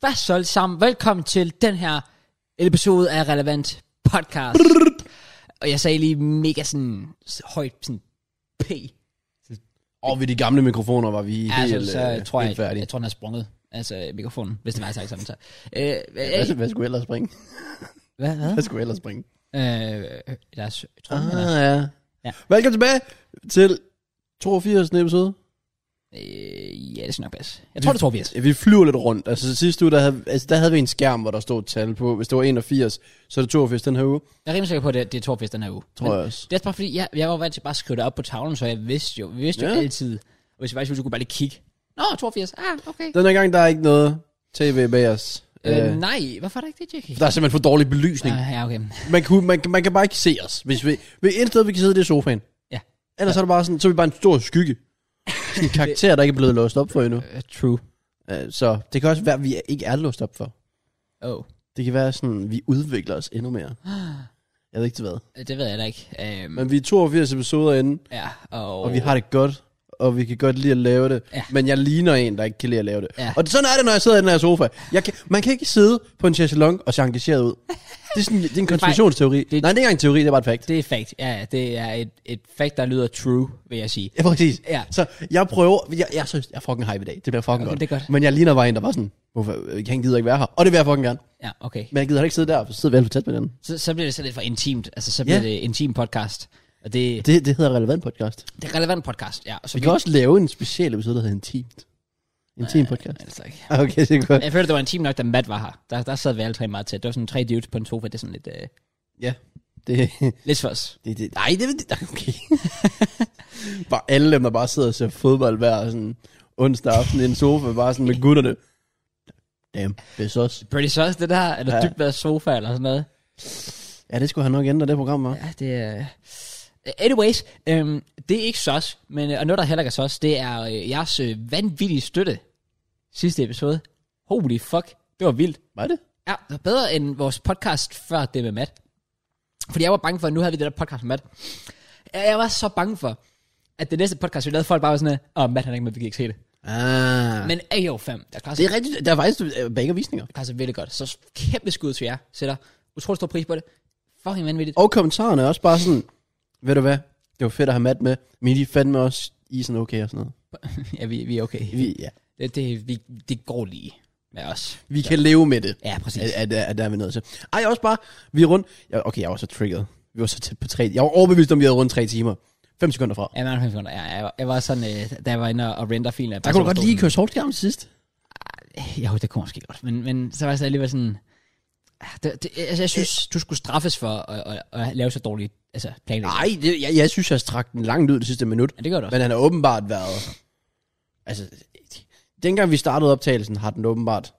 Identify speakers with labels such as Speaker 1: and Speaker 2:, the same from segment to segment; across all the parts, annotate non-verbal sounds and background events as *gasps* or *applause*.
Speaker 1: Hvad så sammen? Velkommen til den her episode af Relevant Podcast. Og jeg sagde lige mega sådan s- højt sådan P.
Speaker 2: Og ved de gamle mikrofoner var vi helt,
Speaker 1: Altså, så
Speaker 2: øh,
Speaker 1: tror
Speaker 2: helt
Speaker 1: jeg, jeg,
Speaker 2: færdige.
Speaker 1: jeg tror, den er sprunget. Altså mikrofonen, hvis det var jeg sagde sammen. Så. Øh, øh,
Speaker 2: Hvad, hvad skulle jeg ellers bringe?
Speaker 1: hvad? hvad?
Speaker 2: Hvad skulle jeg ellers bringe?
Speaker 1: Øh, deres tromme,
Speaker 2: Ah,
Speaker 1: eller?
Speaker 2: ja.
Speaker 1: Ja.
Speaker 2: ja. Velkommen tilbage til 82. episode. Ah.
Speaker 1: Øh, ja, det skal nok passe. Jeg tror, det tror vi
Speaker 2: Ja, vi flyver lidt rundt. Altså sidste uge, der havde, altså, der havde vi en skærm, hvor der stod et tal på. Hvis det var 81, så er det 82 den her uge,
Speaker 1: Jeg er rimelig sikker på, at det, det er Torfis den her uge.
Speaker 2: tror
Speaker 1: Men
Speaker 2: jeg også.
Speaker 1: Det er også bare fordi, jeg, jeg var vant til bare at skrive det op på tavlen, så jeg vidste jo, vi vidste jo
Speaker 2: Ja.
Speaker 1: altid. Og hvis jeg var i tvivl, så kunne jeg bare lige kigge. Nå, 82. Ah, okay.
Speaker 2: Den her gang, der er ikke noget tv bag os.
Speaker 1: Øh, nej, hvorfor er der ikke det, Jackie?
Speaker 2: Der er Øh, simpelthen for dårlig belysning.
Speaker 1: Ah, ja, okay.
Speaker 2: Man, kunne, man, man kan bare ikke se os. Hvis vi, ved et sted, vi kan sidde, det er sofaen.
Speaker 1: Ja.
Speaker 2: Ellers er det bare sådan, så er vi bare en stor skygge. Sådan en
Speaker 1: *laughs*
Speaker 2: karakter, der ikke er blevet låst op for endnu.
Speaker 1: Uh, true.
Speaker 2: Øh, Så det kan også være, at vi ikke er låst op for.
Speaker 1: Oh,
Speaker 2: Det kan være sådan, at vi udvikler os endnu
Speaker 1: *gasps*
Speaker 2: mere. Jeg ved ikke til hvad.
Speaker 1: det ved jeg da ikke. Um,
Speaker 2: Men vi er 82 episoder inde,
Speaker 1: ja, og...
Speaker 2: og vi har det godt. Og vi kan godt lide at lave det.
Speaker 1: Ja.
Speaker 2: Men jeg ligner en, der ikke kan lide at lave det.
Speaker 1: Ja.
Speaker 2: Og det, sådan er det, når jeg sidder i den her sofa. Jeg kan, man kan ikke sidde på en chaiselong og se engageret
Speaker 1: *laughs*
Speaker 2: ud. Det er, sådan, det er en konspirationsteori.
Speaker 1: Det er-
Speaker 2: Nej, det er ikke engang en teori, det er bare et fact.
Speaker 1: Det er fact. Ja, ja, det er et, et fact, der lyder true, vil jeg sige.
Speaker 2: Ja, præcis.
Speaker 1: Ja.
Speaker 2: Så jeg prøver, jeg, jeg synes, jeg er fucking hype i dag. Det bliver fucking
Speaker 1: Okay,
Speaker 2: godt.
Speaker 1: det er godt.
Speaker 2: Men jeg ligner bare en, der var sådan, hvorfor, øh, han gider ikke være her. Og det vil jeg fucking gerne.
Speaker 1: Ja, okay.
Speaker 2: Men jeg gider heller ikke sidde der, for så sidder vi alt for tæt med den.
Speaker 1: Så, så bliver det så lidt for intimt. Altså, så bliver
Speaker 2: Ja.
Speaker 1: det intim podcast. Og det, det,
Speaker 2: Det, det hedder relevant podcast.
Speaker 1: det er relevant podcast, ja. og Så
Speaker 2: Vi kan også lave en speciel episode, der hedder Intimt. Intim podcast.
Speaker 1: Altså, ikke.
Speaker 2: Ah, Okay, det er godt.
Speaker 1: Jeg føler, det var intimt nok, da Matt var her. Der, der sad vi alle tre meget tæt. Det var sådan tre dudes på en sofa. Det er sådan lidt, øh,
Speaker 2: Ja. Det,
Speaker 1: lidt for os.
Speaker 2: det, det, nej, det er okay. *laughs* bare alle dem, der bare sidder og ser fodbold hver sådan onsdag aften i en sofa, bare sådan med gutterne. Damn, det er så også.
Speaker 1: Pretty sauce, det der. Eller ja.
Speaker 2: Ja.
Speaker 1: dybt været sofa, eller sådan noget.
Speaker 2: Ja, det skulle han nok ændre, det program var.
Speaker 1: Ja, det er... øh, Anyways, øhm, det er ikke sos, men, øh, og noget, der heller ikke er sos, det er øh, jeres øh, vanvittige støtte sidste episode. Holy fuck, det var vildt.
Speaker 2: Var det?
Speaker 1: Ja, det var bedre end vores podcast før det med Matt. Fordi jeg var bange for, at nu havde vi det der podcast med Matt. Jeg jeg var så bange for, at det næste podcast, vi lavede, folk bare var sådan, åh, oh, Matt han er ikke med, vi kan ikke se det.
Speaker 2: Ah.
Speaker 1: Men ayo fam, der klarer
Speaker 2: Det
Speaker 1: sig,
Speaker 2: er rigtigt, der er faktisk øh, begge visninger.
Speaker 1: klarer sig virkelig godt. Så kæmpe skud til jer, sætter utrolig stor pris på det. Fucking vanvittigt.
Speaker 2: Og kommentarerne er også bare sådan, ved du hvad, det var fedt at have Matt med, men de fandt med også i er sådan okay og sådan noget.
Speaker 1: ja, vi, vi er okay.
Speaker 2: Vi, ja.
Speaker 1: Det, det, vi, det går lige med os.
Speaker 2: vi kan leve med det.
Speaker 1: Ja, præcis.
Speaker 2: At, at, at der er vi nødt til. Ej, også bare, vi er rundt. Jeg, okay, jeg var så triggered. Vi var så tæt på tre. Jeg var overbevist om, vi havde rundt tre timer. 5 sekunder fra.
Speaker 1: Ja, man, jeg, jeg, jeg, var- jeg var sådan, øh, da jeg var inde og render filen.
Speaker 2: Der kunne du godt lige køre sortskærm sidst.
Speaker 1: Jo, det kunne måske godt. Men, men så var jeg så alligevel sådan... ah, Det, det, altså, jeg synes, du skulle straffes for at, at, at lave så dårligt altså, planlægning.
Speaker 2: Nej, det, jeg, jeg synes, jeg strak den langt ud det sidste minut.
Speaker 1: Men det gør du også.
Speaker 2: Men han har åbenbart været... Altså, dengang vi startede optagelsen, har den åbenbart...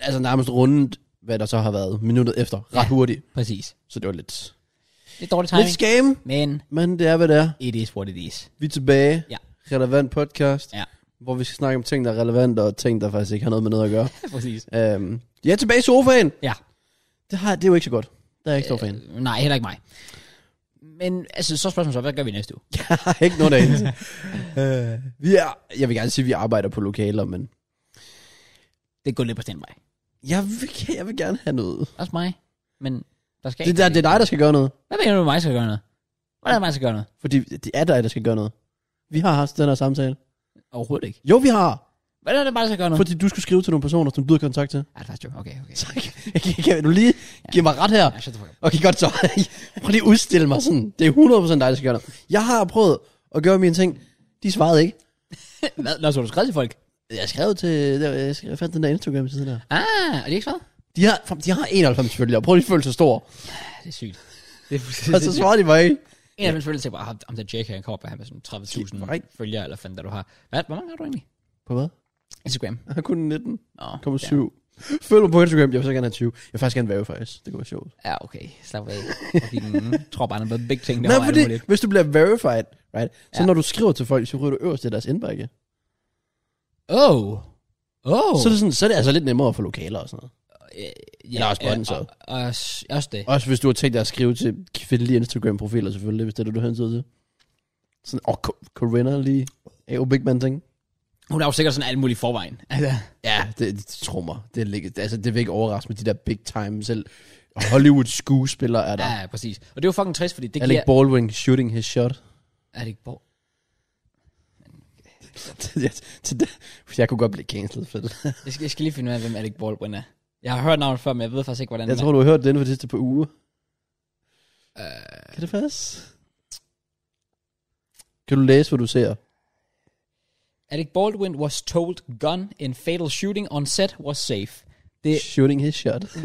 Speaker 2: Altså nærmest rundet, hvad der så har været minuttet efter. Ret
Speaker 1: Ja.
Speaker 2: hurtigt.
Speaker 1: Præcis.
Speaker 2: Så det var lidt...
Speaker 1: Det er dårlig
Speaker 2: Lidt
Speaker 1: timing.
Speaker 2: scam.
Speaker 1: Men
Speaker 2: Men det er, hvad det er.
Speaker 1: it is what it
Speaker 2: *laughs*
Speaker 1: is.
Speaker 2: Vi er tilbage.
Speaker 1: Ja.
Speaker 2: Relevant podcast.
Speaker 1: Ja.
Speaker 2: Hvor vi skal snakke om ting, der er relevante, og ting, der faktisk ikke har noget med noget at gøre.
Speaker 1: præcis.
Speaker 2: Øhm, jeg er tilbage i sofaen.
Speaker 1: Ja.
Speaker 2: Det, har, det er jo ikke så godt. Der er jeg ikke stor fan.
Speaker 1: Øh, nej, heller ikke mig. Men altså, så er spørgsmålet så, hvad gør vi næste uge?
Speaker 2: Jeg har *laughs* ikke noget derinde. øh,
Speaker 1: *laughs*
Speaker 2: vi er, jeg vil gerne sige, at vi arbejder på lokaler, men
Speaker 1: Det går lidt på standby.
Speaker 2: jeg vil, jeg vil gerne have noget.
Speaker 1: Også mig. Men der skal
Speaker 2: Det, der, det er dig, der skal gøre noget.
Speaker 1: Hvad mener du, med mig skal gøre noget? Hvordan er det, mig skal gøre noget?
Speaker 2: Fordi det er dig, der skal gøre noget. Vi har haft den her samtale.
Speaker 1: Overhovedet ikke.
Speaker 2: Jo, vi har.
Speaker 1: Hvordan er det, mig der skal gøre noget?
Speaker 2: Fordi du skulle skrive til nogle personer, som du har kontakt til.
Speaker 1: Ja, det er faktisk jo. Okay, okay.
Speaker 2: Tak. Kan- Kan du lige give mig ret her?
Speaker 1: Ja, shut the fuck up.
Speaker 2: Okay, godt så. *laughs* Prøv lige at udstille mig sådan. Det er 100% dig, der skal gøre noget. Jeg har prøvet at gøre mine ting. De svarede ikke.
Speaker 1: *laughs* Hvad? Lad os du skrevet til folk.
Speaker 2: Jeg skrev til... Jeg skrev- jeg fandt den der Instagram-side der.
Speaker 1: Ah, er det ikke svaret?
Speaker 2: De har, de har 91 følgere. Prøv lige at føle sig stor.
Speaker 1: Ja, det er sygt. *laughs* Det er
Speaker 2: Og så svarer de mig ikke.
Speaker 1: En af mine følgere tænker bare, ham- ham der Jake, her, han kommer på, han har sådan
Speaker 2: Shit, right.
Speaker 1: 30.000 følgere, eller fanden, der du har. Hvad, hvor mange har du egentlig?
Speaker 2: På hvad?
Speaker 1: Instagram.
Speaker 2: Jeg har kun 19,7.
Speaker 1: Nå,
Speaker 2: Følg mig på Instagram. Jeg vil så gerne have 20. Jeg vil faktisk gerne være faktisk. Det kunne være sjovt.
Speaker 1: Ja, ja okay. Slap *laughs* af. Okay, mm, tror bare, han har været big ting
Speaker 2: Nej,
Speaker 1: derovre.
Speaker 2: fordi
Speaker 1: alt muligt.
Speaker 2: hvis du bliver verified, right? Så
Speaker 1: Ja.
Speaker 2: når du skriver til folk, så ryger du øverst i deres indbakke.
Speaker 1: Oh. Oh.
Speaker 2: Oh. Så, er det sådan, så er det altså lidt nemmere at få lokaler og sådan noget.
Speaker 1: ja,
Speaker 2: der er også sponsor.
Speaker 1: og, og, s- også det.
Speaker 2: Også hvis du har tænkt dig at skrive til kvindelige Instagram-profiler selvfølgelig, hvis det er det, du hensyder til. Sådan, åh, oh, Corinna lige. Er jo big man ting.
Speaker 1: Hun er jo sikkert sådan alt muligt i forvejen. Altså,
Speaker 2: Ja, det, det tro mig. Det, er ligge- altså, det vil ikke overraske med de der big time selv. Hollywood skuespillere er der.
Speaker 1: ja, ja, præcis. Og det er jo fucking trist, fordi det
Speaker 2: Alec
Speaker 1: giver...
Speaker 2: Baldwin shooting his *laughs* shot.
Speaker 1: Er det ikke Borg?
Speaker 2: jeg, til det, jeg kunne godt blive cancelled for det.
Speaker 1: Jeg skal, jeg skal lige finde ud af, hvem Alec Baldwin er. Jeg har hørt navnet før, men jeg ved faktisk ikke, hvordan
Speaker 2: Jeg
Speaker 1: den
Speaker 2: tror, du har hørt det inden for de sidste par uger.
Speaker 1: er. Øh,
Speaker 2: Kan det passe? Kan du læse, hvad du ser?
Speaker 1: Alec Baldwin was told gun in fatal shooting on set was safe. Det,
Speaker 2: Shooting his shot. *laughs*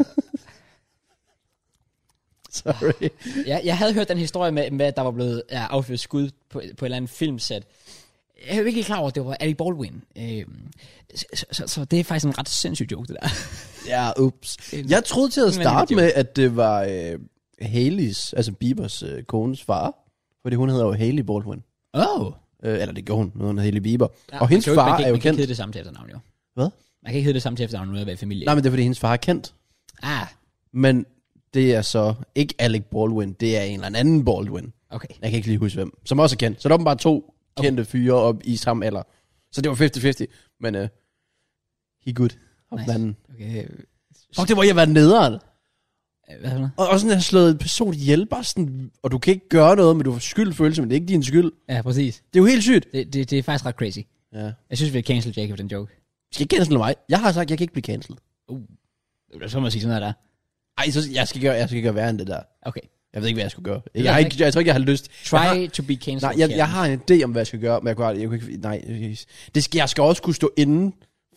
Speaker 2: Sorry.
Speaker 1: jeg, jeg havde hørt den historie med, med at der var blevet ja, affyret skud på, på et eller andet filmsæt. Jeg er jo ikke helt klar over, at det var Alec Baldwin. Øhm, så, så, så, så det er faktisk en ret sindssyg joke, det der.
Speaker 2: Ja, ups. Jeg troede til at
Speaker 1: en vanvittig
Speaker 2: starte med, at det var øh, Haleys, altså Biebers øh, kones far. Fordi hun hedder jo Haley Baldwin.
Speaker 1: Åh! Oh.
Speaker 2: Øh, eller det gjorde hun, nu hedder hun Haley Bieber. og hendes far
Speaker 1: man kan,
Speaker 2: er
Speaker 1: Man
Speaker 2: jo
Speaker 1: kan ikke
Speaker 2: kendt.
Speaker 1: hedde det samme til efternavn, jo.
Speaker 2: Hvad?
Speaker 1: Man kan ikke hedde det samme til efternavn, uden at være i familie.
Speaker 2: Nej, men det er fordi, hendes far er kendt.
Speaker 1: Ah,
Speaker 2: Men det er så ikke Alec Baldwin, det er en eller anden Baldwin.
Speaker 1: okay.
Speaker 2: Jeg kan ikke lige huske hvem. Som også er kendt. Så der er bare to kendte fyre op i samme alder. Så det var 50-50. Men uh, he good.
Speaker 1: Nice.
Speaker 2: Nice. Manden.
Speaker 1: okay.
Speaker 2: Fuck, det må jeg være nederen.
Speaker 1: øh, Hvad for noget?
Speaker 2: Og også sådan, at have slået en person ihjel, bare sådan, og du kan ikke gøre noget, men du får skyldfølelse, men det er ikke din skyld.
Speaker 1: Ja, præcis.
Speaker 2: Det er jo helt sygt.
Speaker 1: Det, det, det er faktisk ret crazy.
Speaker 2: Ja.
Speaker 1: Jeg synes, vi har cancelled Jacob den joke.
Speaker 2: Du Skal ikke cancel mig? Jeg har sagt, at jeg kan ikke blive cancelled.
Speaker 1: Så må man sige sådan noget der.
Speaker 2: Ej, så jeg skal gøre, jeg skal gøre værre end det der.
Speaker 1: Okay.
Speaker 2: Jeg ved ikke, hvad jeg skal gøre.
Speaker 1: ved
Speaker 2: Jeg, har
Speaker 1: jeg
Speaker 2: ikke, jeg tror ikke, jeg har lyst.
Speaker 1: Try
Speaker 2: Jeg har-
Speaker 1: to be cancelled.
Speaker 2: Nej, jeg,
Speaker 1: Jacob.
Speaker 2: jeg har en idé om, hvad jeg skal gøre, men jeg kunne, aldrig- jeg kunne ikke... Nej, det skal, jeg skal også kunne stå inden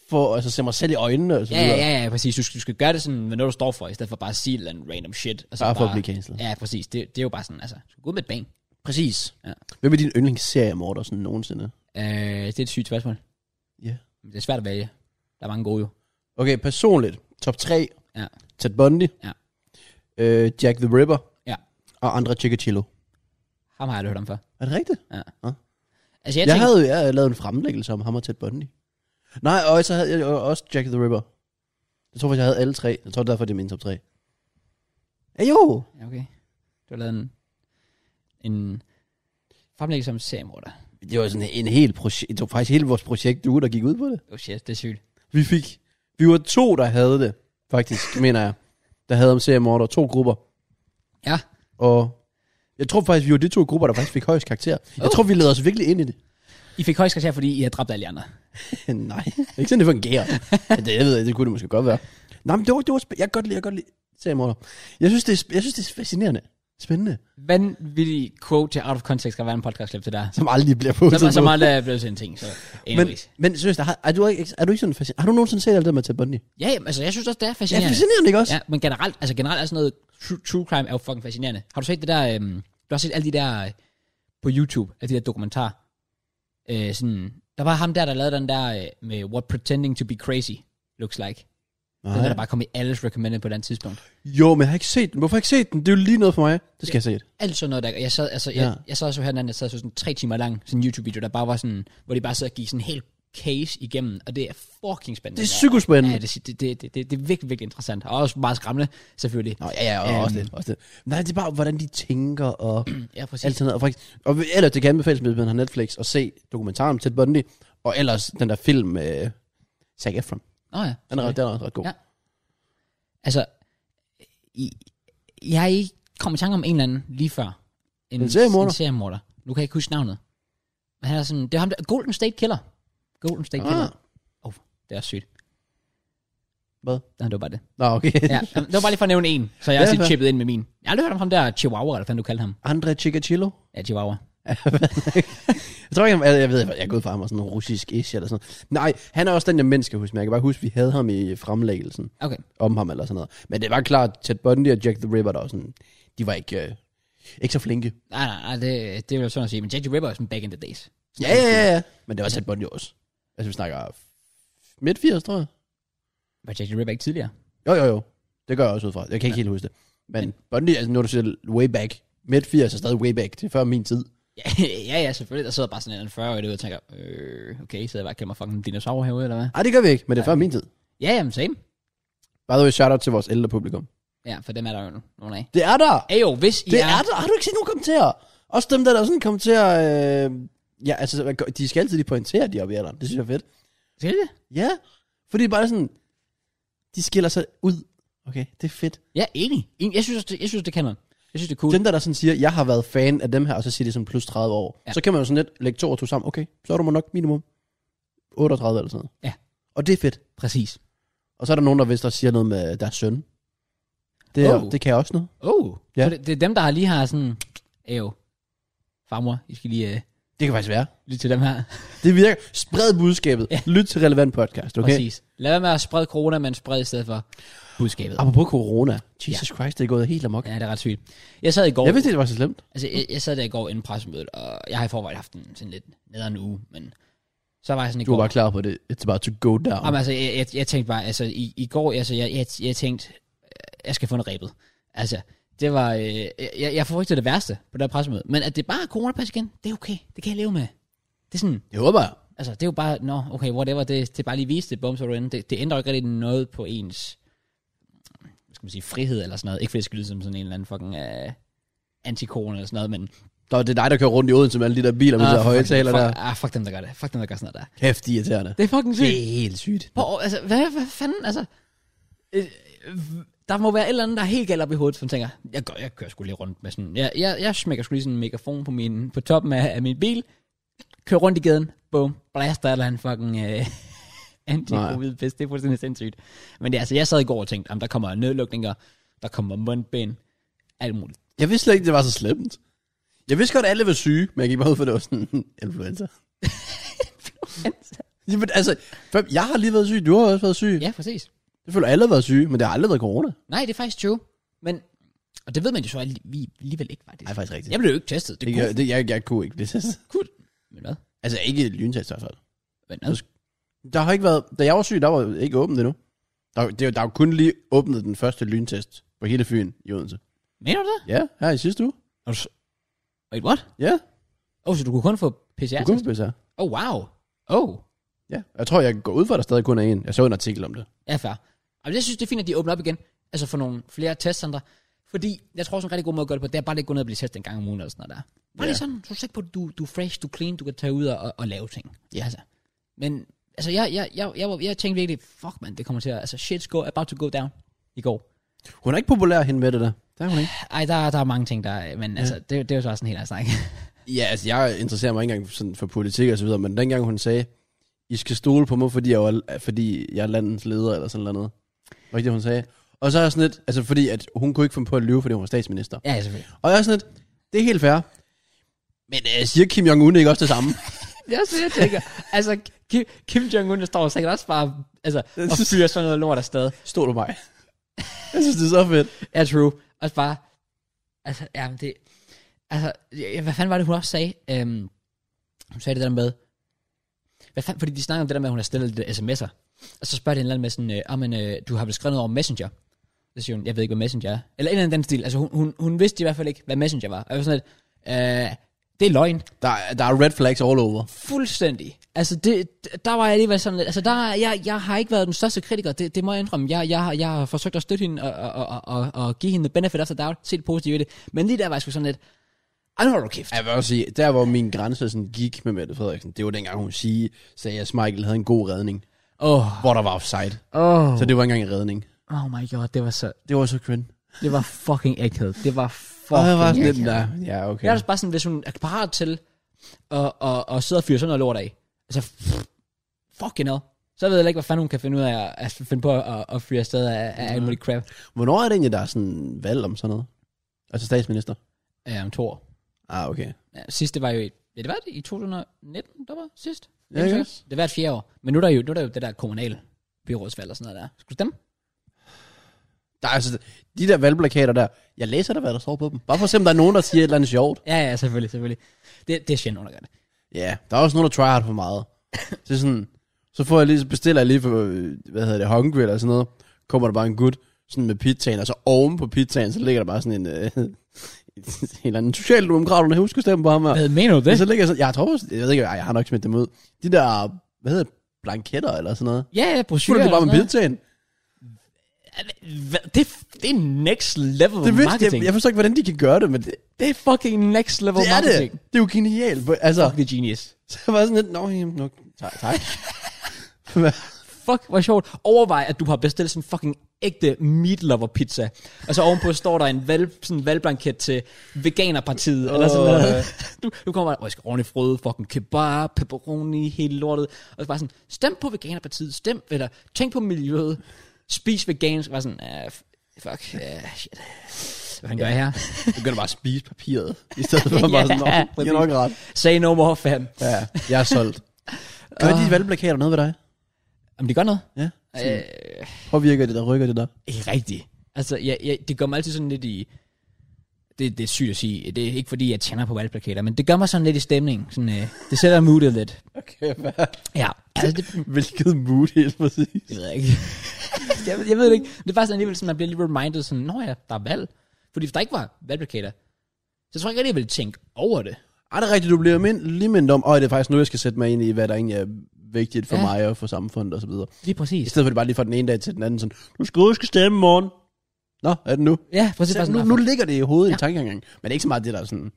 Speaker 2: for altså, se mig selv i øjnene og så
Speaker 1: Ja,
Speaker 2: videre.
Speaker 1: ja, ja, ja, præcis. Du skal, du skal gøre det sådan, med noget, du står for, i stedet for bare at sige et eller andet random shit. Og så
Speaker 2: Bare for at blive cancelled.
Speaker 1: Ja, præcis. Det, det er jo bare sådan, altså, du skal gå ud med et bang.
Speaker 2: Præcis.
Speaker 1: Ja.
Speaker 2: Hvem er din yndlingsserie, Morten, sådan nogensinde?
Speaker 1: Øh, det er et sygt spørgsmål.
Speaker 2: Ja.
Speaker 1: Men Det er svært at vælge. Der er mange gode jo.
Speaker 2: Okay, personligt. Top 3.
Speaker 1: Ja.
Speaker 2: Ted Bundy.
Speaker 1: Ja.
Speaker 2: Øh, Jack the Ripper.
Speaker 1: Ja.
Speaker 2: Og andre Chikatilo.
Speaker 1: Ham har jeg aldrig hørt om før.
Speaker 2: Er det rigtigt?
Speaker 1: Altså,
Speaker 2: Jeg,
Speaker 1: jeg,
Speaker 2: jeg
Speaker 1: tænkte,
Speaker 2: havde jeg havde lavet en fremlæggelse om ham og Ted Bundy. Nej, og så havde jeg jo også Jack the Ripper. Jeg tror faktisk, jeg havde alle tre. Jeg tror, det er derfor, det er min top 3. Ja, jo.
Speaker 1: Ja, okay. Du har lavet en, en fremlæggelse som seriemorder.
Speaker 2: Det var sådan en hel projekt. Det var faktisk hele vores projekt uge, der gik ud på det.
Speaker 1: Oh shit, det er sygt.
Speaker 2: Vi fik... Vi var to, der havde det, faktisk, mener jeg. Der havde om seriemorder. To grupper.
Speaker 1: Ja.
Speaker 2: Og jeg tror faktisk, vi var de to grupper, der faktisk fik højst karakter. Jeg tror, vi lavede os virkelig ind i det.
Speaker 1: I fik højst karakter, fordi I har dræbt alle de andre.
Speaker 2: *laughs* Nej, det er ikke sådan, det fungerer. Men det, jeg ved, ikke, det kunne det måske godt være. Nej, men det var, det var spæ- jeg kan godt lide, jeg kan godt lide seriemorder. Jeg synes, det er, sp- jeg synes, det er fascinerende. Spændende.
Speaker 1: Vanvittig quote til Out of Context kan være en podcast klip til der.
Speaker 2: Som aldrig bliver postet.
Speaker 1: Så, så
Speaker 2: på.
Speaker 1: meget er blevet til en ting, så
Speaker 2: men,
Speaker 1: anyways.
Speaker 2: men seriøst, har, er, du ikke, er du ikke sådan fascinerende? Har du nogensinde set alt det med Ted Bundy?
Speaker 1: Ja, jamen, altså, jeg synes også, det er
Speaker 2: Ja,
Speaker 1: fascinerende.
Speaker 2: fascinerende, ikke også?
Speaker 1: Ja, men generelt, altså generelt er sådan noget, true, true crime er jo fucking fascinerende. Har du set det der, øhm, du har set alle de der øh, på YouTube, alle de der dokumentarer. Øh, sådan, der var ham der, der lavede den der øh, med What Pretending to be Crazy Looks Like. Den der, der bare kom i alles recommended på et eller andet tidspunkt.
Speaker 2: Jo, men jeg har ikke set den. Hvorfor har jeg ikke set den? Det er jo lige noget for mig. Det skal jeg se.
Speaker 1: Alt sådan noget der, jeg sad, altså, jeg,
Speaker 2: Ja.
Speaker 1: jeg sad også her den anden, jeg sad og så sådan tre timer lang, sådan en YouTube-video, der bare var sådan, hvor de bare sad og gik sådan en hel case igennem, og det er fucking spændende.
Speaker 2: Det er
Speaker 1: Ja,
Speaker 2: psykospændende.
Speaker 1: det, det, det, det, det, det er virkelig, virkelig interessant, og også meget skræmmende, selvfølgelig.
Speaker 2: Nå, ja, ja, og
Speaker 1: Øhm.
Speaker 2: også det. Også det. Nej, det er bare, hvordan de tænker og...
Speaker 1: Ja, præcis.
Speaker 2: alt sådan noget. Og, faktisk, og ellers, det kan anbefales, hvis man har Netflix, at se dokumentaren om Ted Bundy, og ellers den der film med Zac Efron.
Speaker 1: Nå ja.
Speaker 2: Den er,
Speaker 1: selvfølgelig.
Speaker 2: ret- den er også ret god.
Speaker 1: Ja. Altså, I, jeg kom i tanke om en eller anden lige før.
Speaker 2: En seriemorder?
Speaker 1: En seriemorder. Nu kan jeg ikke huske navnet. Men han er sådan, det er ham der, Golden State Killer. Golden State ah. Killer. Oh, det er også sygt.
Speaker 2: Hvad?
Speaker 1: Nej, det var bare det.
Speaker 2: Nå, okay.
Speaker 1: Ja, jamen, det var bare lige for at nævne en, så jeg
Speaker 2: Ja,
Speaker 1: også lige
Speaker 2: hvad?
Speaker 1: chippet ind med min. Jeg har aldrig hørt om ham der Chihuahua, eller hvad fanden du kaldte ham.
Speaker 2: *laughs* Andre Chikatilo.
Speaker 1: Ja, Chihuahua.
Speaker 2: Jeg tror ikke, han- jeg, jeg ved, jeg er gået fra ham og sådan en russisk ish eller sådan noget. Nej, han er også den, jeg mindst kan huske, men jeg kan bare huske, vi havde ham i fremlæggelsen
Speaker 1: Okay.
Speaker 2: om ham eller sådan noget. Men det var klart, Ted Bundy og Jack the Ripper, der var sådan, de var ikke, øh, ikke så flinke.
Speaker 1: Nej, nej, nej, det, det vil jeg sådan at sige. Men Jackie Ripper er sådan back in the days.
Speaker 2: Ja, ja, ja, ja. Men det var Ted Bundy også. Altså, vi snakker midt 80, tror jeg.
Speaker 1: Var Jackie Ripper ikke tidligere?
Speaker 2: Jo, jo, jo. Det gør jeg også ud fra. Jeg kan ikke ja. helt huske det. Men Bundy, altså nu er du siger way back. Midt 80 er stadig way back. Det er før min tid.
Speaker 1: Ja, *laughs* ja, ja, selvfølgelig. Der sidder bare sådan en 40-årig derude og tænker, øh, okay, så jeg bare og klemmer fucking dinosaurer herude, eller hvad?
Speaker 2: Nej, det gør vi ikke, men det er før min tid.
Speaker 1: Ja, jamen, same.
Speaker 2: By the way, shout out til vores ældre publikum.
Speaker 1: Ja, for dem er der jo nogen af.
Speaker 2: Det er der!
Speaker 1: Ayo, hvis I
Speaker 2: Det
Speaker 1: er...
Speaker 2: er der! Har du ikke set nogen kommentarer? Også dem, der, der sådan kommenterer øh, Ja, altså, så man gør- de skal altid lige pointere, at de er oppe i alderen. Det synes jeg er fedt.
Speaker 1: Skal det?
Speaker 2: Ja, fordi det er bare sådan, de skiller sig ud. Okay, det er fedt.
Speaker 1: Ja, enig. enig. Jeg synes, også, det, jeg synes, det kan man. Jeg synes, det er cool.
Speaker 2: Dem der, der sådan siger, jeg har været fan af dem her, og så siger de sådan plus 30 år.
Speaker 1: Ja.
Speaker 2: Ja. Så kan man jo sådan lidt lægge to og to sammen. Okay, så er du må nok minimum 38 eller sådan noget.
Speaker 1: Ja.
Speaker 2: Og det er fedt.
Speaker 1: Præcis.
Speaker 2: Og så er der nogen, der vist også siger noget med deres søn. Det, er,
Speaker 1: Oh.
Speaker 2: oh. det kan jeg også noget.
Speaker 1: Oh, ja.
Speaker 2: Ja.
Speaker 1: så det, det er dem, der har lige har sådan, æv, farmor, I skal lige øh,
Speaker 2: Det kan faktisk være.
Speaker 1: lytte til dem her.
Speaker 2: Det virker. Spred budskabet.
Speaker 1: Ja.
Speaker 2: Ja. Lyt til relevant podcast, okay? Præcis.
Speaker 1: Præcis. Lad være med at sprede corona, men spred i stedet for budskabet.
Speaker 2: Apropos corona. Jesus ja. Christ, det er gået helt amok.
Speaker 1: Ja, det er ret sygt. Jeg sad i går,
Speaker 2: Jeg vidste, ikke, det var så slemt.
Speaker 1: altså, jeg, jeg sad der i går inden pressemødet, og jeg har i forvejen haft en sådan lidt nederen uge, men så var jeg sådan i
Speaker 2: Du var
Speaker 1: går.
Speaker 2: bare klar på det. It's about to go down.
Speaker 1: Jamen, altså, jeg, jeg, jeg tænkte bare, altså, i, i går, altså, jeg, jeg, jeg tænkte, øh, jeg skal få en rebet. Altså, det var, øh, jeg, jeg forrygtede det værste på det her pressemøde, men at det bare er coronapas igen, det er okay, det kan jeg leve med. Det er sådan,
Speaker 2: Det håber jeg.
Speaker 1: Altså, det er jo bare, nå, no, okay, whatever, det, det er bare lige viste det, bum, så er du inde. Det, det ændrer jo ikke rigtig noget på ens, hvad skal man sige, frihed eller sådan noget. Ikke fordi det skal lyde som sådan en eller anden fucking uh, antikon eller sådan noget, men... Ah,
Speaker 2: Nå, det er dig, der kører rundt i Odense med alle de der biler med de der
Speaker 1: fuck,
Speaker 2: høje taler
Speaker 1: fuck,
Speaker 2: der.
Speaker 1: Ah, fuck dem, der gør det. Fuck dem, der gør sådan noget der.
Speaker 2: Kæft, de er irriterende.
Speaker 1: Det er fucking
Speaker 2: Det
Speaker 1: sygt.
Speaker 2: er helt sygt.
Speaker 1: Hvor, altså, hvad, hvad fanden, altså... øh, øh, Der må være et eller andet, der er helt galt op i hovedet, som tænker, jeg, gør, jeg kører sgu lige rundt med sådan... Jeg, jeg, jeg smækker sgu lige sådan en megafon på, min, på toppen af, af min bil, kører rundt i gaden, bum, blaster eller en fucking... Øh, *laughs* anti-covid pest, det er fuldstændig sindssygt. Men det, er altså, jeg sad i går og tænkte, jamen, der kommer nedlukninger, der kommer mundbind, alt muligt.
Speaker 2: Jeg vidste slet ikke, det var så slemt. Jeg vidste godt, at alle var syge, men jeg gik bare ud for, at det var sådan influenza. Jamen, altså, fam, jeg har lige været syg, du har også været syg. Ja.
Speaker 1: Ja, præcis.
Speaker 2: Det føler, alle har været syge, men det har aldrig været corona.
Speaker 1: Nej, det er faktisk true. Men, og det ved man jo så alli- alligevel ikke, var det?
Speaker 2: Nej, faktisk rigtigt.
Speaker 1: Jeg blev jo ikke testet. Det
Speaker 2: Det,
Speaker 1: kunne,
Speaker 2: jeg, det, jeg, jeg kunne ikke blive testet.
Speaker 1: men hvad?
Speaker 2: Altså, ikke lyntest i hvert fald.
Speaker 1: Men hvad?
Speaker 2: Der har ikke været, da jeg var syg, der var ikke åbent endnu. Der, det, er jo- der er jo kun lige åbnet den første lyntest på hele Fyn i Odense.
Speaker 1: Mener du det?
Speaker 2: Ja, her i sidste uge.
Speaker 1: Wait, what?
Speaker 2: Ja,
Speaker 1: Åh, oh, så du kunne kun få
Speaker 2: du
Speaker 1: PCR-test?
Speaker 2: kunne spise her.
Speaker 1: Åh, oh, wow. Åh, oh.
Speaker 2: Ja, jeg tror, jeg går ud for, at der stadig kun er en. Jeg så en artikel om det.
Speaker 1: ja, fair. Altså, jeg synes, det er fint, at de åbner op igen. Altså, for nogle flere testcentre. Fordi, jeg tror også, en rigtig god måde at gøre det på, det er bare lige at gå ned og blive testet en gang om ugen eller sådan noget der. Bare lige
Speaker 2: Ja.
Speaker 1: sådan, så er du sikker på, at du, du er fresh, du er clean, du kan tage ud og, og, og lave ting. Ja, altså. Men, altså, jeg, jeg, jeg, jeg, var- jeg tænkte virkelig, fuck man, det kommer til at, altså, shit's go, about to go down i går.
Speaker 2: Hun er ikke populær hende med det der. Der er hun ikke.
Speaker 1: Ej, der, der er mange ting, der, men altså, det, det er jo så også en helt anden snak. *laughs*
Speaker 2: Ja, altså jeg interesserer mig ikke engang sådan for politik og så videre, men dengang hun sagde, I skal stole på mig, fordi jeg, var, fordi jeg er landets leder eller sådan noget. Var ikke det, hun sagde? Og så er jeg sådan lidt, altså fordi at hun kunne ikke finde på at lyve, fordi hun var statsminister.
Speaker 1: ja, selvfølgelig.
Speaker 2: Og jeg er sådan lidt, det er helt fair. Men øh, siger Kim Jong-un ikke også det samme?
Speaker 1: Det er også det, jeg tænker. altså, Kim, Kim Jong-un, der står sikkert også bare altså, og fyrer sådan noget lort afsted.
Speaker 2: *laughs* Stol på mig. jeg synes, det er så fedt.
Speaker 1: Ja, true. Også bare, altså, ja, men det, altså, ja, hvad fanden var det, hun også sagde? Øhm, hun sagde det der med, hvad fanden, fordi de snakker om det der med, at hun har stillet lidt sms'er. Og så spørger de en eller anden med sådan, øh, "Ah, men, øh, du har vel skrevet noget over Messenger? Så siger hun, jeg ved ikke, hvad Messenger er. Eller en eller anden den stil. Altså, hun, hun, hun vidste i hvert fald ikke, hvad Messenger var. Og jeg var sådan lidt, øh, det er løgn.
Speaker 2: Der, er- der er red flags all over.
Speaker 1: Fuldstændig. Altså, det, der var jeg alligevel sådan lidt... Altså, der, jeg, jeg har ikke været den største kritiker, det, det må jeg indrømme. Jeg, jeg, har- jeg har forsøgt at støtte hende og, og, og, og, og give hende the benefit of the doubt, se det positive i det. Men lige der var jeg sgu sådan lidt... Ej, nu har du kæft.
Speaker 2: Jeg vil også sige, der hvor min grænse sådan gik med Mette Frederiksen, det var dengang hun sige, sagde, at Michael havde en god redning,
Speaker 1: Åh,
Speaker 2: hvor der var offside.
Speaker 1: oh,
Speaker 2: Så det var ikke engang en redning.
Speaker 1: oh my god, det var så...
Speaker 2: Det var så cringe.
Speaker 1: Det var fucking ægthed. Det var
Speaker 2: Og
Speaker 1: fucking
Speaker 2: jeg var sådan
Speaker 1: akavet.
Speaker 2: lidt, nej, ja, okay.
Speaker 1: Jeg er også bare sådan, hvis hun er parat til at, at, at sidde og fyre sådan noget lort af. Altså, pff, fucking hell. Så ved jeg ikke, hvad fanden hun kan finde ud af at, at finde på at, at fyre afsted af, af alt muligt crap.
Speaker 2: Hvornår er det egentlig, der er sådan valg om sådan noget? Altså statsminister?
Speaker 1: Ja, øh, om to år.
Speaker 2: Ah, okay.
Speaker 1: Ja, sidst det var jo i, ja, det var det i 2019, der var sidst.
Speaker 2: Ja, ikke også?
Speaker 1: Det var et fjerde år. Men nu er der jo, nu er der jo det der kommunale byrådsvalg og sådan noget der. Skal du stemme?
Speaker 2: Der er altså, de der valgplakater der, jeg læser der, hvad der står på dem. Bare for at se, om der er nogen, der siger et eller andet sjovt.
Speaker 1: Ja, ja, selvfølgelig, selvfølgelig. Det, det er sjældent, nogen, der gør det.
Speaker 2: Ja, der er også nogen, der try hard for *laughs* meget. Så sådan, så får jeg lige, så bestiller jeg lige for, øh, hvad hedder det, hungry eller sådan noget. Kommer der bare en gut, sådan med pizzaen, og så oven på pizzaen, så ligger der bare sådan en, øh, *laughs* en eller anden socialdemokrat, der husker stemme på ham her.
Speaker 1: Hvad mener du
Speaker 2: Men
Speaker 1: det?
Speaker 2: så ligger jeg sådan, jeg tror, også- jeg ved ikke, ej, jeg har nok smidt dem ud. De der, hvad hedder det, blanketter eller sådan noget.
Speaker 1: Ja, ja,
Speaker 2: Skulle
Speaker 1: brosyrer.
Speaker 2: det bare
Speaker 1: og
Speaker 2: med
Speaker 1: sådan
Speaker 2: pizzaen?
Speaker 1: noget. Hva- Det, det er next level
Speaker 2: Det er
Speaker 1: marketing.
Speaker 2: jeg, jeg forstår ikke, hvordan de kan gøre det, men det,
Speaker 1: det er fucking next level
Speaker 2: det er det.
Speaker 1: marketing.
Speaker 2: Det er jo genialt. men Altså, *laughs*
Speaker 1: Fuck, det er genius.
Speaker 2: så var jeg sådan lidt, nå, jamen, nå
Speaker 1: *laughs*
Speaker 2: tak. tak.
Speaker 1: Fuck, hvor sjovt. Overvej, at du har bestilt sådan en fucking ægte meat lover pizza. Og så ovenpå står der en valg, sådan en valgblanket til Veganerpartiet. Oh, eller sådan
Speaker 2: Åh,
Speaker 1: noget. *laughs* Du, du kommer bare, åh, jeg skal ordentligt frøde, fucking kebab, pepperoni, hele lortet. Og så bare sådan, stem på Veganerpartiet, stem, eller tænk på miljøet, spis vegansk. Bare sådan, ah, f- fuck, ah, shit. Hvad fanden gør jeg her?
Speaker 2: Du begynder bare at spise papiret, i stedet for bare sådan, nå,
Speaker 1: Ja,
Speaker 2: det er nok ret.
Speaker 1: Say no more, fam.
Speaker 2: Ja, jeg er solgt. Gør de valgplakater noget ved dig?
Speaker 1: Jamen, det gør noget.
Speaker 2: Ja.
Speaker 1: Øh,
Speaker 2: Påvirker det der, rykker det der?
Speaker 1: Ikke rigtigt. Altså, jeg, jeg, det gør mig altid sådan lidt i... Det, det er sygt at sige. Det er ikke fordi, jeg tænder på valgplakater, men det gør mig sådan lidt i stemning. Sådan, øh, det sætter moodet lidt.
Speaker 2: Okay, hvad?
Speaker 1: Ja, altså det,
Speaker 2: Hvilket mood helt præcis.
Speaker 1: det ved jeg ikke. *laughs* jeg, ved- jeg ved det ikke. Det er faktisk alligevel sådan, man bliver lige reminded sådan, Nå ja, der er valg. Fordi hvis der ikke var valgplakater, så tror jeg ikke, at jeg ville tænke over det.
Speaker 2: Ej, det er rigtigt, du bliver mind, lige mindet om, og det er faktisk nu, jeg skal sætte mig ind i, hvad der egentlig er vigtigt for
Speaker 1: Ja.
Speaker 2: ja. mig og for samfundet og så videre.
Speaker 1: Lige
Speaker 2: I
Speaker 1: præcis.
Speaker 2: stedet for det bare lige fra den ene dag til den anden, sådan, du skal huske at stemme i morgen. Nå, er det nu?
Speaker 1: Ja, præcis.
Speaker 2: Så
Speaker 1: Bare sådan,
Speaker 2: nu,
Speaker 1: "Nå,
Speaker 2: nu ligger det i hovedet ja.
Speaker 1: Ja.
Speaker 2: i tankegangen, men det er ikke så meget det, der er sådan,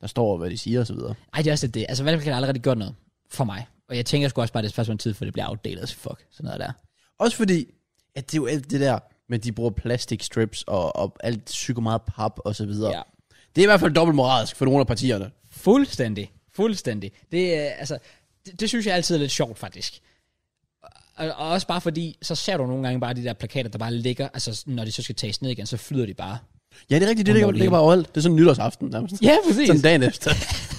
Speaker 2: der står, og hvad de siger og så videre.
Speaker 1: Ej, det er også lidt det. Altså, valgplakater har allerede gjort noget for mig. Og jeg tænker sgu også bare, at det er et spørgsmål om tid, for det bliver outdated. Så fuck, sådan noget der.
Speaker 2: Også fordi, at det er jo alt det der, men de bruger plastikstrips og, og alt sygt meget pap og så videre.
Speaker 1: Ja.
Speaker 2: Ja. Det er i hvert fald dobbelt moralsk for nogle af partierne.
Speaker 1: Fuldstændig. Fuldstændig. Det, øh, altså, det, det synes jeg altid er lidt sjovt, faktisk. Og, og også bare fordi, så ser du nogle gange bare de der plakater, der bare ligger, altså når de så skal tages ned igen, så flyder de bare.
Speaker 2: Ja, det er rigtigt, det ligger,
Speaker 1: Underligt.
Speaker 2: ligger bare overalt. Det er sådan nytårsaften nærmest.
Speaker 1: Ja, præcis.
Speaker 2: Sådan dagen efter.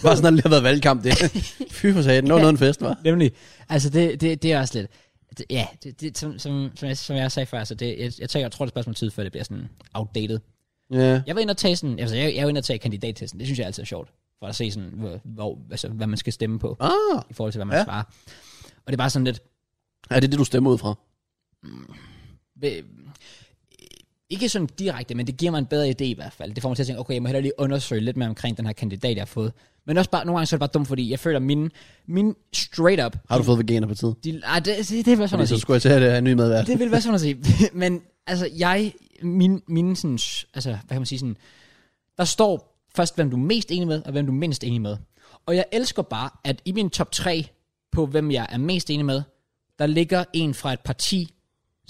Speaker 2: bare sådan, at det har været valgkamp, det. *laughs* Fy for satan, det var noget af en fest, var.
Speaker 1: Nemlig. Altså, det, det, det er også lidt... Det, ja, det, det, som, som, som, jeg, som jeg sagde før, så det, jeg, jeg, tænker, jeg tror, det er et spørgsmål om tid, før det bliver sådan outdated.
Speaker 2: Ja.
Speaker 1: Jeg var inde og tage sådan, altså, jeg, jeg var inde og tage kandidattesten, det synes jeg altid er sjovt, for at se sådan, hvor, hvor, altså, hvad man skal stemme på,
Speaker 2: Ah,
Speaker 1: i forhold til, hvad man ja.
Speaker 2: Ja.
Speaker 1: svarer. Og det er bare sådan lidt,
Speaker 2: er det det, du stemmer ud fra?
Speaker 1: Øh, ikke sådan direkte, men det giver mig en bedre idé i hvert fald. Det får mig til at tænke, okay, jeg må hellere lige undersøge lidt mere omkring den her kandidat, jeg har fået. Men også bare, nogle gange så er det bare dumt, fordi jeg føler, min, min straight up...
Speaker 2: Har du fået veganer på tid?
Speaker 1: De, ej, det, det, det vil være sådan
Speaker 2: Fordi
Speaker 1: at
Speaker 2: så
Speaker 1: sige.
Speaker 2: skulle jeg tage det her nye medvært.
Speaker 1: Det vil være sådan at sige. *laughs* men altså, jeg... Min, mine sådan... Altså, hvad kan man sige sådan... Der står først, hvem du er mest enig med, og hvem du er mindst enig med. Og jeg elsker bare, at i min top 3 på, hvem jeg er mest enig med, der ligger en fra et parti,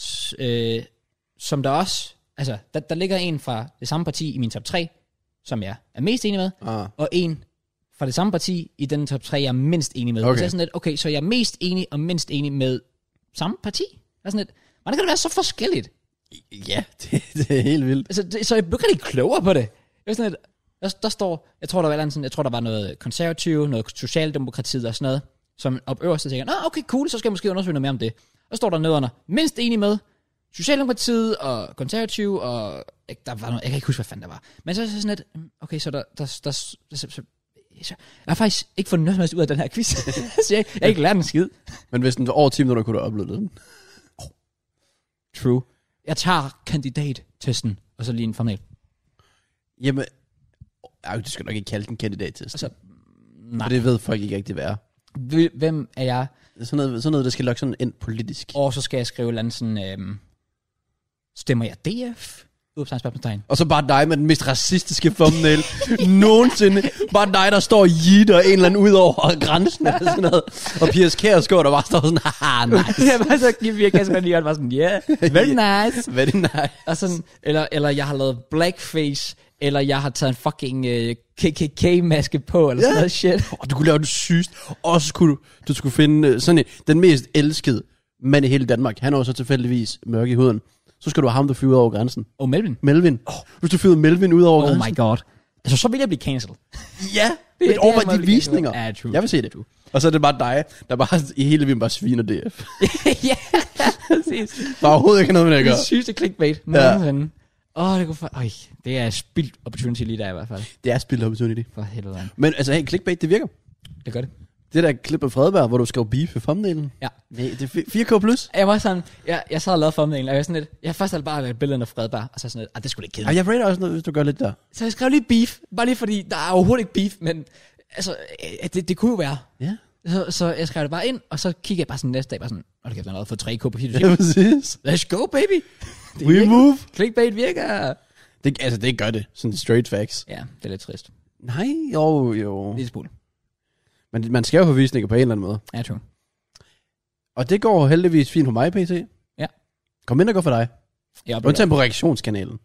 Speaker 1: s- øh, som der også... Altså, der, der ligger en fra det samme parti i min top 3, som jeg er mest enig med,
Speaker 2: Ah.
Speaker 1: og en fra det samme parti i den top 3, jeg er mindst enig med.
Speaker 2: Okay.
Speaker 1: Okay. Så er jeg sådan lidt, okay, så jeg er mest enig og mindst enig med samme parti. Jeg er sådan lidt, hvordan kan det være så forskelligt?
Speaker 2: Ja, *laughs* det, det, er helt vildt.
Speaker 1: Altså, det, så jeg bliver ikke klogere på det. Jeg er sådan lidt, der, der står, jeg tror, der var et eller andet sådan, jeg tror, der var noget konservativ, noget socialdemokratiet og sådan noget, som op øverst så tænker, jeg, nå, okay, cool, så skal jeg måske undersøge noget mere om det. Og står der nedenunder, mindst enig med Socialdemokratiet og konservativ og ikke, der var noget, jeg kan ikke huske, hvad fanden der var. Men så er det sådan lidt, mm, okay, så der, der, der, så, så, så, så, jeg har faktisk ikke fundet noget som helst ud af den her quiz. *laughs* så jeg, jeg har ikke lært en skid.
Speaker 2: Men hvis den var over 10 minutter, kunne du opleve den.
Speaker 1: True. Jeg tager kandidattesten, og så lige en formel.
Speaker 2: Jamen, ej, du skal nok ikke kalde den kandidattest.
Speaker 1: Altså,
Speaker 2: Altså,
Speaker 1: nej.
Speaker 2: For det ved folk ikke rigtig, hvad er.
Speaker 1: Hvem er jeg?
Speaker 2: Det er Sådan noget, sådan noget, der skal lokke sådan ind politisk.
Speaker 1: Og så skal jeg skrive et eller andet sådan, øhm, stemmer jeg DF? Udopstegn, spørgsmålstegn.
Speaker 2: Og så bare dig med den mest racistiske *laughs* thumbnail nogensinde. Bare dig, der står og yeeter en eller anden ud over grænsen eller sådan noget. Og Piers Kærsgaard, der bare står sådan, haha, nice.
Speaker 1: det var så giver vi ikke Kasper lige, og var sådan, yeah, *laughs* very nice.
Speaker 2: Hvad er det nice?
Speaker 1: Og sådan, eller, eller jeg har lavet blackface, eller jeg har taget en fucking øh, KKK-maske på, eller sådan
Speaker 2: Ja.
Speaker 1: noget shit.
Speaker 2: Og du kunne lave det sygest. Og så skulle du, du skulle finde øh, sådan en, den mest elskede mand i hele Danmark. Han er jo så tilfældigvis mørk i huden. Så skal du have ham, der flyver ud over grænsen.
Speaker 1: Og Melvin.
Speaker 2: Melvin. Oh. Hvis du fyrede Melvin ud over
Speaker 1: Oh
Speaker 2: grænsen.
Speaker 1: my god. Altså, så vil jeg blive cancelled.
Speaker 2: Ja,
Speaker 1: det
Speaker 2: det,
Speaker 1: er
Speaker 2: men over
Speaker 1: en måde,
Speaker 2: de
Speaker 1: vi kan
Speaker 2: visninger.
Speaker 1: gøre det. Ja, true.
Speaker 2: Jeg vil se det. Og så er det bare dig, der bare *laughs* i hele vildt bare sviner DF.
Speaker 1: *laughs* ja, præcis.
Speaker 2: Der er overhovedet ikke noget med det at
Speaker 1: Det er
Speaker 2: gøre.
Speaker 1: det sygeste clickbait. Ja. Åh, oh, det kunne for... Øj, det er spildt opportunity lige der i hvert fald.
Speaker 2: Det er spillet opportunity.
Speaker 1: For helvede. mand.
Speaker 2: Men altså, hey, clickbait, det virker.
Speaker 1: Det gør det.
Speaker 2: Det der klip af Fredberg, hvor du skrev beef i thumbnailen.
Speaker 1: Ja.
Speaker 2: Nej, det er fi- 4K+. plus.
Speaker 1: Jeg var sådan, jeg, jeg sad og lavede thumbnail, og jeg var sådan lidt, jeg har først havde bare lavet billederne af Fredberg, og så sådan lidt, ah, det skulle ikke kede.
Speaker 2: Ej, jeg rater også noget, hvis du gør lidt der.
Speaker 1: Så jeg skrev lige beef, bare lige fordi, der er overhovedet ikke beef, men altså, øh, det, det kunne jo være.
Speaker 2: Ja.
Speaker 1: Så, så jeg skrev det bare ind, og så kiggede jeg bare sådan næste dag, bare sådan, og det kæft, han har fået 3K på
Speaker 2: Ja,
Speaker 1: YouTube.
Speaker 2: præcis.
Speaker 1: Let's go, baby! Det
Speaker 2: We
Speaker 1: virker.
Speaker 2: move.
Speaker 1: Clickbait virker.
Speaker 2: Det, altså, det gør det. Sådan straight facts.
Speaker 1: Ja, det er lidt trist.
Speaker 2: Nej, jo, jo.
Speaker 1: Lidt smule.
Speaker 2: Men man skal jo have visninger på en eller anden måde.
Speaker 1: Ja, true.
Speaker 2: Og det går heldigvis fint for mig, PT.
Speaker 1: Ja.
Speaker 2: Kom ind og gå for dig.
Speaker 1: Jeg oplever
Speaker 2: Undtagen på reaktionskanalen.
Speaker 1: det.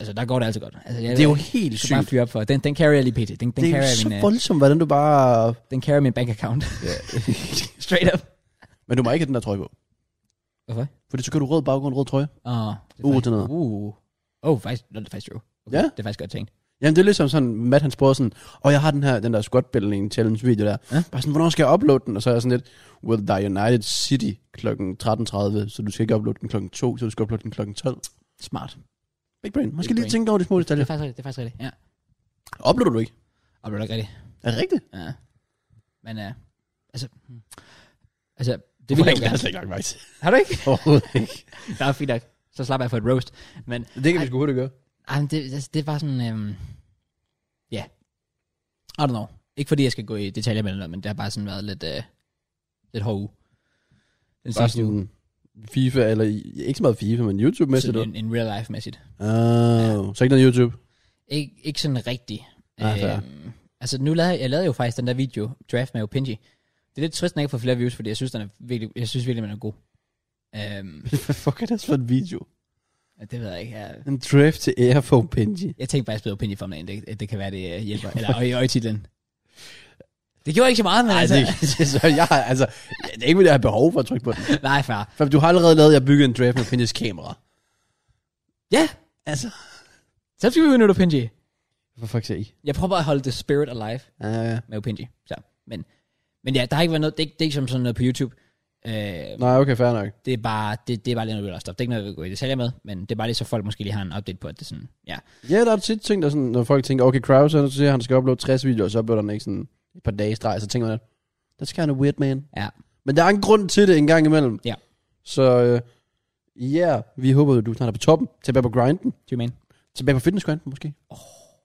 Speaker 1: Altså, der går det altid godt. Altså, jeg,
Speaker 2: Det er jo helt
Speaker 1: sygt. bare
Speaker 2: sygt.
Speaker 1: fyre op for. Den, den carrier jeg lige pt. Den, den,
Speaker 2: Det er
Speaker 1: carrier
Speaker 2: jo så
Speaker 1: min, uh,
Speaker 2: voldsomt, hvordan du bare...
Speaker 1: den carrier min bank account.
Speaker 2: Ja.
Speaker 1: *laughs* Straight up.
Speaker 2: Men du må ikke have den der trøje på.
Speaker 1: Hvorfor?
Speaker 2: Fordi så kører du rød baggrund, rød trøje.
Speaker 1: Åh, Ah, det er
Speaker 2: Uh,
Speaker 1: faktisk-
Speaker 2: den hedder.
Speaker 1: Uh. Oh, faktisk, nå, det er faktisk true. Okay,
Speaker 2: Ja.
Speaker 1: Det er faktisk godt tænkt.
Speaker 2: Jamen det er ligesom sådan, Matt han spurgte sådan, og jeg har den her, den der squat building challenge video der.
Speaker 1: Ja.
Speaker 2: Ja? Bare sådan, hvornår skal jeg uploade den? Og så er jeg sådan lidt, well, der er United City kl. 13.30, så du skal ikke uploade den kl. 2, så du skal uploade den kl. 12.
Speaker 1: Smart.
Speaker 2: Big brain. Man
Speaker 1: Big
Speaker 2: skal lige
Speaker 1: brain.
Speaker 2: tænke over de små
Speaker 1: Det
Speaker 2: detaljer.
Speaker 1: er faktisk rigtigt. Det er faktisk rigtigt. Ja.
Speaker 2: Uploader du ikke?
Speaker 1: Og det er ikke rigtigt.
Speaker 2: Er det rigtigt?
Speaker 1: Ja. Men uh, altså... hmm. Altså, det
Speaker 2: Det
Speaker 1: vil
Speaker 2: vil
Speaker 1: jeg
Speaker 2: jeg
Speaker 1: jo gerne.
Speaker 2: slet ikke lagt mærke til.
Speaker 1: Har du ikke? *laughs*
Speaker 2: Overhovedet ikke.
Speaker 1: Der er fint nok. Så slapper jeg for et roast. Men
Speaker 2: *laughs* Det kan vi sgu hurtigt gøre.
Speaker 1: Ej, men det, altså, det er bare sådan, øhm, ja, yeah. I don't know. Ikke fordi jeg skal gå i detaljer med det, eller noget, men det har bare sådan været lidt, øh, lidt hård uge. Den
Speaker 2: Bare
Speaker 1: sidste uge,
Speaker 2: sådan FIFA, eller i- ikke så meget FIFA, men YouTube-mæssigt.
Speaker 1: sådan en, en real life mæssigt.
Speaker 2: Oh, så ikke noget YouTube?
Speaker 1: Ikke, ikke sådan rigtig.
Speaker 2: Ah, fair.
Speaker 1: Øhm, altså nu lavede jeg, jeg lavede jo faktisk den der video, draft med Opinji. Det er lidt trist, at den ikke får flere views, fordi jeg synes, den er virkelig, jeg synes virkelig, man er god. Øhm,
Speaker 2: *laughs* Hvad fuck er det for en video?
Speaker 1: det ved jeg ikke. Jeg,
Speaker 2: En draft til Airphone Benji.
Speaker 1: jeg tænkte faktisk på Opinji for mig, det, det kan være, det øh, hjælper. Eller og i øjetitlen. Det gjorde ikke så meget, men Ej,
Speaker 2: Ej,
Speaker 1: altså...
Speaker 2: det, så *laughs* jeg, har- altså, det er ikke, fordi jeg har behov for at trykke på den.
Speaker 1: *laughs* Nej, far.
Speaker 2: For du har allerede lavet, jeg byggede en draft med Pinjes kamera.
Speaker 1: Ja,
Speaker 2: Altså.
Speaker 1: så skal vi udnytte Opinji.
Speaker 2: For fuck's sake.
Speaker 1: Jeg prøver bare at holde the spirit alive
Speaker 2: Uh,
Speaker 1: med Opinji. Så, men, men ja, der har ikke været noget, det, er ikke- det er ikke som sådan noget på YouTube. Øh,
Speaker 2: nej, okay, fair nok.
Speaker 1: det, er bare, det, det er bare lidt noget, real stuff. Det er ikke noget, jeg vil gå i detaljer med, men det er bare lige så folk måske lige har en update på, at det er sådan, ja.
Speaker 2: Ja, der er tit ting, der sådan, når folk tænker, okay, Kraus, han siger, han skal uploade 60 videoer, så uploader han ikke sådan et par dage i streg, så tænker man, that's kind of weird, man.
Speaker 1: Ja.
Speaker 2: Men der er en grund til det en gang imellem.
Speaker 1: Ja.
Speaker 2: Så øh, ja, yeah, vi håber, du snart er på toppen, tilbage på grinden,
Speaker 1: Do you mean?
Speaker 2: tilbage på fitnessgrinden måske. Oh.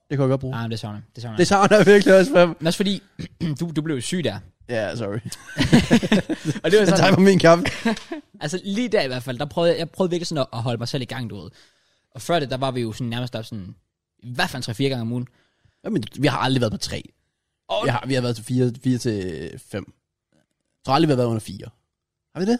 Speaker 2: Det kan jeg godt bruge.
Speaker 1: Nej, ah, det savner jeg. Det savner
Speaker 2: Det
Speaker 1: jeg.
Speaker 2: savner jeg virkelig også, fam.
Speaker 1: Men også fordi, *clears throat* du, du blev jo syg der.
Speaker 2: Ja, yeah, sorry.
Speaker 1: Og det var
Speaker 2: Tak
Speaker 1: sådan,
Speaker 2: for min kaffe.
Speaker 1: altså lige der i hvert fald, der prøvede jeg, jeg prøvede virkelig sådan at, at holde mig selv i gang, du ved. Og før det, der var vi jo sådan nærmest op sådan, i hvert fald 3-4 gange om ugen.
Speaker 2: Jamen, vi har aldrig været på tre.
Speaker 1: Og-
Speaker 2: Vi har, vi har været til fire, fire til fem. Jeg tror aldrig, vi har været under fire. Har vi det?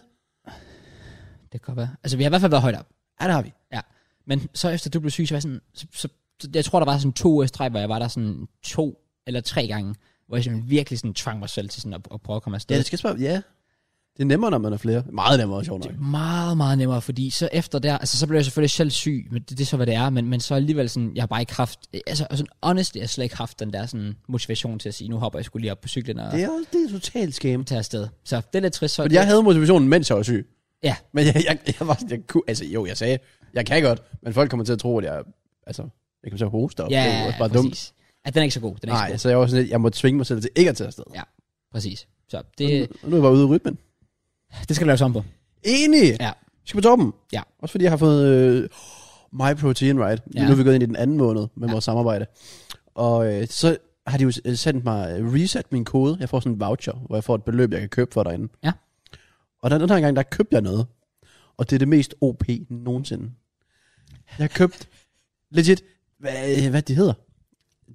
Speaker 1: Det kan godt være. Altså vi har i hvert fald været højt op.
Speaker 2: Ja, det har vi.
Speaker 1: Ja, men så efter du blev syg, så var jeg sådan, så, så, så, jeg tror, der var sådan to uger i streg, hvor jeg var der sådan to eller tre gange, hvor jeg sådan virkelig sådan tvang mig selv til sådan at, at prøve at komme afsted.
Speaker 2: Ja, det skal spørge. Ja. Det er nemmere, når man er flere. Meget nemmere, sjovt nok.
Speaker 1: det er meget, meget nemmere, fordi så efter der, altså så blev jeg selvfølgelig selv syg, men det, det er så, hvad det er, men, men så alligevel sådan, jeg har bare ikke haft, altså og sådan, honestly, jeg har slet ikke haft den der sådan motivation til at sige, nu hopper jeg skulle lige op på cyklen og
Speaker 2: Det er, det er totalt scam.
Speaker 1: tage afsted. Så det er lidt trist. Så
Speaker 2: Fordi jeg havde motivationen, mens jeg var syg.
Speaker 1: Ja.
Speaker 2: Men jeg, jeg, jeg var sådan, jeg kunne, altså jo, jeg sagde, jeg kan godt, men folk kommer til at tro, at jeg, altså, jeg kommer til at hoste op.
Speaker 1: ja,
Speaker 2: det er jo også bare dumt.
Speaker 1: præcis. Ja, den er ikke så god. Den er ikke
Speaker 2: Nej,
Speaker 1: så god.
Speaker 2: så jeg var sådan lidt, jeg må tvinge mig selv til ikke at tage afsted.
Speaker 1: Ja, præcis. Så
Speaker 2: Det...
Speaker 1: det,
Speaker 2: Nu, nu er jeg bare ude i rytmen.
Speaker 1: det skal der laves om på.
Speaker 2: Enig!
Speaker 1: Ja.
Speaker 2: Skal på toppen.
Speaker 1: Ja.
Speaker 2: Også fordi jeg har fået øh, My Protein Right.
Speaker 1: Ja.
Speaker 2: Ja. Nu er vi gået ind i den anden måned med
Speaker 1: Ja.
Speaker 2: ja. vores samarbejde. Og øh, så har de jo øh, sendt mig øh, reset min kode. Jeg får sådan en voucher, hvor jeg får et beløb, jeg kan købe for derinde.
Speaker 1: Ja.
Speaker 2: Og den, den her gang, der købte jeg noget. Og det er det mest OP nogensinde. Jeg købte
Speaker 1: *laughs*
Speaker 2: legit, hvad, hvad de hedder?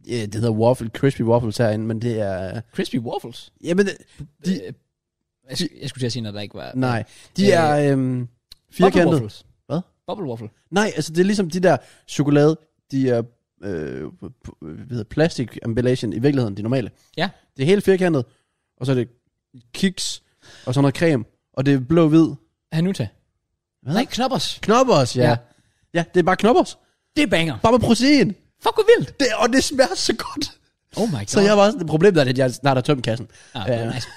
Speaker 2: Ja, det hedder waffle, crispy waffles herinde, men det er...
Speaker 1: Crispy waffles.
Speaker 2: Jamen, det-
Speaker 1: De,
Speaker 2: De-
Speaker 1: øh, jeg, skulle, jeg skulle til at sige noget, der ikke var...
Speaker 2: nej. De er øhm, firkantede.
Speaker 1: Bubble waffles.
Speaker 2: Hvad?
Speaker 1: Bubble waffle.
Speaker 2: Nej, altså det er ligesom de der chokolade, de er øh, p- p- hvad hedder, plastik emballagen i virkeligheden, de normale.
Speaker 1: Ja.
Speaker 2: Det er helt firkantet, og så er det kiks, og så noget creme, og det er blå-hvid.
Speaker 1: Hanuta.
Speaker 2: Hvad?
Speaker 1: Nej, knoppers.
Speaker 2: Knoppers, ja.
Speaker 1: Ja.
Speaker 2: ja. Ja, det er bare knoppers.
Speaker 1: Det er banger.
Speaker 2: Bare med protein.
Speaker 1: Fuck, hvor vildt.
Speaker 2: Det, og det smager så godt.
Speaker 1: Oh my god.
Speaker 2: Så jeg var sådan, problemet er, at jeg snart har tømt kassen.
Speaker 1: Ah,
Speaker 2: Ja.
Speaker 1: nice.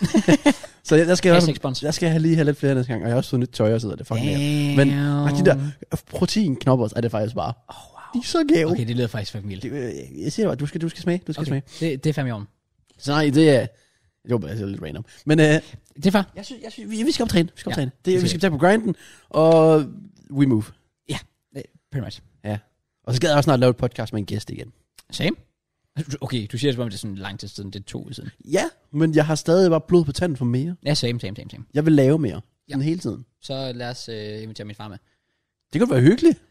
Speaker 2: Så jeg, der skal
Speaker 1: Hashtag
Speaker 2: jeg, også-
Speaker 1: spons.
Speaker 2: jeg skal have lige have lidt flere næste gang, og jeg har også fået nyt tøj og så videre. Det er fucking lækkert.
Speaker 1: Damn.
Speaker 2: Men og de der øh, proteinknoppers er det faktisk bare.
Speaker 1: Oh, wow.
Speaker 2: De er så gave.
Speaker 1: Okay, det lyder faktisk fucking vildt.
Speaker 2: Det, øh, Jeg siger bare, du skal, du skal smage. Du skal
Speaker 1: Okay,
Speaker 2: smage.
Speaker 1: det, det er fandme om.
Speaker 2: Så nej, det er... Jo, men det er lidt random. Men øh,
Speaker 1: Det er far.
Speaker 2: jeg synes, jeg synes, vi, vi skal optræne. Vi skal
Speaker 1: Ja,
Speaker 2: optræne.
Speaker 1: det
Speaker 2: Det, vi
Speaker 1: skal
Speaker 2: skal tage på grinden, og we move.
Speaker 1: Øh, Pretty much.
Speaker 2: Ja. Og så skal jeg også snart lave et podcast med en gæst igen.
Speaker 1: Same. Okay, du siger det, som om det er sådan lang tid siden. Det er to uger siden.
Speaker 2: Ja, men jeg har stadig bare blod på tanden for mere.
Speaker 1: Ja, same, same, same, same.
Speaker 2: Jeg vil lave mere.
Speaker 1: Ja.
Speaker 2: Ja. Sådan hele tiden.
Speaker 1: Så lad os øh, invitere min far med.
Speaker 2: Det kunne være hyggeligt. *laughs*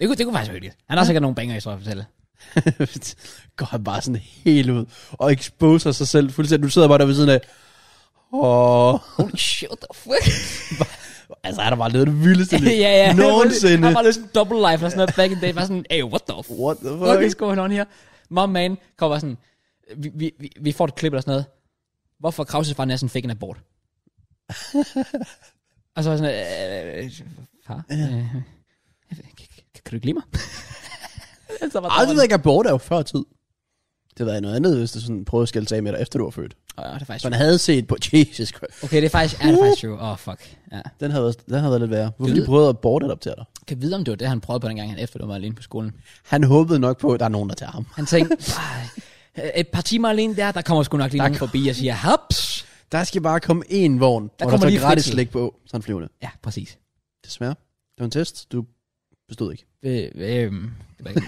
Speaker 1: Det kunne, det kunne faktisk være hyggeligt. Han har sikkert nogle banger, i tror jeg, at fortælle.
Speaker 2: Går han bare sådan helt ud og exposer sig selv fuldstændig. Du sidder bare der ved siden af. Åh,
Speaker 1: Holy shit, what the fuck?
Speaker 2: altså er der bare noget af det vildeste *laughs* liv
Speaker 1: *laughs* ja, ja.
Speaker 2: nogensinde.
Speaker 1: Han var lidt sådan double life eller sådan noget back in the day. Bare sådan, hey, what the fuck?
Speaker 2: What the
Speaker 1: What
Speaker 2: fuck?
Speaker 1: is going on here? My man kommer sådan, vi, vi, vi, vi får et klip eller sådan noget. Hvorfor Krause far Nassen fik en
Speaker 2: *laughs*
Speaker 1: abort? og så var jeg sådan, øh, øh, far, øh, kan, kan, kan du ikke lide mig?
Speaker 2: *laughs*
Speaker 1: så var
Speaker 2: Ej, det ved jeg ikke, abort er jo før tid. Det var noget andet, hvis du sådan prøvede at skælde sig af med dig, efter du var født.
Speaker 1: Åh, det er faktisk
Speaker 2: Så han havde set på, Jesus Christ.
Speaker 1: Okay, det er faktisk, ja, det er faktisk true. Åh, oh, fuck. Ja.
Speaker 2: Den havde, været- den havde været lidt værre. Hvorfor
Speaker 1: Gid.
Speaker 2: de prøvede at abortadoptere dig?
Speaker 1: Kan vide, om det var det, han prøvede på, dengang han efterlod mig alene på skolen.
Speaker 2: Han håbede nok på, at der er nogen, der tager ham.
Speaker 1: Han tænkte, "Ej, øh, et par timer alene der, der kommer sgu nok lige nogen forbi og siger, haps.
Speaker 2: Der skal bare komme én vogn, der hvor
Speaker 1: kommer
Speaker 2: der står
Speaker 1: lige
Speaker 2: gratis
Speaker 1: fritid.
Speaker 2: slik på. Sådan flyvende.
Speaker 1: Ja, præcis.
Speaker 2: Desværre. Det var en test. Du bestod ikke.
Speaker 1: Øh, øh, det var ikke-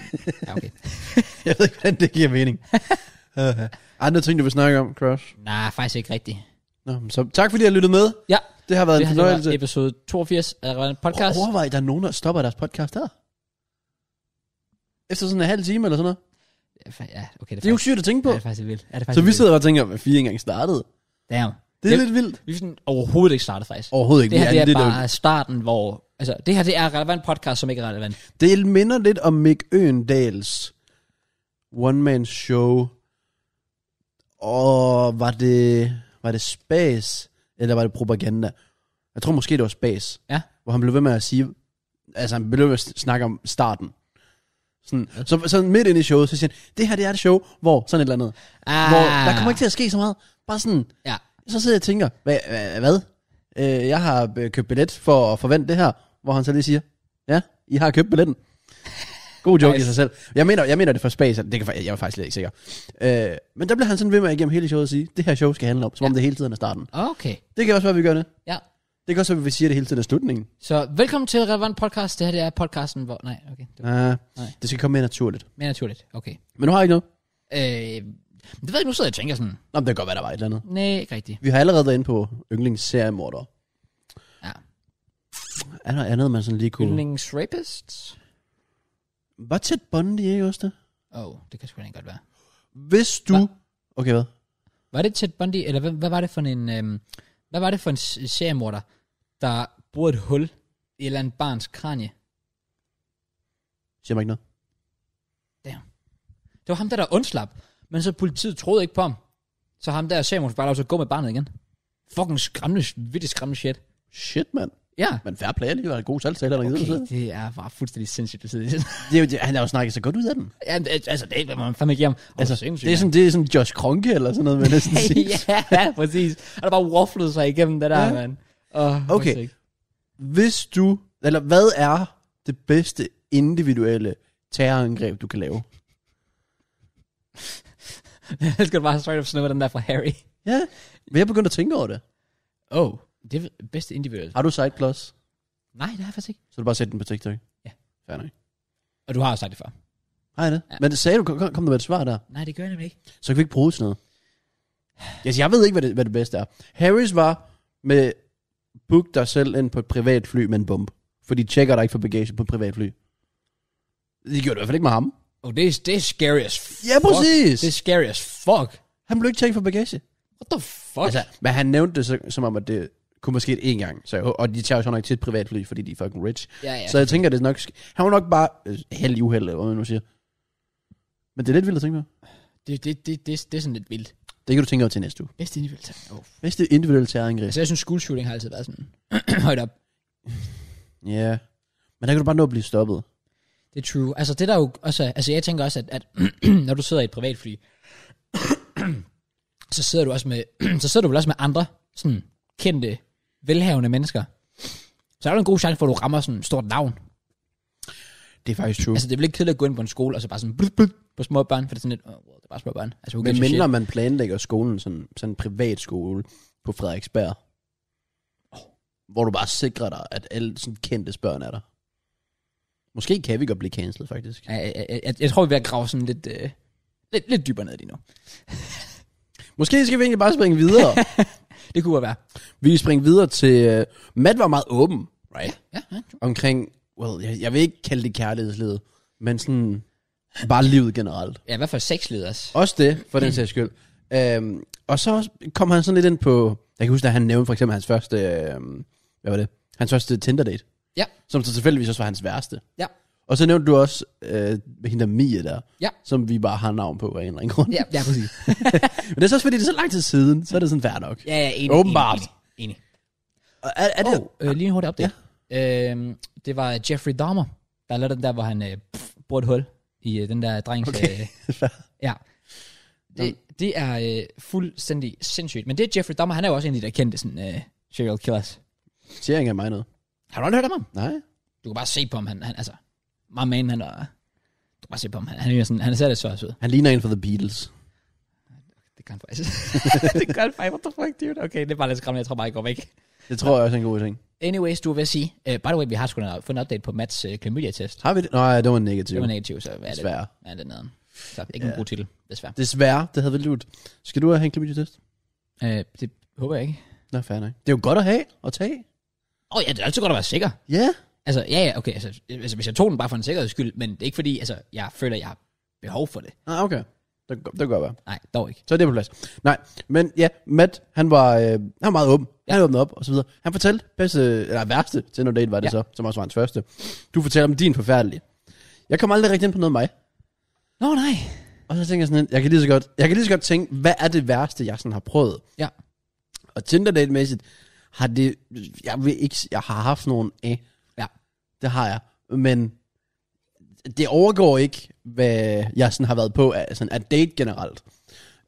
Speaker 1: ja, okay.
Speaker 2: *laughs* Jeg ved ikke, hvordan det giver mening. Uh-huh. *laughs* Andre ting, du vil snakke om, Crush.
Speaker 1: Nej, faktisk ikke rigtigt.
Speaker 2: Nå, men så tak fordi I har lyttet med.
Speaker 1: Ja,
Speaker 2: Det har været
Speaker 1: det
Speaker 2: en
Speaker 1: her det
Speaker 2: fornøjelse.
Speaker 1: var episode 82 af Relevant Podcast.
Speaker 2: Prøv at Overvej, der er nogen, der stopper deres podcast her. Efter sådan en halv time eller sådan noget.
Speaker 1: Ja, fa- Ja, okay, det
Speaker 2: Det er jo sygt at tænke på.
Speaker 1: Ja, det er faktisk vildt. Ja, det er
Speaker 2: Så
Speaker 1: faktisk
Speaker 2: vi sidder og tænker, at vi ikke engang startede.
Speaker 1: vildt. Damn.
Speaker 2: Det er
Speaker 1: Det-
Speaker 2: lidt vildt.
Speaker 1: Vi er sådan overhovedet ikke startet, faktisk.
Speaker 2: Overhovedet ikke.
Speaker 1: Det her
Speaker 2: Vi
Speaker 1: det er
Speaker 2: lidt-
Speaker 1: bare starten, hvor... Altså, det her det er relevant podcast, som ikke er relevant.
Speaker 2: Det minder lidt om Mick Øendals one-man show. Og var det, var det spas, eller var det propaganda? Jeg tror måske, det var spas.
Speaker 1: Ja.
Speaker 2: Hvor han blev ved med at sige, altså han blev ved med at snakke om starten. Sådan, så, så midt ind i showet, så siger han, det her det er et show, hvor sådan et eller andet.
Speaker 1: Ah,
Speaker 2: Hvor der kommer ikke til at ske så meget. Bare sådan,
Speaker 1: Ja,
Speaker 2: så sidder jeg og tænker, hvad? hvad, hvad? Øh, jeg har øh, købt billet for at forvente det her, hvor han så lige siger, ja, I har købt billetten. God joke nice. i
Speaker 1: Nice.
Speaker 2: sig selv. Jeg mener, jeg mener det er for spas, det kan, fa- jeg er faktisk slet ikke sikker. Øh, men der bliver han sådan ved med igennem hele showet at sige, det her show skal handle om, som ja. om det hele tiden er starten.
Speaker 1: okay.
Speaker 2: Det kan også være, vi gør det.
Speaker 1: Ja.
Speaker 2: Det kan også være, vi siger det hele tiden er slutningen.
Speaker 1: Så velkommen til Relevant Podcast. Det her det er podcasten, hvor... Nej, okay. Det var
Speaker 2: Ah,
Speaker 1: Nej.
Speaker 2: det skal komme mere naturligt.
Speaker 1: mere naturligt. Okay.
Speaker 2: Men nu har jeg ikke noget.
Speaker 1: Øh, det ved jeg ikke, nu sidder jeg og tænker sådan...
Speaker 2: Nå, men det kan godt være, der var et eller andet.
Speaker 1: Nej, ikke rigtigt.
Speaker 2: Vi har allerede været inde på yndlingsseriemordere.
Speaker 1: Ja.
Speaker 2: Er der andet, man sådan lige kunne... Yndling.
Speaker 1: Yndlings rapists?
Speaker 2: Var tæt Bundy, ikke også det?
Speaker 1: Åh, oh, det kan sgu da ikke godt være.
Speaker 2: Hvis du...
Speaker 1: Hva?
Speaker 2: Okay, hvad?
Speaker 1: Var det Ted Bundy, eller hvad, hvad var det for en, øhm, hvad var det for en s- seriemorder, der bruger et hul i et eller andet barns kranje?
Speaker 2: Siger mig ikke noget.
Speaker 1: Det var ham der, der undslap, men så politiet troede ikke på ham. Så ham der seriemorder bare lov til at gå med barnet igen. Fucking skræmmende, vildt skræmmende shit.
Speaker 2: Shit, mand.
Speaker 1: Ja.
Speaker 2: Men fair play alligevel. En god salgtaler, der okay.
Speaker 1: Okay, det er bare fuldstændig sindssygt, det sidder
Speaker 2: det er jo, det, han har jo snakket så godt ud af den.
Speaker 1: ja, men, altså, det er man fandme ikke om.
Speaker 2: Altså, det, er sådan, det er sådan Josh Kronke eller sådan noget,
Speaker 1: *laughs*
Speaker 2: man næsten sige.
Speaker 1: ja, præcis. Og der bare wafflede sig igennem det der,
Speaker 2: Ja.
Speaker 1: ja. mand. Oh,
Speaker 2: Okay. Hvis du... Eller hvad er det bedste individuelle terrorangreb, du kan lave?
Speaker 1: *laughs* Jeg skal bare straight up snuppe den der fra Harry.
Speaker 2: Ja, men jeg begyndt at tænke over det.
Speaker 1: Oh, det er bedste individuelt.
Speaker 2: Har du side plus?
Speaker 1: Nej, det har jeg faktisk ikke.
Speaker 2: Så har du bare sæt den på TikTok.
Speaker 1: Ja.
Speaker 2: Fair nok.
Speaker 1: Og du har jo sagt det før.
Speaker 2: Har jeg det?
Speaker 1: Ja.
Speaker 2: Ja. Men det sagde du, kom, kom der med et svar der.
Speaker 1: Nej, det gør jeg nemlig ikke.
Speaker 2: Så kan vi ikke bruge sådan noget. Altså, jeg ved ikke, hvad det, hvad det bedste er. Harris var med book dig selv ind på et privatfly med en bombe. For de tjekker dig ikke for bagage på et privatfly. De gjorde det i hvert fald ikke med ham.
Speaker 1: Oh, det er, det er scary as fuck.
Speaker 2: Ja, præcis.
Speaker 1: Det er scary as fuck.
Speaker 2: Han blev ikke tjekket for bagage.
Speaker 1: What the fuck?
Speaker 2: Altså, men han nævnte det så, som om, at det kunne måske et én gang. Så, jeg- og de tager jo så nok til et privatfly, fordi de er fucking rich.
Speaker 1: ja, ja.
Speaker 2: Så jeg tænker, det er nok... sk- Han var nok bare øh, held i uheld, eller hvad man nu siger. Men det er lidt vildt at tænke på.
Speaker 1: Det, det, det, det, det er sådan lidt vildt.
Speaker 2: Det kan du tænke over til næste uge.
Speaker 1: Bedste individuelt. Oh.
Speaker 2: Hvis det er individuelt terrorangreb.
Speaker 1: Altså, jeg synes, school shooting har altid været sådan *clears throat* højt op.
Speaker 2: Ja. Yeah. Men der kan du bare nå at blive stoppet.
Speaker 1: Det er true. Altså, det der jo også er- Altså, jeg tænker også, at, *clears throat* at når du sidder i et privatfly, *clears throat* så sidder du også med... *clears throat* så sidder du vel også med andre sådan kendte, velhavende mennesker. Så er der en god chance for, at du rammer sådan et stort navn.
Speaker 2: Det er faktisk true.
Speaker 1: Altså, det er vel ikke kedeligt at gå ind på en skole, og så bare sådan blut, blut, på små børn, for det er sådan lidt, oh, wow, det er bare små børn. Altså, who
Speaker 2: Men
Speaker 1: gives a shit?
Speaker 2: mindre man planlægger skolen sådan, sådan en privat skole på Frederiksberg, hvor du bare sikrer dig, at alle sådan kendte børn er der. Måske kan vi godt blive cancelled, faktisk.
Speaker 1: Ja, Jeg, jeg, jeg, jeg tror, vi er ved at grave sådan lidt, øh, lidt, lidt dybere ned lige nu.
Speaker 2: Måske skal vi egentlig bare springe videre.
Speaker 1: Det kunne godt være.
Speaker 2: øh, vi kan springe videre til... Uh, Matt var meget åben, right?
Speaker 1: Ja, ja.
Speaker 2: Omkring well, jeg, jeg vil ikke kalde det kærlighedslivet, men sådan bare livet generelt.
Speaker 1: Ja, i hvert fald sexlivet også.
Speaker 2: Også det, for den sags skyld. Øhm, og så også kom han sådan lidt ind på, jeg kan huske, at han nævnte for eksempel hans første, øhm, hvad var det? Hans første Tinder-date.
Speaker 1: Ja.
Speaker 2: Som så tilfældigvis også var hans værste.
Speaker 1: Ja.
Speaker 2: Og så nævnte du også øh, hende der Mie der,
Speaker 1: Ja.
Speaker 2: som vi bare har navn på af en eller anden grund.
Speaker 1: Ja, ja præcis.
Speaker 2: Men det er så også fordi, det er så lang tid siden, så er det sådan fair nok.
Speaker 1: Ja, ja, enig.
Speaker 2: Åbenbart.
Speaker 1: Enig. enig.
Speaker 2: Og Er, er det,
Speaker 1: enig. Oh, øh, lige en hurtig update. Ja. Øhm, det var Jeffrey Dahmer, der lavede den der, hvor han øh, pff, bruger et hul i øh, den der drengs...
Speaker 2: Okay.
Speaker 1: Øh,
Speaker 2: *laughs*
Speaker 1: ja. Det, det er øh, fuldstændig sindssygt. Men det er Jeffrey Dahmer, han er jo også en af de der kendte sådan, øh, serial killers.
Speaker 2: siger ikke af mig noget.
Speaker 1: Har du aldrig hørt om ham?
Speaker 2: Nej.
Speaker 1: Du kan bare se på ham, han, han altså... My man, han er... Du kan bare se på ham, han, han, er sådan, han ser lidt så ud.
Speaker 2: Han ligner en fra The Beatles.
Speaker 1: Det gør han faktisk. *laughs* det gør han faktisk. What the fuck, dude? Okay, det er bare lidt skræmmende. Jeg tror bare, jeg går væk.
Speaker 2: Det tror jeg også er en god ting.
Speaker 1: Anyways, du vil sige... Uh, by the way, vi har sgu da fået en update på Mats uh, klamydia-test.
Speaker 2: Har vi det? Nej, det var en negativ.
Speaker 1: Det var negativ, så hvad er det?
Speaker 2: Desværre.
Speaker 1: Ja, det er nederen. Så ikke yeah. en god titel, desværre.
Speaker 2: Desværre, det havde vi lurt. Skal du have en klamydia-test?
Speaker 1: Uh, det håber jeg ikke.
Speaker 2: Nå, fair nok. Det er jo godt at have og tage.
Speaker 1: Åh oh, ja, det er altid godt at være sikker.
Speaker 2: Ja.
Speaker 1: Altså, ja, ja, okay. Altså, altså, hvis jeg tog den bare for en sikkerheds skyld, men det er ikke fordi, altså, jeg føler, jeg har behov for det.
Speaker 2: Ah, okay. Det, kan godt- det kan godt være.
Speaker 1: Nej, dog ikke.
Speaker 2: Så er det på plads. Nej, men ja, Matt, han var, øh, han var meget åben. Ja. Han åbnede op og så videre. Han fortalte bedste, eller værste Tinder date var det
Speaker 1: Ja.
Speaker 2: ja. så, som også var hans første. Du fortæller om din forfærdelige. Jeg kom aldrig rigtig ind på noget af mig.
Speaker 1: Nå, nej.
Speaker 2: Og så tænker jeg sådan lidt, jeg kan lige så godt, jeg kan lige så godt tænke, hvad er det værste, jeg sådan har prøvet?
Speaker 1: Ja.
Speaker 2: Og Tinder date-mæssigt har det, jeg vil ikke, jeg har haft nogen af.
Speaker 1: Ja.
Speaker 2: Det har jeg. Men det overgår ikke, hvad jeg sådan har været på af, sådan at date generelt.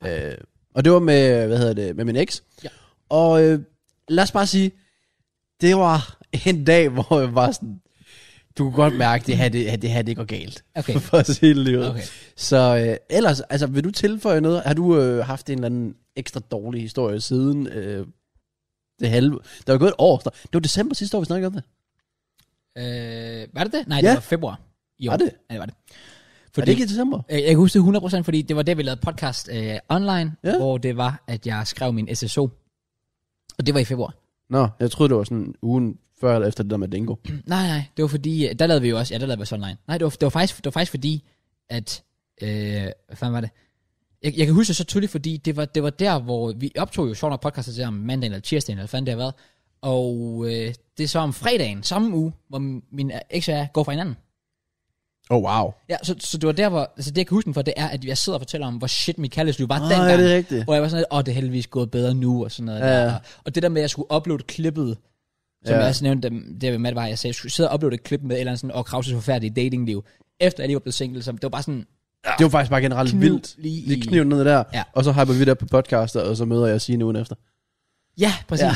Speaker 2: Øh, og det var med, hvad hedder det, med min eks.
Speaker 1: Ja.
Speaker 2: Og øh, lad os bare sige, det var en dag, hvor jeg var sådan, du kunne godt mærke, det her, det, det her, det går galt.
Speaker 1: *laughs* Okay.
Speaker 2: *laughs* For at sige det lige ud.
Speaker 1: Okay.
Speaker 2: Så øh, ellers, altså vil du tilføje noget? Har du øh, haft en eller anden ekstra dårlig historie siden øh, det halve? Der var gået et år. Der, det var december sidste år, vi snakkede om det.
Speaker 1: Øh, var det det? Nej,
Speaker 2: Ja.
Speaker 1: det var februar. Jo.
Speaker 2: Var det?
Speaker 1: Ja, det var det.
Speaker 2: Fordi... Er det ikke i december?
Speaker 1: Øh, Jeg kan huske det 100%, fordi det var der, vi lavede podcast øh, online, ja.
Speaker 2: Ja.
Speaker 1: hvor det var, at jeg skrev min SSO. Og det var i februar.
Speaker 2: Nå, jeg troede, det var sådan ugen før eller efter det der med Dingo.
Speaker 1: Nej, nej, det var fordi, øh, der lavede vi jo også, ja, der lavede vi også online. Nej, det var, det var, faktisk, det var faktisk fordi, at, øh, hvad fanden var det? Jeg, jeg kan huske det så tydeligt, fordi det var, det var der, hvor vi optog jo sjovt nok podcastet til om mandagen eller tirsdagen, eller hvad fanden det har været. Og øh, det er så om fredagen, samme uge, hvor min eks og jeg går fra hinanden.
Speaker 2: Oh, wow.
Speaker 1: Ja, så, så det var der, hvor, altså det jeg kan huske den for, det er, at jeg sidder og fortæller om, hvor shit mit kærlighedsliv var
Speaker 2: Ah,
Speaker 1: dengang.
Speaker 2: er det rigtigt?
Speaker 1: Hvor jeg var sådan lidt, åh, det er heldigvis gået bedre nu, og sådan noget.
Speaker 2: Ja.
Speaker 1: Der. Og det der med, at jeg skulle uploade klippet, som
Speaker 2: Ja.
Speaker 1: jeg også nævnte, dem- det med Matt var, at jeg sagde, jeg skulle sidde og uploade et klip med et eller andet sådan, åh, Krauses forfærdelige datingliv, efter jeg lige var blevet single, så det var bare sådan,
Speaker 2: Det var faktisk bare generelt
Speaker 1: Kniv
Speaker 2: vildt.
Speaker 1: lige i-
Speaker 2: Lige kniv ned der.
Speaker 1: Ja.
Speaker 2: Og så hyper vi det op på podcaster, og så møder jeg Signe ugen efter.
Speaker 1: ja, præcis. Ja.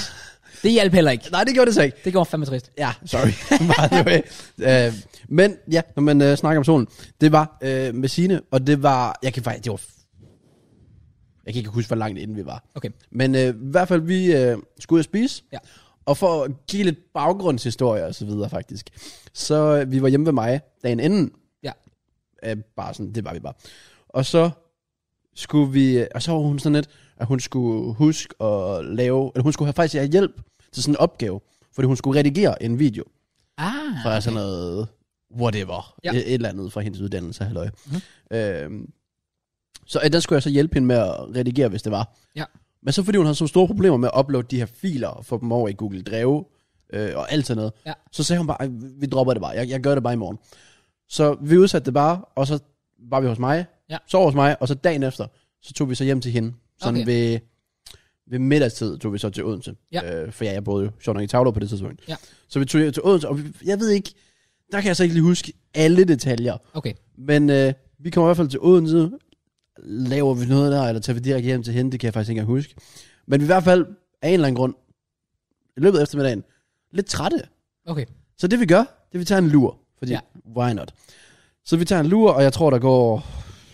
Speaker 1: Det hjalp heller ikke.
Speaker 2: Nej, det gjorde det så ikke.
Speaker 1: Det går fandme trist.
Speaker 2: Ja, *laughs* sorry. By the way. Øh, men ja, når man øh, snakker om solen, det var øh, med Signe, og det var, jeg kan faktisk, det var, jeg kan ikke huske, hvor langt inden vi var.
Speaker 1: Okay.
Speaker 2: Men øh, i hvert fald, vi øh, skulle ud at spise,
Speaker 1: Ja.
Speaker 2: og for at give lidt baggrundshistorie og så videre faktisk, så øh, vi var hjemme ved mig dagen inden,
Speaker 1: Ja.
Speaker 2: øh, bare sådan, det var vi bare. Og så skulle vi, øh, og så var hun sådan lidt, at hun skulle huske at lave, eller hun skulle have faktisk have hjælp til sådan en opgave, fordi hun skulle redigere en video
Speaker 1: Ah,
Speaker 2: fra sådan noget whatever,
Speaker 1: Ja. Mhm.
Speaker 2: ja. et eller andet fra hendes uddannelse, halløj. Mm-hmm. Øhm, så øh, der skulle jeg så hjælpe hende med at redigere, hvis det var.
Speaker 1: Ja.
Speaker 2: Men så fordi hun havde så store problemer med at uploade de her filer og få dem over i Google Drive øh, og alt sådan noget,
Speaker 1: Ja.
Speaker 2: så sagde hun bare, "Ej, vi dropper det bare, jeg, jeg gør det bare i morgen. Så vi udsatte det bare, og så var vi hos mig,
Speaker 1: Ja.
Speaker 2: sov hos mig, og så dagen efter, så tog vi så hjem til hende. Sådan
Speaker 1: Okay.
Speaker 2: okay. ved, ved middagstid tog vi så til Odense.
Speaker 1: Ja.
Speaker 2: Øh, for ja, jeg boede jo sjovt nok i Tavler på det tidspunkt.
Speaker 1: Ja.
Speaker 2: Så vi tog hjem til Odense, og vi, jeg ved ikke, der kan jeg så ikke lige huske alle detaljer.
Speaker 1: Okay.
Speaker 2: Men øh, vi kommer i hvert fald til Odense. Laver vi noget der, eller tager vi direkte hjem til hende, det kan jeg faktisk ikke engang huske. Men vi i hvert fald, af en eller anden grund, i løbet af eftermiddagen, lidt trætte.
Speaker 1: Okay.
Speaker 2: Så det vi gør, det er, vi tager en lur. Fordi,
Speaker 1: Ja.
Speaker 2: ja. why not? Så vi tager en lur, og jeg tror, der går,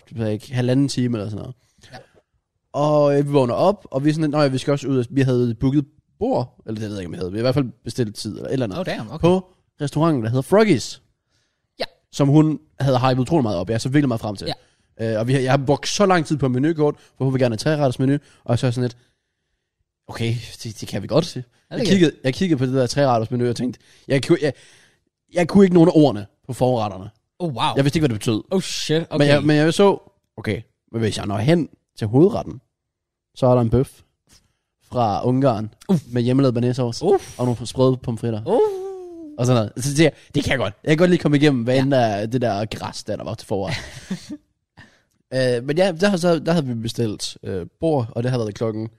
Speaker 2: det ved jeg ikke, halvanden time eller sådan noget.
Speaker 1: Ja.
Speaker 2: Ja. Og øh, vi vågner op, og vi er sådan, nej, vi skal også ud, og vi havde booket bord, eller det ved jeg ikke, om vi havde, vi havde i hvert fald bestilt tid, eller et eller andet
Speaker 1: Oh, damn. Okay.
Speaker 2: på restauranten, der hedder Froggies.
Speaker 1: Ja.
Speaker 2: Som hun havde hypet utrolig meget op. Jeg er så virkelig meget frem til. Ja. Øh, og vi har, jeg har brugt så lang tid på menukort, for hun vil gerne have træretters menu, og så er jeg sådan lidt, okay, det, det kan vi godt se.
Speaker 1: det
Speaker 2: jeg,
Speaker 1: kan
Speaker 2: kiggede, jeg kiggede på det der træretters menu, og tænkte, jeg, kunne- jeg, Jeg kunne ikke nogen af ordene på forretterne.
Speaker 1: Oh, wow.
Speaker 2: Jeg vidste ikke, hvad det betød.
Speaker 1: Oh, shit. Okay.
Speaker 2: Men, jeg, men jeg så, okay, men hvis jeg når hen til hovedretten, så er der en bøf fra Ungarn
Speaker 1: Uff.
Speaker 2: med hjemmelavet banæsovs
Speaker 1: Uff.
Speaker 2: og nogle sprøde pomfritter.
Speaker 1: Oh.
Speaker 2: Og sådan noget. Så det, det kan jeg godt. Jeg kan godt lige komme igennem, hvad ja. end der, er det der græs, der, der var til
Speaker 1: *laughs*
Speaker 2: foråret. øh, men ja, der, har så, der havde vi bestilt øh, bord, og det havde været klokken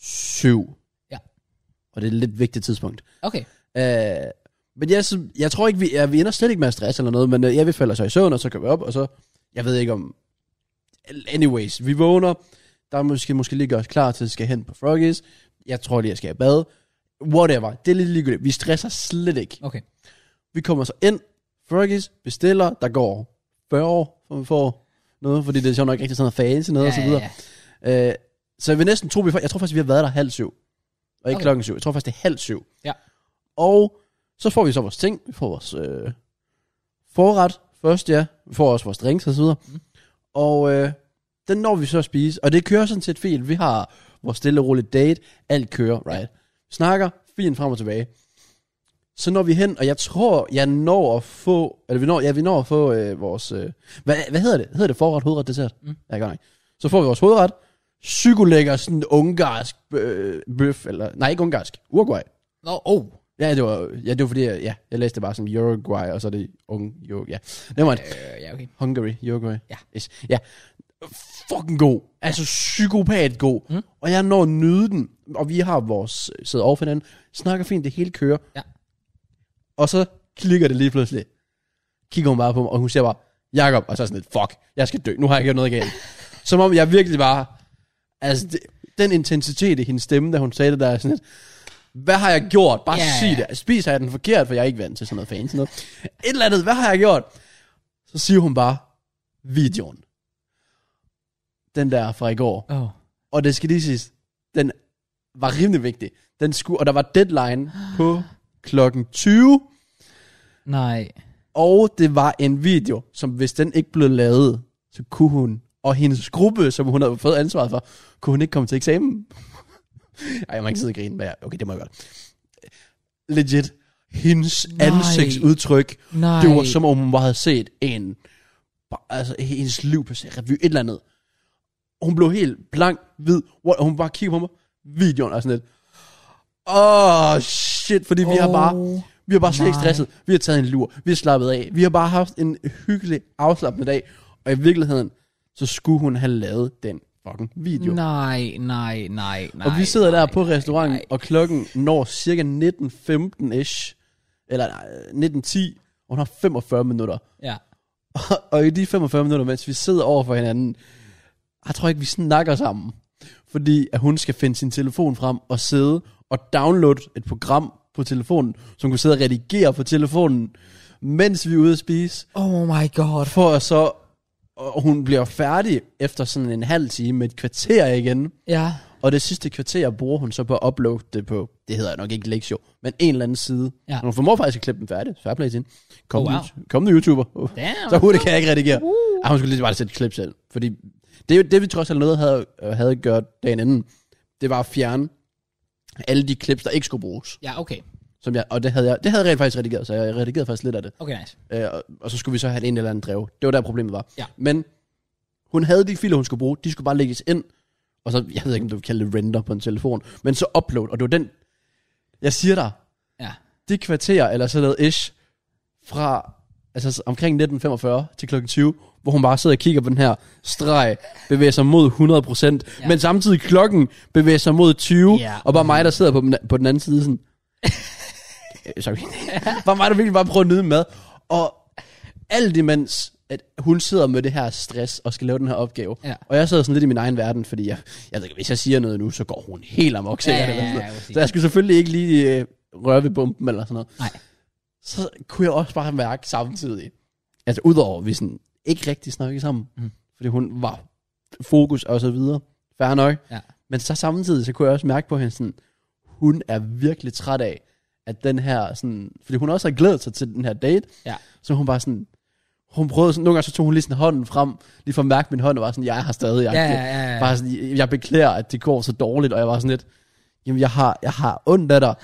Speaker 2: syv.
Speaker 1: Ja.
Speaker 2: Og det er et lidt vigtigt tidspunkt.
Speaker 1: Okay.
Speaker 2: Øh, men jeg, så, jeg tror ikke, vi, ja, vi ender slet ikke med at stresse eller noget, men øh, ja, vi falder så i søvn, og så går vi op, og så, jeg ved ikke om, anyways, vi vågner, der er måske, måske lige gøres klar til, at vi skal hen på Froggies, jeg tror lige, jeg skal i bad, whatever, det er lidt ligegyldigt, vi stresser slet ikke.
Speaker 1: Okay.
Speaker 2: Vi kommer så ind, Fergus bestiller, der går 40 år, for vi får noget, fordi det er sjovt nok ikke rigtig sådan noget fancy noget ja, og så videre.
Speaker 1: Ja,
Speaker 2: Øh, så vi næsten tro, vi, jeg tror faktisk, vi har været der halv syv. Og ikke
Speaker 1: Okay.
Speaker 2: okay. klokken syv. Jeg tror faktisk, det er halv syv.
Speaker 1: Ja.
Speaker 2: Og så får vi så vores ting. Vi får vores øh, forret først, ja. Vi får også vores drinks og så videre.
Speaker 1: Mhm.
Speaker 2: Mm. Og øh, den når vi så at spise. Og det kører sådan set fint. Vi har vores stille og roligt date. Alt kører, right? Snakker fint frem og tilbage. Så når vi hen, og jeg tror, jeg når at få, eller vi når, ja, vi når at få øh, vores, øh, hvad, hvad hedder det? Hedder det forret, hovedret, dessert?
Speaker 1: Mm.
Speaker 2: Ja, godt nok. Så får vi vores hovedret, psykolækker, sådan en ungarsk øh, bøf, eller, nej, ikke ungarsk, Uruguay.
Speaker 1: ja. Nå, oh.
Speaker 2: Ja, det var, ja, det var fordi, jeg, ja, jeg læste det bare som Uruguay, og så er det ung, Ur, ja. Det var
Speaker 1: Øh, ja, okay.
Speaker 2: Hungary, Uruguay.
Speaker 1: Ja.
Speaker 2: Yes. ja. Fucking god. Altså psykopat god. Mm. Og jeg når at nyde den, og vi har vores øh, sidder over for hinanden, snakker fint, det hele kører.
Speaker 1: Ja.
Speaker 2: Og så klikker det lige pludselig. Kigger hun bare på mig, og hun siger bare, Jakob, og så er jeg sådan lidt, fuck, jeg skal dø, nu har jeg gjort
Speaker 1: *laughs*
Speaker 2: noget galt. Som om jeg virkelig bare, altså det, den intensitet i hendes stemme, da hun sagde det der, er sådan lidt, hvad har jeg gjort? Bare
Speaker 1: Ja,
Speaker 2: yeah.
Speaker 1: ja,
Speaker 2: sig
Speaker 1: ja.
Speaker 2: det. Spiser jeg den forkert, for jeg er ikke vant til sådan noget
Speaker 1: *laughs*
Speaker 2: fan. Sådan noget. Et eller andet, hvad har jeg gjort? Så siger hun bare, videoen. Den der fra i går.
Speaker 1: Oh.
Speaker 2: Og det skal lige siges, den var rimelig vigtig. Den skulle, og der var deadline på klokken 20,
Speaker 1: Nej.
Speaker 2: og det var en video, som hvis den ikke blev lavet, så kunne hun, og hendes gruppe, som hun havde fået ansvaret for, kunne hun ikke komme til eksamen. *laughs* Ej, jeg må ikke sidde og grine, men jeg, okay, det må jeg godt. Legit. Hendes
Speaker 1: Nej.
Speaker 2: ansigtsudtryk,
Speaker 1: Nej.
Speaker 2: det var som om hun bare havde set en, bare- altså hendes liv på serie revy, et eller andet. Hun blev helt blank, hvid, what, og hun bare kiggede på mig, videoen og sådan lidt. Åh, oh, shit, fordi oh, vi har bare,
Speaker 1: Åh,
Speaker 2: vi har bare slet ikke
Speaker 1: nej.
Speaker 2: stresset, vi har taget en lur, vi har slappet af, vi har bare haft en hyggelig, afslappende dag, og i virkeligheden, så skulle hun have lavet den fucking video.
Speaker 1: Nej, nej, nej, nej.
Speaker 2: Og vi sidder
Speaker 1: nej,
Speaker 2: der på
Speaker 1: nej,
Speaker 2: restauranten,
Speaker 1: nej.
Speaker 2: og klokken når cirka 19.15-ish, eller nej, 19.10, og hun har 45 minutter.
Speaker 1: Ja.
Speaker 2: Og, *laughs* og i de 45 minutter, mens vi sidder over for hinanden, jeg tror ikke, vi snakker sammen. Fordi at hun skal finde sin telefon frem og sidde og downloade et program på telefonen, som kunne sidde og redigere på telefonen, mens vi er ude at spise.
Speaker 1: Oh my god.
Speaker 2: For at så, og hun bliver færdig efter sådan en halv time med et kvarter igen.
Speaker 1: Ja.
Speaker 2: Og det sidste kvarter bruger hun så på at uploade det på, det hedder nok ikke Lexio, men en eller anden side.
Speaker 1: Ja.
Speaker 2: Ja. Hun formår faktisk at klippe den færdig. Fair play til hende. Kom,
Speaker 1: Oh,
Speaker 2: oh,
Speaker 1: wow.
Speaker 2: wow. kom YouTuber.
Speaker 1: Damn.
Speaker 2: Så hurtigt kan jeg ikke redigere. Uh. Ah, hun skulle lige bare sætte et klip selv. Fordi det, er jo det vi trods alt noget havde, øh, havde gjort dagen inden, det var at fjerne alle de klips, der ikke skulle bruges.
Speaker 1: Ja, okay.
Speaker 2: Som jeg, og det havde jeg, det havde jeg rent faktisk redigeret, så jeg redigerede faktisk lidt af det.
Speaker 1: Okay, nice.
Speaker 2: Øh, og, og så skulle vi så have en eller anden drev. Det var der problemet var.
Speaker 1: Ja.
Speaker 2: Men hun havde de filer, hun skulle bruge. De skulle bare lægges ind. Og så, jeg ved ikke, om du vil kalde det render på en telefon. Men så upload. Og det var den, jeg siger dig,
Speaker 1: Ja.
Speaker 2: det kvarter eller sådan noget ish, fra altså omkring 1945 til klokken 20, hvor hun bare sidder og kigger på den her streg, bevæger sig mod 100%,
Speaker 1: Ja.
Speaker 2: ja. men samtidig klokken bevæger sig mod 20,
Speaker 1: Ja.
Speaker 2: og bare mig, der sidder på den, på den anden side, sådan,
Speaker 1: *laughs*
Speaker 2: Øh, sorry, bare mig, der virkelig bare prøver at nyde mad, og alt imens, at hun sidder med det her stress, og skal lave den her opgave,
Speaker 1: Ja.
Speaker 2: og jeg sidder sådan lidt i min egen verden, fordi jeg, jeg ved ikke, hvis jeg siger noget nu, så går hun helt amok, sikkert,
Speaker 1: Ja, ja,
Speaker 2: eller
Speaker 1: ja,
Speaker 2: sådan noget.
Speaker 1: ja, præcis.
Speaker 2: så jeg skulle selvfølgelig ikke lige øh, røre ved bomben, eller sådan noget
Speaker 1: Nej.
Speaker 2: så kunne jeg også bare mærke samtidig, altså udover at vi sådan ikke rigtig snakkede sammen,
Speaker 1: Mm.
Speaker 2: mm. fordi hun var fokus og så videre, færre nok,
Speaker 1: Ja.
Speaker 2: men så samtidig, så kunne jeg også mærke på hende sådan, hun er virkelig træt af, at den her sådan, fordi hun også har glædet sig til den her date,
Speaker 1: Ja.
Speaker 2: så hun bare sådan, hun prøvede sådan, nogle gange så tog hun lige sådan hånden frem, lige for at mærke min hånd, og var sådan, jeg er her stadig, jeg,
Speaker 1: Ja, ja, ja, ja.
Speaker 2: Bare sådan, jeg, jeg beklager, at det går så dårligt, og jeg var sådan lidt, jamen jeg har, jeg har ondt af dig,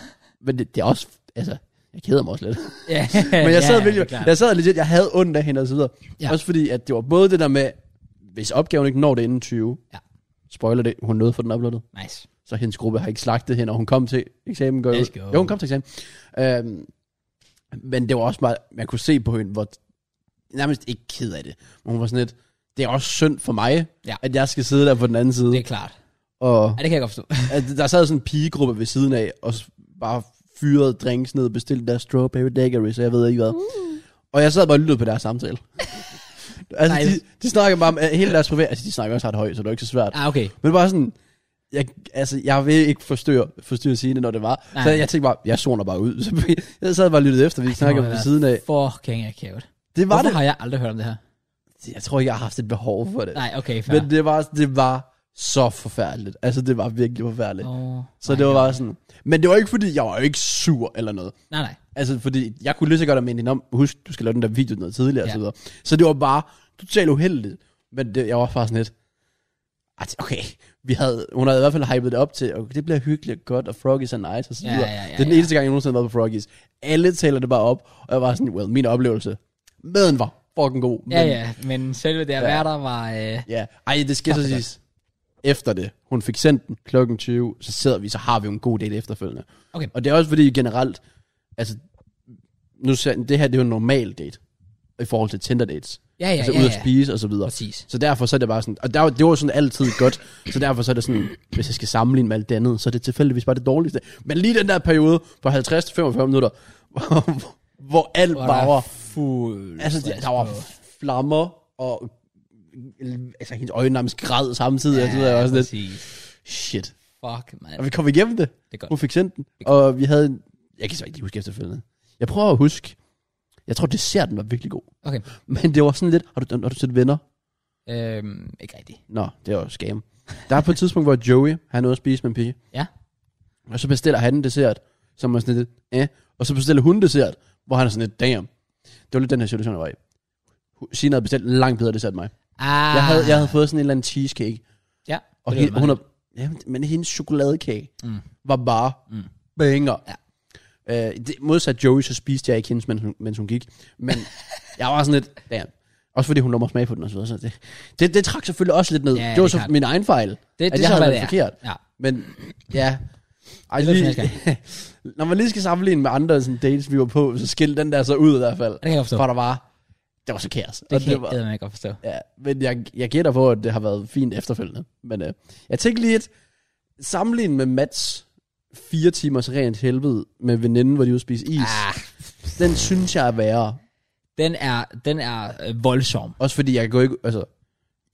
Speaker 2: men det, det er også, altså, Jeg keder mig også lidt.
Speaker 1: Ja,
Speaker 2: *laughs* Men jeg sad,
Speaker 1: ja,
Speaker 2: ja, virkelig,
Speaker 1: det er klart.
Speaker 2: jeg sad legit, jeg havde ondt af hende og så videre.
Speaker 1: Ja.
Speaker 2: Ja. Også fordi, at det var både det der med, hvis opgaven ikke når det inden 20,
Speaker 1: Ja.
Speaker 2: spoiler det, hun nåede for den uploadet,
Speaker 1: Nice.
Speaker 2: så hendes gruppe har ikke slagtet hende, og hun kom til eksamen. Går jeg ud.
Speaker 1: Let's go.
Speaker 2: Jo, hun kom til eksamen. Øhm, men det var også meget, man kunne se på hende, hvor nærmest ikke ked af det. Men hun var sådan lidt, det er også synd for mig,
Speaker 1: Ja.
Speaker 2: at jeg skal sidde der på den anden side.
Speaker 1: Det er klart.
Speaker 2: Og
Speaker 1: Ja, det kan jeg godt forstå.
Speaker 2: at der sad sådan en pigegruppe ved siden af, og s- bare fyrede drinks ned og bestilte deres strawberry daiquiri, så jeg ved ikke hvad.
Speaker 1: Uh.
Speaker 2: Og jeg sad bare og lyttede på deres samtale.
Speaker 1: *laughs*
Speaker 2: altså,
Speaker 1: Nice.
Speaker 2: de, de snakker bare om øh, hele deres privat... Altså, de snakker også ret højt, så det var ikke så svært.
Speaker 1: ah, okay.
Speaker 2: Men bare sådan... Jeg, altså, jeg vil ikke forstyrre, forstyrre sine, når det var.
Speaker 1: Nej.
Speaker 2: Så jeg tænkte bare, jeg zoner bare ud. *laughs* Så jeg sad bare og lyttede efter, vi
Speaker 1: Det må
Speaker 2: snakkede ved
Speaker 1: være
Speaker 2: siden af.
Speaker 1: Fucking akavet.
Speaker 2: Det var
Speaker 1: Hvorfor
Speaker 2: det.
Speaker 1: har jeg aldrig hørt om det her?
Speaker 2: Jeg tror ikke, jeg har haft et behov for det.
Speaker 1: Nej, okay, fair.
Speaker 2: Men det var, det var så forfærdeligt. Altså, det var virkelig forfærdeligt.
Speaker 1: oh,
Speaker 2: Så
Speaker 1: my
Speaker 2: det var
Speaker 1: God.
Speaker 2: bare sådan... Men det var ikke fordi, jeg var jo ikke sur eller noget.
Speaker 1: Nej, nej.
Speaker 2: Altså, fordi jeg kunne lige så godt have mindet hende om, husk, du skal lave den der video noget tidligere
Speaker 1: Ja.
Speaker 2: ja. og så videre. Så det var bare totalt uheldigt. Men det, jeg var bare sådan lidt, "Ej, okay, vi havde, hun havde i hvert fald hypet det op til, okay, det bliver hyggeligt og godt, og Froggies er nice, og så
Speaker 1: Ja,
Speaker 2: videre.
Speaker 1: ja, ja,
Speaker 2: det er den
Speaker 1: ja.
Speaker 2: eneste gang, jeg nogensinde har været på Froggies. Alle taler det bare op, og jeg var sådan, well, min oplevelse, maden var fucking god.
Speaker 1: Ja, ja, men selve det at
Speaker 2: Ja.
Speaker 1: være der var... Øh,
Speaker 2: Ja, ej, det skal
Speaker 1: Fuck,
Speaker 2: så
Speaker 1: det er
Speaker 2: siges. Efter det, hun fik sendt den klokken 20, så sidder vi, så har vi jo en god del efterfølgende.
Speaker 1: Okay.
Speaker 2: Og det er også fordi generelt, altså, nu ser jeg- det her, det er jo en normal date, i forhold til Tinder dates.
Speaker 1: ja, ja,
Speaker 2: altså
Speaker 1: ja,
Speaker 2: ud
Speaker 1: ja.
Speaker 2: at spise og så videre.
Speaker 1: Præcis.
Speaker 2: Så derfor så er det bare sådan, og der, var- det var sådan altid godt, så derfor så er det sådan, hvis jeg skal sammenligne med alt det andet, så er det tilfældigvis bare det dårligste. Men lige den der periode på 50-45 minutter, *laughs* hvor, hvor alt
Speaker 1: Hvor
Speaker 2: bare
Speaker 1: der
Speaker 2: var
Speaker 1: er fuld
Speaker 2: Altså,
Speaker 1: stress
Speaker 2: det, der var
Speaker 1: på.
Speaker 2: flammer, og altså, hendes øjne nærmest græd samtidig, ja, og så videre, jeg også lidt,
Speaker 1: præcis.
Speaker 2: shit.
Speaker 1: Fuck, man.
Speaker 2: Og vi kom igennem det.
Speaker 1: Det er godt.
Speaker 2: Hun fik sendt den, og vi havde en, jeg kan så ikke lige huske efterfølgende. Jeg prøver at huske, jeg tror, desserten var virkelig god.
Speaker 1: Okay.
Speaker 2: Men det var sådan lidt, har du, har du set venner?
Speaker 1: Øhm, ikke rigtigt.
Speaker 2: Nå, det var jo scam. Der er på et tidspunkt, hvor Joey, han er ude at spise med en pige.
Speaker 1: Ja.
Speaker 2: Og så bestiller han en dessert, som er sådan lidt, eh. Og så bestiller hun en dessert, hvor han er sådan lidt, damn. Det var lidt den her situation, jeg var i. Sina havde bestilt en langt bedre dessert end mig.
Speaker 1: Ah,
Speaker 2: Jeg havde, jeg havde fået sådan en eller anden cheesecake.
Speaker 1: Ja,
Speaker 2: Og
Speaker 1: det lyder
Speaker 2: hende, hun
Speaker 1: meget
Speaker 2: er, jamen, men hendes chokoladekage
Speaker 1: Mm.
Speaker 2: mm. var bare
Speaker 1: Mm.
Speaker 2: mm. banger.
Speaker 1: Ja.
Speaker 2: Øh, det, modsat Joey, så spiste jeg ikke hendes, mens hun, mens hun gik.
Speaker 1: *laughs*
Speaker 2: Men jeg var sådan lidt, damn. Også fordi hun lå mig smage på den og så videre. Så det, det, det trak selvfølgelig også lidt ned.
Speaker 1: Ja,
Speaker 2: Ja,
Speaker 1: det
Speaker 2: det
Speaker 1: er
Speaker 2: var så
Speaker 1: klart.
Speaker 2: min egen fejl.
Speaker 1: Det,
Speaker 2: at
Speaker 1: det,
Speaker 2: jeg
Speaker 1: er så,
Speaker 2: havde
Speaker 1: hvad
Speaker 2: været
Speaker 1: det er.
Speaker 2: forkert.
Speaker 1: Ja.
Speaker 2: Men ja... Ej,
Speaker 1: Det er
Speaker 2: lige,
Speaker 1: lidt
Speaker 2: *laughs* når man lige skal sammenligne med andre sådan, dates, vi var på, så skil den der så ud i hvert fald.
Speaker 1: Det kan jeg forstå.
Speaker 2: For der var... Det var så kaos.
Speaker 1: Det
Speaker 2: Og
Speaker 1: kan
Speaker 2: var-
Speaker 1: jeg eddermame godt forstå.
Speaker 2: Ja, men jeg, jeg gætter på, at det har været fint efterfølgende. Men øh, jeg tænkte lige et sammenlignet med Mats fire timers rent helvede med veninden, hvor de ude spise is. Ah.
Speaker 1: Ah,
Speaker 2: Den synes jeg er værre.
Speaker 1: den er, den er øh, voldsom.
Speaker 2: Også fordi jeg går ikke, altså,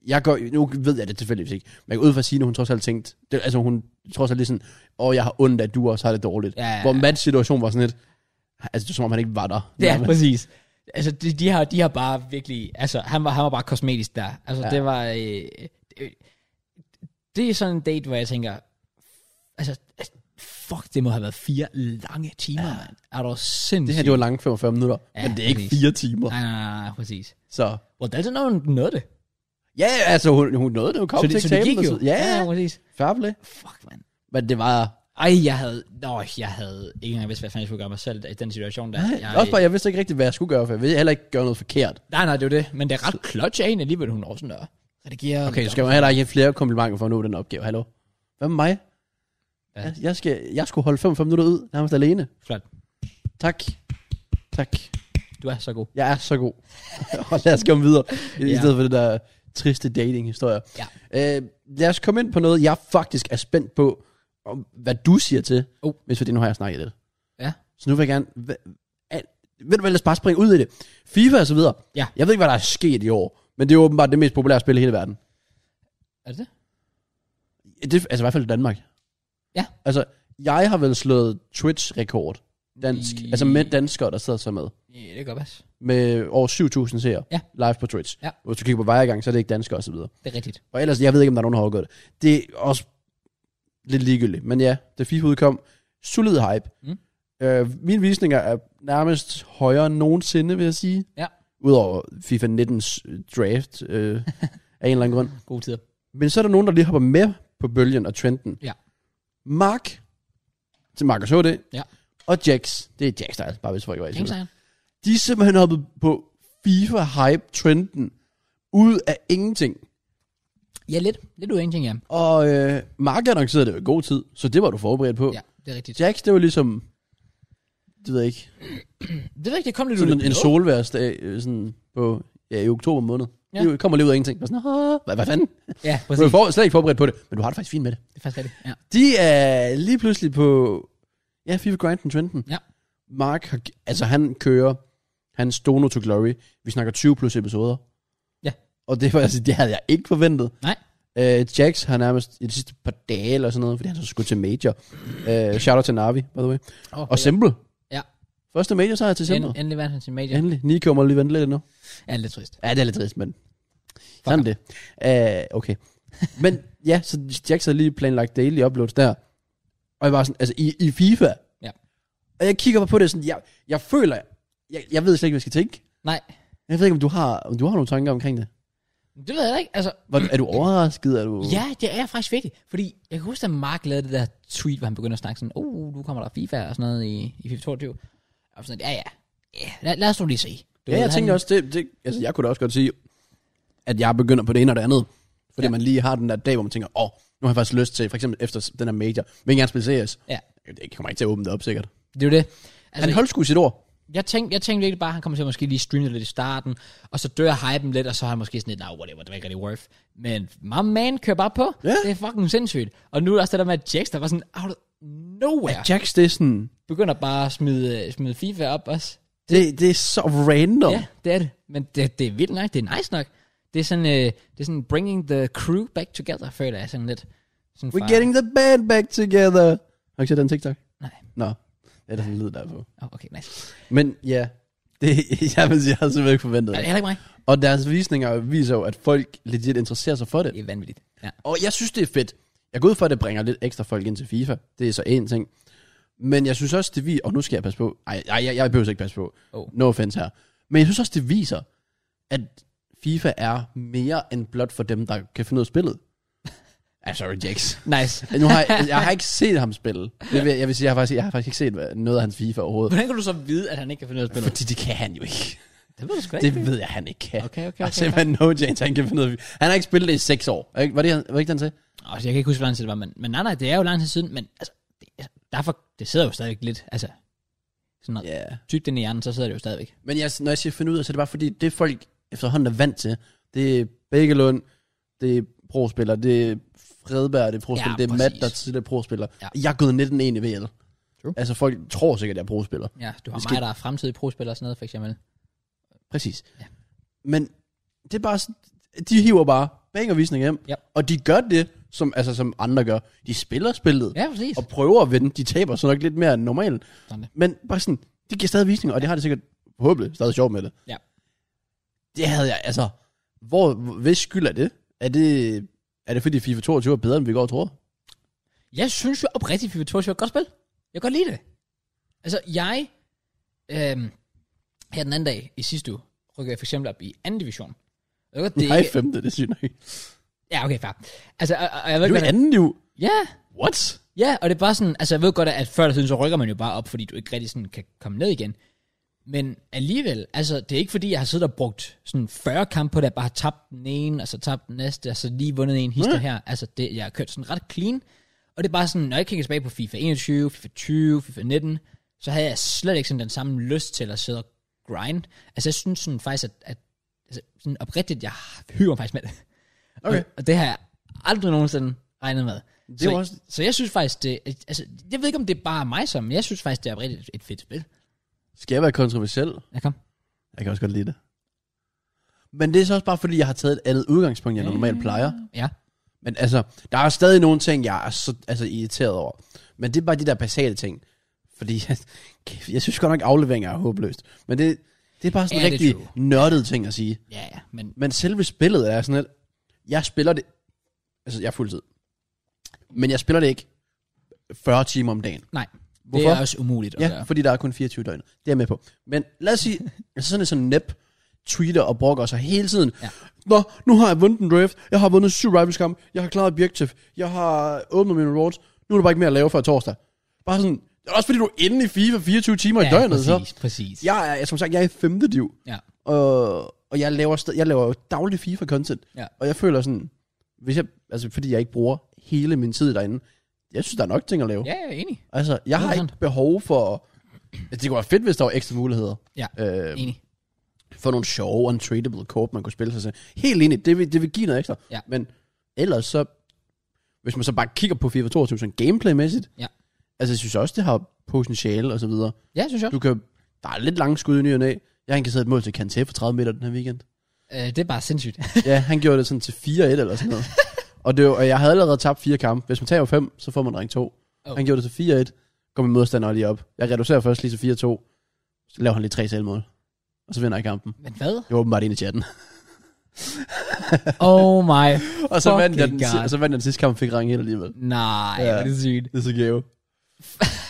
Speaker 2: jeg går, nu ved jeg det tilfældigvis ikke, men jeg går ud fra at Signe, hun trods alt tænkte, det, altså hun trods alt lige sådan, åh, jeg har ondt af, at du også har det dårligt.
Speaker 1: Ja, ja, ja.
Speaker 2: Hvor Mats situation var sådan lidt, altså det er som om han ikke var der.
Speaker 1: Ja,
Speaker 2: Nærmest.
Speaker 1: præcis. Altså, de, de, har, de har bare virkelig... Altså, han var, han var bare kosmetisk der. Altså, ja.
Speaker 2: Ja.
Speaker 1: det var... Øh, øh, det er sådan en date, hvor jeg tænker... Altså, fuck, det må have været fire lange timer, ja. mand. Er du sindssygt?
Speaker 2: det her, det var lange 45 minutter,
Speaker 1: Ja,
Speaker 2: ja, men det er ikke
Speaker 1: præcis.
Speaker 2: fire timer.
Speaker 1: Nej, nej, nej, nej, præcis.
Speaker 2: Så
Speaker 1: Well, der er sådan nogen, der nåede det.
Speaker 2: ja, altså hun, hun nåede det, hun kom
Speaker 1: så
Speaker 2: til
Speaker 1: det, så det
Speaker 2: eksamen
Speaker 1: gik
Speaker 2: og
Speaker 1: jo.
Speaker 2: så- Ja, ja,
Speaker 1: ja, præcis.
Speaker 2: Fair play.
Speaker 1: Fuck, mand.
Speaker 2: Men det var...
Speaker 1: Ej, jeg havde... Nå, jeg havde ikke engang vidst, hvad fanden jeg skulle gøre mig selv i den situation der.
Speaker 2: Nej,
Speaker 1: jeg,
Speaker 2: også bare, jeg vidste ikke rigtigt, hvad jeg skulle gøre, for jeg ville heller ikke gøre noget forkert.
Speaker 1: Nej, nej, det er jo det. Men det er ret klodse af hende alligevel, hun også sådan der. Redigerer.
Speaker 2: Okay, så skal man heller ikke have flere komplimenter for at nå den opgave. Hallo? Hvad med mig?
Speaker 1: Ja.
Speaker 2: Ja. Jeg, jeg, skal, jeg skulle holde 5-5 minutter ud, nærmest alene.
Speaker 1: Flot.
Speaker 2: Tak. Tak.
Speaker 1: Du er så god.
Speaker 2: Jeg er så god. *laughs* og lad os komme videre, i
Speaker 1: Ja.
Speaker 2: ja. stedet for det der triste dating-historie.
Speaker 1: Ja.
Speaker 2: Øh, lad os komme ind på noget, jeg faktisk er spændt på, om, hvad du siger til,
Speaker 1: Oh.
Speaker 2: hvis fordi nu har jeg snakket lidt.
Speaker 1: Ja.
Speaker 2: Så nu vil jeg gerne... hva- al- Ved du hvad, lad os bare springe ud i det. FIFA og så videre.
Speaker 1: Ja.
Speaker 2: Jeg ved ikke, hvad der er sket i år, men det er åbenbart det mest populære spil i hele verden.
Speaker 1: Er det det?
Speaker 2: Det, altså i hvert fald i Danmark.
Speaker 1: Ja.
Speaker 2: Altså, jeg har vel slået Twitch-rekord. Dansk.
Speaker 1: I-
Speaker 2: Altså med danskere, der sidder så med.
Speaker 1: Ja, det kan godt passe.
Speaker 2: Med over 7.000 seere
Speaker 1: Ja.
Speaker 2: live på Twitch.
Speaker 1: Ja.
Speaker 2: Hvis du kigger på vejergang, så er det ikke danskere og så videre.
Speaker 1: Det er rigtigt.
Speaker 2: Og ellers, jeg ved ikke, om der er nogen, der har overgået det. Det er også lidt ligegyldigt. Men ja, da FIFA udkom, solid hype.
Speaker 1: Mm.
Speaker 2: Øh, mine visninger er nærmest højere end nogensinde, vil jeg sige.
Speaker 1: Ja.
Speaker 2: Udover FIFA 19's
Speaker 1: *laughs*
Speaker 2: draft, øh, af en eller anden grund.
Speaker 1: Gode tider.
Speaker 2: Men så er der nogen, der lige hopper med på bølgen og trenden.
Speaker 1: Ja.
Speaker 2: Mark, til Mark og så det,
Speaker 1: Ja.
Speaker 2: og Jax. Det er Jax, der er bare hvis folk ikke var i tvivl.
Speaker 1: Kingsejren.
Speaker 2: De er simpelthen hoppet på FIFA-hype-trenden ud af ingenting.
Speaker 1: Ja, lidt. Lidt ud af ingenting, ja.
Speaker 2: Og øh, Mark annoncerede det jo i god tid, så det var du forberedt på.
Speaker 1: Ja, det er rigtigt.
Speaker 2: Jax, det var ligesom, det ved jeg ikke,
Speaker 1: Det er rigtigt, det kom lidt ud
Speaker 2: sådan en,
Speaker 1: af-
Speaker 2: en solværsdag øh, sådan på, ja, i oktober måned.
Speaker 1: Ja.
Speaker 2: Ja. Det kommer lige ud af ingenting. Bare Sådan, "Åh, hvad, hvad fanden?
Speaker 1: Ja,
Speaker 2: Du er
Speaker 1: præcis.
Speaker 2: for, slet ikke forberedt på det, men du har det faktisk fint med det.
Speaker 1: Det er faktisk rigtigt. Ja.
Speaker 2: De er lige pludselig på, ja, FIFA Grinden Trenden.
Speaker 1: Ja.
Speaker 2: Mark, har, altså han kører hans Dono to Glory. Vi snakker 20 plus episoder.
Speaker 1: Ja.
Speaker 2: Og det var altså, det havde jeg ikke forventet.
Speaker 1: Nej.
Speaker 2: Øh, Jax har nærmest i de sidste par dage eller sådan noget, fordi han så skulle til Major. Øh, shout out til Navi, by the way.
Speaker 1: Oh,
Speaker 2: Og Simple.
Speaker 1: Ja.
Speaker 2: Første Major sejr til Simple.
Speaker 1: End, endelig vandt han sin major.
Speaker 2: Endelig. Nico må lige vente lidt endnu.
Speaker 1: Ja, det er lidt trist.
Speaker 2: Ja, det er lidt trist, men... Sådan er det. Uh, okay. men ja, så Jax havde lige planlagt daily uploads der. Og jeg var sådan, altså i, i FIFA.
Speaker 1: Ja.
Speaker 2: Og jeg kigger bare på det sådan, jeg, jeg føler, jeg, jeg ved slet ikke, hvad jeg skal tænke.
Speaker 1: Nej,
Speaker 2: Jeg ved ikke, om du har, om du har nogle tanker omkring det.
Speaker 1: det ved jeg da ikke. Altså,
Speaker 2: Var, du- er du overrasket? Er du...
Speaker 1: Ja, det er jeg faktisk virkelig. Fordi jeg kan huske, at Mark lavede det der tweet, hvor han begyndte at snakke sådan, oh, nu kommer der FIFA og sådan noget i, i FIFA 22. Og jeg var sådan, ja, ja, ja lad, lad os nu lige se. Du
Speaker 2: ja
Speaker 1: ved,
Speaker 2: jeg tænkte også, det, det, altså jeg kunne da også godt sige, at jeg begynder på det ene og det andet. Fordi
Speaker 1: Ja.
Speaker 2: ja. man lige har den der dag, hvor man tænker, åh, oh, nu har jeg faktisk lyst til, for eksempel efter den her major, vil jeg gerne spille CS.
Speaker 1: Ja.
Speaker 2: Det kommer ikke til at åbne det op, sikkert.
Speaker 1: Det er jo det. Altså,
Speaker 2: Han holdt sgu sit ord.
Speaker 1: jeg, tænkte, jeg tænkte virkelig bare, at han kommer til at måske lige streame det lidt i starten, og så dør hypen lidt, og så har han måske sådan lidt, nah, whatever, det var ikke rigtig worth. Men my man kører bare på.
Speaker 2: Ja.
Speaker 1: Det er fucking sindssygt. Og nu er der også det der med, at Jax, der var sådan, out of nowhere,
Speaker 2: Jax, det er sådan,
Speaker 1: begynder bare at smide, øh, smide FIFA op også.
Speaker 2: Det, det er så random.
Speaker 1: Ja, det er det. Men det, det er vildt nok. Det er nice nok. Det er sådan, øh, det er sådan bringing the crew back together, føler jeg sådan lidt. Sådan
Speaker 2: We're getting the band back together. Har du ikke set den TikTok?
Speaker 1: Nej.
Speaker 2: Nå, det er der sådan en lyd derfor.
Speaker 1: Oh, okay, nice.
Speaker 2: Men ja, *laughs* det, jeg vil sige, jeg havde simpelthen ikke forventet
Speaker 1: Er det
Speaker 2: det.
Speaker 1: heller ikke mig?
Speaker 2: Og deres visninger viser jo, at folk legit interesserer sig for
Speaker 1: Det
Speaker 2: det.
Speaker 1: er vanvittigt. Ja.
Speaker 2: Og jeg synes, det er fedt. Jeg går ud for, at det bringer lidt ekstra folk ind til FIFA. Det er så én ting. Men jeg synes også, det viser... Og nu skal jeg passe på. Ej, ej jeg, jeg behøver ikke passe på.
Speaker 1: Oh.
Speaker 2: No offense her. Men jeg synes også, det viser, at FIFA er mere end blot for dem, der kan finde ud af spillet. I'm sorry, Jax.
Speaker 1: Nice.
Speaker 2: Nu har jeg, jeg har ikke set ham spille. Det vil, jeg vil sige, jeg har faktisk, jeg har faktisk ikke set hvad- noget af hans FIFA overhovedet.
Speaker 1: Hvordan kan du så vide, at han ikke kan finde ud af at spille?
Speaker 2: Fordi det kan han jo ikke.
Speaker 1: Det ved du sgu da ikke.
Speaker 2: Det ved jeg, han ikke kan.
Speaker 1: Okay, okay,
Speaker 2: Der er
Speaker 1: okay. okay.
Speaker 2: simpelthen no chance, han kan finde ud af. Han har ikke spillet det i seks år. Er ikke- Var det, han- var det ikke den til?
Speaker 1: Altså, jeg kan ikke huske, hvor lang tid det var, men, men nej, nej, det er jo lang tid siden, men altså, det, altså, derfor, det sidder jo stadigvæk lidt, altså, sådan noget. Yeah.
Speaker 2: Ja.
Speaker 1: Tygt ind i hjernen, så sidder det jo stadigvæk.
Speaker 2: Men jeg, når jeg siger finde ud af, så er det bare fordi, det folk efterhånden er vant til. Det er Bækkelund, det er prospiller, det er Fredberg, det er prospiller,
Speaker 1: Ja,
Speaker 2: ja, det er
Speaker 1: præcis.
Speaker 2: Matt, der er tidligere prospiller.
Speaker 1: Ja.
Speaker 2: Ja. Jeg er gået 19 i VL.
Speaker 1: True.
Speaker 2: Altså folk tror sikkert, jeg er prospiller.
Speaker 1: Ja, du har
Speaker 2: Vi skal-
Speaker 1: mig, der er fremtidig prospiller og sådan noget, for eksempel.
Speaker 2: Præcis.
Speaker 1: Ja.
Speaker 2: Ja. Men det er bare sådan- de hiver bare bangervisning hjem,
Speaker 1: Ja.
Speaker 2: og de gør det, som, altså, som andre gør. De spiller spillet,
Speaker 1: Ja, præcis.
Speaker 2: *laughs* og prøver at vinde. De taber så nok lidt mere end normalt.
Speaker 1: Sådan det.
Speaker 2: Men bare sådan, det giver stadig visninger, og det har det sikkert forhåbentlig stadig sjovt med det.
Speaker 1: Ja.
Speaker 2: Det havde jeg, altså, hvor, hvis skyld er det? Er det, er det fordi FIFA 22 er bedre, end vi går og tror?
Speaker 1: Jeg synes jo oprigtigt, FIFA 22 er et godt spil. Jeg kan godt lide det. Altså, jeg... Øhm, her den anden dag i sidste uge, rykkede jeg for eksempel op i anden division. Jeg ved godt, det
Speaker 2: Det
Speaker 1: er
Speaker 2: Nej,
Speaker 1: ikke...
Speaker 2: femte, det synes jeg ikke.
Speaker 1: Ja, okay, fair. Altså, og, og jeg ved
Speaker 2: Du
Speaker 1: ikke,
Speaker 2: er
Speaker 1: hvad...
Speaker 2: anden liv.
Speaker 1: Ja,
Speaker 2: What?
Speaker 1: ja, og det er bare sådan... Altså, jeg ved godt, at før eller siden, så rykker man jo bare op, fordi du ikke rigtig sådan kan komme ned igen. Men alligevel, altså, det er ikke fordi, jeg har siddet og brugt sådan 40 kampe på det, at bare har tabt den ene, og så tabt den næste, og så lige vundet en hister
Speaker 2: Ja.
Speaker 1: her. Altså, det, jeg har kørt sådan ret clean. Og det er bare sådan, når jeg kigger tilbage på FIFA 21, FIFA 20, FIFA 19, så havde jeg slet ikke sådan den samme lyst til at sidde og grind. Altså, jeg synes sådan faktisk, at, at altså, sådan oprigtigt, jeg hygger mig faktisk med det.
Speaker 2: Okay.
Speaker 1: Og, og det har jeg aldrig nogensinde regnet med.
Speaker 2: er
Speaker 1: så,
Speaker 2: jo også-
Speaker 1: så jeg synes faktisk, det, altså, jeg ved ikke, om det er bare mig som, men jeg synes faktisk, det er oprigtigt et fedt spil.
Speaker 2: Skal jeg være kontroversiel?
Speaker 1: Ja, kom.
Speaker 2: Jeg kan også godt lide det. Men det er så også bare, fordi jeg har taget et andet udgangspunkt, end jeg normalt plejer.
Speaker 1: Ja.
Speaker 2: Men altså, der er stadig nogle ting, jeg er så altså, irriteret over. Men det er bare de der basale ting. Fordi *laughs* jeg, kæft, jeg synes godt nok, afleveringer er håbløst. Men det, det er bare sådan
Speaker 1: Ja,
Speaker 2: en
Speaker 1: det er
Speaker 2: rigtig nørdet ting at sige.
Speaker 1: Ja, ja, men
Speaker 2: Men selve spillet er sådan, at jeg spiller det... Altså, jeg er fuldtid. Men jeg spiller det ikke 40 timer om dagen.
Speaker 1: nej. Hvorfor?
Speaker 2: Hvorfor?
Speaker 1: Det er også umuligt at
Speaker 2: Ja,
Speaker 1: gøre.
Speaker 2: fordi der er kun 24 døgn. Det er jeg med på. Men lad os sige, altså sådan en sådan nep tweeter og brokker sig hele tiden.
Speaker 1: Ja.
Speaker 2: Ja. Nå, nu har jeg vundet en draft. Jeg har vundet syv rivals kamp. Jeg har klaret objektiv. Jeg har åbnet mine rewards. Nu er der bare ikke mere at lave før torsdag. Bare sådan, Det er også fordi, du er inde i FIFA 24 timer i døgnet, så.
Speaker 1: præcis, præcis.
Speaker 2: Jeg er, jeg- som sagt, jeg er i femte div.
Speaker 1: Ja.
Speaker 2: Og, og jeg laver, sted, jeg laver jo daglig FIFA-content.
Speaker 1: Ja.
Speaker 2: Og jeg føler sådan, hvis jeg, altså fordi jeg ikke bruger hele min tid derinde, jeg synes, der er nok ting at lave.
Speaker 1: Ja, jeg er enig.
Speaker 2: Altså, jeg har ikke
Speaker 1: sandt.
Speaker 2: behov for... Altså, det kunne være fedt, hvis der var ekstra muligheder.
Speaker 1: Ja,
Speaker 2: Øh,
Speaker 1: Enig.
Speaker 2: for nogle sjove, untradable kort, man kunne spille sig selv. Helt enig, det vil, det vil give noget ekstra.
Speaker 1: Ja.
Speaker 2: Men ellers så, hvis man så bare kigger på FIFA 22 sådan gameplaymæssigt,
Speaker 1: Ja.
Speaker 2: altså jeg synes også, det har potentiale og så videre.
Speaker 1: Ja, synes jeg.
Speaker 2: Du kan, der er lidt lange skud i ny og næ. Jeg har kasseret et mål til Kanté for 30 meter den her weekend.
Speaker 1: Øh, det er bare
Speaker 2: *laughs*
Speaker 1: sindssygt.
Speaker 2: Ja, han gjorde det sådan til 4-1 eller sådan *laughs* noget. og, det var, og jeg havde allerede tabt fire kampe. Hvis man tager 5, så får man ring 2.
Speaker 1: Oh.
Speaker 2: Oh. Han gjorde det til 4-1. Går min modstander lige op. Jeg reducerer først lige til 4-2. Så laver han lige tre selvmål. Og så vinder jeg kampen.
Speaker 1: Men hvad?
Speaker 2: Jeg var åbenbart inde i chatten. *laughs*
Speaker 1: Oh my.
Speaker 2: Og så vandt jeg
Speaker 1: Fucking
Speaker 2: den,
Speaker 1: God.
Speaker 2: si- og så vandt jeg den sidste kamp og fik ringe helt alligevel.
Speaker 1: Nej,
Speaker 2: Ja.
Speaker 1: ja. det er sygt.
Speaker 2: Det er så gave.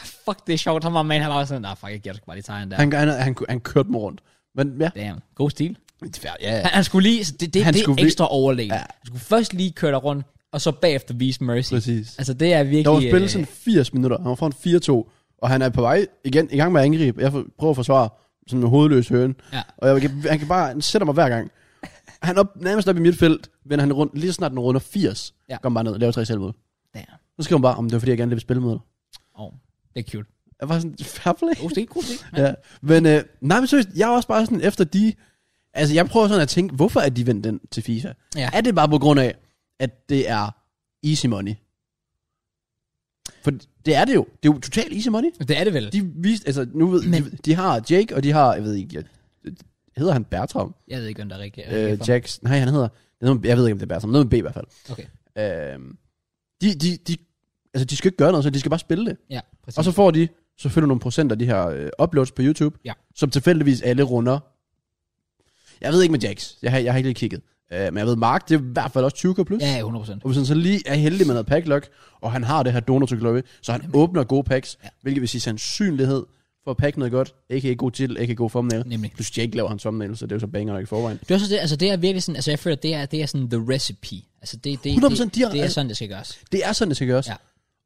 Speaker 1: Fuck, det er sjovt. Han var man, han var også sådan, nej, fuck, jeg giver dig sgu bare lige tegn der.
Speaker 2: Han, han, han, han kørte mig rundt. Men ja,
Speaker 1: Damn, god stil.
Speaker 2: det er fair, ja, ja.
Speaker 1: Han, han skulle lige, så det, det,
Speaker 2: Han
Speaker 1: han det
Speaker 2: skulle
Speaker 1: er
Speaker 2: vi-
Speaker 1: ekstra overlæg.
Speaker 2: Ja.
Speaker 1: Ja. Han skulle først lige køre dig rundt, og så bagefter vise mercy.
Speaker 2: præcis.
Speaker 1: Altså, det er virkelig...
Speaker 2: Der var spillet sådan 80 minutter. Han var foran 4-2, og han er på vej igen i gang med at angribe. Jeg får- prøver at forsvare sådan med hovedløs høne.
Speaker 1: øh, Ja.
Speaker 2: Og jeg, kan- han kan bare han sætter mig hver gang. Han op, nærmest op i mit felt, vender han rundt, lige så snart den runder 80,
Speaker 1: Ja.
Speaker 2: går han bare ned og laver tre selvmål.
Speaker 1: Damn.
Speaker 2: Så skriver han bare, om det var fordi, jeg gerne ville spille mod dig.
Speaker 1: Oh, det er cute.
Speaker 2: Jeg var sådan, fair play.
Speaker 1: God stil, god stil.
Speaker 2: Ja. Men, øh, nej, men seriøst, jeg er også bare sådan, efter de... Altså, jeg prøver sådan at tænke, hvorfor er de vendt den til FIFA?
Speaker 1: Ja.
Speaker 2: Er det bare på grund af, at det er easy money? For det er det jo. Det er jo totalt easy money.
Speaker 1: Det er det vel.
Speaker 2: De viste, altså, nu ved,
Speaker 1: Men-
Speaker 2: men... de, de, har Jake, og de har, jeg ved ikke, jeg, hedder han Bertram?
Speaker 1: Jeg ved ikke, om der er rigtigt.
Speaker 2: Øh, Jacks, nej, han hedder, det er noget, jeg ved ikke, om det er Bertram, noget med B i hvert fald.
Speaker 1: Okay.
Speaker 2: Øh, de, de, de, altså, de skal ikke gøre noget, så de skal bare spille det.
Speaker 1: Ja, præcis.
Speaker 2: Og så får de selvfølgelig nogle procent af de her øh, uploads på YouTube,
Speaker 1: Ja.
Speaker 2: som tilfældigvis alle runder. Jeg ved ikke med Jax, jeg har, jeg har ikke lige kigget. Øh, men jeg ved, Mark, det er i hvert fald også 20k+. plus.
Speaker 1: Ja, ja, 100%.
Speaker 2: Og hvis han så lige er heldig med noget packlock, og han har det her donor to glory, så han åbner gode packs,
Speaker 1: Ja.
Speaker 2: ja. hvilket vil sige sandsynlighed for at pakke noget godt, ikke god titel, ikke god thumbnail.
Speaker 1: Nemlig.
Speaker 2: Plus Jake laver hans thumbnail, så det er jo så banger nok i forvejen.
Speaker 1: Det er også det, altså det er virkelig sådan, altså jeg føler, det er, det er sådan the recipe. Altså det, det,
Speaker 2: 100%
Speaker 1: det,
Speaker 2: de har-
Speaker 1: det er sådan, det skal gøres.
Speaker 2: Det er sådan, det skal gøres.
Speaker 1: Ja.
Speaker 2: Ja.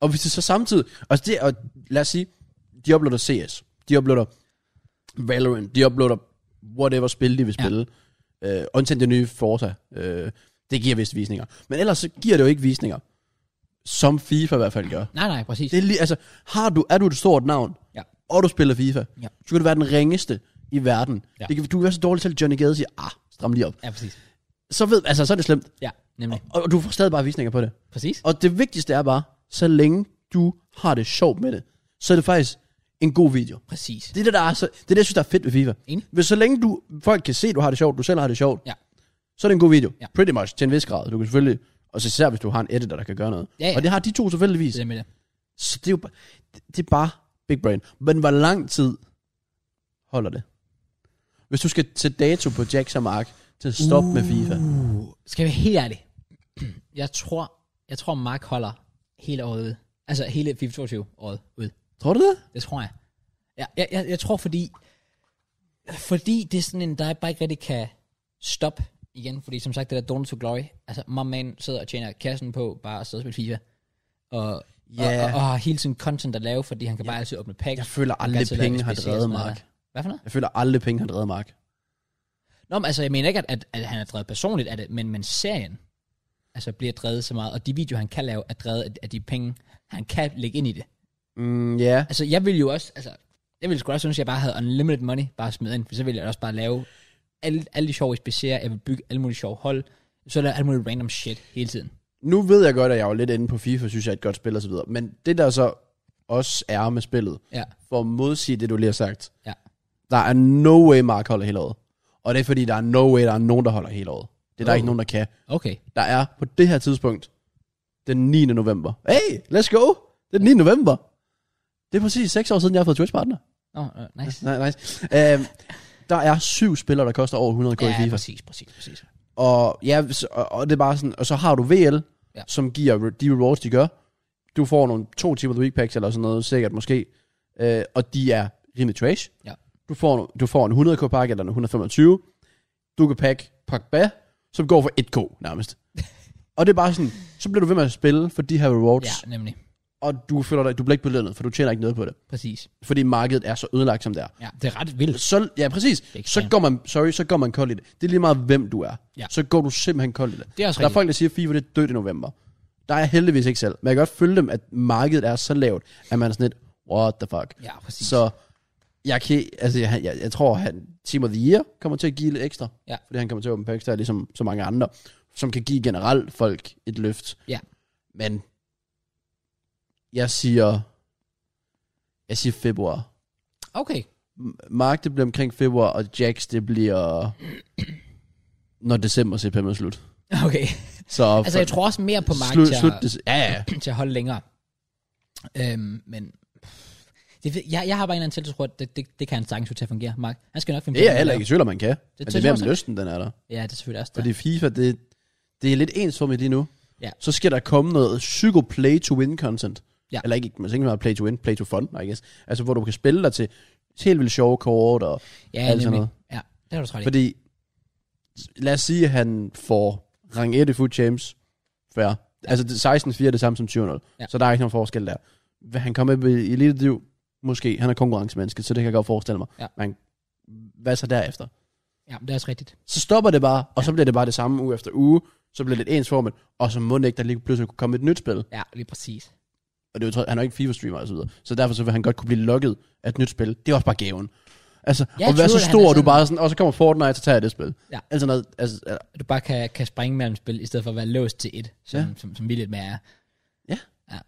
Speaker 2: Og hvis det så samtidig... Og, det, og lad os sige, de uploader CS. De uploader Valorant. De uploader whatever spil, de vil
Speaker 1: Ja.
Speaker 2: spille. Ja. Øh, undtagen det nye Forza. Øh, det giver vist visninger. Men ellers så giver det jo ikke visninger. Som FIFA i hvert fald gør.
Speaker 1: Nej, nej, præcis.
Speaker 2: Det er lige, altså, har du, er du et stort navn,
Speaker 1: Ja.
Speaker 2: og du spiller FIFA,
Speaker 1: Ja.
Speaker 2: så kan du være den ringeste i verden.
Speaker 1: Ja.
Speaker 2: Ja. Det kan, du kan være så dårlig til, at Johnny Gade siger, ah, stram lige op.
Speaker 1: Ja, præcis.
Speaker 2: Så, ved, altså, så er det slemt.
Speaker 1: Ja, nemlig.
Speaker 2: Og, og du får stadig bare visninger på det.
Speaker 1: Præcis.
Speaker 2: Og det vigtigste er bare, så længe du har det sjovt med det, så er det faktisk en god video.
Speaker 1: Præcis.
Speaker 2: Det er det, der er så, det, er det jeg synes, der er fedt ved FIFA.
Speaker 1: Enig.
Speaker 2: Hvis så længe du, folk kan se, du har det sjovt, du selv har det sjovt,
Speaker 1: Ja.
Speaker 2: så er det en god video.
Speaker 1: Ja.
Speaker 2: Pretty much, til en vis grad. Du kan selvfølgelig, og så især hvis du har en editor, der kan gøre noget.
Speaker 1: Ja, ja.
Speaker 2: Og det har de to tilfældigvis.
Speaker 1: Det er med det.
Speaker 2: Så det er jo bare, det, det er bare big brain. Men hvor lang tid holder det? Hvis du skal sætte dato på Jack og Mark til at stoppe uh. med FIFA.
Speaker 1: Uh, skal jeg være helt ærlig? Jeg tror, jeg tror Mark holder hele året ud. Altså hele 22 året ud.
Speaker 2: Tror du det?
Speaker 1: Det tror jeg. Jeg, jeg, jeg, jeg tror, fordi, fordi det er sådan en, der bare ikke rigtig kan stoppe igen. Fordi som sagt, det der Donut to Glory, altså my man sidder og tjener kassen på bare at sidde og spille FIFA. Og,
Speaker 2: Ja.
Speaker 1: og, og, og, har hele tiden content at lave, fordi han kan bare altid åbne packs.
Speaker 2: Jeg føler
Speaker 1: Han kan
Speaker 2: aldrig,
Speaker 1: altid lave
Speaker 2: penge har
Speaker 1: SBC og
Speaker 2: drevet
Speaker 1: sådan noget
Speaker 2: Mark.
Speaker 1: der. Hvad for noget?
Speaker 2: Jeg føler aldrig, penge har drevet Mark.
Speaker 1: Nå, men altså, jeg mener ikke, at, at, at han er drevet personligt af det, men, men serien altså, bliver drevet så meget, og de videoer, han kan lave, er drevet af, af de penge, han kan lægge ind i det.
Speaker 2: Mm, ja. Yeah.
Speaker 1: Altså, jeg ville jo også, altså, jeg ville sgu også synes, at jeg bare havde unlimited money, bare smide ind, for så ville jeg også bare lave alle, alle de sjove specier, jeg ville bygge alle mulige sjove hold, så lavede jeg alt muligt random shit hele tiden.
Speaker 2: Nu ved jeg godt, at jeg var lidt inde på FIFA, synes jeg er et godt spil og så videre. Men det der så også er med spillet,
Speaker 1: Ja,
Speaker 2: for at modsige det, du lige har sagt.
Speaker 1: Ja.
Speaker 2: Der er no way, Mark holder hele året. Og det er fordi, der er no way, der er nogen, der holder hele året. Det er der
Speaker 1: Oh.
Speaker 2: ikke nogen, der kan.
Speaker 1: okay.
Speaker 2: Der er på det her tidspunkt, den 9. november. Hey, let's go! Det er den 9. november. Det er præcis 6 år siden, jeg har fået Twitch-partner.
Speaker 1: Nå, oh, uh, nice.
Speaker 2: Nej, nice. øhm, der er syv spillere, der koster over 100 k i
Speaker 1: Ja,
Speaker 2: FIFA.
Speaker 1: præcis, præcis, præcis.
Speaker 2: Og, ja, så- og, og det er bare sådan, og så har du VL,
Speaker 1: Ja.
Speaker 2: ja. som giver de rewards, de gør. Du får nogle to timer week packs eller sådan noget, sikkert måske. Øh, og de er rimelig trash.
Speaker 1: Ja.
Speaker 2: Du får, du får en 100k pakke eller en 125. Du kan pakke Pogba, som går for 1k nærmest. og det er bare sådan, så bliver du ved med at spille for de her rewards.
Speaker 1: Ja, nemlig.
Speaker 2: og du føler dig, du bliver ikke belønnet, for du tjener ikke noget på det.
Speaker 1: Præcis.
Speaker 2: Fordi markedet er så ødelagt, som det er.
Speaker 1: Ja, det er ret vildt.
Speaker 2: Så, ja, præcis.
Speaker 1: Ikke
Speaker 2: Så
Speaker 1: fair.
Speaker 2: går man, sorry, så går man kold i det. Det er lige meget, hvem du er.
Speaker 1: Ja.
Speaker 2: Så går du simpelthen kold i det.
Speaker 1: Det er også
Speaker 2: Der er
Speaker 1: rigtigt.
Speaker 2: folk, der siger, at FIFA det er dødt i november. Der er jeg heldigvis ikke selv. Men jeg kan godt følge dem, at markedet er så lavt, at man er sådan lidt, what the fuck.
Speaker 1: Ja, præcis.
Speaker 2: Så jeg, kan, altså, jeg, jeg, jeg tror, han Team of the Year kommer til at give lidt ekstra.
Speaker 1: Ja.
Speaker 2: Fordi han kommer til at åbne på ekstra, ligesom så mange andre, som kan give generelt folk et løft.
Speaker 1: Ja.
Speaker 2: Men jeg siger, jeg siger februar.
Speaker 1: Okay. *laughs*
Speaker 2: M- Mark, det bliver omkring februar, og Jax, det bliver, når december CPM er slut.
Speaker 1: Okay.
Speaker 2: Så
Speaker 1: Altså, jeg tror også mere på Mark
Speaker 2: slut,
Speaker 1: til,
Speaker 2: slut,
Speaker 1: at,
Speaker 2: dec- ja, ja.
Speaker 1: *clears throat* til at holde længere. Øhm, men det, ved- jeg, jeg har bare en eller anden til, der tror, at det, det, det kan han sagtens jo til at fungere, Mark. Han skal nok finde
Speaker 2: Det er
Speaker 1: noget
Speaker 2: jeg
Speaker 1: at
Speaker 2: heller
Speaker 1: lave.
Speaker 2: ikke i tvivl, om man kan. Det, men det
Speaker 1: tror
Speaker 2: er mere
Speaker 1: jeg
Speaker 2: om lysten, den er der.
Speaker 1: Ja, det er selvfølgelig også der.
Speaker 2: Fordi FIFA, det, det er lidt ensformigt lige nu.
Speaker 1: Ja.
Speaker 2: Så skal der komme noget psyko play to win content.
Speaker 1: Ja.
Speaker 2: Eller ikke, man tænker meget play to win, play to fun, I guess. Altså, hvor du kan spille dig til helt vildt sjove kort. Og,
Speaker 1: ja,
Speaker 2: alt sådan
Speaker 1: nemlig.
Speaker 2: noget.
Speaker 1: Ja, det har du træt i.
Speaker 2: fordi, lad os sige, at han får rang 1 i Food Champs. Fair. Ja. Altså, det- 16-4 er det samme som 20-0.
Speaker 1: Ja.
Speaker 2: Så der er ikke nogen forskel der. Hvad han kommer med i Elite Div, måske. Han er konkurrencemenneske, så det kan jeg godt forestille mig.
Speaker 1: Ja.
Speaker 2: Men hvad så derefter?
Speaker 1: Ja, det er også rigtigt.
Speaker 2: så stopper det bare, og så bliver det bare det samme uge efter uge, så bliver det lidt ensformet, og så må det ikke, der lige pludselig kunne komme et nyt spil.
Speaker 1: Ja, lige præcis.
Speaker 2: Og det er jo, tro- han er jo ikke FIFA-streamer og så videre, så derfor så vil han godt kunne blive lukket af et nyt spil. Det er også bare gaven. Altså,
Speaker 1: Jeg
Speaker 2: og
Speaker 1: troede,
Speaker 2: være så
Speaker 1: at han
Speaker 2: stor,
Speaker 1: er
Speaker 2: du
Speaker 1: sådan-
Speaker 2: bare sådan, og så kommer Fortnite, så tager jeg det spil.
Speaker 1: Ja.
Speaker 2: Altså noget, altså, ja,
Speaker 1: At Du bare kan, kan springe mellem spil, i stedet for at være låst til et, som, ja. som, som vi lidt mere er.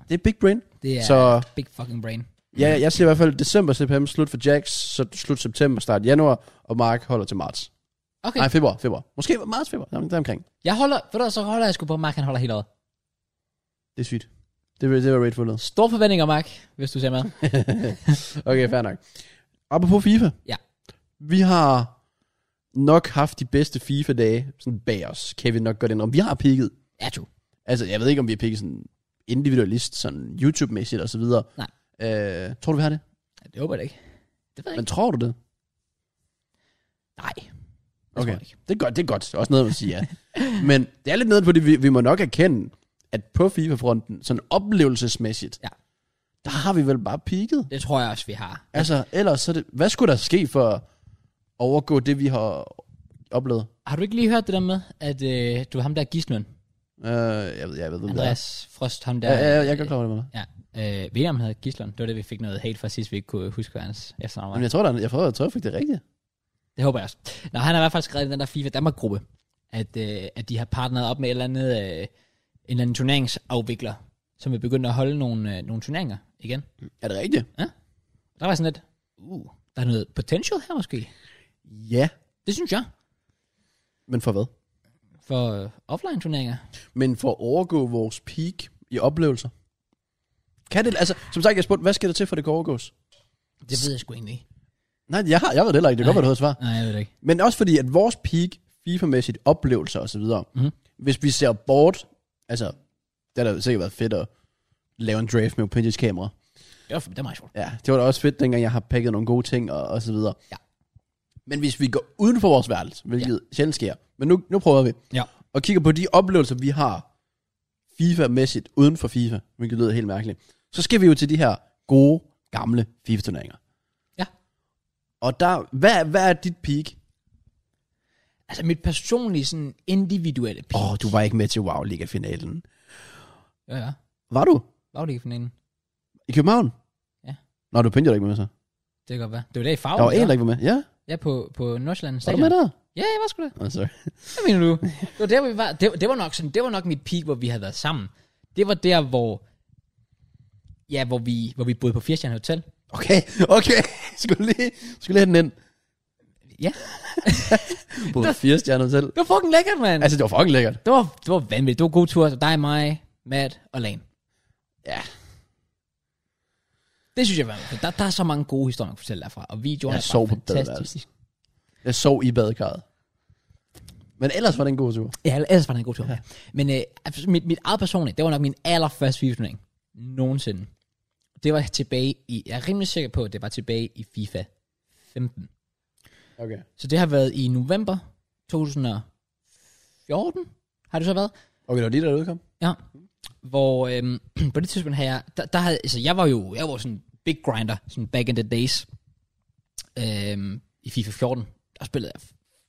Speaker 2: det er big brain.
Speaker 1: Det er
Speaker 2: Så-
Speaker 1: så... big fucking brain.
Speaker 2: Ja,
Speaker 1: Mhm.
Speaker 2: jeg siger i hvert fald, december CPM, slut for Jax, så slut september, start januar, og Mark holder til marts.
Speaker 1: Okay,
Speaker 2: Nej, februar, februar. Måske marts, februar, der, der omkring.
Speaker 1: jeg holder, ved du, hvad, så holder jeg sgu på, at Mark han holder helt året.
Speaker 2: Det er sygt. Det, var- det var rate
Speaker 1: *laughs*
Speaker 2: for noget.
Speaker 1: Store forventninger, Mark, hvis du ser med.
Speaker 2: okay, fair nok. Apropos FIFA.
Speaker 1: Ja.
Speaker 2: Vi har nok haft de bedste FIFA-dage sådan bag os. Kan vi nok godt indrømme. Vi har pigget.
Speaker 1: Ja, true.
Speaker 2: Altså, jeg ved ikke, om vi har pigget sådan individualist, sådan YouTube-mæssigt og så videre.
Speaker 1: Nej.
Speaker 2: Øh, tror du, vi har det?
Speaker 1: Ja, Det håber jeg da ikke. Det ved jeg
Speaker 2: Men
Speaker 1: ikke.
Speaker 2: tror du det?
Speaker 1: Nej. Det
Speaker 2: Okay.
Speaker 1: tror jeg ikke.
Speaker 2: Det er godt, det er godt. Også noget, man siger ja. Men det er lidt nede på det, vi, vi må nok erkende, at på FIFA-fronten, sådan oplevelsesmæssigt,
Speaker 1: Ja.
Speaker 2: der har vi vel bare pigget.
Speaker 1: Det tror jeg også, vi har.
Speaker 2: Altså, ellers så er det, hvad skulle der ske for at overgå det, vi har oplevet?
Speaker 1: Har du ikke lige hørt det der med, at øh, du var ham der Gisnund,
Speaker 2: Uh, jeg ved, jeg ved, hvem det er.
Speaker 1: Andreas Frost, ham der...
Speaker 2: Ja, ja, ja, jeg kan godt lade det.
Speaker 1: Ja, øh, ved I, om han hedder Gislund? Det var det, vi fik noget hate fra sidst, vi ikke kunne huske, hvad hans efternavn var.
Speaker 2: Men jeg tror, der, er- jeg, tror, jeg, tror, jeg fik det rigtigt.
Speaker 1: Det håber jeg også. Nå, han har i hvert fald skrevet i den der FIFA Danmark-gruppe, at, øh, at de har partneret op med et eller andet, øh, en eller anden turneringsafvikler, som vil begynde at holde nogle, øh, nogle turneringer igen.
Speaker 2: Er det rigtigt?
Speaker 1: Der var sådan lidt, uh, der er noget potential her måske.
Speaker 2: Ja.
Speaker 1: Det synes jeg.
Speaker 2: Men for hvad?
Speaker 1: For øh, offline-turneringer.
Speaker 2: Men for at overgå vores peak i oplevelser. Kan det, altså, som sagt, jeg spurgte, hvad skal der til, for det kan overgås?
Speaker 1: Det ved jeg sgu egentlig ikke.
Speaker 2: Nej, jeg, har, jeg ved det heller ikke. Det kan godt være, du havde et svar.
Speaker 1: Nej, jeg ved det ikke.
Speaker 2: Men også fordi, at vores peak, FIFA-mæssigt oplevelser osv., mm-hmm.
Speaker 1: Mhm.
Speaker 2: hvis vi ser bort, altså, det har da sikkert været fedt at lave en draft med Opinions kamera.
Speaker 1: Det var, det var meget sjovt.
Speaker 2: Ja, det var da også fedt, dengang jeg har pakket nogle gode ting og, og så videre.
Speaker 1: Ja.
Speaker 2: Men hvis vi går uden for vores værelse, hvilket ja. sjældent sker, men nu, nu prøver vi,
Speaker 1: Ja.
Speaker 2: og kigger på de oplevelser, vi har FIFA-mæssigt uden for FIFA, hvilket lyder helt mærkeligt, så skal vi jo til de her gode, gamle FIFA-turneringer.
Speaker 1: Ja.
Speaker 2: Og der, hvad, hvad er dit peak?
Speaker 1: Altså mit personlige, sådan individuelle peak.
Speaker 2: Åh, oh, du var ikke med til wow liga finalen
Speaker 1: Ja, ja.
Speaker 2: Var du?
Speaker 1: Hvad var det ikke for en?
Speaker 2: I København?
Speaker 1: Ja.
Speaker 2: Nå, du pindte ikke med så.
Speaker 1: Det kan godt være. Det var der i farven.
Speaker 2: Der var en,
Speaker 1: så.
Speaker 2: der ikke var med. Ja,
Speaker 1: Ja, på, på Nordsjælland.
Speaker 2: var du med der?
Speaker 1: Ja, jeg var sgu da.
Speaker 2: Oh, sorry.
Speaker 1: Hvad mener *laughs* du? Det var, der, vi var, det, det, var nok sådan, det var nok mit peak, hvor vi havde været sammen. Det var der, hvor... Ja, hvor vi, hvor vi boede på Fjerstjern Hotel.
Speaker 2: Okay, okay. *laughs* Skulle lige, skulle lige have den ind.
Speaker 1: Ja.
Speaker 2: *laughs* På fire stjerner selv.
Speaker 1: Det var fucking lækkert, mand. Altså,
Speaker 2: Altså, det var fucking lækkert.
Speaker 1: det, var, det var vanvittigt. Det var gode ture. Dig, mig, Matt og Lan.
Speaker 2: Ja.
Speaker 1: Det synes jeg var fedt. Der, der er så mange gode historier, man kan fortælle derfra. Og videoerne
Speaker 2: Jeg
Speaker 1: er
Speaker 2: sov
Speaker 1: bare
Speaker 2: på
Speaker 1: fantastiske.
Speaker 2: Jeg sov i badekarret. Men ellers var det en god tur.
Speaker 1: Ja, ellers var det en god tur. Ja. Men øh, altså, mit, mit eget personlige, det var nok min allerførste FIFA-turnering. Nogensinde. Det var tilbage i... Jeg er rimelig sikker på, at det var tilbage i FIFA 15.
Speaker 2: Okay.
Speaker 1: Så det har været i november 2014, har det så været.
Speaker 2: Okay, det var lige, der udkom.
Speaker 1: Ja. hvor øhm, *clears throat* på det tidspunkt havde jeg, der, der havde, altså jeg var jo, jeg var sådan big grinder, sådan back in the days, øhm, i FIFA 14, der spillede jeg,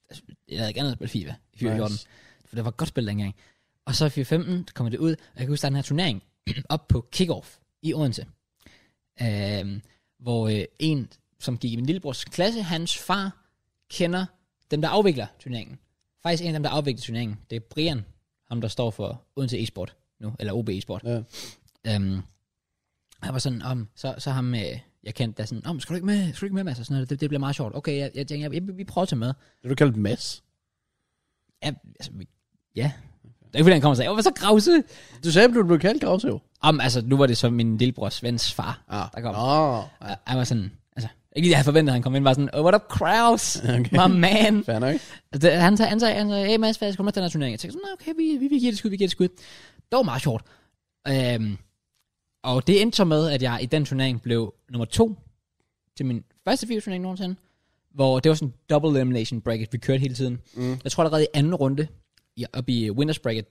Speaker 1: altså, jeg havde ikke andet spillet FIFA i FIFA
Speaker 2: Nice.
Speaker 1: 14, for det var et godt spil dengang. Og så i FIFA 15, der kom det ud, og jeg kan huske, der er den her turnering, *clears throat* op på kickoff i Odense, øhm, hvor øh, en, som gik i min lillebrors klasse, hans far kender dem, der afvikler turneringen. Faktisk en af dem, der afvikler turneringen, det er Brian, ham der står for Odense e-sport nu, eller OB e-sport.
Speaker 2: Ja.
Speaker 1: Øhm, han var sådan, om, så, så ham, øh, jeg kendte, der sådan, om, skal du ikke med, skal du ikke med, Mads? Og sådan noget, det, det bliver meget sjovt. Okay, jeg, jeg, tænker, jeg, jeg, vi prøver at tage med.
Speaker 2: Det du kaldt Mads.
Speaker 1: Ja, altså, vi, ja. Det er ikke, fordi han kommer og sagde, åh, hvad så gravse?
Speaker 2: Du sagde, at du blev kaldt Gravs, jo.
Speaker 1: Om, altså, nu var det så min lillebrors vens far,
Speaker 2: Ah,
Speaker 1: der kom.
Speaker 2: Nå,
Speaker 1: Og Han var sådan, altså, ikke lige, jeg havde forventet, at han kom ind, var sådan, oh, what up, Kraus?
Speaker 2: *laughs* Okay.
Speaker 1: My man.
Speaker 2: fair nok.
Speaker 1: Og Altså, det- Han sagde, han sagde, han sagde, hey Mads, hvad skal du med til den her turnering? Jeg tænkte sådan, "Nå, okay, vi, vi, vi giver det et skud, vi giver det et skud. Det var meget sjovt. Øhm, og det endte så med, at jeg i den turnering blev nummer to til min første FIFA-turnering nogensinde, hvor det var sådan en double elimination bracket, vi kørte hele tiden. Mm. Jeg tror allerede i anden runde, i- oppe i øh, winners bracket,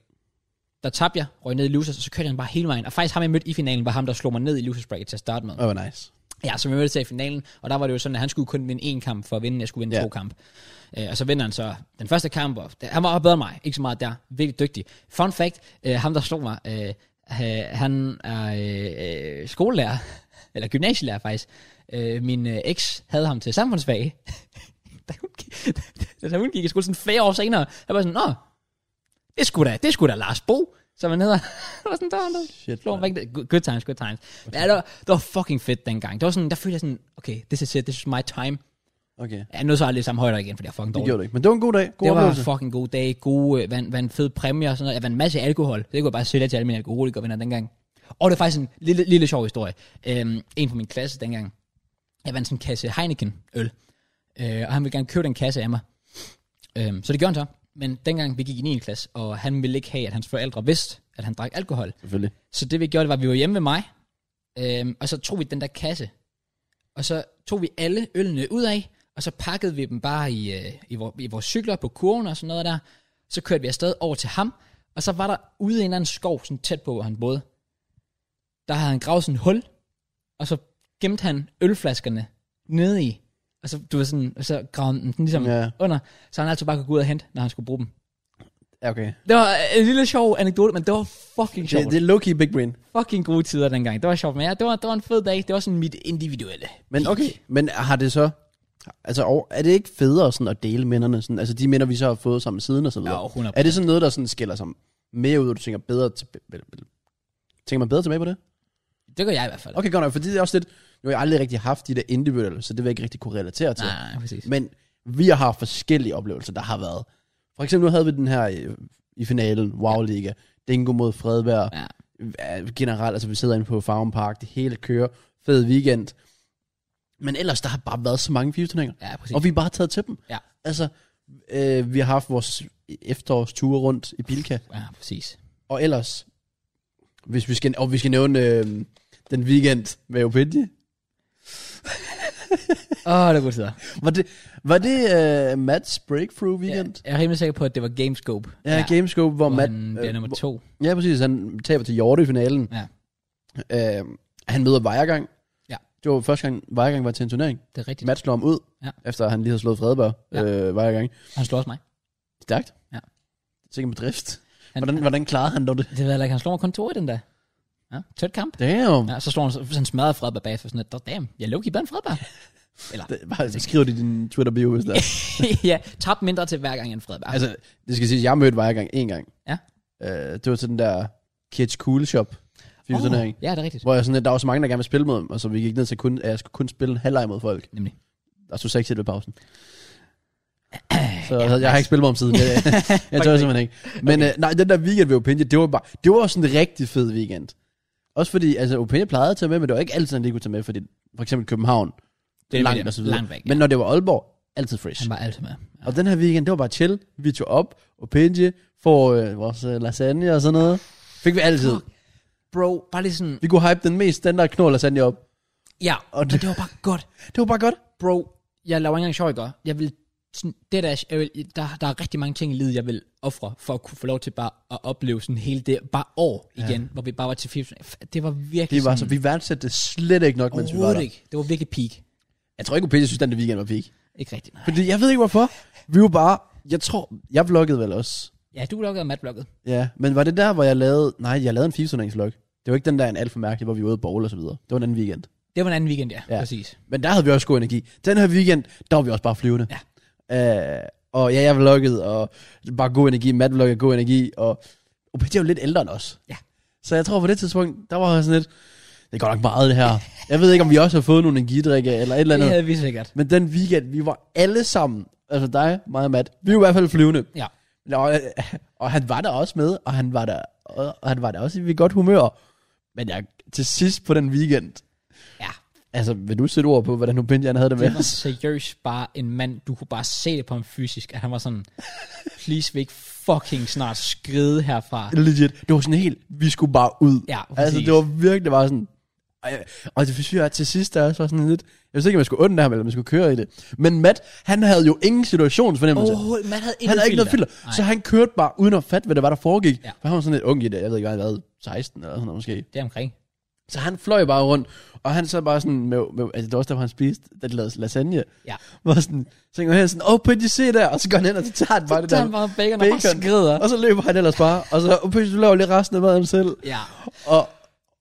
Speaker 1: der tabte jeg, røg ned i losers, og så kørte jeg den bare hele vejen. Og faktisk ham, jeg mødte i finalen, var ham, der slog mig ned i losers bracket til at starte med.
Speaker 2: Det var nice.
Speaker 1: Ja, så vi mødtes i finalen, og der var det jo sådan, at han skulle kun vinde en kamp for at vinde, jeg skulle vinde
Speaker 2: Ja.
Speaker 1: to kamp. Øh, og så vinder han så den første kamp, og da- han var bedre end mig, ikke så meget der, virkelig dygtig. Fun fact, øh, ham der slog mig, øh, øh, han er øh, øh, skolelærer, *laughs* eller gymnasielærer faktisk. Øh, min øh, eks havde ham til samfundsfag, *laughs* da hun, gik, *laughs* da hun gik i skole sådan fire år senere, der var sådan, nå, det skulle da, det skulle da Lars Bo, som han hedder. *laughs* det var sådan, der var han der.
Speaker 2: Shit,
Speaker 1: Slå ham
Speaker 2: mand.
Speaker 1: væk. Good good times, good times. Men ja, det, var, det var fucking fedt dengang. Det var sådan, der følte jeg sådan, okay, this is it, this is my time.
Speaker 2: Okay.
Speaker 1: Jeg nåede så aldrig samme højder igen, fordi jeg er fucking
Speaker 2: Det
Speaker 1: dårlig.
Speaker 2: gjorde du ikke, men det var en god dag. God
Speaker 1: det var en
Speaker 2: oplevelse.
Speaker 1: fucking god dag, gode, øh, vandt, vandt fed præmie og sådan noget. Jeg vandt en masse alkohol. Det kunne jeg bare sælge til alle mine alkoholikervenner dengang. Og det er faktisk en lille, lille sjov historie. Øhm, en fra min klasse dengang, jeg vandt sådan en kasse Heineken-øl. Øh, og han ville gerne købe den kasse af mig. Øhm, så det gjorde han så. Men dengang vi gik i 9. klasse, og han ville ikke have, at hans forældre vidste, at han drak alkohol.
Speaker 2: Selvfølgelig.
Speaker 1: Så det vi gjorde, det var, at vi var hjemme ved mig, øhm, og så tog vi den der kasse, og så tog vi alle ølene ud af, og så pakkede vi dem bare i, øh, i, vor, i vores cykler på kurven og sådan noget der. Så kørte vi afsted over til ham, og så var der ude i en eller anden skov, sådan tæt på, hvor han boede. Der havde han gravet sådan et hul, og så gemte han ølflaskerne nede i. Og så, du var sådan, og så gravede han dem sådan ligesom
Speaker 2: Ja.
Speaker 1: ja. under, så han altid bare kunne gå ud og hente, når han skulle bruge dem.
Speaker 2: Ja, Okay.
Speaker 1: Det var en lille sjov anekdote, men det var fucking sjovt
Speaker 2: Det, det er low-key big brain.
Speaker 1: fucking gode tider dengang. Det var sjovt, men ja, det var, det var en fed dag. Det var sådan mit individuelle.
Speaker 2: Men
Speaker 1: peak.
Speaker 2: okay, men har det så... Altså, og- er det ikke federe sådan at dele minderne? Sådan, altså, de minder, vi så har fået sammen siden og så videre.
Speaker 1: Jo, 100%.
Speaker 2: Er det sådan noget, der sådan skiller sig mere ud, og du tænker bedre til... Tænker man bedre tilbage på det?
Speaker 1: Det gør jeg i hvert fald.
Speaker 2: Okay, godt nok, fordi det er også lidt... Nu har jeg aldrig rigtig haft de der individuelle, så det vil jeg ikke rigtig kunne relatere til.
Speaker 1: Nej, nej, nej, præcis.
Speaker 2: Men vi har haft forskellige oplevelser, der har været. For eksempel nu havde vi den her øh, i finalen, Wow Liga, Dingo mod Fredberg.
Speaker 1: Ja.
Speaker 2: Ja. Generelt, altså vi sidder inde på Farm Park, det hele kører, fed weekend. Men ellers, der har bare været så mange FIFA-turneringer,
Speaker 1: Ja, præcis.
Speaker 2: og vi har bare taget til dem.
Speaker 1: Ja.
Speaker 2: Altså, øh, vi har haft vores efterårsture rundt i Bilka,
Speaker 1: Ja, præcis.
Speaker 2: og ellers, hvis vi skal, og vi skal nævne øh, den weekend med Opinje,
Speaker 1: Åh, oh, det er gode tider.
Speaker 2: var det, var det øh, Mats Breakthrough
Speaker 1: Ja,
Speaker 2: Weekend?
Speaker 1: jeg er rimelig sikker på, at det var Gamescope.
Speaker 2: Ja, ja Gamescope, hvor,
Speaker 1: hvor
Speaker 2: Matt... øh,
Speaker 1: han bliver nummer to.
Speaker 2: Ja, præcis. Han taber til Hjorte i finalen.
Speaker 1: Ja.
Speaker 2: Øh, han møder Vejergang.
Speaker 1: Ja.
Speaker 2: Det var første gang, Vejergang var til en turnering.
Speaker 1: Det er rigtigt.
Speaker 2: Matt slår ham ud,
Speaker 1: Ja.
Speaker 2: efter han lige havde slået Fredberg
Speaker 1: Ja.
Speaker 2: ja. øh, Vejergang.
Speaker 1: Han slår også mig.
Speaker 2: Stærkt.
Speaker 1: Ja.
Speaker 2: Sikke med drift.
Speaker 1: Han-
Speaker 2: hvordan, hvordan klarede han dog det?
Speaker 1: Det ved jeg heller ikke. Han slår mig kun to i den der. Ja, tæt kamp.
Speaker 2: Damn. Ja.
Speaker 1: Ja, så slår han, så han smadrer Fredberg bagefter sådan lidt. Damn, jeg lå i bad Fredberg. *laughs*
Speaker 2: Det, bare, så skriver de din Twitter bio, hvis der.
Speaker 1: ja, tabt mindre til hver gang end Fredberg.
Speaker 2: altså, det skal siges, jeg mødte Vejergang en gang.
Speaker 1: Ja.
Speaker 2: Øh, det var til den der Kids Cool Shop. Oh. Turnering,
Speaker 1: ja, det er rigtigt.
Speaker 2: hvor jeg sådan, lidt- der var så mange, der gerne ville spille mod dem, og så vi gik ned til kun, at jeg skulle kun spille en halvleg mod folk.
Speaker 1: Nemlig.
Speaker 2: Der stod 6
Speaker 1: *clears throat*
Speaker 2: ved pausen. Så
Speaker 1: Ja,
Speaker 2: ja, jeg har ikke spillet mig om
Speaker 1: *laughs*
Speaker 2: siden. Jeg, jeg tør simpelthen ikke. Men okay. øh, nej, den der weekend ved Opinion, det var bare, det var sådan en rigtig fed weekend. Også fordi, altså Opinion plejede at tage med, men det var ikke altid, han lige kunne tage med, fordi for eksempel København, det er langt
Speaker 1: det.
Speaker 2: og så videre.
Speaker 1: Langt væk, ja.
Speaker 2: Men når det var Aalborg, altid fresh.
Speaker 1: Han var altid med. Ja.
Speaker 2: Og den her weekend, det var bare chill. Vi tog op, Opinion, får øh, vores øh, lasagne og sådan noget. Fik vi altid.
Speaker 1: Fuck. Bro, bare lige sådan...
Speaker 2: Vi kunne hype den mest standard knold lasagne op.
Speaker 1: Ja, og
Speaker 2: Og
Speaker 1: det,
Speaker 2: det-
Speaker 1: det var bare godt.
Speaker 2: Det var bare godt.
Speaker 1: bro, jeg laver ikke engang sjov, jeg gør. Jeg vil sådan, det der, jeg vil, der, der er rigtig mange ting i livet, jeg vil ofre, for at kunne få lov til bare at opleve sådan hele det, bare år igen, ja. hvor vi bare var til 80. Det var virkelig
Speaker 2: Det var så,
Speaker 1: sådan,
Speaker 2: vi værdsatte det slet ikke nok, mens vi var
Speaker 1: overhovedet
Speaker 2: der.
Speaker 1: ikke. Det var virkelig peak.
Speaker 2: Jeg tror ikke, at Peter synes, den der weekend var peak.
Speaker 1: Ikke rigtigt, nej.
Speaker 2: Fordi jeg ved ikke, hvorfor. Vi var bare... Jeg tror... Jeg vloggede vel også.
Speaker 1: Ja, du lukkede Matt blokket.
Speaker 2: Ja, men var det der, hvor jeg lavede... Nej, jeg lavede en FIFA-turneringsvlog. Det var ikke den der en alt for mærkelig, hvor vi var ude at bowl og så videre. Det var en anden weekend.
Speaker 1: Det var en anden weekend, ja. ja.
Speaker 2: Ja.
Speaker 1: Præcis.
Speaker 2: Men der havde vi også god energi. Den her weekend, der var vi også bare flyvende. Ja. Øh, og ja, jeg vloggede, og bare god energi. Matt vloggede god energi, og... Og Peter er jo lidt ældre end os.
Speaker 1: Ja.
Speaker 2: Så jeg tror på det tidspunkt, der var jeg sådan lidt... Det går nok meget, det her. Jeg ved ikke, om vi også har fået nogle energidrikke eller et eller
Speaker 1: Det
Speaker 2: andet.
Speaker 1: havde vi sikkert.
Speaker 2: Men den weekend, vi var alle sammen, altså dig, mig og Matt, vi var i hvert fald flyvende.
Speaker 1: Ja.
Speaker 2: Og, og han var der også med, og han var der, og, og han var der også i godt humør. Men jeg, til sidst på den weekend,
Speaker 1: Ja.
Speaker 2: altså vil du sætte ord på, hvordan Opinion havde det med
Speaker 1: Det var
Speaker 2: os?
Speaker 1: seriøst bare en mand, du kunne bare se det på ham fysisk, at han var sådan, please vil ikke fucking snart skride herfra.
Speaker 2: Legit. Det var sådan helt, vi skulle bare ud.
Speaker 1: Ja,
Speaker 2: altså
Speaker 1: præcis.
Speaker 2: det var virkelig bare sådan, og jeg- og det synes jeg, til sidst der også var sådan lidt, jeg ved ikke, om jeg skulle undre ham, eller om jeg skulle køre i det. Men Matt, han havde jo ingen situationsfornemmelse.
Speaker 1: Overhovedet, man havde
Speaker 2: altså. han havde ikke noget filter.
Speaker 1: Nej,
Speaker 2: Så han kørte bare uden at fatte, hvad det var, der foregik.
Speaker 1: Ja.
Speaker 2: Ja. For han var sådan lidt ung i det. Jeg ved ikke, hvad han var, 16 eller sådan noget måske.
Speaker 1: det er omkring.
Speaker 2: Så han fløj bare rundt, og han så bare sådan med, med altså det var også der, hvor han spiste, da de lavede lasagne.
Speaker 1: Ja.
Speaker 2: Hvor sådan, så går han hen sådan, åh, oh, se der, og så går han hen, og så tager han bare det
Speaker 1: Så
Speaker 2: der.
Speaker 1: han bare bacon, og bare
Speaker 2: bacon.
Speaker 1: skrider.
Speaker 2: Og så løber han ellers bare, og så, oh, Pidgey, du laver lige resten af maden selv.
Speaker 1: Ja,
Speaker 2: Og,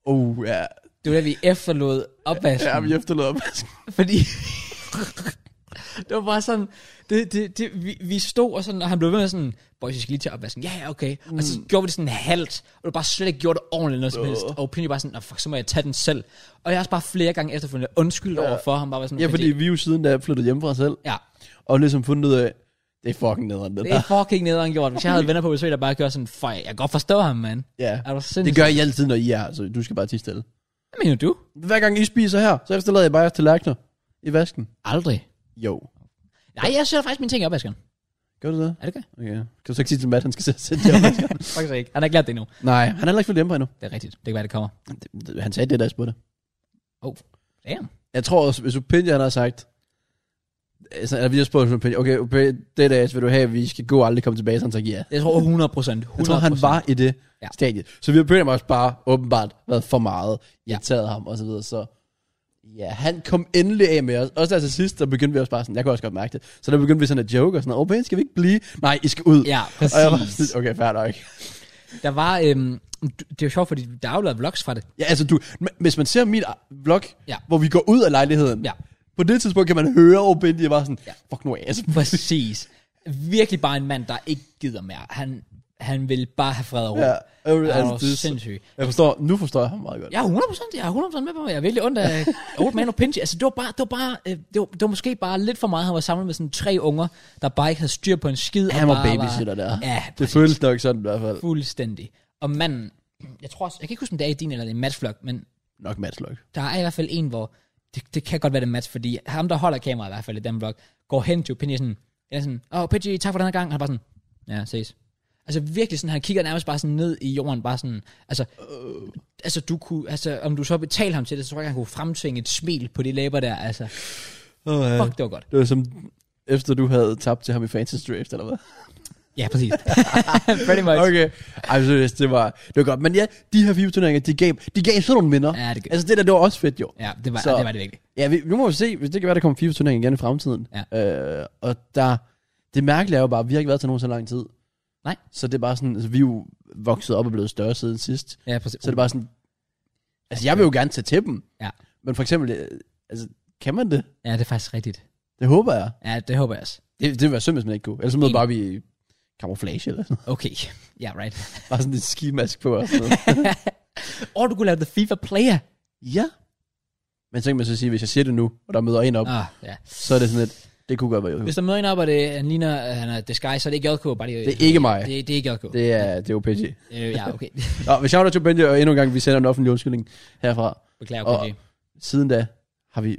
Speaker 2: oh ja,
Speaker 1: det var da, vi efterlod opvasken.
Speaker 2: ja, vi efterlod ham.
Speaker 1: Fordi *laughs* det var bare sådan, det, det, det, vi, vi stod og sådan, og han blev ved med sådan, boys, jeg skal lige til opvasken. Ja, ja, okay. Mm. Og så gjorde vi det sådan halvt, og du bare slet ikke gjorde det ordentligt eller noget som helst. Og Pini bare sådan, "Nå, fuck, så må jeg tage den selv. Og jeg har også bare flere gange efterfølgende undskyldt ja. over for ham, bare var sådan,
Speaker 2: *laughs* ja, fordi vi er jo siden da flyttede hjem fra os selv,
Speaker 1: ja,
Speaker 2: og ligesom fundet ud af, det er fucking nederen, det
Speaker 1: det er
Speaker 2: der.
Speaker 1: fucking nederen gjort. Hvis jeg havde venner på besøg, der bare gjorde sådan, fuck, jeg kan godt forstå ham, mand.
Speaker 2: Ja,
Speaker 1: Er du
Speaker 2: det
Speaker 1: sindssygt?
Speaker 2: gør jeg altid, når I er her, så du skal bare tige stille.
Speaker 1: Hvad mener du?
Speaker 2: Hver gang I spiser her, så efterlader jeg bare jeres tallerkener i vasken.
Speaker 1: Aldrig.
Speaker 2: Jo.
Speaker 1: Nej, jeg sætter faktisk mine ting i opvaskeren.
Speaker 2: Gør du det?
Speaker 1: Er det ikke?
Speaker 2: Okay. Kan du så ikke sige til Matt, han skal sætte sig til ham? *laughs*
Speaker 1: Faktisk ikke. Han har ikke lært det endnu.
Speaker 2: Nej, han har heller ikke flyttet hjemme endnu.
Speaker 1: Det er rigtigt. Det kan være, det kommer.
Speaker 2: Det- det- Han sagde det, da jeg spurgte.
Speaker 1: Oh, damn.
Speaker 2: Jeg tror også, hvis Upinia, han har sagt... Altså, eller vi har spurgt Upinia, okay, okay, det der, vil du have, at vi skal gå og aldrig komme tilbage, så han sagde ja.
Speaker 1: Jeg tror 100 procent.
Speaker 2: Jeg tror, han var i det
Speaker 1: Ja.
Speaker 2: ja. stadie. Så vi har Upinia også bare åbenbart været for meget,
Speaker 1: Ja.
Speaker 2: irriteret ham og så videre, så... Ja, han kom endelig af med os. Også der til sidst, der begyndte vi også bare sådan, jeg kunne også godt mærke det. Så der begyndte vi sådan at joke og sådan, åh, skal vi ikke blive? Nej, I skal ud.
Speaker 1: Ja,
Speaker 2: og jeg var
Speaker 1: præcis.
Speaker 2: sådan, okay, fair nok.
Speaker 1: Der var, øhm, du- det er jo sjovt, fordi der er jo lavet vlogs fra det.
Speaker 2: Ja, altså du, m- hvis man ser mit vlog,
Speaker 1: Ja.
Speaker 2: ja. hvor vi går ud af lejligheden,
Speaker 1: Ja.
Speaker 2: på det tidspunkt kan man høre Obendi bare sådan,
Speaker 1: Ja.
Speaker 2: ja. fuck nu af, altså.
Speaker 1: Præcis. Virkelig bare en mand, der ikke gider mere. Han, han vil bare have fred og ro.
Speaker 2: Ja,
Speaker 1: Ja,
Speaker 2: øh,
Speaker 1: altså,
Speaker 2: altså,
Speaker 1: det er
Speaker 2: det,
Speaker 1: sindssygt.
Speaker 2: jeg forstår, nu forstår jeg ham meget godt.
Speaker 1: Jeg er 100%, jeg er 100 med på mig. Jeg er virkelig ondt
Speaker 2: *laughs*
Speaker 1: af Old Man og Pinchy. Altså, det var, bare, det, var bare, øh, det, var, det var måske bare lidt for meget. Han var samlet med sådan tre unger, der bare ikke havde styr på en skid.
Speaker 2: Han
Speaker 1: og
Speaker 2: var
Speaker 1: bare
Speaker 2: babysitter der.
Speaker 1: Ja,
Speaker 2: Det føles nok sådan i hvert fald.
Speaker 1: fuldstændig. Og manden, jeg tror også, jeg kan ikke huske, om det er i din eller det er i Mads vlog, men
Speaker 2: Nok Mads Løg.
Speaker 1: Der er i hvert fald en, hvor det, det kan godt være det er match, fordi ham, der holder kameraet i hvert fald i den vlog, går hen til Opinji sådan, eller sådan, åh, oh, Opinji, tak for den her gang. Han er bare sådan, ja, ses. Altså virkelig sådan, han kigger nærmest bare sådan ned i jorden, bare sådan, altså, altså du kunne, altså om du så betalte ham til det, så tror jeg, han kunne fremtvinge et smil på de læber der, altså,
Speaker 2: Oh, ja.
Speaker 1: fuck, det var godt.
Speaker 2: Det var som, efter du havde tabt til ham i Fantasy Draft, eller hvad?
Speaker 1: Ja, *laughs* præcis. Pretty much. Okay.
Speaker 2: Okay. Ej, seriøst, det var, det var godt. Men ja, de her FIFA-turneringer, de gav, de gav sådan nogle minder.
Speaker 1: Ja, det gør-
Speaker 2: altså det der, det var også fedt jo.
Speaker 1: Ja, det var,
Speaker 2: Så-
Speaker 1: det var det virkelig.
Speaker 2: Ja, vi, nu må vi se, hvis det kan være, der kommer FIFA turnering igen i fremtiden. Ja. Øh, og der, det mærkelige er jo bare, at vi har ikke været til nogen så lang tid.
Speaker 1: Nej.
Speaker 2: Så det er bare sådan, altså, vi er jo vokset op og blevet større siden sidst.
Speaker 1: Ja, præcis.
Speaker 2: Så det er bare sådan, altså jeg vil jo gerne tage til dem.
Speaker 1: Ja.
Speaker 2: Men for eksempel, øh, altså kan man det?
Speaker 1: Ja, det er faktisk rigtigt.
Speaker 2: Det håber jeg.
Speaker 1: Ja, det håber jeg også.
Speaker 2: Det, det vil være synd, hvis man ikke kunne. Ellers så møder
Speaker 1: Enig.
Speaker 2: bare vi i camouflage eller sådan noget.
Speaker 1: Okay. Ja, yeah, right.
Speaker 2: Bare sådan en skimask på og sådan
Speaker 1: *laughs*
Speaker 2: noget.
Speaker 1: Og du kunne lave The FIFA Player.
Speaker 2: ja. Men så kan man så sige, hvis jeg siger det nu, og der møder en op,
Speaker 1: Ah, ja.
Speaker 2: så er det sådan lidt, det kunne godt være jo.
Speaker 1: Hvis der møder en op, og det, han ligner, at han er disguise, så er det ikke JK, bare lige,
Speaker 2: Det er ikke mig.
Speaker 1: Det, det er ikke JK. Det.
Speaker 2: Det er, det er OPG.
Speaker 1: Øh, ja,
Speaker 2: *laughs*
Speaker 1: okay.
Speaker 2: Nå, men shout out til Benji, og endnu en gang, vi sender en offentlig undskyldning herfra.
Speaker 1: Beklager,
Speaker 2: Og-
Speaker 1: okay.
Speaker 2: Siden da har vi,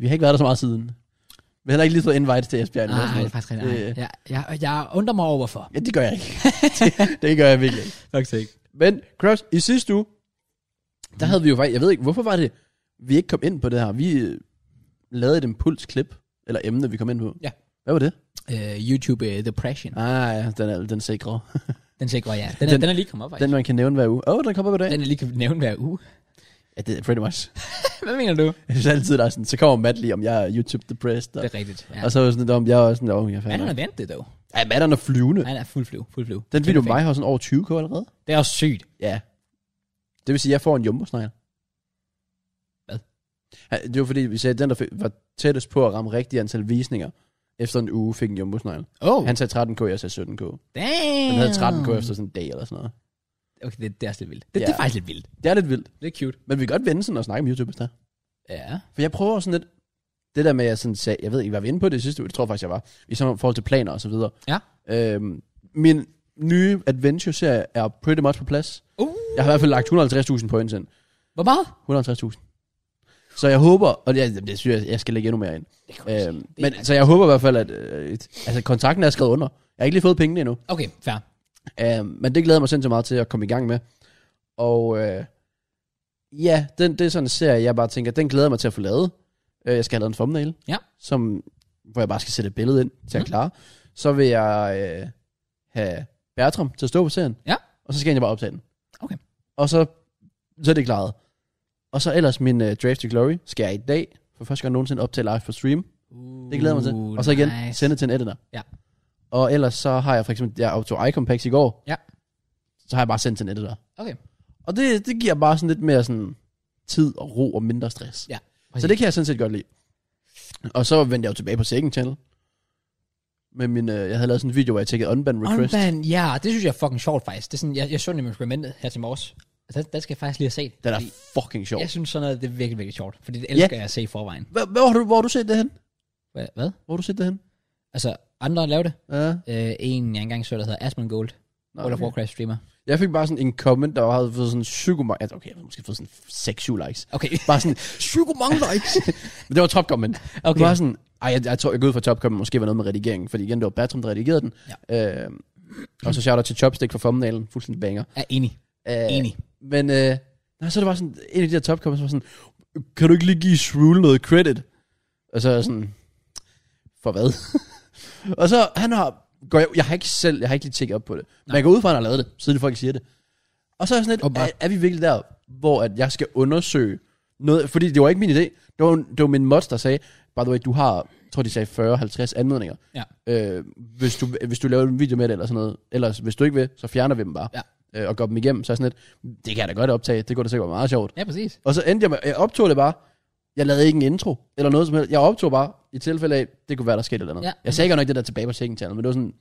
Speaker 2: vi har ikke været der så meget siden. Vi har heller ikke lige fået invites til Esbjerg. eller
Speaker 1: Nej, det
Speaker 2: sådan
Speaker 1: er
Speaker 2: noget.
Speaker 1: faktisk
Speaker 2: Det-
Speaker 1: rigtigt. Ja, jeg, jeg undrer mig over, hvorfor.
Speaker 2: Ja, det gør jeg ikke. *laughs* det, det gør jeg virkelig ikke.
Speaker 1: Faktisk ikke.
Speaker 2: Men, Kraus, i sidste uge, der havde vi jo faktisk, jeg ved ikke, hvorfor var det, vi ikke kom ind på det her. Vi øh, lavede et impulsklip, eller emne, vi kom ind på.
Speaker 1: Ja.
Speaker 2: Hvad var det?
Speaker 1: øh, YouTube øh, Depression.
Speaker 2: Ah, ja, den er den sikre.
Speaker 1: Den sikrer jeg. Den er, den,
Speaker 2: Den-
Speaker 1: den er lige kommet op, faktisk.
Speaker 2: Den, man kan nævne hver uge. Åh, oh, den kommer på dag.
Speaker 1: Den, den er lige kan nævne hver
Speaker 2: *laughs*
Speaker 1: uge.
Speaker 2: Ja, det er pretty much. *laughs*
Speaker 1: Hvad mener du?
Speaker 2: Jeg synes altid, der er sådan, så kommer Matt lige, om jeg er YouTube depressed. Og,
Speaker 1: Det er rigtigt. Ja.
Speaker 2: og så er jeg sådan lidt om, jeg er også sådan, åh, jeg
Speaker 1: Han har
Speaker 2: fandt
Speaker 1: vendt det, dog.
Speaker 2: Ja, Matt han er flyvende.
Speaker 1: Han er fuld flyv. Fuld flyv.
Speaker 2: Den video
Speaker 1: Kæmpe
Speaker 2: med mig har sådan over 20k allerede.
Speaker 1: fan. Det er også sygt.
Speaker 2: Ja. Det vil sige, at jeg får en jumbo snegl.
Speaker 1: Hvad?
Speaker 2: Ja, det var fordi, vi sagde, at den, der fik, var tættest på at ramme rigtige antal visninger, efter en uge fik en jumbo snegl.
Speaker 1: Oh,
Speaker 2: Han sagde 13k, jeg sagde 17k.
Speaker 1: damn.
Speaker 2: Han havde 13k efter sådan en dag eller sådan noget.
Speaker 1: Okay, det, det er også lidt vildt. Det, det
Speaker 2: Ja.
Speaker 1: er faktisk lidt vildt.
Speaker 2: Det er lidt vildt.
Speaker 1: Det er cute.
Speaker 2: Men vi kan godt vende sådan og snakke om YouTube, hvis der.
Speaker 1: Ja.
Speaker 2: For jeg prøver sådan lidt, det der med, at jeg sådan sagde, jeg ved ikke, var vi inde på det sidste uge, det tror jeg faktisk, jeg var, i sådan forhold til planer og så videre.
Speaker 1: Ja.
Speaker 2: Øhm, min nye adventure-serie er pretty much på plads.
Speaker 1: Uh,
Speaker 2: Jeg har i hvert fald lagt 150.000 points ind.
Speaker 1: hvor meget?
Speaker 2: 150.000. Så jeg håber, og jeg, jamen, det synes jeg, jeg skal lægge endnu mere ind.
Speaker 1: Det kan man
Speaker 2: Øhm,
Speaker 1: sige. Det er
Speaker 2: men, så jeg håber i hvert fald, at øh, et, altså, kontrakten er skrevet under. Jeg har ikke lige fået pengene endnu.
Speaker 1: Okay, fair.
Speaker 2: Øhm, men det glæder jeg mig sindssygt meget til at komme i gang med. Og øh, ja, den, det er sådan en serie, jeg bare tænker, den glæder jeg mig til at få lavet. Øh, jeg skal have lavet en thumbnail,
Speaker 1: Ja.
Speaker 2: som, hvor jeg bare skal sætte et billede ind til at
Speaker 1: Mhm.
Speaker 2: klare. Så vil jeg øh, have Bertram til at stå på serien.
Speaker 1: Ja.
Speaker 2: Og så skal jeg egentlig bare optage den.
Speaker 1: Okay.
Speaker 2: Og så, så er det klaret. Og så ellers min øh, Draft to Glory skal jeg i dag for første gang nogensinde optage live på stream.
Speaker 1: Uh,
Speaker 2: Det glæder jeg mig til. Og så igen, nice. sende til en editor.
Speaker 1: Ja.
Speaker 2: Og ellers så har jeg for eksempel, jeg optog iCompax i går.
Speaker 1: Ja.
Speaker 2: Så har jeg bare sendt til en editor.
Speaker 1: Okay.
Speaker 2: Og det, det giver bare sådan lidt mere sådan tid og ro og mindre stress.
Speaker 1: Ja,
Speaker 2: så det kan jeg sådan set godt lide. Og så vendte jeg jo tilbage på Second Channel. Med min, øh, jeg havde lavet sådan en video, hvor jeg tjekkede unban request.
Speaker 1: Unban, ja, det synes jeg er fucking sjovt faktisk. Det er sådan, jeg, jeg så nemlig eksperimentet her til morges. Altså, den, den skal jeg faktisk lige have set.
Speaker 2: Den er
Speaker 1: fordi
Speaker 2: fucking sjov.
Speaker 1: Jeg synes sådan noget, det er virkelig, virkelig sjovt. Fordi det elsker jeg at se i forvejen.
Speaker 2: Hva- Hvor, har du, hvor har du set det hen?
Speaker 1: Hva- Hvad?
Speaker 2: Hvor har du set det hen?
Speaker 1: Altså, andre laver det.
Speaker 2: Ja.
Speaker 1: Øh, en, jeg engang så, der hedder Asmund Gold.
Speaker 2: Nå,
Speaker 1: World of
Speaker 2: okay.
Speaker 1: Warcraft streamer.
Speaker 2: Jeg fik bare sådan en comment, der havde fået sådan psykomark. Altså, okay, jeg havde måske fået sådan 6-7 likes.
Speaker 1: Okay,
Speaker 2: Bare sådan, psykomark likes. *laughs* Men det var top comment. Okay.
Speaker 1: *laughs* okay.
Speaker 2: Det var sådan, ej, jeg, jeg, tror, jeg går ud fra Topcom, måske var noget med redigeringen, fordi igen, det var Bertram, der redigerede den. Ja. Øh, og så shout-out til Chopstick for thumbnailen, fuldstændig banger.
Speaker 1: Jeg er enig.
Speaker 2: Øh,
Speaker 1: Enig.
Speaker 2: Men øh, nej, så er det bare sådan, en af de der Topcom, som var sådan, kan du ikke lige give Shrewl noget credit? Og så er jeg sådan, for hvad? *laughs* og så, han har, går jeg, jeg har ikke selv, jeg har ikke lige tjekket op på det, men jeg går ud fra, at han har lavet det, siden folk siger det. Og så er jeg sådan lidt,
Speaker 1: Åbenbart.
Speaker 2: er, er vi virkelig der, hvor at jeg skal undersøge noget, fordi det var ikke min idé, det var, det var min mods, der sagde, by the way, du har, jeg tror de sagde 40-50 anmodninger,
Speaker 1: Ja.
Speaker 2: øh, hvis, du, hvis du laver en video med det eller sådan noget, ellers hvis du ikke vil, så fjerner vi dem bare,
Speaker 1: Ja.
Speaker 2: øh, og går dem igennem, så er jeg sådan lidt, det kan jeg da godt optage, det kunne da sikkert være meget sjovt.
Speaker 1: Ja, præcis.
Speaker 2: Og så endte jeg med, jeg optog det bare, jeg lavede ikke en intro, eller noget som helst, jeg optog bare, i tilfælde af, det kunne være, der skete et eller andet.
Speaker 1: Ja.
Speaker 2: Jeg sagde ikke nok det der tilbage på second channel, men det var sådan,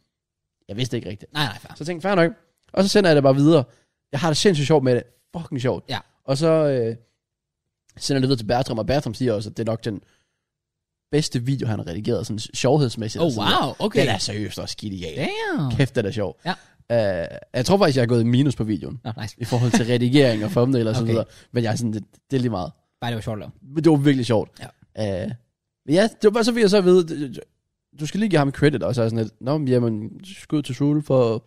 Speaker 2: jeg vidste ikke rigtigt.
Speaker 1: Nej, nej, fair.
Speaker 2: Så jeg tænkte, fair nok. Og så sender jeg det bare videre. Jeg har det sindssygt sjovt med det. Fucking sjovt.
Speaker 1: Ja.
Speaker 2: Og så øh, sender jeg det videre til Bertram, og Bertram siger også, at det er nok den bedste video, han har redigeret, sådan sjovhedsmæssigt.
Speaker 1: Oh,
Speaker 2: og sådan der.
Speaker 1: wow, okay.
Speaker 2: Den er seriøst også skidt i af.
Speaker 1: Damn.
Speaker 2: Kæft, den er sjov.
Speaker 1: Ja.
Speaker 2: Øh, jeg tror faktisk, jeg er gået i minus på videoen,
Speaker 1: Nå, nice.
Speaker 2: i forhold til redigering og thumbnail og så
Speaker 1: Okay.
Speaker 2: videre. Men jeg er sådan, det, det er lige meget.
Speaker 1: Bare det var sjovt at lave.
Speaker 2: Men det var virkelig sjovt.
Speaker 1: Ja.
Speaker 2: Øh, men ja, det var bare så fik jeg så at vide, øh, du skal lige give ham credit, og så er jeg sådan lidt, nå, men jamen, skud til Shul for at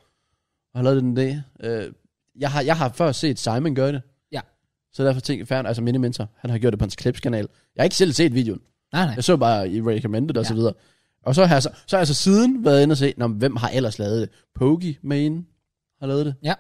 Speaker 2: have lavet den idé. Øh, jeg, har, jeg har før set Simon gøre det.
Speaker 1: Ja.
Speaker 2: Så derfor tænkte jeg, færdig, altså min mentor, han har gjort det på hans klipskanal. Jeg har ikke selv set videoen.
Speaker 1: Nej, nej.
Speaker 2: Jeg så bare i recommended og
Speaker 1: Ja.
Speaker 2: så videre. Og så har jeg så, så, har jeg så siden været inde og se, nå, men hvem har ellers lavet det? Pogi med en har lavet det.
Speaker 1: Ja.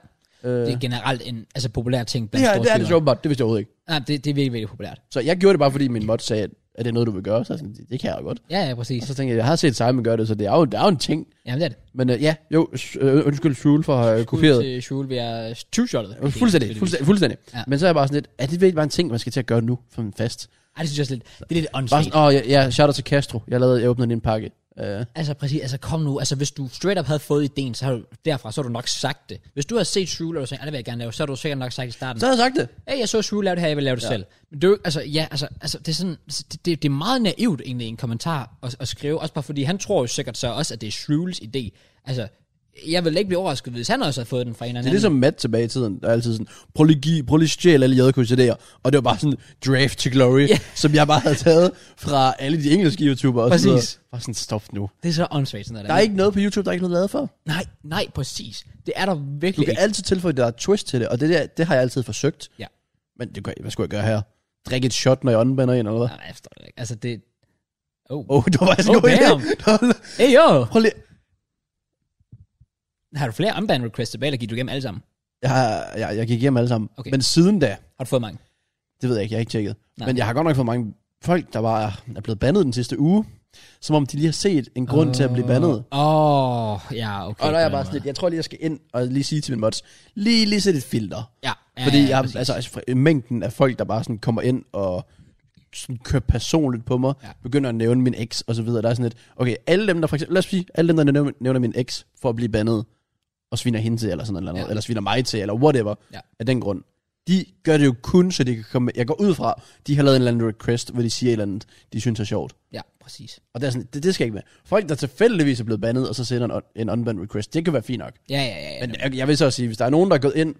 Speaker 2: Øh,
Speaker 1: Det er generelt en altså, populær ting
Speaker 2: det,
Speaker 1: blandt
Speaker 2: her, det er det
Speaker 1: storskrivere.
Speaker 2: sjovt, det vidste jeg overhovedet ikke.
Speaker 1: Nej, det, det er virkelig, virkelig populært.
Speaker 2: Så jeg gjorde det bare, fordi min mod sagde, at er det noget, du vil gøre? Så jeg sådan, det kan jeg jo godt.
Speaker 1: Ja, ja, præcis.
Speaker 2: Og så tænkte jeg, jeg har set Simon gøre det, så det er jo, det er jo en ting.
Speaker 1: Jamen, det er det.
Speaker 2: Men øh, ja, jo, s- øh, undskyld Shul for at have kopieret.
Speaker 1: Ud til Shul, vi er two-shottet.
Speaker 2: Øh, Fuldstændig, fuldstændig, fuldstændig.
Speaker 1: Ja.
Speaker 2: Ja. Men så er jeg bare sådan lidt, er det virkelig bare en ting, man skal til at gøre nu, for en fast?
Speaker 1: Ej, det synes jeg også lidt, det er lidt
Speaker 2: Bare
Speaker 1: åndssvagt.
Speaker 2: sådan, åh, ja, ja, shout out til Castro. Jeg, lavede, jeg åbnede en pakke. Uh,
Speaker 1: Altså præcis, altså kom nu, altså hvis du straight up havde fået ideen, så har du derfra, så har du nok sagt det. Hvis du havde set Shul, og du sagde, "Ej, det vil jeg gerne lave, så har du sikkert nok sagt i starten,
Speaker 2: så havde jeg sagt det.
Speaker 1: hey, jeg så Shul lave det her, jeg vil lave det ja. selv. Men det er jo ikke- altså, ja, altså, altså det er sådan, det, det, det er meget naivt egentlig i en kommentar at, at skrive, også bare fordi han tror jo sikkert så også, at det er Shuls idé. Altså, jeg vil ikke blive overrasket, hvis han også havde fået den fra en eller
Speaker 2: Det
Speaker 1: anden.
Speaker 2: er ligesom Matt tilbage i tiden, der er altid sådan, prøv lige, give, prøv lige stjæl alle JK's idéer. Og det var bare sådan, draft to glory,
Speaker 1: Ja.
Speaker 2: yeah. som jeg bare havde taget fra alle de engelske YouTubere. Og sådan
Speaker 1: Præcis.
Speaker 2: noget. Bare sådan, stop nu.
Speaker 1: det er så åndssvagt sådan noget.
Speaker 2: Der er ikke noget på YouTube, der er ikke noget lavet for.
Speaker 1: Nej, nej, præcis. Det er der
Speaker 2: Du
Speaker 1: virkelig
Speaker 2: kan
Speaker 1: ikke.
Speaker 2: altid tilføje der er et twist til det, og det, der, det har jeg altid forsøgt.
Speaker 1: Ja.
Speaker 2: Men det gør, hvad skulle jeg gøre her? Drikke et shot, når jeg åndbander ind, eller hvad?
Speaker 1: Nej, nej, jeg forstår det ikke. Altså, det... Oh.
Speaker 2: Åh, oh, det var faktisk
Speaker 1: Oh,
Speaker 2: en god idé.
Speaker 1: damn.
Speaker 2: *laughs* Det var-
Speaker 1: Hey, yo!
Speaker 2: Prøv lige.
Speaker 1: Har du flere unbanned requests tilbage, eller gik du igennem alle sammen?
Speaker 2: Jeg, har- jeg, jeg gik hjem alle sammen.
Speaker 1: Okay.
Speaker 2: Okay. Men siden da,
Speaker 1: Har du fået mange?
Speaker 2: det ved jeg ikke, jeg har ikke tjekket.
Speaker 1: Nej.
Speaker 2: Nej. Men jeg har godt nok fået mange folk, der bare er blevet bandet den sidste uge. Som om de lige har set en grund oh. til at blive bandet.
Speaker 1: Åh, oh, ja, okay.
Speaker 2: Og
Speaker 1: på
Speaker 2: der er jeg
Speaker 1: den
Speaker 2: bare
Speaker 1: måde.
Speaker 2: sådan lidt, jeg tror lige, jeg skal ind og lige sige til min mods, lige, lige sæt et filter.
Speaker 1: Ja, ja,
Speaker 2: Fordi
Speaker 1: ja,
Speaker 2: jeg,
Speaker 1: præcis.
Speaker 2: altså, altså, fra- mængden af folk, der bare sådan kommer ind og sådan kører personligt på mig,
Speaker 1: Ja.
Speaker 2: ja. begynder at nævne min eks og så videre. Der er sådan lidt, okay, alle dem, der for eksempel, lad os sige, alle dem, der nævner, nævner min eks for at blive bandet, og sviner hende til, eller sådan noget,
Speaker 1: Ja.
Speaker 2: ja. eller sviner mig til, eller whatever,
Speaker 1: Ja.
Speaker 2: ja. af den grund. De gør det jo kun, så de kan komme Jeg går ud fra, de har lavet en eller anden request, hvor de siger et eller andet, de synes er sjovt.
Speaker 1: Ja, præcis.
Speaker 2: Og det, er sådan, det, det skal ikke med. Folk, der tilfældigvis er blevet bandet, og så sender en, un- en unbanned request, det kan være fint nok.
Speaker 1: Ja, ja, ja. ja.
Speaker 2: Men jeg, jeg vil så også sige, hvis der er nogen, der er gået ind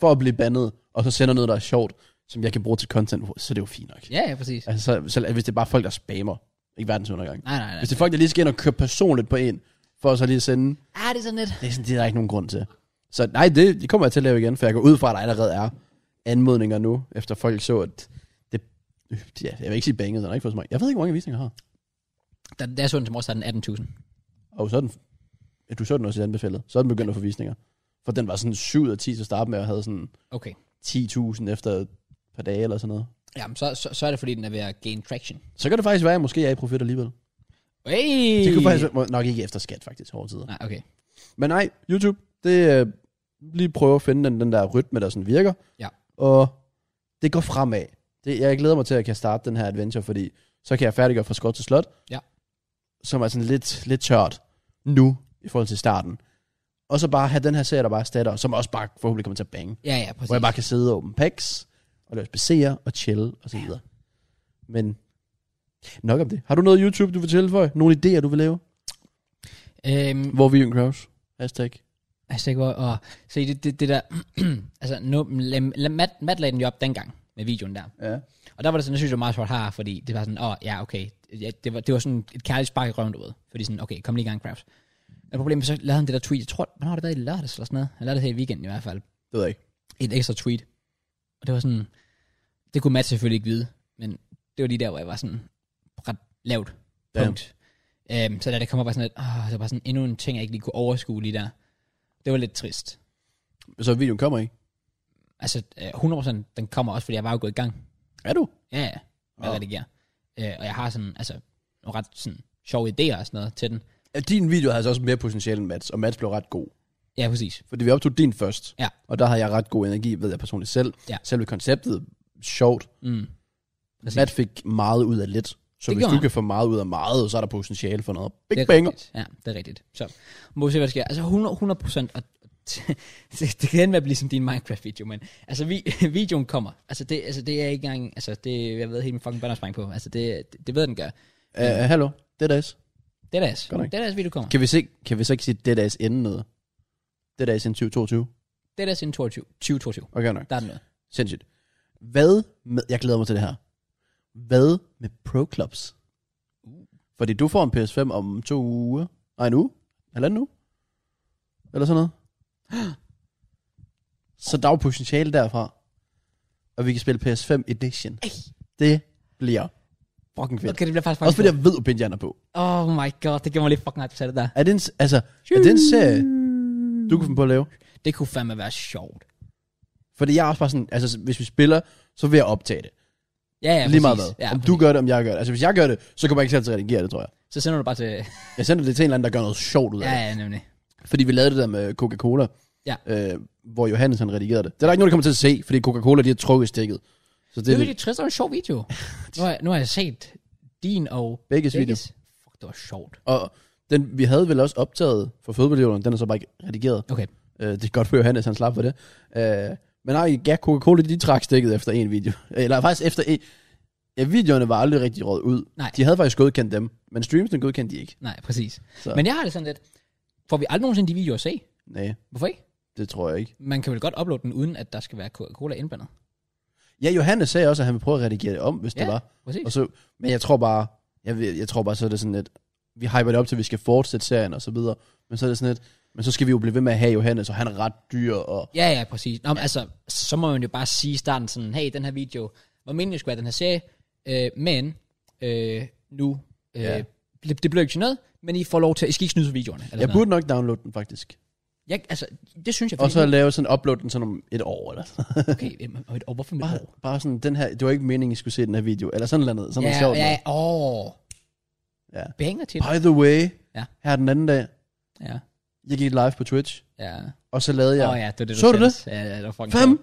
Speaker 2: for at blive bandet, og så sender noget, der er sjovt, som jeg kan bruge til content, så er det jo fint nok.
Speaker 1: ja, ja, præcis.
Speaker 2: Altså, så, selv hvis det er bare folk, der spammer, ikke verdens undergang.
Speaker 1: Nej, nej, nej.
Speaker 2: Hvis det er folk, der lige skal ind og køre personligt på en, for så lige at sende,
Speaker 1: Ah, det er sådan lidt.
Speaker 2: det er, sådan, det er der ikke nogen grund til. Så nej, det, det kommer jeg til at lave igen, for jeg går ud fra, at der allerede er anmodninger nu, efter folk så, at det, øh, ja, jeg vil ikke sige banget, der er ikke fået så mange. Jeg ved ikke, hvor mange visninger jeg har.
Speaker 1: Da, da jeg så den til morges, der er den 18.000.
Speaker 2: Og så er den, ja, du så den også i anbefalet, så er den begyndt at få visninger. For den var sådan 7 ud af 10 til at starte med, og havde sådan
Speaker 1: Okay.
Speaker 2: 10.000 efter et par dage eller sådan noget.
Speaker 1: Jamen, så, så, så er det fordi, den er ved at gain traction.
Speaker 2: Så kan det faktisk være, at jeg måske er i profit alligevel.
Speaker 1: Hey!
Speaker 2: Det kunne faktisk være, nok ikke efter skat faktisk over tid.
Speaker 1: Nej, okay.
Speaker 2: Men nej, YouTube, det øh, lige prøve at finde den, den der rytme, der sådan virker.
Speaker 1: Ja.
Speaker 2: Og det går fremad. Det, jeg glæder mig til, at jeg kan starte den her adventure, fordi så kan jeg færdiggøre fra skot til slot.
Speaker 1: Ja.
Speaker 2: Som er sådan lidt, lidt tørt nu i forhold til starten. Og så bare have den her serie, der bare statter, som også bare forhåbentlig kommer til at bange.
Speaker 1: Ja, ja, præcis.
Speaker 2: Hvor jeg bare kan sidde og åbne packs, og løse BC'er og chill og så videre. Men nok om det. Har du noget YouTube, du vil tilføje? Nogle idéer, du vil lave?
Speaker 1: Øhm,
Speaker 2: Hvor er vi en crowds? Hashtag.
Speaker 1: altså, jeg går og... Se, det, det, det der... *clears throat* altså, nu, lad, lad, Matt, Matt lagde den jo op dengang med videoen der.
Speaker 2: Ja.
Speaker 1: Og der var det sådan, jeg synes, det var meget sjovt her, fordi det var sådan, åh, ja, okay. Ja, det, var, det var sådan et kærligt spark i røven, du ved. Fordi sådan, okay, kom lige i gang, Kraft. Men problemet så lavede han det der tweet. Jeg tror, hvornår har det været i lørdags eller sådan noget? Han lavede det her i weekenden i hvert fald.
Speaker 2: Det ved jeg ikke.
Speaker 1: Et ekstra tweet. Og det var sådan, det kunne Matt selvfølgelig ikke vide, men det var lige der, hvor jeg var sådan ret lavt
Speaker 2: Damn.
Speaker 1: punkt. Øhm, så da det kom op, var jeg sådan lidt, åh, det var bare sådan endnu en ting, jeg ikke lige kunne overskue lige der. Det var lidt trist.
Speaker 2: Så videoen kommer ikke?
Speaker 1: Altså, øh, 100% den kommer også, fordi jeg var jo gået i gang.
Speaker 2: Er du?
Speaker 1: Ja, ja. Jeg
Speaker 2: Wow.
Speaker 1: redigerer. Øh, og jeg har sådan, altså, nogle ret sådan, sjove idéer og sådan noget til den.
Speaker 2: Ja, din video havde altså også mere potentiale end Mats, og Mats blev ret god.
Speaker 1: Ja, præcis.
Speaker 2: Fordi vi optog din først,
Speaker 1: Ja.
Speaker 2: og der havde jeg ret god energi, ved jeg personligt selv.
Speaker 1: Ja.
Speaker 2: Selve konceptet, sjovt.
Speaker 1: Mm. Præcis.
Speaker 2: Matt fik meget ud af lidt. Så
Speaker 1: Det
Speaker 2: hvis
Speaker 1: gjorde
Speaker 2: du
Speaker 1: han.
Speaker 2: kan få meget ud af meget, så er der potentiale for noget. Big
Speaker 1: det er
Speaker 2: banger.
Speaker 1: rigtigt. Ja, det er rigtigt. Så må vi se, hvad der sker. Altså 100, 100 procent, og *laughs* det, det kan ende med at blive som din Minecraft-video, men altså vi, *laughs* videoen kommer. Altså det, altså det er ikke engang, altså det, jeg ved helt min fucking bannerspring på. Altså det, det, det ved jeg, den gør.
Speaker 2: Uh, hallo, det er dags.
Speaker 1: Det er deres.
Speaker 2: Godt nok.
Speaker 1: Det er deres video kommer.
Speaker 2: Kan vi, så, kan vi så ikke sige, det er dags inden noget? Det er dags inden 2022.
Speaker 1: Det er deres inden 22, 2022.
Speaker 2: Okay nok.
Speaker 1: Der er den noget.
Speaker 2: Sindssygt. Hvad med, jeg glæder mig til det her. Hvad med Pro Clubs? Fordi du får en PS5 om to uger. Nej, en uge. Halvanden uge. Eller sådan noget. *gasps* Så der er jo potentiale derfra. Og vi kan spille PS5 Edition.
Speaker 1: Ej.
Speaker 2: Det bliver fucking fedt. Okay.
Speaker 1: Okay, det bliver faktisk
Speaker 2: Også
Speaker 1: faktisk...
Speaker 2: fordi jeg ved, at Benjan er på.
Speaker 1: Oh my god, det gjorde mig lige fucking hype, du sagde det der.
Speaker 2: Er det en, s- altså, er det en serie, du kunne finde på at lave?
Speaker 1: Det kunne fandme være sjovt.
Speaker 2: Fordi jeg er også bare sådan, altså hvis vi spiller, så vil jeg optage det.
Speaker 1: Ja, ja,
Speaker 2: Ja, lige meget
Speaker 1: præcis.
Speaker 2: hvad.
Speaker 1: Ja,
Speaker 2: Ja, om
Speaker 1: præcis.
Speaker 2: du gør det, om jeg gør det. Altså hvis jeg gør det, så kommer jeg ikke selv til at redigere det, tror jeg.
Speaker 1: Så sender du bare til...
Speaker 2: Jeg sender det til en eller anden, der gør noget sjovt ud af
Speaker 1: Ja,
Speaker 2: ja.
Speaker 1: ja, nemlig.
Speaker 2: det. Fordi vi lavede det der med Coca-Cola,
Speaker 1: Ja.
Speaker 2: øh, hvor Johannes han redigerede det. Det er der ikke nogen, der kommer til at se, fordi Coca-Cola de har trukket stikket. Så
Speaker 1: Det
Speaker 2: det
Speaker 1: er
Speaker 2: er
Speaker 1: virkelig trist, og en sjov
Speaker 2: *laughs*
Speaker 1: video. Nu har, jeg- nu har jeg set din og
Speaker 2: begge video.
Speaker 1: Begges. Fuck, det var sjovt.
Speaker 2: Og den, vi havde vel også optaget for fodboldjorden, den er så bare ikke redigeret.
Speaker 1: Okay.
Speaker 2: Øh, det er godt for Johannes, han slap for det. Øh, men nej, ja, Coca-Cola de trak stikket efter en video. *laughs* Eller faktisk efter en... Ja, videoerne var aldrig rigtig råd ud.
Speaker 1: Nej.
Speaker 2: De havde faktisk godkendt dem, men streamsene godkendte de ikke.
Speaker 1: Nej, præcis. Så.
Speaker 2: Så.
Speaker 1: Men jeg har det sådan lidt, får vi aldrig nogensinde de videoer at se?
Speaker 2: Nej,
Speaker 1: Hvorfor ikke?
Speaker 2: det tror jeg ikke.
Speaker 1: Man kan vel godt uploade den, uden at der skal være Coca-Cola indblandet.
Speaker 2: Ja, Johannes sagde også, at han ville prøve at redigere det om, hvis
Speaker 1: Ja.
Speaker 2: det var.
Speaker 1: Præcis.
Speaker 2: Og så, men jeg tror bare, jeg, ved- jeg tror bare, så er det sådan lidt, vi hyper det op til, at vi skal fortsætte serien og så videre, men så er det sådan lidt, men så skal vi jo blive ved med at have Johannes, og han er ret dyr, og
Speaker 1: Ja, ja, præcis. Nå, men altså, så må man jo bare sige i starten sådan, hey, den her video var meningen, det skulle være den her serie, øh, men øh, nu øh, Øh,
Speaker 2: Ja.
Speaker 1: det, det bliver ikke til noget, men I får lov til, I skal ikke snyde for videoerne. Eller
Speaker 2: Jeg
Speaker 1: sådan
Speaker 2: burde nok downloade den faktisk.
Speaker 1: noget. Jeg, altså, det synes jeg
Speaker 2: Og så
Speaker 1: faktisk.
Speaker 2: lave sådan upload den sådan om et år eller sådan.
Speaker 1: Okay, øhm, og et år, hvorfor med et
Speaker 2: Bare,
Speaker 1: år?
Speaker 2: bare sådan, den her, det var ikke meningen, I skulle se den her video, eller sådan noget, sådan noget
Speaker 1: Ja,
Speaker 2: sjovt.
Speaker 1: ja,
Speaker 2: noget.
Speaker 1: åh.
Speaker 2: Ja.
Speaker 1: Banger til det.
Speaker 2: By the way,
Speaker 1: Ja.
Speaker 2: her den anden dag,
Speaker 1: Ja,
Speaker 2: jeg gik live på Twitch,
Speaker 1: ja.
Speaker 2: og så lavede jeg
Speaker 1: Åh ja, det var det, du
Speaker 2: Så du
Speaker 1: sendte. Ja, ja, det var fucking
Speaker 2: Fam,
Speaker 1: sjovt.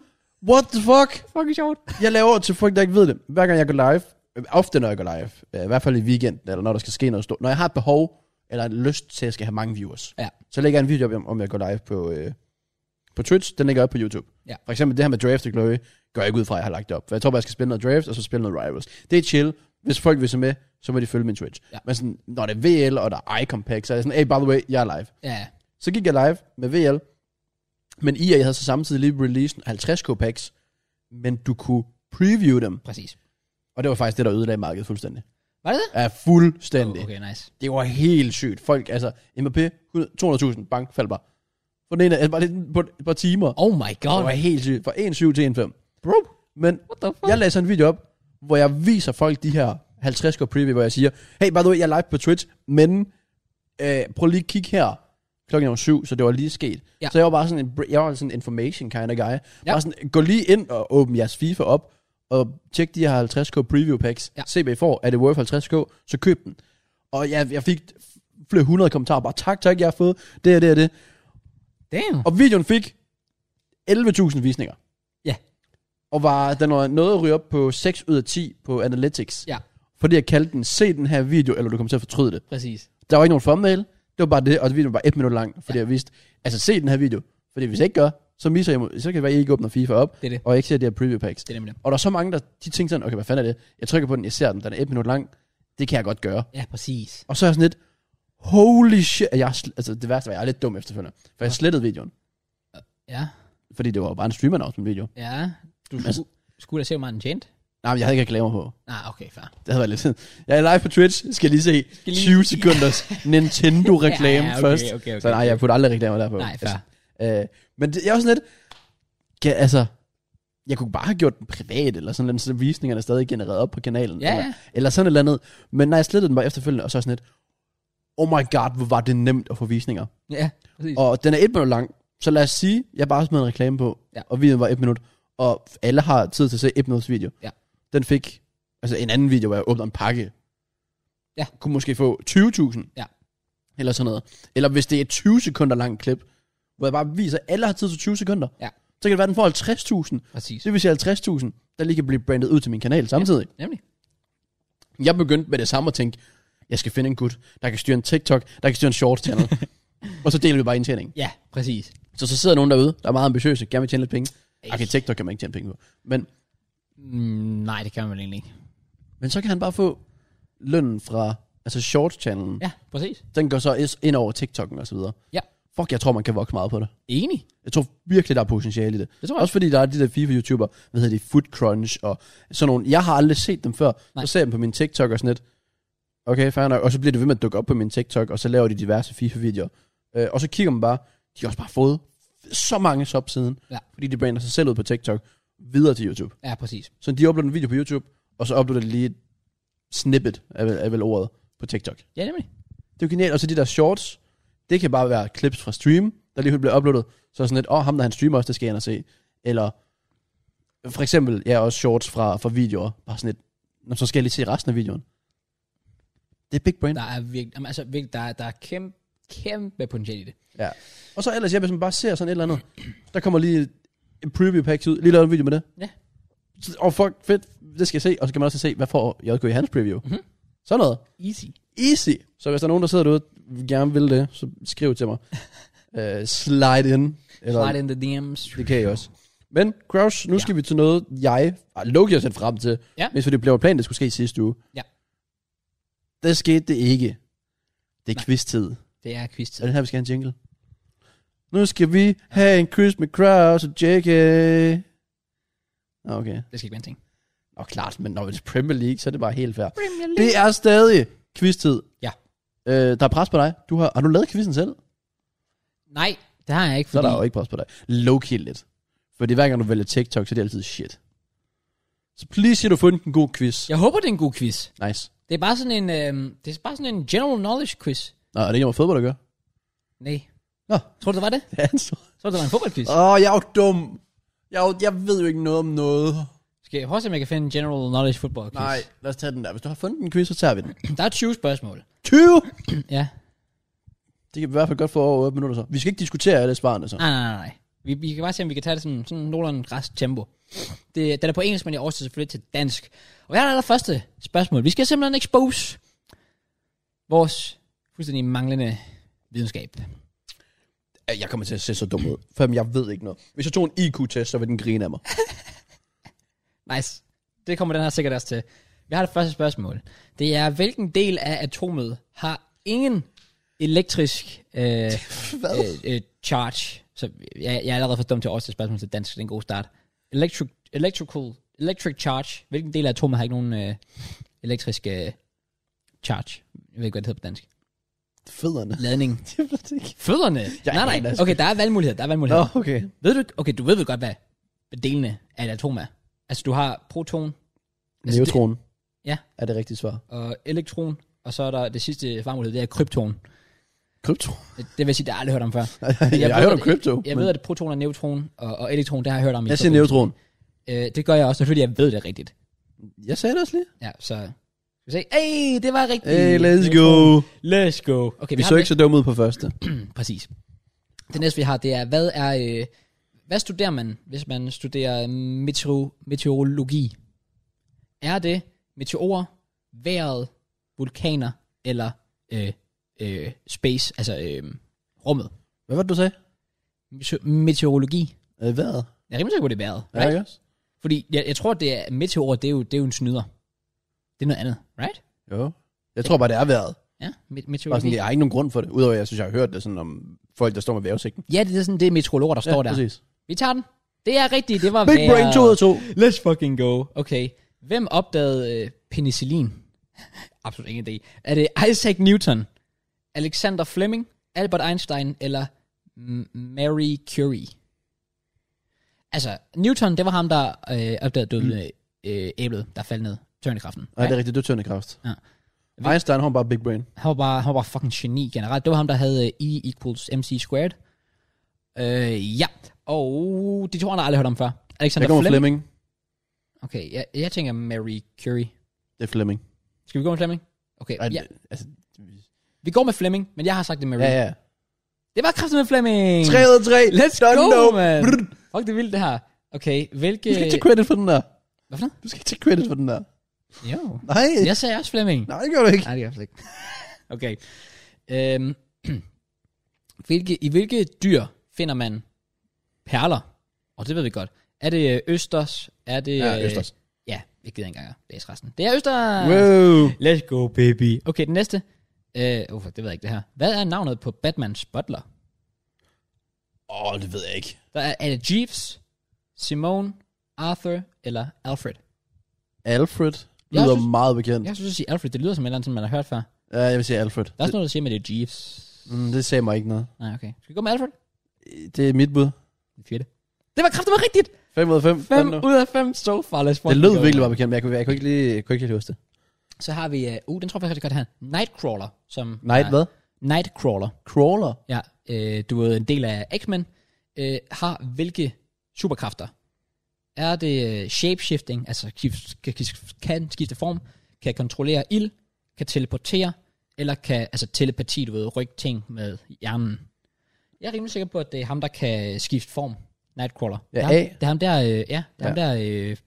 Speaker 2: what the fuck?
Speaker 1: Fucking sjovt.
Speaker 2: Jeg laver til folk, der ikke ved det. Hver gang jeg går live, øh, ofte når jeg går live, øh, i hvert fald i weekenden, eller når der skal ske noget stort, når jeg har et behov, eller en lyst til, at jeg skal have mange viewers,
Speaker 1: Ja.
Speaker 2: så lægger jeg en video op, om- om jeg går live på, øh, på Twitch, den ligger jeg op på YouTube.
Speaker 1: Ja.
Speaker 2: For eksempel det her med Draft og Glory, gør jeg ikke ud fra, at jeg har lagt det op. For jeg tror bare, jeg skal spille noget Draft, og så spille noget Rivals. Det er chill. Hvis folk vil se med, så må de følge min Twitch.
Speaker 1: Ja.
Speaker 2: Men sådan, når det er VL, og der er iCompact, så er jeg sådan, hey, by the way, jeg er live.
Speaker 1: Ja, ja.
Speaker 2: Så gik jeg live med VL. Men IA havde så samtidig lige released 50k packs. Men du kunne preview dem.
Speaker 1: præcis.
Speaker 2: Og det var faktisk det, der ødelagde markedet fuldstændig.
Speaker 1: Var det det?
Speaker 2: Ja, fuldstændig.
Speaker 1: Okay, nice.
Speaker 2: Det var helt sygt. Folk, altså, Mbappé, 200.000, bank, faldt bare. For den ene, altså bare lidt på et par timer.
Speaker 1: Oh my god.
Speaker 2: Det var helt sygt. Fra 1,7 til 1,5.
Speaker 1: Bro,
Speaker 2: Men
Speaker 1: what the fuck?
Speaker 2: jeg lagde sådan en video op, hvor jeg viser folk de her 50 k preview, hvor jeg siger, hey, by the way, jeg er live på Twitch, men øh, prøv lige at kigge her. Klokken er jo syv, så det var lige sket.
Speaker 1: Ja.
Speaker 2: Ja. Så jeg var bare sådan en, br- jeg var sådan en information kind of guy. Ja.
Speaker 1: Ja.
Speaker 2: Bare sådan, gå lige ind og åbn jeres FIFA op, og tjek de her 50k preview packs.
Speaker 1: Ja.
Speaker 2: Ja. Se hvad I får, er det worth 50k, så køb den. Og jeg, jeg fik flere hundrede kommentarer, bare tak, tak, jeg har fået det og det og det.
Speaker 1: Damn.
Speaker 2: Og videoen fik 11.000 visninger.
Speaker 1: Ja.
Speaker 2: Og var, den var noget at ryge op på 6 ud af 10 på Analytics.
Speaker 1: Ja.
Speaker 2: Fordi jeg kaldte den, se den her video, eller du kommer til at fortryde det.
Speaker 1: Præcis.
Speaker 2: Der var ikke nogen thumbnail, det var bare det, og videoen var et minut lang, fordi ja. jeg vidste, altså se den her video. Fordi hvis jeg ikke gør, så misser jeg, mo- så kan det være, at I ikke åbner FIFA op,
Speaker 1: Det er det.
Speaker 2: og jeg ikke ser de her preview packs.
Speaker 1: Det er nemlig det.
Speaker 2: Og der er så mange, der de tænker sådan, okay, hvad fanden er det? Jeg trykker på den, jeg ser den, den er et minut lang, det kan jeg godt gøre.
Speaker 1: Ja, præcis.
Speaker 2: Og så er jeg sådan lidt, holy shit, jeg, er sl- altså det værste var, jeg er lidt dum efterfølgende, for jeg slettede videoen,
Speaker 1: Ja,
Speaker 2: fordi det var bare en streamernavn video.
Speaker 1: ja. Du
Speaker 2: Men- altså-
Speaker 1: skulle, skulle da se, hvor meget den tjente.
Speaker 2: Nej, men jeg havde ikke reklamer på.
Speaker 1: Nej, ah, okay, fair.
Speaker 2: Det havde været lidt sådan. Jeg er live på Twitch, skal lige se
Speaker 1: Skal lige-
Speaker 2: 20 sekunders
Speaker 1: *laughs*
Speaker 2: Nintendo-reklame
Speaker 1: Ja, ja, okay,
Speaker 2: først.
Speaker 1: okay, okay,
Speaker 2: så nej,
Speaker 1: okay.
Speaker 2: jeg putter aldrig reklamer derpå.
Speaker 1: Nej, fair.
Speaker 2: Altså, øh, men det, jeg er også sådan lidt, ja, altså, jeg kunne bare have gjort den privat, eller sådan lidt, så visningerne er stadig genereret op på kanalen.
Speaker 1: Ja, ja.
Speaker 2: eller, eller sådan et eller andet. Men nej, jeg slettede den bare efterfølgende, og så er jeg sådan lidt, oh my god, hvor var det nemt at få visninger.
Speaker 1: Ja, præcis.
Speaker 2: Og den er et minut lang, så lad os sige, jeg bare smed en reklame på,
Speaker 1: Ja.
Speaker 2: ja. og videoen var et minut, og alle har tid til at se et minuts video.
Speaker 1: Ja.
Speaker 2: Den fik, altså en anden video, hvor jeg åbner en pakke,
Speaker 1: Ja.
Speaker 2: kunne måske få 20.000,
Speaker 1: Ja.
Speaker 2: eller sådan noget. Eller hvis det er et 20 sekunder langt klip, hvor jeg bare viser, at alle har tid til 20 sekunder,
Speaker 1: Ja.
Speaker 2: så kan det være, at den får 50.000.
Speaker 1: Præcis.
Speaker 2: Så det vil sige 50.000, der lige kan blive brandet ud til min kanal samtidig.
Speaker 1: Nemlig.
Speaker 2: Jeg begyndte med det samme at tænke, jeg skal finde en gut, der kan styre en TikTok, der kan styre en short channel.
Speaker 1: *laughs*
Speaker 2: og så deler vi bare indtjeningen.
Speaker 1: Ja, præcis.
Speaker 2: Så så sidder nogen derude, der er meget ambitiøse, gerne vil tjene lidt penge.
Speaker 1: Ej.
Speaker 2: Arkitekter kan man ikke tjene penge på. Men,
Speaker 1: Mm, nej, det kan man vel egentlig ikke.
Speaker 2: men så kan han bare få lønnen fra, altså shorts-channelen. Ja.
Speaker 1: Ja, præcis.
Speaker 2: Den går så is- ind over TikTok'en og så videre.
Speaker 1: Ja.
Speaker 2: Fuck, jeg tror, man kan vokse meget på det.
Speaker 1: Enig.
Speaker 2: Jeg tror virkelig, der er potentiale i det.
Speaker 1: Det tror jeg.
Speaker 2: Også fordi der er de der FIFA-youtuber, hvad hedder de, Food Crunch og sådan nogle. Jeg har aldrig set dem før.
Speaker 1: Nej.
Speaker 2: Så ser jeg dem på min TikTok og sådan lidt. Okay, fair nok. Og så bliver det ved med at dukke op på min TikTok, og så laver de diverse FIFA-videoer. Øh, og så kigger man bare, de har også bare fået så mange subs siden,
Speaker 1: Ja.
Speaker 2: fordi de brander sig selv ud på TikTok, videre til YouTube.
Speaker 1: Ja, præcis.
Speaker 2: Så de uploader en video på YouTube, og så uploader de lige et snippet, er vel, er vel ordet, på TikTok.
Speaker 1: Ja, nemlig.
Speaker 2: Det er jo genialt. Og så de der shorts, det kan bare være clips fra stream, der lige bliver uploadet. Så er sådan lidt, åh, oh, ham der han streamer også, det skal jeg ind og se. Eller for eksempel, ja, også shorts fra, fra videoer. Bare sådan lidt, Nå, så skal jeg lige se resten af videoen. Det er big brain.
Speaker 1: Der er virkelig, jamen, altså virkelig, der, er- der er kæmpe, kæmpe potentiale i det.
Speaker 2: Ja. Og så ellers, jeg hvis man bare ser sådan et eller andet, der kommer lige en preview pack ud, lige lavet en video med det.
Speaker 1: Ja.
Speaker 2: Så- Åh, oh, fuck, fedt, det skal jeg se. Og så kan man også se, hvad får JK i hans preview.
Speaker 1: Mhm.
Speaker 2: Mm-hmm. Sådan noget.
Speaker 1: Easy.
Speaker 2: Easy. Så hvis der er nogen, der sidder derude og gerne vil det, så
Speaker 1: *laughs*
Speaker 2: skriv til mig. uh, slide in. Eller,
Speaker 1: Slide in the DM's.
Speaker 2: Det kan I også. Men, Kraus, nu ja. skal vi til noget, jeg ah, Loki har set frem til.
Speaker 1: Ja.
Speaker 2: Mens det blev en plan, det skulle ske sidste uge.
Speaker 1: Ja.
Speaker 2: Der skete det ikke. Det er
Speaker 1: Nej.
Speaker 2: quiz-tid.
Speaker 1: Det er quiz
Speaker 2: Er det her, vi skal have en jingle? Nu skal vi have en quiz med Kraus og JK. Nå, Okay.
Speaker 1: Det skal ikke være en ting.
Speaker 2: Nå, klart, men når det er Premier League, så er det bare helt fair.
Speaker 1: Premier
Speaker 2: Det er stadig quiz-tid.
Speaker 1: Ja.
Speaker 2: Øh, der er pres på dig. Du har, har du lavet quizzen selv? Fordi...
Speaker 1: Nej, det har jeg ikke,
Speaker 2: Så er
Speaker 1: fordi...
Speaker 2: der jo ikke pres på dig. Low-key lidt. Fordi hver gang du vælger TikTok, så er det altid shit. Så please siger du har fundet en god quiz.
Speaker 1: Jeg håber, det er en god quiz.
Speaker 2: Nice.
Speaker 1: Det er bare sådan en, øh, det er bare sådan en general knowledge quiz.
Speaker 2: Nå, er det ikke om fodbold, der gør?
Speaker 1: Nej.
Speaker 2: *laughs* Nå.
Speaker 1: Tror du, det var det?
Speaker 2: Ja, han så-
Speaker 1: Tror du, det var en fodboldquiz?
Speaker 2: Åh, oh, jeg er jo dum. Jeg, er jo, jeg ved jo ikke noget om noget.
Speaker 1: Skal jeg prøve at se, om jeg kan finde en general knowledge football quiz?
Speaker 2: Nej, lad os tage den der. Hvis du har fundet en quiz, så *clears throat* tager vi den.
Speaker 1: Der er 20 spørgsmål.
Speaker 2: 20!
Speaker 1: Ja.
Speaker 2: Det kan vi i hvert fald godt få over 8 minutter så. Vi skal ikke diskutere alle svarene så.
Speaker 1: Nej, nej, nej, nej. Vi, vi kan bare se, om vi kan tage det sådan, sådan nogenlunde græs tempo. Det, den er på engelsk, men jeg oversætter selvfølgelig til dansk. Og hvad er der første spørgsmål? Vi skal simpelthen expose vores fuldstændig manglende videnskab.
Speaker 2: Ah. Jeg kommer til at se så dum ud. For jeg ved ikke noget. Hvis jeg tog en IQ-test, så ville den grine af mig.
Speaker 1: Nice. Det kommer den her sikkert også til. Vi har det første spørgsmål. Det er, hvilken del af atomet har ingen elektrisk øh,
Speaker 2: *laughs* Hvad?
Speaker 1: øh, øh, charge? Så jeg, jeg er allerede for dum til at oversætte spørgsmålet til dansk. Det er en god start. Electric, electrical, electric charge. Hvilken del af atomet har ikke nogen øh, elektrisk øh, charge? Jeg ved ikke, hvad det hedder på dansk.
Speaker 2: Fædderne.
Speaker 1: Ladning.
Speaker 2: *laughs* Det ved jeg ikke. *laughs*
Speaker 1: Fødderne. nej, nej.
Speaker 2: aner sgu
Speaker 1: Okay, der er valgmuligheder. Der er valgmuligheder.
Speaker 2: Nå, okay.
Speaker 1: Ved du ikke, okay, du ved vel godt, hvad delene af et atom er. Altså, du har proton Altså,
Speaker 2: Neutronen.
Speaker 1: Ja.
Speaker 2: Er det rigtige svar?
Speaker 1: og elektron, og så er der det sidste svarmulighed, det er krypton.
Speaker 2: *laughs* Krypto.
Speaker 1: Det vil sige, det har jeg aldrig hørt om
Speaker 2: *laughs*
Speaker 1: før.
Speaker 2: jeg, jeg har
Speaker 1: ved,
Speaker 2: hørt om
Speaker 1: at-
Speaker 2: krypto.
Speaker 1: Jeg ved, at proton og neutron og, og elektron, det har jeg hørt om. i
Speaker 2: jeg siger
Speaker 1: forbindelse-
Speaker 2: neutron.
Speaker 1: Øh, det gør jeg også, selvfølgelig, jeg ved det rigtigt.
Speaker 2: Jeg sagde det også lige.
Speaker 1: Ja, så... Skal vi se? Ey, det var rigtigt.
Speaker 2: Hey, let's go.
Speaker 1: Neutron. Let's go. Okay, vi,
Speaker 2: Vi
Speaker 1: har
Speaker 2: så
Speaker 1: det.
Speaker 2: ikke så dumme ud på første.
Speaker 1: Præcis. Det næste, vi har, det er, hvad er... Øh, hvad studerer man, hvis man studerer meteoro, meteorologi? Er det meteorer, vejret, vulkaner eller øh, øh, space, altså øh, rummet?
Speaker 2: Hvad var det, du sagde?
Speaker 1: Mete- Meteorologi.
Speaker 2: Øh, Vejret.
Speaker 1: Jeg er rimelig sikker på, det er vejret.
Speaker 2: Ja,
Speaker 1: Right?
Speaker 2: ikke også?
Speaker 1: Fordi jeg, jeg tror, det er meteorer, det er jo, det er jo en snyder. Det er noget andet, right?
Speaker 2: Jo. Jeg tror bare, det er vejret.
Speaker 1: Ja, me-
Speaker 2: Bare
Speaker 1: meteorologi.
Speaker 2: sådan, jeg har ikke nogen grund for det, udover at jeg synes, jeg har hørt det sådan om folk, der står med vævesækken.
Speaker 1: Ja, det er sådan, det er meteorologer, der står
Speaker 2: ja,
Speaker 1: der.
Speaker 2: præcis.
Speaker 1: Vi tager den. Det er rigtigt, det var
Speaker 2: Big
Speaker 1: vejret.
Speaker 2: Brain 2 ud af 2.
Speaker 1: Let's fucking go. Okay. Hvem opdagede øh, penicillin? *laughs* Absolut ingen idé. Er det Isaac Newton, Alexander Fleming, Albert Einstein eller M- Marie Curie? Altså, Newton, det var ham, der øh, opdagede døde, mm. øh, æblet, der faldt ned. Tørnekraften.
Speaker 2: Nej, det er rigtigt, det er tønde kraft.
Speaker 1: Ja.
Speaker 2: Einstein har bare Big Brain.
Speaker 1: Han var bare, han var bare fucking geni generelt. Det var ham, der havde øh, E equals MC squared. Øh, ja. Og de to andre har jeg aldrig hørt om før.
Speaker 2: Der
Speaker 1: Alexander
Speaker 2: kommer
Speaker 1: Fleming. Fleming.
Speaker 2: Fleming.
Speaker 1: Okay, jeg, jeg tænker Marie Curie.
Speaker 2: Det er Fleming.
Speaker 1: Skal vi gå med Flemming? Okay,
Speaker 2: Ej,
Speaker 1: ja.
Speaker 2: altså,
Speaker 1: Vi går med Flemming, men jeg har sagt det med
Speaker 2: ja,
Speaker 1: Marie. Ja, ja.
Speaker 2: ja.
Speaker 1: Det var kraften med Flemming!
Speaker 2: 3 ud af 3.
Speaker 1: Mm. Let's
Speaker 2: Done,
Speaker 1: go,
Speaker 2: no.
Speaker 1: man.
Speaker 2: Brrr.
Speaker 1: Fuck, det er vildt, det her. Okay, hvilke...
Speaker 2: Du skal ikke tage credit for den der.
Speaker 1: Hvad for noget?
Speaker 2: Du skal ikke tage credit for den der.
Speaker 1: Jo.
Speaker 2: Nej.
Speaker 1: Jeg sagde også Flemming.
Speaker 2: Nej, det gør du ikke.
Speaker 1: Nej, det gør jeg slet ikke. okay. Øhm. *clears throat* hvilke, I hvilke dyr finder man perler? Og det ved vi godt. Er det øh, østers? Er det...
Speaker 2: Ja,
Speaker 1: øh,
Speaker 2: Østers.
Speaker 1: Ja, jeg gider ikke engang at læse resten. Det er østers!
Speaker 2: Wow.
Speaker 1: Let's go, baby. Okay, den næste. Øh, uh, det ved jeg ikke, det her. Hvad er navnet på Batmans butler?
Speaker 2: Åh, oh, det ved jeg ikke.
Speaker 1: Der er, er det Jeeves, Simone, Arthur eller Alfred?
Speaker 2: Alfred lyder
Speaker 1: Jeg synes-
Speaker 2: meget bekendt.
Speaker 1: Jeg synes, at sige Alfred, det lyder som et eller andet, som man har hørt før.
Speaker 2: Ja, jeg vil sige Alfred.
Speaker 1: Der er også noget, der siger, at det er Jeeves.
Speaker 2: Mm, det sagde mig ikke noget.
Speaker 1: Nej, okay. Skal vi gå med Alfred?
Speaker 2: Det er mit bud.
Speaker 1: Fjerde. Det var kraftigt rigtigt!
Speaker 2: 5 ud af 5.
Speaker 1: 5 ud af 5 so far. Let's
Speaker 2: Det
Speaker 1: fucking
Speaker 2: lød
Speaker 1: go.
Speaker 2: virkelig meget bekendt, men jeg kunne, jeg kunne ikke lige, jeg kunne ikke lige huske det.
Speaker 1: Så har vi, uh, uh den tror jeg faktisk, jeg godt her. Nightcrawler. Som
Speaker 2: Night
Speaker 1: er,
Speaker 2: hvad?
Speaker 1: Nightcrawler.
Speaker 2: Crawler?
Speaker 1: Ja, øh, du er en del af X-Men, øh, har hvilke superkræfter? Er det øh, shapeshifting, altså skif- kan, skif- kan skifte form, kan kontrollere ild, kan teleportere, eller kan, altså telepati, du ved, rykke ting med hjernen. Jeg er rimelig sikker på, at det er ham, der kan skifte form. Nightcrawler.
Speaker 2: Ja,
Speaker 1: det, er ham,
Speaker 2: A.
Speaker 1: det er ham der, øh, ja, det er ja. ham der, øh,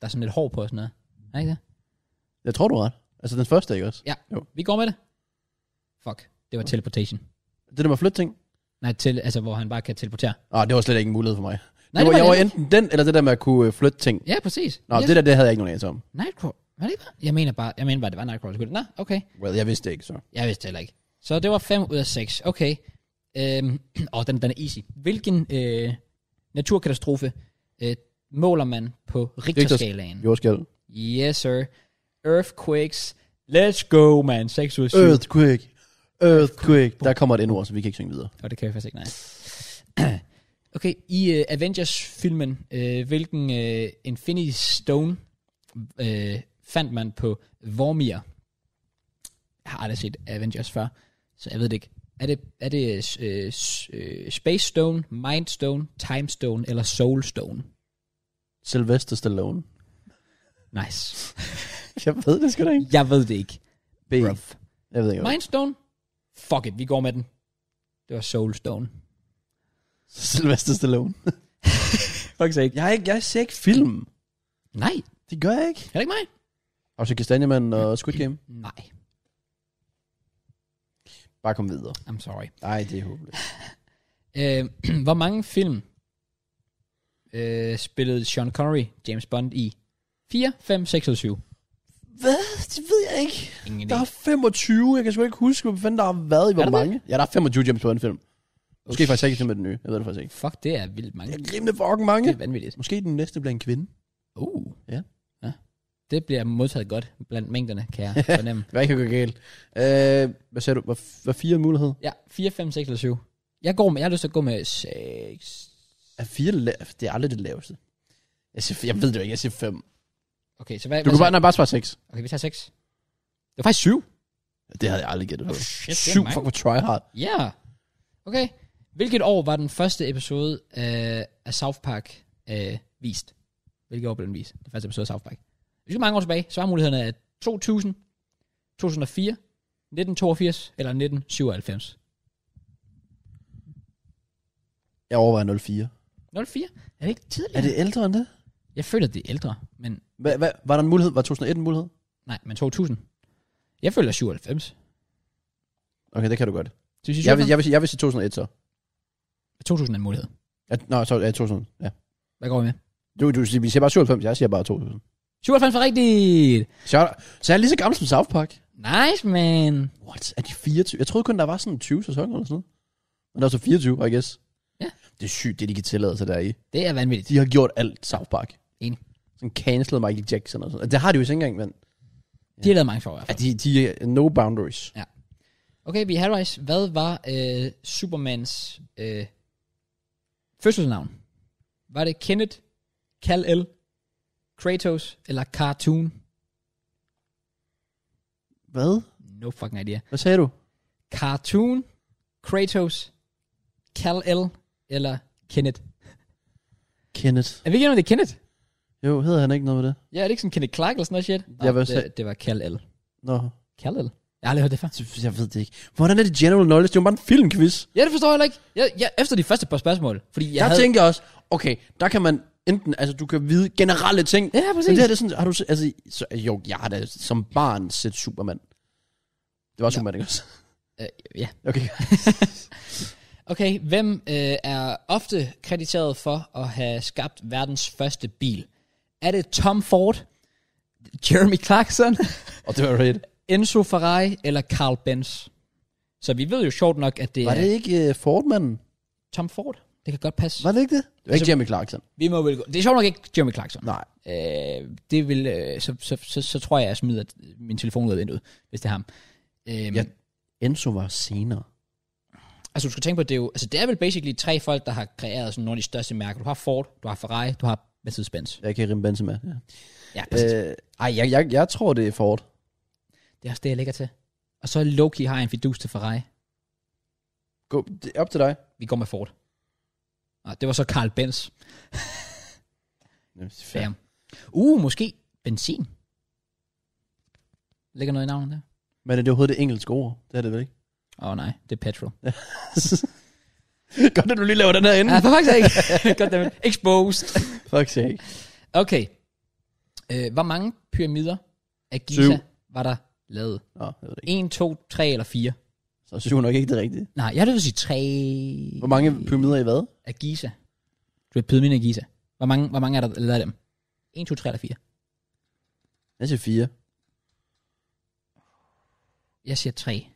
Speaker 1: der er sådan lidt hår på og sådan noget. Er det ikke det?
Speaker 2: Jeg tror, du har ret. Altså den første, ikke også?
Speaker 1: Ja,
Speaker 2: Jo.
Speaker 1: vi går med det. Fuck, det var teleportation.
Speaker 2: Det der med flytting?
Speaker 1: Nej, til, altså hvor han bare kan teleportere.
Speaker 2: Ah, det var slet ikke en mulighed for mig.
Speaker 1: Nej,
Speaker 2: Nej,
Speaker 1: det
Speaker 2: det
Speaker 1: var
Speaker 2: var,
Speaker 1: det
Speaker 2: jeg var
Speaker 1: ikke.
Speaker 2: enten den, eller det der med at kunne øh, flytte ting.
Speaker 1: Ja, præcis.
Speaker 2: Nå,
Speaker 1: Ja,
Speaker 2: det der, det havde jeg ikke nogen anelse om.
Speaker 1: Nightcrawler? Var det ikke bare? Jeg mener bare, jeg mener bare, det var Nightcrawler. selvfølgelig. Nå, okay.
Speaker 2: Well, jeg vidste det ikke, så.
Speaker 1: Jeg vidste det heller ikke. Så det var 5 ud af 6. Okay. Øhm, *clears throat* og den, den er easy. Hvilken øh, naturkatastrofe øh, måler man på Richterskalaen?
Speaker 2: Jordskæld.
Speaker 1: Yes, sir. Earthquakes. Let's go, man. 6 ud af 7.
Speaker 2: Øh, Earthquake. Earthquake. Der kommer et endord, så vi kan ikke synge videre.
Speaker 1: Og det kan vi faktisk ikke, nej. *clears throat* Okay, i uh, Avengers-filmen, uh, øh, hvilken uh, Infinity Stone uh, fandt man på Vormir? Jeg har aldrig set Avengers før, så jeg ved det ikke. Er det, er det øh, s- øh, Space Stone, Mind Stone, Time Stone eller Soul Stone?
Speaker 2: Sylvester Stallone.
Speaker 1: Nice.
Speaker 2: *laughs* Jeg ved det sgu da ikke.
Speaker 1: Jeg ved det ikke.
Speaker 2: B.
Speaker 1: Bruv.
Speaker 2: Jeg ved ikke. hvad det er.
Speaker 1: Mind Stone? Fuck it, vi går med den. Det var Soul Stone.
Speaker 2: Sylvester Stallone.
Speaker 1: Fuck sake.
Speaker 2: Jeg, er ikke, jeg ser ikke film.
Speaker 1: Nej,
Speaker 2: Det gør jeg ikke.
Speaker 1: er det ikke mig?
Speaker 2: Og så Kastanjemanden og Squid Game.
Speaker 1: Nej,
Speaker 2: Bare kom videre.
Speaker 1: I'm sorry.
Speaker 2: Nej, det er håbløst.
Speaker 1: Øh, *clears throat* hvor mange film øh, spillede Sean Connery, James Bond, i? 4, 5, 6 og 7.
Speaker 2: Hvad? Det ved jeg ikke.
Speaker 1: Ingen idé.
Speaker 2: Der er 25. Jeg kan sgu ikke huske, hvor fanden der har været i hvor
Speaker 1: Er der det?
Speaker 2: mange. Ja, der er 25 James Bond-film. Måske faktisk ikke med den nye. Jeg ved det faktisk ikke.
Speaker 1: Fuck, det er vildt mange.
Speaker 2: Det er rimelig fucking mange.
Speaker 1: Det er vanvittigt.
Speaker 2: Måske den næste bliver en kvinde.
Speaker 1: Uh.
Speaker 2: Ja.
Speaker 1: ja. Det bliver modtaget godt blandt mængderne,
Speaker 2: *laughs*
Speaker 1: kan jeg fornemme.
Speaker 2: Hvad kan gå galt? Øh, hvad sagde du? Hvad, hvad fire mulighed?
Speaker 1: ja, 4, 5, 6 eller 7. Jeg, går med, jeg har lyst til at gå med 6.
Speaker 2: Er fire la- det er aldrig det laveste. Jeg, siger, jeg ved det jo ikke, jeg siger fem.
Speaker 1: Okay, så hvad,
Speaker 2: Du
Speaker 1: hvad
Speaker 2: kan
Speaker 1: så?
Speaker 2: bare, nej, bare svare seks.
Speaker 1: Okay, vi tager 6. Det var faktisk 7.
Speaker 2: Det havde jeg aldrig gættet på.
Speaker 1: Oh, shit, det er
Speaker 2: Syv,
Speaker 1: mange.
Speaker 2: fuck, hvor try hard.
Speaker 1: Ja. Yeah. Okay. Hvilket år var den første episode øh, af South Park øh, vist? Hvilket år blev den vist? Den første episode af South Park. Vi skal mange år tilbage. Svarmulighederne er 2000, 2004, 1982 eller 1997.
Speaker 2: Jeg overvejer 04.
Speaker 1: 04? Er det ikke tidligere?
Speaker 2: Er det ældre end det?
Speaker 1: Jeg føler, det er ældre, men
Speaker 2: Hva, hva, var der en mulighed? Var 2001 en mulighed?
Speaker 1: nej, men 2000. Jeg føler 97.
Speaker 2: Okay, det kan du godt.
Speaker 1: Du siger
Speaker 2: Jeg vil,
Speaker 1: 97?
Speaker 2: jeg, vil, jeg vil sige 2001 så.
Speaker 1: 2000 er en mulighed.
Speaker 2: Ja, nej, så, ja, 2000. Ja.
Speaker 1: Hvad går vi med?
Speaker 2: Du, du siger, vi siger bare 97, jeg siger bare 2000.
Speaker 1: 97 var rigtigt!
Speaker 2: Så, er der- så er jeg lige så gammel som South Park.
Speaker 1: Nice, man!
Speaker 2: What? Er de 24? Jeg troede kun, der var sådan 20 sæsoner eller sådan noget. Men der er så 24, I guess.
Speaker 1: Ja.
Speaker 2: Det er sygt, det de kan tillade sig der i.
Speaker 1: Det er vanvittigt.
Speaker 2: De har gjort alt South Park.
Speaker 1: Enig.
Speaker 2: Sådan cancelet Michael Jackson og sådan noget. Det har de jo ikke engang, men
Speaker 1: De har lavet mange for i hvert fald.
Speaker 2: ja, de, de er no boundaries.
Speaker 1: Okay, vi er halvvejs. Hvad var øh, Supermans øh, fødselsnavn? Var det Kenneth, Kal-El, Kratos eller Cartoon?
Speaker 2: Hvad?
Speaker 1: No fucking idea.
Speaker 2: Hvad sagde du?
Speaker 1: Cartoon, Kratos, Kal-El eller Kenneth?
Speaker 2: Kenneth.
Speaker 1: Er vi ikke enige om, det er Kenneth?
Speaker 2: Jo, hedder han ikke noget med det?
Speaker 1: Ja, er det ikke sådan Kenneth Clark eller sådan noget shit?
Speaker 2: Jeg vil sige-
Speaker 1: det, det var Kal-El.
Speaker 2: Nå,
Speaker 1: Kal-El? Jeg har aldrig hørt det før.
Speaker 2: det- jeg ved det ikke. Hvordan er det general knowledge? Det er jo bare en filmquiz.
Speaker 1: Ja, det forstår jeg heller ikke. Jeg, jeg, efter de første par spørgsmål, fordi jeg
Speaker 2: Jeg der
Speaker 1: havde...
Speaker 2: havde... tænker jeg også, okay, der kan man enten, altså du kan vide generelle ting.
Speaker 1: Ja, præcis.
Speaker 2: Men det her, det er sådan, har du, se- altså, så, jo, jeg har da som barn set Superman. Det var Superman, ikke også? *laughs*
Speaker 1: Øh, ja,
Speaker 2: Okay.
Speaker 1: Okay, hvem øh, er ofte krediteret for at have skabt verdens første bil? Er det Tom Ford, Jeremy
Speaker 2: *laughs*
Speaker 1: Clarkson,
Speaker 2: Og det var rigtigt.
Speaker 1: Enzo Ferrari eller Carl Benz? Så vi ved jo sjovt nok, at det
Speaker 2: Var
Speaker 1: er
Speaker 2: det ikke uh, Fordmanden?
Speaker 1: Tom Ford. Det kan godt passe.
Speaker 2: Var det Altså- ikke det? Det var ikke Jeremy Clarkson.
Speaker 1: Vi må vel gå. Det er sjovt nok ikke Jeremy Clarkson.
Speaker 2: Nej.
Speaker 1: Øh, det vil, øh, så, så, så, så, tror jeg, jeg smider min telefon ud af vinduet, hvis det er ham. Øhm,
Speaker 2: Ja. Enzo var senere.
Speaker 1: Altså du skal tænke på, det er jo, altså det er vel basically tre folk, der har kreeret sådan nogle af de største mærker. Du har Ford, du har Ferrari, du har Mercedes-Benz.
Speaker 2: Jeg kan rime Benzema. Ja.
Speaker 1: Ja, præcis.
Speaker 2: Øh, ej, jeg, jeg, jeg tror, det er Ford.
Speaker 1: Det er også det, jeg lægger til. Og så Loki har jeg en fidus til Ferrari.
Speaker 2: Gå, det er op til dig.
Speaker 1: Vi går med Ford. Og det var så Carl Benz. Bam. Uh, måske benzin. Ligger noget i navnet der?
Speaker 2: Men er det overhovedet det engelske ord? Det er det vel ikke?
Speaker 1: Åh oh, nej, det er petrol.
Speaker 2: *laughs* Godt, at du lige laver den her inde.
Speaker 1: Ja, for faktisk *laughs* ikke. Goddammit. Exposed.
Speaker 2: Fuck sake.
Speaker 1: Okay. Øh, hvor mange pyramider af Giza
Speaker 2: Syv.
Speaker 1: var der lavet?
Speaker 2: Nå, jeg ved det ikke.
Speaker 1: 1, 2, 3 eller 4?
Speaker 2: Så synes jeg nok ikke det rigtige.
Speaker 1: Nej, jeg har lyst til at sige 3
Speaker 2: Hvor mange pyramider i hvad?
Speaker 1: af Giza. Du ved, pyramiden af Giza. Hvor mange, hvor mange er der lavet af dem? 1, 2, 3 eller 4?
Speaker 2: Jeg siger fire.
Speaker 1: Jeg siger 3.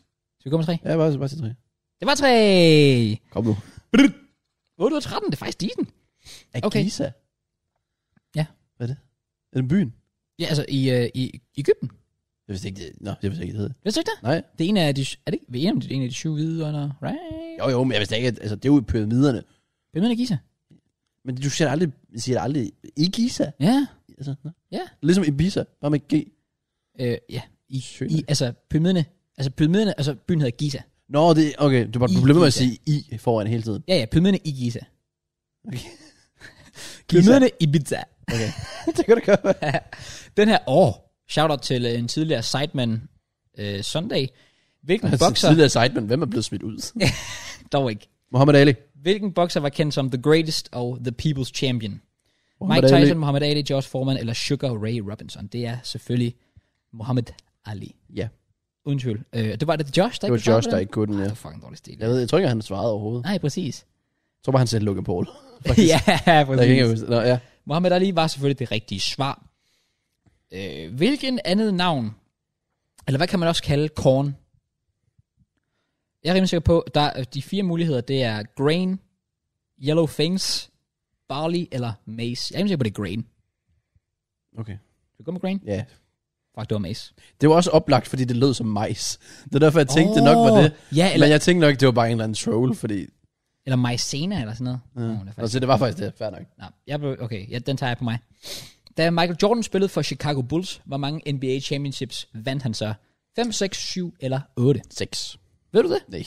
Speaker 1: Skal vi gå med 3?
Speaker 2: Ja, bare, bare til tre.
Speaker 1: Det var 3.
Speaker 2: Kom nu.
Speaker 1: 8 ud af 13, det er faktisk decent.
Speaker 2: Er
Speaker 1: Okay.
Speaker 2: Giza?
Speaker 1: Ja.
Speaker 2: Hvad er det? Er det byen?
Speaker 1: Ja, altså i, øh, i Ægypten.
Speaker 2: Jeg vidste ikke, det, nå, jeg vidste ikke, det hed.
Speaker 1: Ved du ikke det?
Speaker 2: Nej.
Speaker 1: Det er en af de, er det ikke, ved en af de, en af de syv hvide under, right?
Speaker 2: Jo, jo, men jeg vidste ikke, at, altså, det er jo i pyramiderne.
Speaker 1: Hvem er det, Giza?
Speaker 2: Men du siger aldrig, siger det aldrig i Giza.
Speaker 1: Ja,
Speaker 2: Altså, nå.
Speaker 1: Ja.
Speaker 2: Ligesom Ibiza, bare med G.
Speaker 1: øh, ja. I,
Speaker 2: Sygt.
Speaker 1: i, altså pyramiderne, Altså pyramiderne, altså byen hedder Giza.
Speaker 2: Nå, det, okay, du var
Speaker 1: I
Speaker 2: problemet med at
Speaker 1: Giza.
Speaker 2: sige I foran hele tiden.
Speaker 1: Ja, ja, pyramiderne i Giza. *laughs*
Speaker 2: Okay.
Speaker 1: Pyramiderne i Ibiza. *laughs*
Speaker 2: Okay. det kan det godt *laughs* være.
Speaker 1: Den her år, shoutout til øh, en tidligere sideman øh, Sunday. Hvilken
Speaker 2: Altså,
Speaker 1: bokser,
Speaker 2: tidligere sideman, hvem er blevet smidt ud?
Speaker 1: dog ikke.
Speaker 2: Muhammad Ali.
Speaker 1: Hvilken bokser var kendt som The Greatest og The People's Champion?
Speaker 2: Muhammad
Speaker 1: Mike
Speaker 2: Ali.
Speaker 1: Tyson, Muhammad Ali, George Foreman eller Sugar Ray Robinson? Det er selvfølgelig Muhammad Ali.
Speaker 2: Ja,
Speaker 1: Uden tvivl. Øh, det var det Josh, der
Speaker 2: det var
Speaker 1: ikke kunne svare
Speaker 2: Josh,
Speaker 1: på
Speaker 2: der
Speaker 1: den?
Speaker 2: ikke kunne den,
Speaker 1: Ah, Det var
Speaker 2: ja.
Speaker 1: fucking dårlig stil.
Speaker 2: Jeg, ved, jeg tror ikke, han svarede overhovedet.
Speaker 1: Nej, præcis.
Speaker 2: Jeg tror bare, han sagde Logan Paul.
Speaker 1: *laughs* ja,
Speaker 2: Jeg kan ikke
Speaker 1: præcis.
Speaker 2: huske. Nå, ja.
Speaker 1: Muhammad Ali var selvfølgelig det rigtige svar. Øh, hvilken andet navn, eller hvad kan man også kalde korn? Jeg er rimelig sikker på, der er de fire muligheder, det er grain, yellow things, barley eller maize. Jeg er rimelig sikker på, det er grain.
Speaker 2: Okay.
Speaker 1: Skal vi gå med grain?
Speaker 2: Ja.
Speaker 1: Fuck, det var maize.
Speaker 2: Det var også oplagt, fordi det lød som majs. Det er derfor, jeg tænkte, det nok var
Speaker 1: Ja,
Speaker 2: det. Eller...
Speaker 1: eller,
Speaker 2: Men jeg tænkte nok, det var bare en eller anden troll, fordi...
Speaker 1: eller maizena eller sådan noget. Ja. Oh, det er faktisk...
Speaker 2: Altså, det var faktisk det. Fair nok.
Speaker 1: Nå, jeg blev, okay, ja, den tager jeg på mig. Da Michael Jordan spillede for Chicago Bulls, hvor mange NBA championships vandt han så? 5, 6, 7 eller 8?
Speaker 2: 6.
Speaker 1: Ved du det?
Speaker 2: Nej.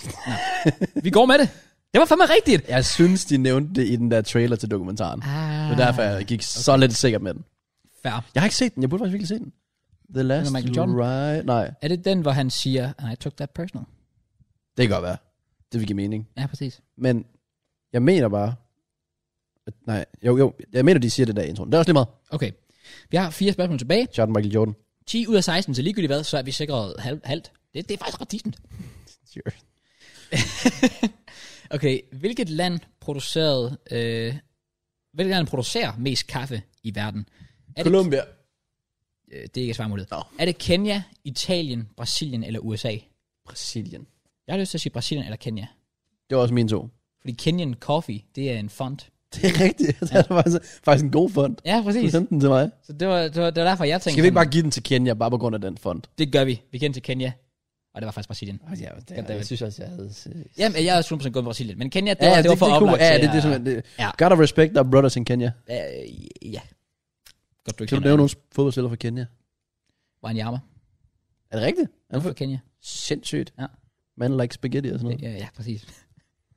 Speaker 1: Vi går med det. Det var fandme rigtigt.
Speaker 2: Jeg synes, de nævnte det i den der trailer til dokumentaren. Ah.
Speaker 1: Ah,
Speaker 2: Det er derfor, jeg gik okay. så lidt sikker med den.
Speaker 1: fair.
Speaker 2: Jeg har ikke set den. Jeg burde faktisk virkelig se den. The Last
Speaker 1: Den er Michael Jordan.
Speaker 2: Ride. Nej,
Speaker 1: Er det den, hvor han siger, and I took that personal?
Speaker 2: det kan godt være. Det vil give mening.
Speaker 1: Ja, præcis.
Speaker 2: Men jeg mener bare... At, nej, jo, jo. Jeg mener, de siger det der i introen. Det er også lige meget.
Speaker 1: Okay. Vi har fire spørgsmål tilbage.
Speaker 2: Shout out Michael Jordan.
Speaker 1: 10 ud af 16, så ligegyldigt hvad, så er vi sikret halv, halvt. Det, det er faktisk ret decent.
Speaker 2: Sure.
Speaker 1: Okay, hvilket land producerede, øh, hvilket land producerer mest kaffe i verden? Er det,
Speaker 2: Colombia.
Speaker 1: øh, det er ikke et svarmulighed.
Speaker 2: Nå.
Speaker 1: Er det Kenya, Italien, Brasilien eller USA?
Speaker 2: Brasilien.
Speaker 1: Jeg har lyst til at sige Brasilien eller Kenya.
Speaker 2: Det var også mine to.
Speaker 1: Fordi Kenyan Coffee, det er en fond.
Speaker 2: Det er rigtigt. *laughs* Det er faktisk, faktisk en god fond.
Speaker 1: Ja,
Speaker 2: Du
Speaker 1: præcis.
Speaker 2: sendte den til mig.
Speaker 1: Så det var, det var, det var derfor, jeg tænkte...
Speaker 2: Skal vi ikke
Speaker 1: sådan-
Speaker 2: bare give den til Kenya, bare på grund af den fond?
Speaker 1: Det gør vi. Vi kendte til Kenya. Og det var faktisk Brasilien.
Speaker 2: Ja, det,
Speaker 1: jeg
Speaker 2: synes også, jeg havde...
Speaker 1: Jamen, jeg er også 100% gået med Brasilien. Men Kenya, det,
Speaker 2: Ja,
Speaker 1: var,
Speaker 2: det,
Speaker 1: det, var for
Speaker 2: det, kunne,
Speaker 1: oplagt. til
Speaker 2: ja, det, det,
Speaker 1: at-
Speaker 2: det, det,
Speaker 1: Ja.
Speaker 2: ja. Gotta respect our brothers in Kenya.
Speaker 1: Øh, ja. Godt, du ikke
Speaker 2: Kan du nævne nogle fodboldspillere fra Kenya?
Speaker 1: Wanyama.
Speaker 2: Er det rigtigt?
Speaker 1: Han er fra Kenya.
Speaker 2: Sindssygt.
Speaker 1: Ja.
Speaker 2: Man like spaghetti og sådan
Speaker 1: Ja,
Speaker 2: noget.
Speaker 1: ja, præcis. *laughs*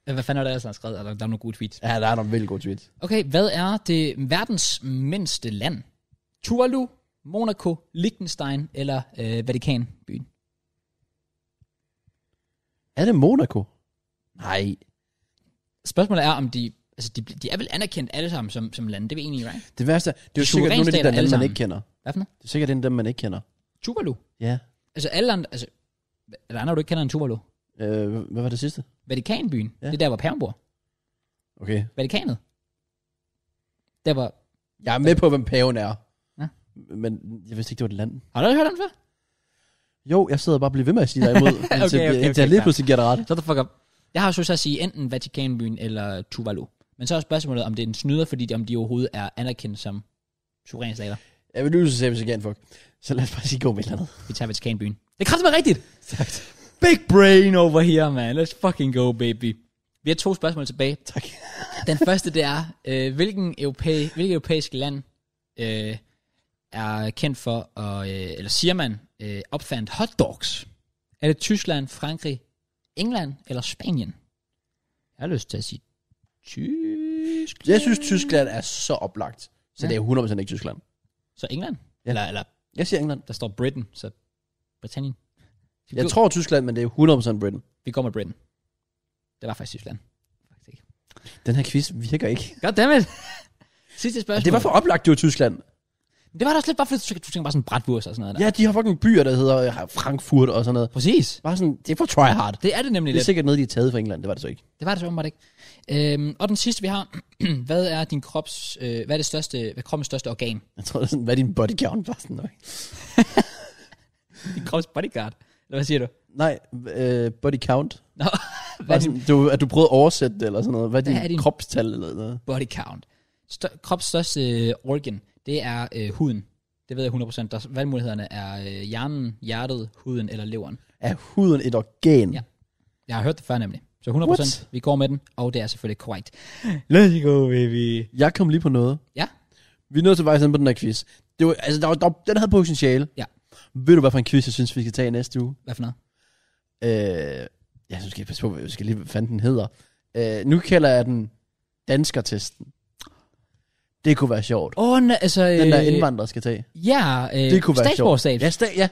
Speaker 1: Hvad fanden var det, ellers, han har skrevet? Altså, Der, der er nogle gode tweets.
Speaker 2: Ja, der er nogle vildt gode tweets.
Speaker 1: Okay, hvad er det verdens mindste land? Tuvalu, Monaco, Liechtenstein eller øh, Vatikanbyen?
Speaker 2: Er det Monaco? Nej.
Speaker 1: Spørgsmålet er, om de... Altså, de, de er vel anerkendt alle sammen som, som lande. Det er vi enige i, right?
Speaker 2: Det værste er, det er
Speaker 1: De
Speaker 2: jo sikkert nogle af de
Speaker 1: suverænstater
Speaker 2: der
Speaker 1: alle
Speaker 2: lande, man
Speaker 1: sammen.
Speaker 2: ikke kender.
Speaker 1: Hvad for noget?
Speaker 2: Det er sikkert en af dem, man ikke kender.
Speaker 1: Tuvalu.
Speaker 2: Ja.
Speaker 1: Altså, alle andre... Altså, er der andre, du ikke kender end Tuvalu?
Speaker 2: Øh, hvad var det sidste?
Speaker 1: Vatikanbyen. Ja.
Speaker 2: Ja.
Speaker 1: Det er der, hvor paven bor.
Speaker 2: Okay.
Speaker 1: Vatikanet. Der var...
Speaker 2: Jeg er med på, hvem paven er.
Speaker 1: Ja.
Speaker 2: Men jeg vidste ikke, det var et land.
Speaker 1: Har du aldrig hørt om det før?
Speaker 2: Jo, jeg sidder bare og bliver ved med at sige dig *laughs* imod, okay, indtil,
Speaker 1: okay,
Speaker 2: okay,
Speaker 1: okay,
Speaker 2: indtil jeg lige
Speaker 1: klar.
Speaker 2: pludselig giver dig ret.
Speaker 1: Så the fuck up. Jeg har jo så at sige enten Vatikanbyen eller Tuvalu. Men så er spørgsmålet, om det er en snyder, fordi de, om de overhovedet er anerkendt som suverænstater.
Speaker 2: Jeg vil lyse til hvis jeg kan, fuck. Så lad os bare sige, gå med et eller andet.
Speaker 1: Vi tager Vatikanbyen. Det kræfter mig rigtigt!
Speaker 2: Tak.
Speaker 1: Big brain over here, man. Let's fucking go, baby. Vi har to spørgsmål tilbage.
Speaker 2: tak.
Speaker 1: Den første, det er, øh, hvilken europæ- hvilket europæisk land øh, er kendt for, at, øh, eller siger man, øh, opfandt hotdogs? Er det Tyskland, Frankrig, England eller Spanien? Jeg har lyst til at sige Tyskland.
Speaker 2: Jeg synes, Tyskland er så oplagt. Så
Speaker 1: Ja.
Speaker 2: ja. det er 100% ikke Tyskland.
Speaker 1: Så England?
Speaker 2: Ja.
Speaker 1: Eller, eller
Speaker 2: Jeg siger England.
Speaker 1: der står Britain, så Britannien. Vi,
Speaker 2: Jeg
Speaker 1: går-
Speaker 2: tror Tyskland, men det er 100% Britain.
Speaker 1: vi går med Britain. Det var faktisk Tyskland. Faktisk ikke.
Speaker 2: Den her quiz virker ikke. Altså,
Speaker 1: Goddammit! *laughs* Sidste spørgsmål.
Speaker 2: Det var for oplagt, det var Tyskland.
Speaker 1: det var da også lidt bare, fordi du tænker bare sådan brætvurs og sådan noget. Der.
Speaker 2: Ja, de har fucking byer, der hedder øh, Frankfurt og sådan noget.
Speaker 1: Præcis.
Speaker 2: Bare sådan, det er for try hard.
Speaker 1: Det er det nemlig
Speaker 2: Det
Speaker 1: lidt.
Speaker 2: er sikkert noget, de har taget fra England. Det var det så ikke.
Speaker 1: Det var det så åbenbart ikke. Øhm, og den sidste, vi har. *clears throat* hvad er din krops... Øh, hvad er det største... Hvad er kroppens største organ?
Speaker 2: Jeg tror, det er sådan, hvad er din body count? Bare sådan, okay.
Speaker 1: *laughs* Din krops bodyguard. Eller hvad siger du?
Speaker 2: Nej, øh, body count.
Speaker 1: Nå, *laughs* hvad
Speaker 2: Bare
Speaker 1: er din
Speaker 2: sådan, du, at du prøvede at oversætte det eller sådan noget. Hvad er
Speaker 1: Hvad
Speaker 2: din,
Speaker 1: er din-
Speaker 2: kropstal eller noget?
Speaker 1: body count? Stør, krops største øh, organ, det er øh, huden. Det ved jeg 100%. Der, valgmulighederne er øh, hjernen, hjertet, huden eller leveren.
Speaker 2: Er huden et organ?
Speaker 1: Ja. Jeg har hørt det før nemlig. Så 100%
Speaker 2: What?
Speaker 1: vi går med den, og det er selvfølgelig korrekt. Let's go, baby.
Speaker 2: Jeg kom lige på noget.
Speaker 1: Ja,
Speaker 2: Vi er nødt til vejs ende på den her quiz. Det var, altså, der var, der, den havde potentiale.
Speaker 1: Ja.
Speaker 2: Ved du, hvad for en quiz, jeg synes, vi skal tage i næste uge?
Speaker 1: hvad for noget?
Speaker 2: Øh, jeg synes, skal jeg passe på, jeg skal lige, hvad fanden den hedder. Øh, nu kalder jeg den danskertesten. Det kunne være sjovt.
Speaker 1: Åh, oh, altså...
Speaker 2: Den der indvandrer skal tage.
Speaker 1: Ja, øh,
Speaker 2: Det kunne være sjovt.
Speaker 1: statsborgerskab.
Speaker 2: Ja, sta- ja,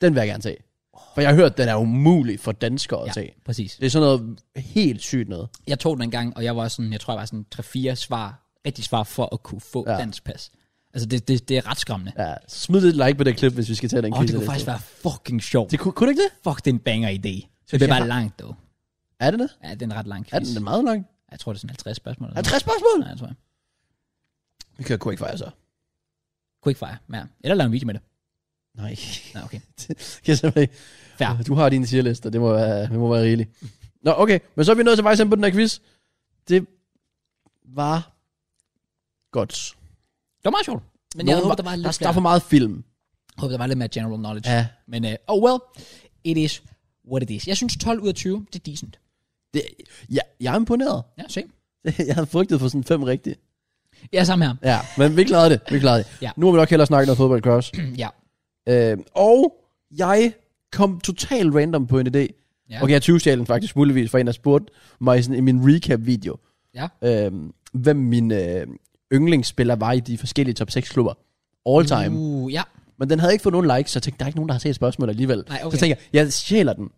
Speaker 2: den vil jeg gerne tage. For jeg har hørt, den er umulig for danskere
Speaker 1: Ja.
Speaker 2: at tage.
Speaker 1: Præcis.
Speaker 2: Det er sådan noget helt sygt noget.
Speaker 1: Jeg tog den en gang, og jeg var sådan, jeg tror, jeg var sådan 3-4 svar, rigtige svar for at kunne få
Speaker 2: Ja.
Speaker 1: ja. dansk pas. Altså, det, det, det er ret skræmmende. Åh,
Speaker 2: Ja, smid et like på det klip, hvis vi skal tage den
Speaker 1: ja, oh, det
Speaker 2: quiz
Speaker 1: kunne
Speaker 2: næste
Speaker 1: faktisk
Speaker 2: uge.
Speaker 1: være fucking sjovt. Det,
Speaker 2: Det kunne, kunne det ikke det?
Speaker 1: Fuck, det er en banger idé.
Speaker 2: Synes
Speaker 1: Det bliver
Speaker 2: jeg
Speaker 1: bare
Speaker 2: har-
Speaker 1: langt, dog.
Speaker 2: Er det det?
Speaker 1: Ja, det er en ret lang quiz.
Speaker 2: Er den, den er meget lang?
Speaker 1: Jeg tror, det er sådan 50 spørgsmål.
Speaker 2: Er
Speaker 1: Eller
Speaker 2: det
Speaker 1: sådan
Speaker 2: 60 spørgsmål?
Speaker 1: noget. Nej, jeg tror jeg.
Speaker 2: Vi kører quickfire så.
Speaker 1: Quickfire, ja. Eller lave en video med det.
Speaker 2: Nej.
Speaker 1: Nej, okay.
Speaker 2: *laughs* Kan jeg simpelthen ikke.
Speaker 1: Fair.
Speaker 2: Du har dine tierlister, det må være, det må være rigeligt. Nå, okay. Men så er vi nået til vejs ende på den her quiz. Det var godt.
Speaker 1: Det var meget sjovt. Men jeg
Speaker 2: Nogen
Speaker 1: håber, der var lidt
Speaker 2: der, der er for
Speaker 1: mere,
Speaker 2: meget film.
Speaker 1: håber, der var lidt mere general knowledge.
Speaker 2: Ja.
Speaker 1: Men, uh, oh well, it is what it is. Jeg synes 12 ud af 20, det er decent.
Speaker 2: Det, ja, jeg er imponeret.
Speaker 1: Ja, se.
Speaker 2: *laughs* Jeg havde frygtet for sådan fem rigtige.
Speaker 1: Ja, sammen her.
Speaker 2: Ja, men vi klarede det. Vi klarede det.
Speaker 1: Ja.
Speaker 2: Nu må vi nok hellere snakke noget fodbold, Cross.
Speaker 1: ja.
Speaker 2: Øh, og jeg kom totalt random på en idé.
Speaker 1: Ja.
Speaker 2: Ja. Okay, jeg 20 den faktisk muligvis for en, der spurgte mig sådan, i min recap-video,
Speaker 1: Ja.
Speaker 2: øh, hvem min øh, yndlingsspiller var i de forskellige top 6-klubber. All time. Mm.
Speaker 1: Uh, ja.
Speaker 2: Men den havde ikke fået nogen likes, så jeg tænkte, der er ikke nogen, der har set spørgsmålet alligevel.
Speaker 1: Nej, okay.
Speaker 2: Så tænkte jeg, jeg stjæler den.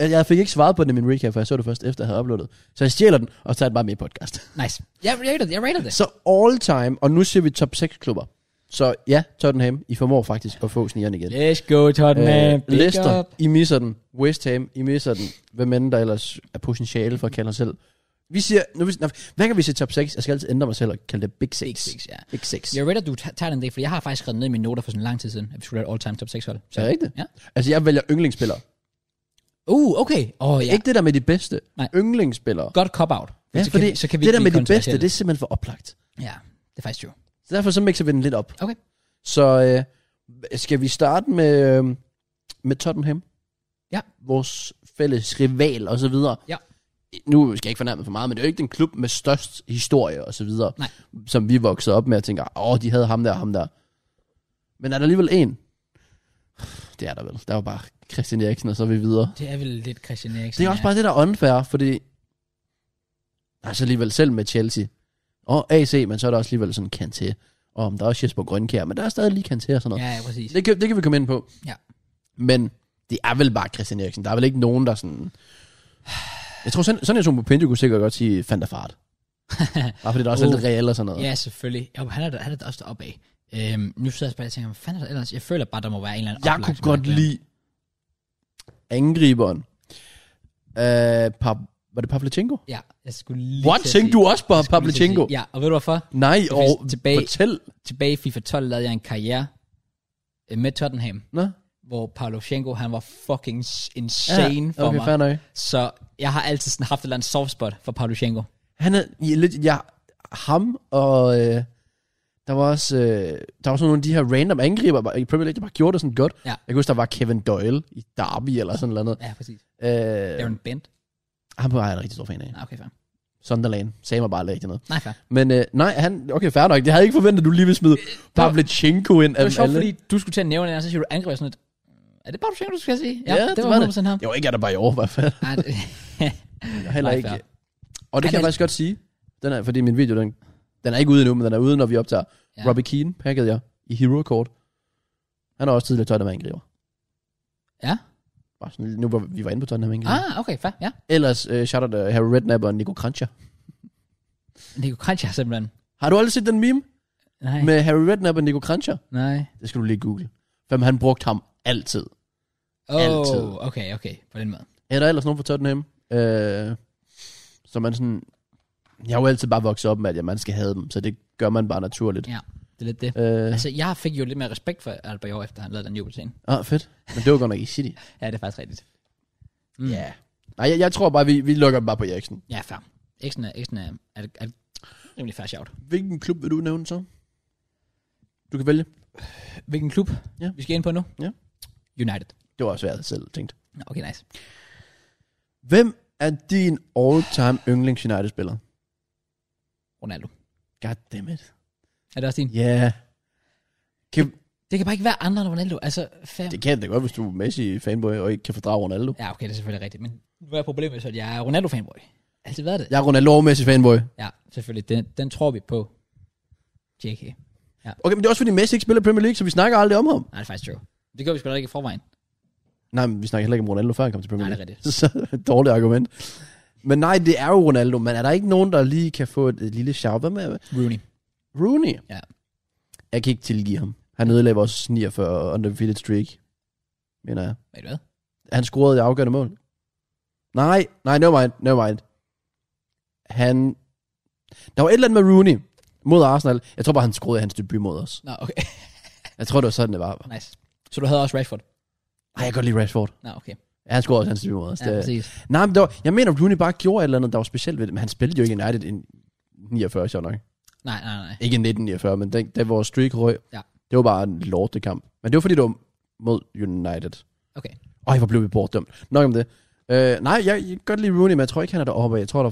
Speaker 2: Jeg fik ikke svaret på den i min recap, for jeg så det først efter, jeg havde uploadet. Så jeg stjæler den, og så tager den bare med i podcast.
Speaker 1: Nice. Jeg rated det. Jeg rated det.
Speaker 2: Så all time, og nu ser vi top 6-klubber. Så ja, Tottenham, I formår faktisk at få snigeren igen.
Speaker 1: Let's go, Tottenham.
Speaker 2: Øh,
Speaker 1: Big
Speaker 2: Leicester,
Speaker 1: up.
Speaker 2: I misser den. West Ham, I misser den. Hvem end der ellers er potentiale for at kalde os selv. Vi siger, nu, vi, nå, hvad kan vi sige top 6? Jeg skal altid ændre mig selv og kalde det Big 6.
Speaker 1: Big six, ja.
Speaker 2: Big 6.
Speaker 1: Jeg rated, du ta- tager den dag, for jeg har faktisk skrevet ned i mine noter for sådan lang tid siden, at vi skulle lave et all-time top 6 hold.
Speaker 2: Er det rigtigt?
Speaker 1: Ja.
Speaker 2: Altså, jeg vælger yndlingsspillere.
Speaker 1: Uh, okay. Åh, oh,
Speaker 2: Ja.
Speaker 1: ja.
Speaker 2: Ikke det der med de bedste.
Speaker 1: Nej.
Speaker 2: Yndlingsspillere.
Speaker 1: Godt cop-out.
Speaker 2: Ja,
Speaker 1: så,
Speaker 2: fordi
Speaker 1: kan, vi- så kan vi
Speaker 2: det
Speaker 1: ikke blive
Speaker 2: der med de bedste,
Speaker 1: kontroversielle.
Speaker 2: det er simpelthen for oplagt.
Speaker 1: Ja, det er faktisk true.
Speaker 2: Så derfor så mixer vi den lidt op.
Speaker 1: Okay.
Speaker 2: Så øh, skal vi starte med, øh, med Tottenham?
Speaker 1: Ja.
Speaker 2: Vores fælles rival og så videre.
Speaker 1: Ja.
Speaker 2: Nu skal jeg ikke fornærme for meget, men det er jo ikke den klub med størst historie og så videre,
Speaker 1: Nej.
Speaker 2: som vi voksede op med og tænker, åh, de havde ham der og ham der. Men er der alligevel en? Det er der vel. Der var bare Christian Eriksen, og så er vi videre.
Speaker 1: Det er vel lidt Christian Eriksen.
Speaker 2: Det er også bare det, der er unfair, fordi... Altså alligevel selv med Chelsea. Og AC, men så er der også alligevel sådan Kanté. Og der er også Jesper Grønkær, men der er stadig lige Kanté og sådan noget.
Speaker 1: Ja, ja, præcis.
Speaker 2: Det kan, det kan vi komme ind på.
Speaker 1: Ja.
Speaker 2: Men det er vel bare Christian Eriksen. Der er vel ikke nogen, der sådan... Jeg tror, sådan, sådan en som Mopindu kunne sikkert godt sige Fanta
Speaker 1: *laughs*
Speaker 2: Fart. bare fordi der også er
Speaker 1: Uh.
Speaker 2: lidt reelt og sådan noget.
Speaker 1: Ja, selvfølgelig. Jo, han er der, han er der også deroppe af. Øhm, nu sidder jeg bare og tænker, hvad fanden er der ellers? Jeg føler bare, der må være en eller anden
Speaker 2: Jeg
Speaker 1: oplagt,
Speaker 2: kunne
Speaker 1: som
Speaker 2: godt
Speaker 1: har glemt.
Speaker 2: lide angriberen. Uh, pa, var det Pavlichenko?
Speaker 1: Ja, jeg skulle lige
Speaker 2: What?
Speaker 1: til at sige-
Speaker 2: Tænkte du også på
Speaker 1: Jeg skulle lige til at
Speaker 2: Pavlichenko?
Speaker 1: sige- Ja, og ved du hvorfor?
Speaker 2: Nej,
Speaker 1: er
Speaker 2: og
Speaker 1: vist tilbage-
Speaker 2: fortæl.
Speaker 1: Tilbage i FIFA 12 lavede jeg en karriere øh, med Tottenham.
Speaker 2: Nå?
Speaker 1: hvor Pavlovchenko, han var fucking s- insane ja, for
Speaker 2: okay,
Speaker 1: mig.
Speaker 2: fair nok.
Speaker 1: Så jeg har altid sådan haft et eller andet soft spot for Pavlovchenko.
Speaker 2: Han er ja, lidt, ja, ham og, øh, der var også, øh, der var sådan nogle af de her random angriber bare- i Premier League, der bare gjorde det sådan godt.
Speaker 1: Ja.
Speaker 2: Jeg kan huske, der var Kevin Doyle i Derby eller sådan noget.
Speaker 1: Ja, præcis.
Speaker 2: Øh,
Speaker 1: Darren Bent.
Speaker 2: ham var jeg en rigtig stor fan af.
Speaker 1: Nej, okay, fair.
Speaker 2: Sunderland. Sagde mig bare lidt noget.
Speaker 1: Nej, fair.
Speaker 2: Men øh, nej, han, okay, fair nok. Jeg havde ikke forventet, at du lige ville smide Pavlichenko ind.
Speaker 1: Det var sjovt, fordi du skulle til at nævne den, og så siger du angriber sådan lidt. Er det Pavlovchenko, du skal sige?
Speaker 2: Ja, det var det.
Speaker 1: 100%
Speaker 2: *laughs*
Speaker 1: ham.
Speaker 2: Det var ikke at der bare i år, i hvert fald.
Speaker 1: Nej, det-
Speaker 2: Jeg heller
Speaker 1: Nej,
Speaker 2: ikke.
Speaker 1: fair.
Speaker 2: Og det
Speaker 1: Han
Speaker 2: kan jeg
Speaker 1: er-
Speaker 2: faktisk godt sige. Den er, fordi min video, den, den er ikke ude endnu, men den er ude, når vi optager.
Speaker 1: Ja.
Speaker 2: Ja. Robbie Keane pakkede jeg i Hero Court. Han er også tidligere Tottenham angriber.
Speaker 1: Ja.
Speaker 2: Bare sådan, nu hvor vi var inde på Tottenham angriber. Ah.
Speaker 1: Ah, okay, fair. Ja.
Speaker 2: Ellers uh, shout out uh, Harry Redknapp og Nico Kranjčar.
Speaker 1: Nico Kranjčar simpelthen.
Speaker 2: Har du aldrig set den meme
Speaker 1: Nej,
Speaker 2: med Harry Redknapp og Nico Kranjčar?
Speaker 1: nej.
Speaker 2: Det skal du lige google. Hvem han brugte ham altid.
Speaker 1: Oh,
Speaker 2: Altid.
Speaker 1: okay, okay. På den måde.
Speaker 2: Er der ellers nogen fra Tottenham? Uh, så man sådan... Jeg har jo altid bare vokset op med, at ja, man skal have dem, så det gør man bare naturligt.
Speaker 1: Ja, det er lidt det.
Speaker 2: Øh,
Speaker 1: Altså, jeg fik jo lidt mere respekt for Albert i år, efter han lavede den jubelscene.
Speaker 2: ah, fedt. Men det var godt nok i City.
Speaker 1: Ja, det er faktisk rigtigt.
Speaker 2: Ja. Mm. Yeah. Nej, jeg, jeg tror bare, vi, vi lukker dem bare på Eriksen.
Speaker 1: Ja, fair. Eksen er, Eksen er, er, er rimelig fair shout.
Speaker 2: Hvilken klub vil du nævne så? Du kan vælge.
Speaker 1: Hvilken klub
Speaker 2: Ja.
Speaker 1: vi skal ind på nu?
Speaker 2: Ja.
Speaker 1: United.
Speaker 2: Det var også svært selv tænkt.
Speaker 1: Nå, Okay, nice.
Speaker 2: Hvem er din all-time yndlings United-spiller?
Speaker 1: Ronaldo.
Speaker 2: Goddammit.
Speaker 1: Er det også din?
Speaker 2: Ja. Yeah. Kan,
Speaker 1: Det kan bare ikke være andre end Ronaldo. Altså, fair.
Speaker 2: Det kan det godt, hvis du er Messi-fanboy og ikke kan fordrage Ronaldo.
Speaker 1: Ja, okay, det er selvfølgelig rigtigt. Men nu er problemet så, at jeg er Ronaldo-fanboy. Altid været det.
Speaker 2: Jeg er Ronaldo og Messi-fanboy.
Speaker 1: Ja, selvfølgelig. Den, den tror vi på. JK. Nej,
Speaker 2: Okay, men det er også fordi Messi ikke spiller i Premier League, så vi snakker aldrig om ham.
Speaker 1: det er faktisk true. Det gør vi sgu da ikke i forvejen.
Speaker 2: Nej, men vi snakker heller ikke om Ronaldo, før han kom til Premier
Speaker 1: Nej, det
Speaker 2: League.
Speaker 1: er rigtigt.
Speaker 2: *laughs* Så dårligt argument. Men nej, det er jo Ronaldo, men er der ikke nogen, der lige kan få et, et lille shout? Hvad med
Speaker 1: Rooney.
Speaker 2: Rooney?
Speaker 1: Ja.
Speaker 2: Jeg kan ikke tilgive ham. Han ødelagde vores 49 undefeated streak, mener jeg.
Speaker 1: Ved du hvad?
Speaker 2: Han scorede det afgørende mål. Nej, nej, never mind, never mind. Han... Der var et eller andet med Rooney mod Arsenal. Jeg tror bare, han scorede i hans debut mod os.
Speaker 1: Nå, *laughs* okay.
Speaker 2: Jeg tror, det var sådan, det var.
Speaker 1: nice. Så du havde også Rashford?
Speaker 2: Nej, jeg kan godt lide Rashford.
Speaker 1: Nå, okay.
Speaker 2: Ja, han scorede også i hans debut mod os.
Speaker 1: Ja,
Speaker 2: det,
Speaker 1: præcis.
Speaker 2: Nej, men det var, jeg mener, Rooney bare gjorde et eller andet, der var specielt ved det, men han spillede jo ikke i United i 49, sjovt nok.
Speaker 1: Nej, nej, nej.
Speaker 2: Ikke i 1949, men den, den vores streak røg,
Speaker 1: Ja.
Speaker 2: det var bare en lortekamp. Men det var fordi, det var mod United.
Speaker 1: Okay.
Speaker 2: Øj, hvor blev vi bortdømt. Nok om det. Øh, nej, jeg, jeg kan godt lide Rooney, men jeg tror ikke, han er deroppe. af. Jeg tror, der,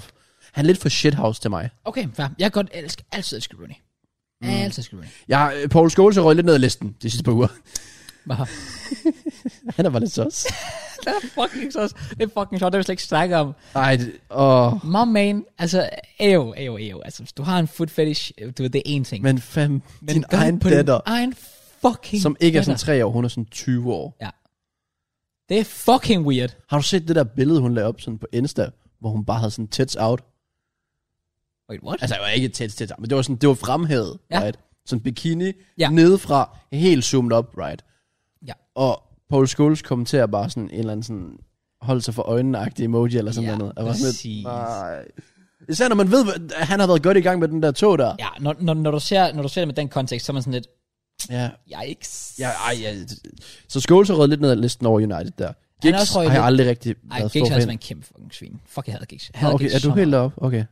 Speaker 2: han er lidt for shithouse til mig.
Speaker 1: Okay, fair. Jeg kan godt elske, altid elske Rooney. Mm. Altid elske Rooney.
Speaker 2: Jeg, øh, Paul Scholes er røget lidt ned ad listen de sidste par uger.
Speaker 1: Hvorfor?
Speaker 2: han er bare lidt sås.
Speaker 1: det er fucking så Det er fucking sjovt, det vil jeg slet ikke snakke om.
Speaker 2: Ej, det, åh.
Speaker 1: My man, altså, ejo, ejo, ejo. Altså, hvis du har en foot fetish, du ved, det er én ting.
Speaker 2: Men fam, men din
Speaker 1: gør
Speaker 2: egen
Speaker 1: det på din
Speaker 2: datter,
Speaker 1: egen fucking
Speaker 2: som ikke er sådan
Speaker 1: datter.
Speaker 2: 3 år, hun er sådan 20 år.
Speaker 1: Ja. Det er fucking weird.
Speaker 2: Har du set det der billede, hun lagde op sådan på Insta, hvor hun bare havde sådan tits out?
Speaker 1: Wait, what?
Speaker 2: Altså, det var ikke tits, tits out, men det var sådan, det var fremhævet,
Speaker 1: Ja.
Speaker 2: ja. right? Sådan bikini,
Speaker 1: Ja.
Speaker 2: ja. nedefra, helt zoomet op, right?
Speaker 1: Ja.
Speaker 2: Og Paul Scholes kommenterer bare sådan en eller anden sådan, hold sig for øjnene-agtig emoji eller sådan
Speaker 1: Ja,
Speaker 2: noget. Og var sådan
Speaker 1: præcis.
Speaker 2: lidt, nej. Især når man ved, hvad- at han har været godt i gang med den der tog der.
Speaker 1: Ja, når, når, når, du ser, når du ser det med den kontekst, så er man sådan lidt,
Speaker 2: ja.
Speaker 1: yikes.
Speaker 2: ja, ej, ja. Så Scholes har røget lidt ned ad listen over United der.
Speaker 1: er
Speaker 2: Giggs
Speaker 1: også røget
Speaker 2: har jeg
Speaker 1: lidt-
Speaker 2: aldrig rigtig
Speaker 1: Ej,
Speaker 2: været
Speaker 1: Giggs
Speaker 2: stor
Speaker 1: har altså
Speaker 2: fan.
Speaker 1: været en kæmpe fucking svin. Fuck, jeg havde Giggs. Jeg
Speaker 2: Nå,
Speaker 1: havde
Speaker 2: Okay,
Speaker 1: Giggs
Speaker 2: er du
Speaker 1: så
Speaker 2: helt
Speaker 1: meget.
Speaker 2: op? Okay.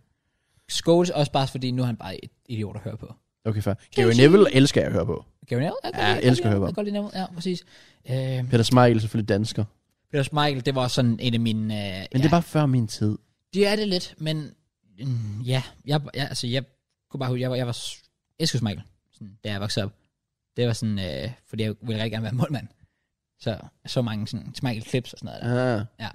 Speaker 1: Scholes også bare, fordi nu er han bare et idiot at høre på.
Speaker 2: Okay, fair. Gary Neville elsker jeg at høre på.
Speaker 1: Gary Neville? jeg kan
Speaker 2: Ja,
Speaker 1: godt
Speaker 2: jeg
Speaker 1: lide-
Speaker 2: elsker at høre på
Speaker 1: Jeg kan godt lide Neville, ja, præcis. Øh,
Speaker 2: Peter Smeichel er selvfølgelig dansker.
Speaker 1: Peter Michael, det var også sådan en af mine... Øh,
Speaker 2: Men ja. det er bare før min tid.
Speaker 1: Det er det lidt, men mm, ja, jeg, jeg, altså, jeg kunne bare huske, jeg var, jeg var s- Eskos Michael, sådan, da jeg voksede op. Det var sådan, øh, fordi jeg ville rigtig gerne være målmand. Så så mange sådan, Michael Clips og sådan noget. Der.
Speaker 2: Ah.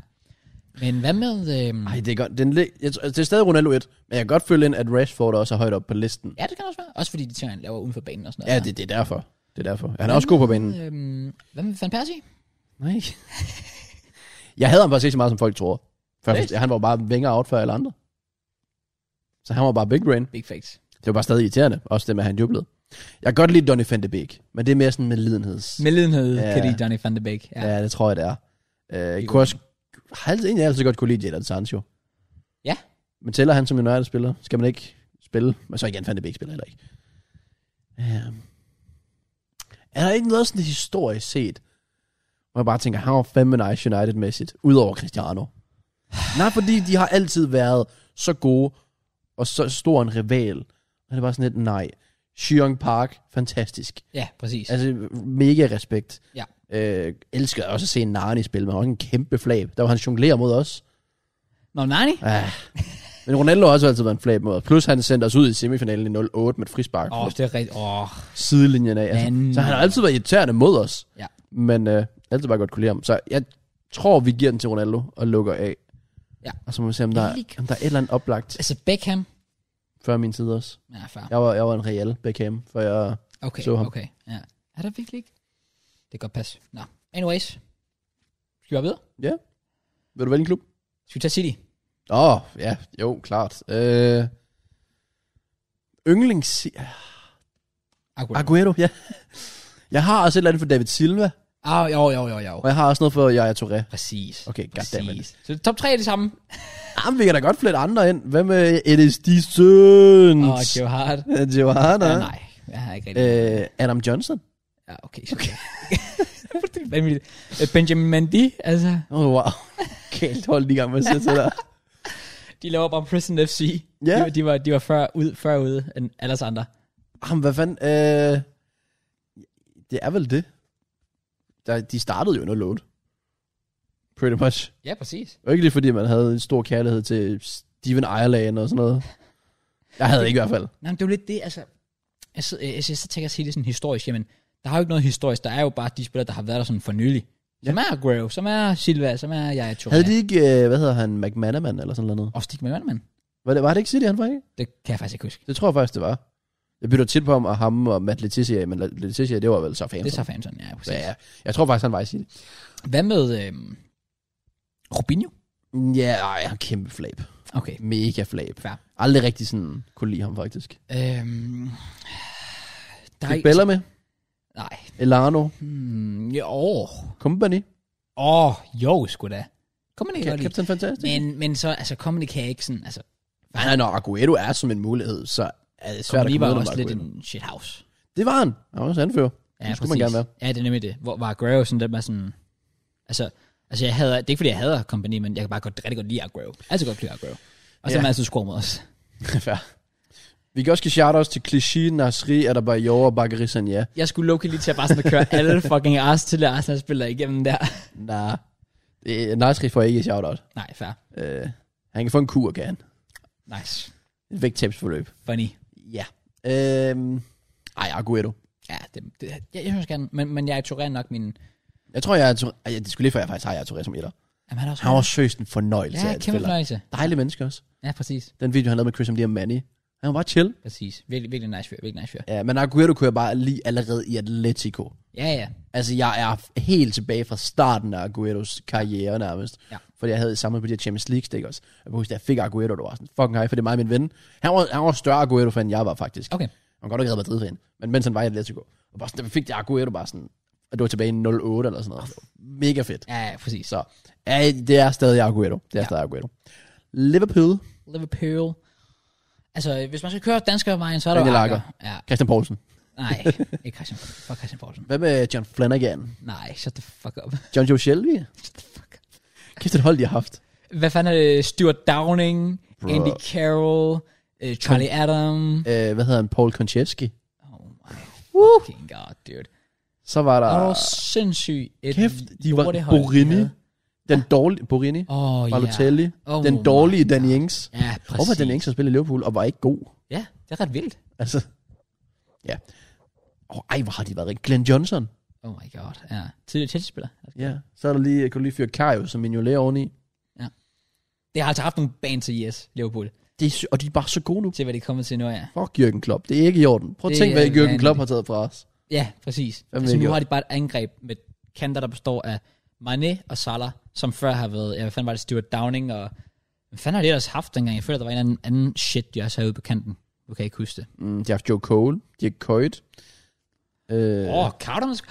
Speaker 1: Men hvad med... Øh,
Speaker 2: Ej, det er godt. Den lig- jeg, tror- altså, det er stadig Ronaldo 1, men jeg kan godt følge ind, at Rashford også er højt op på listen.
Speaker 1: ja, det kan også være. Også fordi de ting, han laver uden for banen og sådan noget.
Speaker 2: Ja,
Speaker 1: der.
Speaker 2: det, det er derfor. Det er derfor. Han er også god på banen.
Speaker 1: Øhm, hvad med Van Persie?
Speaker 2: *laughs* Nej. jeg hader ham faktisk ikke så meget, som folk tror. For
Speaker 1: Det-
Speaker 2: jeg, han var bare vinger out før alle andre. Så han var bare big brain.
Speaker 1: Big facts.
Speaker 2: Det var bare stadig irriterende, også det med, at han jublede. Jeg kan godt lide Donny van de Beek, men det er mere sådan med lidenheds.
Speaker 1: Meldenhed, ja.
Speaker 2: Ja.
Speaker 1: kan de Johnny van de Beek. Ja.
Speaker 2: Ja. ja, det tror jeg, det er. Øh, jeg kunne også, har altid, egentlig altid godt kunne lide Jadon Sancho.
Speaker 1: Ja.
Speaker 2: Men tæller han som United-spiller? Skal man ikke spille? Men så igen, fandt det ikke spiller heller ikke. Øh, er der ikke noget sådan historisk set, hvor jeg bare tænker, han var fandme nice United-mæssigt, udover Cristiano? Nej, fordi de har altid været så gode, og så stor en rival. Og det er bare sådan lidt, nej. Shyong Park, fantastisk.
Speaker 1: ja, præcis. Altså,
Speaker 2: Altså, mega respekt.
Speaker 1: Ja.
Speaker 2: Øh, elsker også at se Nani spille, men han var ikke en kæmpe flab. Der var han jonglerer mod os.
Speaker 1: Nå, Nani?
Speaker 2: Ah. *laughs* Men Ronaldo har også altid været en flab mod os. Plus han sendte os ud i semifinalen i 0-8 med et frispark
Speaker 1: Åh,
Speaker 2: oh,
Speaker 1: oh, det er rigtigt. Åh, oh,
Speaker 2: sidelinjen af.
Speaker 1: Men-
Speaker 2: Altså. Så han har altid været irriterende mod os.
Speaker 1: Ja.
Speaker 2: Men øh, altid bare godt kunne lide ham. Så jeg tror, vi giver den til Ronaldo og lukker af.
Speaker 1: Ja.
Speaker 2: Og så må vi se, om der,
Speaker 1: Lige-
Speaker 2: om der er et eller andet oplagt
Speaker 1: altså Beckham?
Speaker 2: før min tid også.
Speaker 1: Ja, far.
Speaker 2: Jeg var, jeg var en real Beckham, for jeg...
Speaker 1: Okay,
Speaker 2: Så ham.
Speaker 1: okay. Ja. Er der virkelig ikke? Det kan godt passe. Nå, anyways. Skal vi bare videre?
Speaker 2: Vil du vælge en klub?
Speaker 1: Skal vi tage City?
Speaker 2: Åh, oh, ja, jo, klart. Øh, yndlings...
Speaker 1: Akkurat.
Speaker 2: Aguero, ja. Jeg har også et eller andet for David Silva,
Speaker 1: Ah, jo, jo, jo, jo.
Speaker 2: og jeg har også noget for Yaya Touré.
Speaker 1: Præcis.
Speaker 2: Okay, goddammit.
Speaker 1: Præcis. Så top 3 er det samme.
Speaker 2: Jamen, vi kan da godt flette andre ind. Hvad med NSD Søns?
Speaker 1: Åh, oh, Joe Hart.
Speaker 2: Johanna.
Speaker 1: Ja, nej, jeg har ikke rigtig.
Speaker 2: Øh, Adam Johnson.
Speaker 1: ja, okay. *laughs* okay. det er vanvittigt. Øh, Benjamin Mendy, altså.
Speaker 2: Åh, oh, wow. *laughs* Kælt hold lige i gang med at sætte sig der.
Speaker 1: De laver bare Prison FC.
Speaker 2: Ja.
Speaker 1: De, var- de, var, de var før ude, før ude end alle os andre.
Speaker 2: Jamen, hvad fanden? Øh, det er vel det. Der, de startede jo under load. Pretty much.
Speaker 1: Ja, præcis.
Speaker 2: Det var ikke lige fordi, man havde en stor kærlighed til Steven Ireland og sådan noget. Jeg havde ikke i hvert fald.
Speaker 1: Nej, men det er jo lidt det, altså... Jeg sidder, jeg, jeg, jeg, så tænker jeg sige det sådan historisk, jamen, Der har jo ikke noget historisk. Der er jo bare de spillere, der har været der sådan for nylig. Som er Aguero, som er Silva, som er Yaya Touré.
Speaker 2: Havde de ikke, øh, hvad hedder han, McManaman eller sådan noget?
Speaker 1: Og Stig McManaman.
Speaker 2: Var det, var det ikke City, han var ikke?
Speaker 1: Det kan jeg faktisk ikke huske.
Speaker 2: Det tror jeg faktisk, det var. Jeg bytter tit på ham og ham og Matt Letizia, men Letizia, det var vel så fan.
Speaker 1: Det er så Fanson, ja, præcis.
Speaker 2: ja, ja. Jeg tror faktisk, han var i City.
Speaker 1: Hvad med øhm, Robinho?
Speaker 2: Ja, ej, han er kæmpe flab.
Speaker 1: Okay.
Speaker 2: Mega flab.
Speaker 1: Fair.
Speaker 2: Aldrig rigtig sådan kunne lide ham, faktisk.
Speaker 1: Øhm, der
Speaker 2: Fik Bella med,
Speaker 1: Nej.
Speaker 2: Elano,
Speaker 1: Hmm, jo. Åh,
Speaker 2: Company,
Speaker 1: oh, jo, sgu da. Kom ikke godt lide.
Speaker 2: Captain Fantastic.
Speaker 1: Men, men så, altså, Comedy kan jeg ikke sådan, altså,
Speaker 2: Nej, nej, når Aguero er som en mulighed, så er det svært at
Speaker 1: Comedy
Speaker 2: komme
Speaker 1: var
Speaker 2: udenom
Speaker 1: også lidt
Speaker 2: Aguero.
Speaker 1: en shithouse.
Speaker 2: Det var han. Han var også anfører.
Speaker 1: Ja,
Speaker 2: Det skulle man gerne være.
Speaker 1: Ja, det er nemlig det. Hvor var Aguero sådan der med sådan, altså, altså jeg hader, det er ikke fordi jeg hader Company, men jeg kan bare godt, rigtig godt lide Aguero. Altid godt lide Aguero. Og så
Speaker 2: Ja.
Speaker 1: er man altid score mod os.
Speaker 2: *laughs* Fair. Vi kan også give shout til Clichy, Nasri, Adebayor og Bakary Sanja.
Speaker 1: Jeg skulle lukke lige til at bare sådan *laughs* at køre alle fucking Ars til Arsenal-spillere igennem der.
Speaker 2: Nej. Nah. Nasri får ikke et shout-out.
Speaker 1: Nej, fair.
Speaker 2: Uh, han kan få en kur, kan han.
Speaker 1: Nice.
Speaker 2: Et vægttabsforløb.
Speaker 1: Funny.
Speaker 2: Ja. Uh, ej, Aguero.
Speaker 1: Ja, det, det, jeg, jeg synes gerne, men, men jeg er nok min...
Speaker 2: Jeg tror, jeg er... Tor- Ej, det skulle lige før, jeg faktisk har jeg Touré som etter.
Speaker 1: Jamen, han er også...
Speaker 2: Han var søst en fornøjelse.
Speaker 1: ja,
Speaker 2: af en
Speaker 1: kæmpe
Speaker 2: spiller.
Speaker 1: fornøjelse.
Speaker 2: Dejlig menneske også.
Speaker 1: Ja, præcis.
Speaker 2: Den video, han lavede med Christian Diamandi. Han var bare chill.
Speaker 1: Præcis. Virkelig, virkelig nice fyr. Virkelig nice fyr.
Speaker 2: Ja, men Aguero kunne jeg bare lide allerede i Atletico.
Speaker 1: Ja, ja.
Speaker 2: Altså, jeg er helt tilbage fra starten af Agueros karriere nærmest.
Speaker 1: Ja.
Speaker 2: Fordi jeg havde samlet på de her Champions League stick også. Jeg kan huske, da jeg fik Aguero, der var sådan, fucking hej, for det er mig og min ven. Han var, han var større Aguero fan, end jeg var faktisk.
Speaker 1: Okay.
Speaker 2: Han var godt nok reddet Madrid fan. Men mens han var i Atletico. Og bare sådan, da vi fik det Aguero bare sådan, og det var tilbage i 08 eller sådan noget. Det var mega fedt.
Speaker 1: Ja, ja, præcis.
Speaker 2: Så ja, det er stadig Aguero. Det er
Speaker 1: Ja.
Speaker 2: ja. stadig Aguero. Liverpool,
Speaker 1: Liverpool. Altså, hvis man skal køre danskervejen, så er der
Speaker 2: Daniel
Speaker 1: jo
Speaker 2: Agger.
Speaker 1: Ja,
Speaker 2: Christian Poulsen.
Speaker 1: nej. Ikke Christian. Fuck Christian Poulsen.
Speaker 2: Hvad med John Flanagan?
Speaker 1: Nej, shut the fuck up.
Speaker 2: John Joe Shelby? Kæft et hold, de har haft.
Speaker 1: Hvad fanden er det? Stuart Downing,
Speaker 2: Bruh.
Speaker 1: Andy Carroll, øh, Charlie Adam.
Speaker 2: Øh, hvad hedder han? Paul Konchevski.
Speaker 1: Oh my fucking god, dude.
Speaker 2: Så var der...
Speaker 1: Og uh, sindssygt et
Speaker 2: Ah. Kæft, de var
Speaker 1: lortehold,
Speaker 2: Borini.
Speaker 1: havde.
Speaker 2: Den dårlige Borini.
Speaker 1: Åh, oh, ja.
Speaker 2: Balotelli.
Speaker 1: Oh
Speaker 2: den
Speaker 1: my
Speaker 2: dårlige
Speaker 1: God.
Speaker 2: Danny Ings.
Speaker 1: Ja, præcis.
Speaker 2: Hvorfor Danny Ings har spillet i Liverpool og var ikke god?
Speaker 1: Ja, det er ret vildt.
Speaker 2: Altså, ja. Oh, ej, hvor har de været rigtig. Glenn Johnson.
Speaker 1: Oh my god, ja. Tidligere Chelsea-spiller.
Speaker 2: Ja. Så er der lige, jeg kunne lige fyre Kajo som Mignolet oveni.
Speaker 1: Det har altså haft nogle baner til yes, Liverpool,
Speaker 2: Det er, sy- og de er bare så gode nu.
Speaker 1: til hvad de kommer til nu, ja.
Speaker 2: Fuck Jürgen Klopp. Det er ikke i orden. Prøv at
Speaker 1: Det
Speaker 2: tænke, hvad
Speaker 1: er
Speaker 2: Jürgen
Speaker 1: vanvittigt.
Speaker 2: Klopp har taget fra os.
Speaker 1: Ja, præcis.
Speaker 2: Hvad
Speaker 1: altså,
Speaker 2: med
Speaker 1: nu
Speaker 2: Liverpool?
Speaker 1: har de bare et angreb med kanter, der består af Mané og Salah, som før har været, ja, hvad fanden var det, Stuart Downing og... Hvad fanden har de ellers haft dengang? Jeg føler, der var en eller anden, anden shit, de også havde ude på kanten. Nu kan jeg ikke huske det.
Speaker 2: Mm, de har haft Joe Cole. De har Coyt. Øh,
Speaker 1: Åh, oh, Carter måske...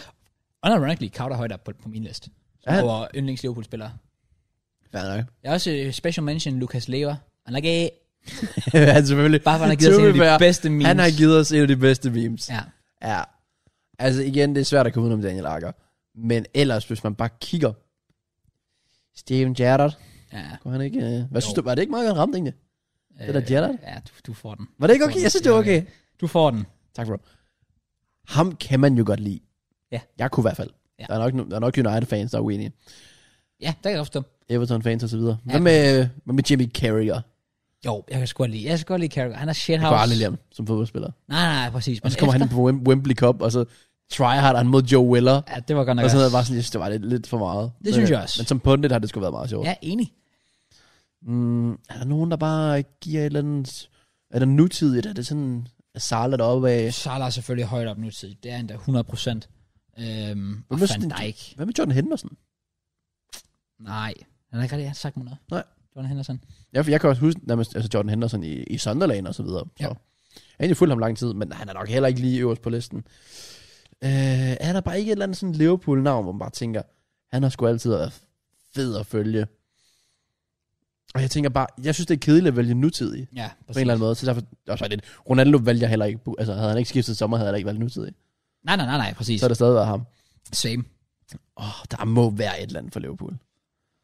Speaker 1: Unironically, Carter højt op på, på min liste.
Speaker 2: Er han?
Speaker 1: Ja. Over yndlings Liverpool-spillere.
Speaker 2: Hvad *laughs* er det?
Speaker 1: Jeg har også øh, special mention Lucas Lever. Han er ikke...
Speaker 2: han selvfølgelig.
Speaker 1: Bare for han
Speaker 2: *laughs*
Speaker 1: har givet os
Speaker 2: To
Speaker 1: en
Speaker 2: be
Speaker 1: af
Speaker 2: fair,
Speaker 1: de bedste memes.
Speaker 2: Han har givet os en af de bedste memes.
Speaker 1: Ja,
Speaker 2: Ja. Altså igen, det er svært at komme udenom Daniel Akker. Men ellers, hvis man bare kigger... Steven Gerrard,
Speaker 1: ja.
Speaker 2: kunne han ikke... Øh, hvad synes
Speaker 1: Jo.
Speaker 2: du, var det ikke meget godt ramt egentlig? Det er da Gerrard.
Speaker 1: Ja, du, du får den.
Speaker 2: Var det ikke okay? Jeg synes, det var okay.
Speaker 1: Du får den.
Speaker 2: Tak bro. Ham kan man jo godt lide.
Speaker 1: Ja.
Speaker 2: Jeg kunne i hvert fald.
Speaker 1: Ja.
Speaker 2: Ja. Der, er nok, no- der er nok United-fans, der er uenige.
Speaker 1: Ja, der kan jeg godt forstå.
Speaker 2: Everton-fans og så videre.
Speaker 1: Ja.
Speaker 2: Hvad med, hvad med Jimmy Carragher?
Speaker 1: Jo, jeg kan sgu godt lide. Jeg kan sgu godt lide Carragher. Han er shithouse.
Speaker 2: Jeg kunne aldrig lide ham som fodboldspiller.
Speaker 1: Nej, nej, præcis.
Speaker 2: Og så kommer han ind på Wem- Wembley Cup, og så tryhard han mod Joe Weller.
Speaker 1: Ja, det var godt nok
Speaker 2: Og sådan noget,
Speaker 1: også-
Speaker 2: bare sådan, jeg synes, det var lidt, lidt for meget.
Speaker 1: Det synes jeg også.
Speaker 2: Men som pundit har det sgu været meget sjovt.
Speaker 1: Ja, enig.
Speaker 2: Mm, er der nogen, der bare giver et eller andet... Er der nutidigt? Er det sådan... Er Sala deroppe af...
Speaker 1: Salah er selvfølgelig højt op nu tid. Det er endda 100 procent. Øhm, og
Speaker 2: med
Speaker 1: Van
Speaker 2: sådan-
Speaker 1: Dijk.
Speaker 2: Hvad med Jordan Henderson?
Speaker 1: Nej. Han har ikke rigtig sagt mig noget.
Speaker 2: Nej.
Speaker 1: Jordan Henderson.
Speaker 2: Ja, for jeg kan også huske nærmest, altså Jordan Henderson i, i Sunderland og så videre.
Speaker 1: Ja.
Speaker 2: Så. Jeg har egentlig fulgt ham lang tid, men han er nok heller ikke lige øverst på listen. Øh, er der bare ikke et eller andet sådan Liverpool-navn, hvor man bare tænker, han har sgu altid været fed at følge. Og jeg tænker bare, jeg synes, det er kedeligt at vælge nutidig
Speaker 1: Ja,
Speaker 2: på en eller anden måde. Så derfor, og så er det, Ronaldo vælger heller ikke, altså havde han ikke skiftet sommer, havde han ikke valgt nutidig.
Speaker 1: Nej, nej, nej, nej, præcis.
Speaker 2: Så har det stadig været ham.
Speaker 1: Same.
Speaker 2: Åh, oh, der må være et eller andet for Liverpool.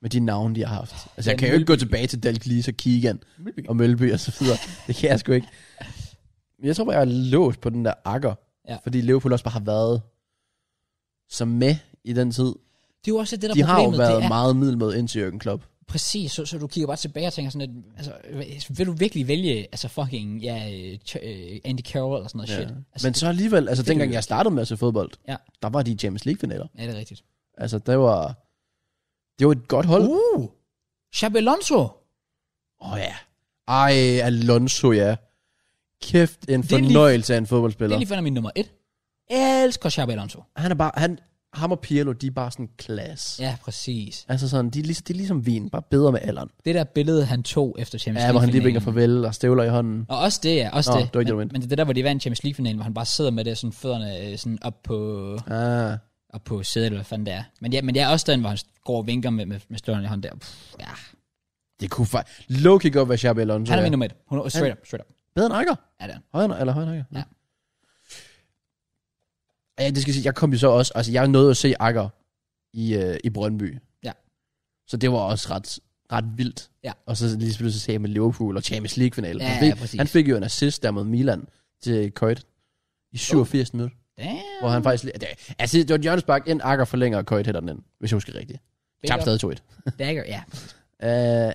Speaker 2: Med de navne, de har haft. Altså, jeg
Speaker 1: Ja,
Speaker 2: kan jo ikke gå
Speaker 1: Mølby.
Speaker 2: tilbage til Dalglish og Keegan og Mølby og så videre. Det kan jeg sgu ikke. Men jeg tror bare, jeg er låst på den der akker.
Speaker 1: Ja.
Speaker 2: Fordi Liverpool også bare har været som med i den tid.
Speaker 1: Det er jo også det, der
Speaker 2: De
Speaker 1: er
Speaker 2: har jo
Speaker 1: problemet.
Speaker 2: været
Speaker 1: det er,
Speaker 2: meget middelmåde indtil Jürgen Klopp.
Speaker 1: Præcis, så, så du kigger bare tilbage og tænker sådan lidt, altså, vil du virkelig vælge, altså fucking, ja, øh, Ch- øh, Andy Carroll eller sådan noget shit? Altså,
Speaker 2: Men så alligevel, altså
Speaker 1: det kan
Speaker 2: dengang
Speaker 1: vi-
Speaker 2: jeg startede med at se fodbold,
Speaker 1: Ja.
Speaker 2: der var de Champions League-finaler.
Speaker 1: ja, det er rigtigt.
Speaker 2: Altså, det var, det var et godt hold. Åh
Speaker 1: Uh! Xabi Alonso!
Speaker 2: uh. oh, ja. Ej, Alonso, ja. Kæft, en
Speaker 1: lige-
Speaker 2: fornøjelse af en
Speaker 1: Det
Speaker 2: fodboldspiller.
Speaker 1: er lige fandme min nummer et. Jeg elsker Xabi Alonso.
Speaker 2: Han er bare, han, ham og Pirlo, de er bare sådan klasse. Ja.
Speaker 1: Ja, præcis.
Speaker 2: Altså sådan, de er, ligesom, de er ligesom vin, bare bedre med alderen.
Speaker 1: Det der billede, han tog efter Champions
Speaker 2: Ja,
Speaker 1: League
Speaker 2: hvor han lige vinker farvel og støvler i hånden.
Speaker 1: Og også det, ja. Også
Speaker 2: Nå,
Speaker 1: det.
Speaker 2: det var ikke det, du
Speaker 1: men,
Speaker 2: mente.
Speaker 1: men det der, hvor de vandt Champions League-finalen, hvor han bare sidder med det sådan fødderne øh, sådan op på,
Speaker 2: Ah.
Speaker 1: op på sædet, eller hvad fanden det er. Men ja, men det er også den, hvor han går og vinker med, med, med støvlen i hånden der. Pff, ja.
Speaker 2: Det kunne faktisk... Low kick op, hvad Xabi Alonso
Speaker 1: Han er
Speaker 2: er.
Speaker 1: min nummer et. 100 Straight up, straight up.
Speaker 2: Bedre end Iker.
Speaker 1: Ja, det er han.
Speaker 2: Højre, eller højre nakker.
Speaker 1: Ja.
Speaker 2: Ja, det skal jeg sige, jeg kom jo så også, altså jeg nåede at se Akker i, øh, i Brøndby.
Speaker 1: Ja.
Speaker 2: Så det var også ret, ret vildt.
Speaker 1: Ja.
Speaker 2: Og så lige pludselig se ham med Liverpool og Champions League finalen.
Speaker 1: Ja,
Speaker 2: han, fik,
Speaker 1: ja, præcis.
Speaker 2: han fik jo en assist der mod Milan til Køjt i 87 uh. minutter,
Speaker 1: Damn.
Speaker 2: hvor han faktisk... lige- Det, altså det var et hjørnespark, ind Akker forlænger og Køjt hætter den ind, hvis jeg husker rigtigt.
Speaker 1: Big
Speaker 2: Tab
Speaker 1: up.
Speaker 2: stadig 2-1.
Speaker 1: Dagger, ja.
Speaker 2: Øh,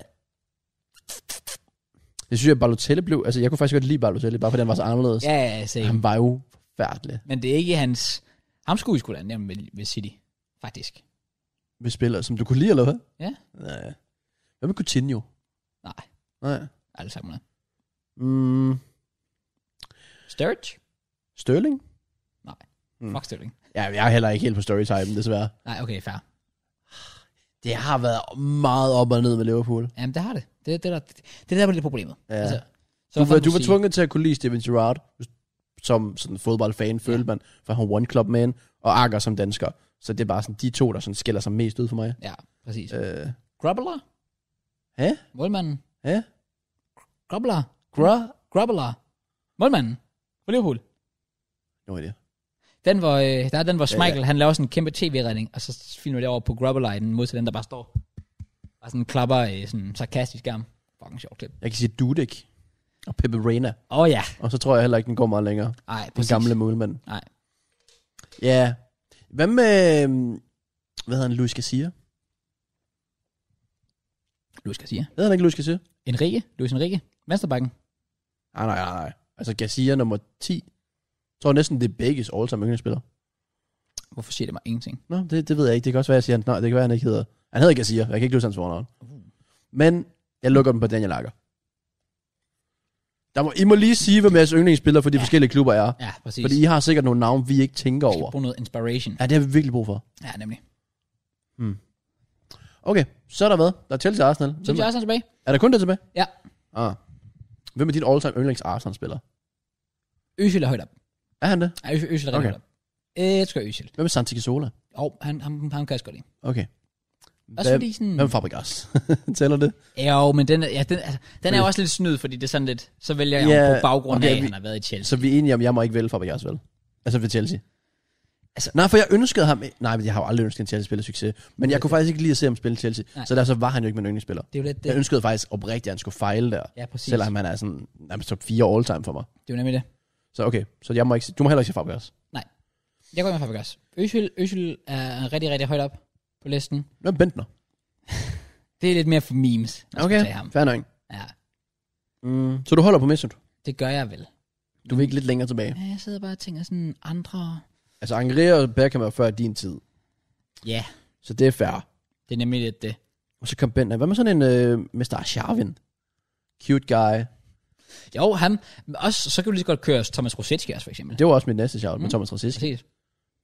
Speaker 2: det synes jeg, Balotelli blev... Altså, jeg kunne faktisk godt lide Balotelli, bare fordi han var så anderledes.
Speaker 1: Ja, ja, same.
Speaker 2: Han var jo forfærdelig
Speaker 1: Men det er ikke hans... Ham skulle vi skulle have nævnt med, med City, faktisk.
Speaker 2: ved spillere, som du kunne lide, eller hvad?
Speaker 1: Ja.
Speaker 2: Nej. Hvad med Coutinho?
Speaker 1: Nej,
Speaker 2: Nej.
Speaker 1: alle sammen. nej.
Speaker 2: Mm,
Speaker 1: Sturridge?
Speaker 2: Sterling?
Speaker 1: Mm.
Speaker 2: Mm.
Speaker 1: Fuck Sturridge.
Speaker 2: Ja, jeg er heller ikke helt på storytime, desværre.
Speaker 1: Nej, okay, fair.
Speaker 2: Det har været meget op og ned med Liverpool.
Speaker 1: Jamen, det har det. Det, det, er der, det er der, hvor det er problemet.
Speaker 2: Ja.
Speaker 1: Altså,
Speaker 2: Altså,
Speaker 1: Så hvad
Speaker 2: du, var,
Speaker 1: fanden
Speaker 2: du var
Speaker 1: sige?
Speaker 2: tvunget til at kunne lide Steven Gerrard, hvis- som sådan en fodboldfan, følte man, for han var one club man, og Akker som dansker. Så det er bare sådan de to, der sådan skiller sig mest ud for mig.
Speaker 1: Ja, præcis.
Speaker 2: Øh,
Speaker 1: Grubbler?
Speaker 2: Hæ?
Speaker 1: Målmanden?
Speaker 2: ja?
Speaker 1: Grubbler?
Speaker 2: Gra?
Speaker 1: Grubbler? Målmanden? For Liverpool?
Speaker 2: Nu er det.
Speaker 1: Den hvor, øh, der er den, hvor
Speaker 2: Ja,
Speaker 1: Schmeichel, han laver sådan en kæmpe tv-redning, og så filmer det over på Grubbler i den mod til den, der bare står og sådan klapper øh, sådan sarkastisk arm. Fucking sjovt klip.
Speaker 2: Jeg kan sige Dudek og Pepe Reina.
Speaker 1: Åh oh, ja.
Speaker 2: Og så tror jeg heller ikke, den går meget længere.
Speaker 1: Ej,
Speaker 2: Den
Speaker 1: præcis.
Speaker 2: gamle målmand.
Speaker 1: Nej.
Speaker 2: Ja. Hvad med, øhm, hvad hedder han, Luis Garcia?
Speaker 1: Luis Garcia.
Speaker 2: Hedder han ikke Luis Garcia?
Speaker 1: Enrique? Luis Enrique? Venstrebakken?
Speaker 2: Nej, nej, nej, nej. Altså Garcia nummer 10. Jeg tror næsten, det er begges all-time yndlingsspiller.
Speaker 1: Hvorfor siger det mig ingenting?
Speaker 2: Nå, det, det ved jeg ikke. Det kan også være, jeg siger, han, nej, det kan være, han ikke hedder. Han hedder Garcia. Jeg kan ikke løse hans fornavn.
Speaker 1: Uh.
Speaker 2: Men jeg lukker den på Daniel Akker. Der må, I må lige sige, hvem jeres yndlingsspiller for de
Speaker 1: Ja.
Speaker 2: ja. forskellige klubber er.
Speaker 1: Ja, præcis.
Speaker 2: Fordi I har sikkert nogle navne, vi ikke tænker
Speaker 1: Vi skal
Speaker 2: over.
Speaker 1: bruge noget inspiration.
Speaker 2: Ja, det har vi virkelig brug for.
Speaker 1: Ja, nemlig.
Speaker 2: Okay, så er der hvad? Der er Chelsea Arsenal.
Speaker 1: Så er vi
Speaker 2: Hvem-
Speaker 1: også tilbage.
Speaker 2: Er der kun det tilbage?
Speaker 1: Ja.
Speaker 2: Ah. Hvem er dit all-time yndlings Arsenal-spiller?
Speaker 1: Øsil er højt op.
Speaker 2: Er han det?
Speaker 1: Ja, Øsil Øsil er rigtig
Speaker 2: Okay.
Speaker 1: højt op. Øh, jeg tror Øsil.
Speaker 2: Hvem er Santi Cazorla?
Speaker 1: Åh, oh, han, han, han kan jeg også godt lide.
Speaker 2: Okay.
Speaker 1: Også
Speaker 2: Hvem,
Speaker 1: fordi sådan...
Speaker 2: hvem er Fabregas? *laughs* Tæller det?
Speaker 1: Ja, jo, men den, er- ja, den, altså, den er jo også lidt snyd, fordi det er sådan lidt, så vælger jeg
Speaker 2: Ja,
Speaker 1: yeah, på baggrund okay,
Speaker 2: okay,
Speaker 1: af, at
Speaker 2: vi-
Speaker 1: han har været i Chelsea.
Speaker 2: Så vi er enige om, jeg må ikke vælge Fabregas, vel? Altså ved Chelsea.
Speaker 1: Altså-
Speaker 2: Altså, nej, for jeg ønskede ham... Nej, men jeg har jo aldrig ønsket en Chelsea-spiller succes. Men jeg kunne faktisk ikke lide at se ham spille Chelsea.
Speaker 1: Nej.
Speaker 2: Nej. Så derfor var han jo ikke min yndlingsspiller.
Speaker 1: Det er jo lidt det.
Speaker 2: Jeg ønskede faktisk oprigtigt, at han skulle fejle der.
Speaker 1: Ja, præcis.
Speaker 2: Selvom han er sådan nærmest top 4 all-time for mig.
Speaker 1: Det er jo nemlig det.
Speaker 2: Så okay, så jeg må ikke, se- du må heller ikke se Fabregas.
Speaker 1: Jeg går med Fabregas. Øsil, Øsil er rigtig, rigtig højt op på listen.
Speaker 2: Hvem er Bentner?
Speaker 1: Det er lidt mere for memes, når jeg skal tage ham.
Speaker 2: fair nok.
Speaker 1: Ja,
Speaker 2: Mm. Så du holder på Mesut?
Speaker 1: det gør jeg vel.
Speaker 2: Du vil ikke lidt længere tilbage?
Speaker 1: Ja, jeg sidder bare og tænker sådan andre...
Speaker 2: Altså, Angrea og Beckham er før din tid.
Speaker 1: Ja,
Speaker 2: Så det er fair.
Speaker 1: det er nemlig lidt det.
Speaker 2: Og så kom Bentner. Hvad med sådan en øh, Mr. Arshavin? Cute guy.
Speaker 1: Jo, ham. men Også, så kan du lige så godt køre Thomas Rosetsky også, for eksempel.
Speaker 2: Det var også mit næste shout mm. med
Speaker 1: Mm.
Speaker 2: Thomas Rasisk,
Speaker 1: Præcis.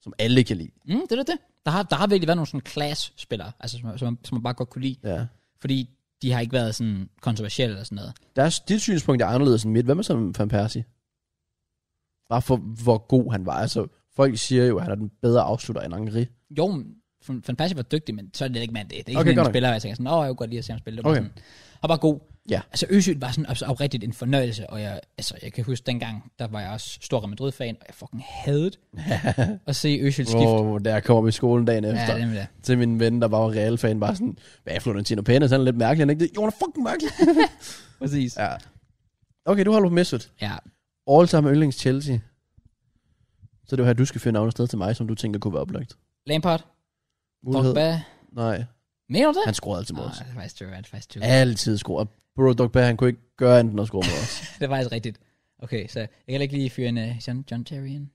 Speaker 2: som alle kan lide.
Speaker 1: Mm, det er det. Der har, der har virkelig været nogle sådan class-spillere, altså, som, som, som man bare godt kunne lide.
Speaker 2: Ja.
Speaker 1: Fordi de har ikke været sådan kontroversielle eller sådan noget.
Speaker 2: Deres, dit synspunkt er anderledes end mit. Hvad med sådan Van Persie? Bare for, hvor god han var. Altså, folk siger jo, at han er den bedre afslutter end *laughs* Angri.
Speaker 1: Jo, men Van Van Persie var dygtig, men så er det ikke mand det. Det er ikke
Speaker 2: Okay,
Speaker 1: okay, sådan
Speaker 2: godt
Speaker 1: en
Speaker 2: nok.
Speaker 1: spiller, hvor jeg tænker sådan, åh, jeg kunne godt lide at se ham spille. Det var
Speaker 2: Okay.
Speaker 1: okay. sådan, han var god.
Speaker 2: Ja.
Speaker 1: Altså Øsyl var sådan op, oprigtigt en fornøjelse, og jeg, altså, jeg kan huske dengang, der var jeg også stor Real Madrid-fan, og jeg fucking hadede at se Øsyl skifte. Oh,
Speaker 2: Hvor der kommer vi i skolen dagen
Speaker 1: ja,
Speaker 2: efter.
Speaker 1: det er nemlig det.
Speaker 2: til min ven, der var jo Real-fan, bare sådan, hvad er Florentino Pérez? Han er lidt mærkelig, han er ikke det. Jo, han er fucking mærkelig.
Speaker 1: Præcis. Ja.
Speaker 2: ja. Okay, du holder på Mesut.
Speaker 1: ja.
Speaker 2: All-time yndlings Chelsea. Så det er jo her, du skal finde navnet sted til mig, som du tænker kunne være oplagt.
Speaker 1: Lampard,
Speaker 2: Mulighed?
Speaker 1: Drogba,
Speaker 2: Nej.
Speaker 1: Mener du det?
Speaker 2: Han scorede altid mod
Speaker 1: Nej,
Speaker 2: os.
Speaker 1: det er faktisk true, det er faktisk true.
Speaker 2: Altid score. Og Bro Dog Bear, han kunne ikke gøre andet end at score mod os.
Speaker 1: det er faktisk rigtigt. Okay, så jeg kan heller ikke lige fyre en uh, John, John Terry ind.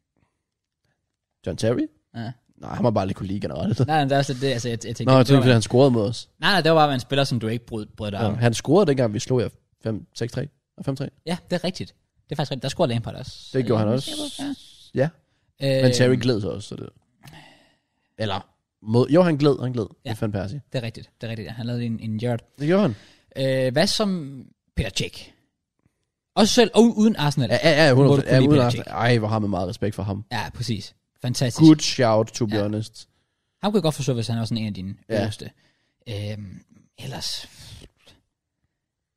Speaker 2: John Terry?
Speaker 1: Ja.
Speaker 2: Nej, han var bare lidt kunne lide *laughs* generelt.
Speaker 1: Nej, men det er også lidt det, altså jeg, jeg tænkte,
Speaker 2: Nå, jeg
Speaker 1: det var,
Speaker 2: tænkte, at han scorede mod os.
Speaker 1: nej, nej, det var bare en spiller, som du ikke brød, brød dig
Speaker 2: Ja.
Speaker 1: om.
Speaker 2: Han scorede dengang, vi slog jer 5-6-3. Og 5-3.
Speaker 1: Ja, det er rigtigt. Det er faktisk rigtigt. Der scorede Lampard også.
Speaker 2: Det gjorde han
Speaker 1: Ja.
Speaker 2: også.
Speaker 1: Ja.
Speaker 2: Ja.
Speaker 1: Øh,
Speaker 2: Men Terry gled sig også, så det... Eller... Mod, jo, han gled, han gled. Ja.
Speaker 1: Ja.
Speaker 2: Det fandt Persie.
Speaker 1: Øh, Det er rigtigt. Det er rigtigt. ja. Han lavede en, en yard.
Speaker 2: Det gjorde han.
Speaker 1: Øh, hvad som Peter Cech? Også selv og uden Arsenal.
Speaker 2: Ja, ja, ja, 100%.
Speaker 1: Hvor du kunne
Speaker 2: ja,
Speaker 1: lide
Speaker 2: uden
Speaker 1: Peter
Speaker 2: aften. Ej, hvor har man meget respekt for ham.
Speaker 1: ja præcis. Fantastisk.
Speaker 2: Good shout, to be
Speaker 1: Ja.
Speaker 2: honest.
Speaker 1: Ham kunne jeg godt forstå, hvis han var sådan en af dine
Speaker 2: Ja.
Speaker 1: ja. øverste. Øhm, ellers...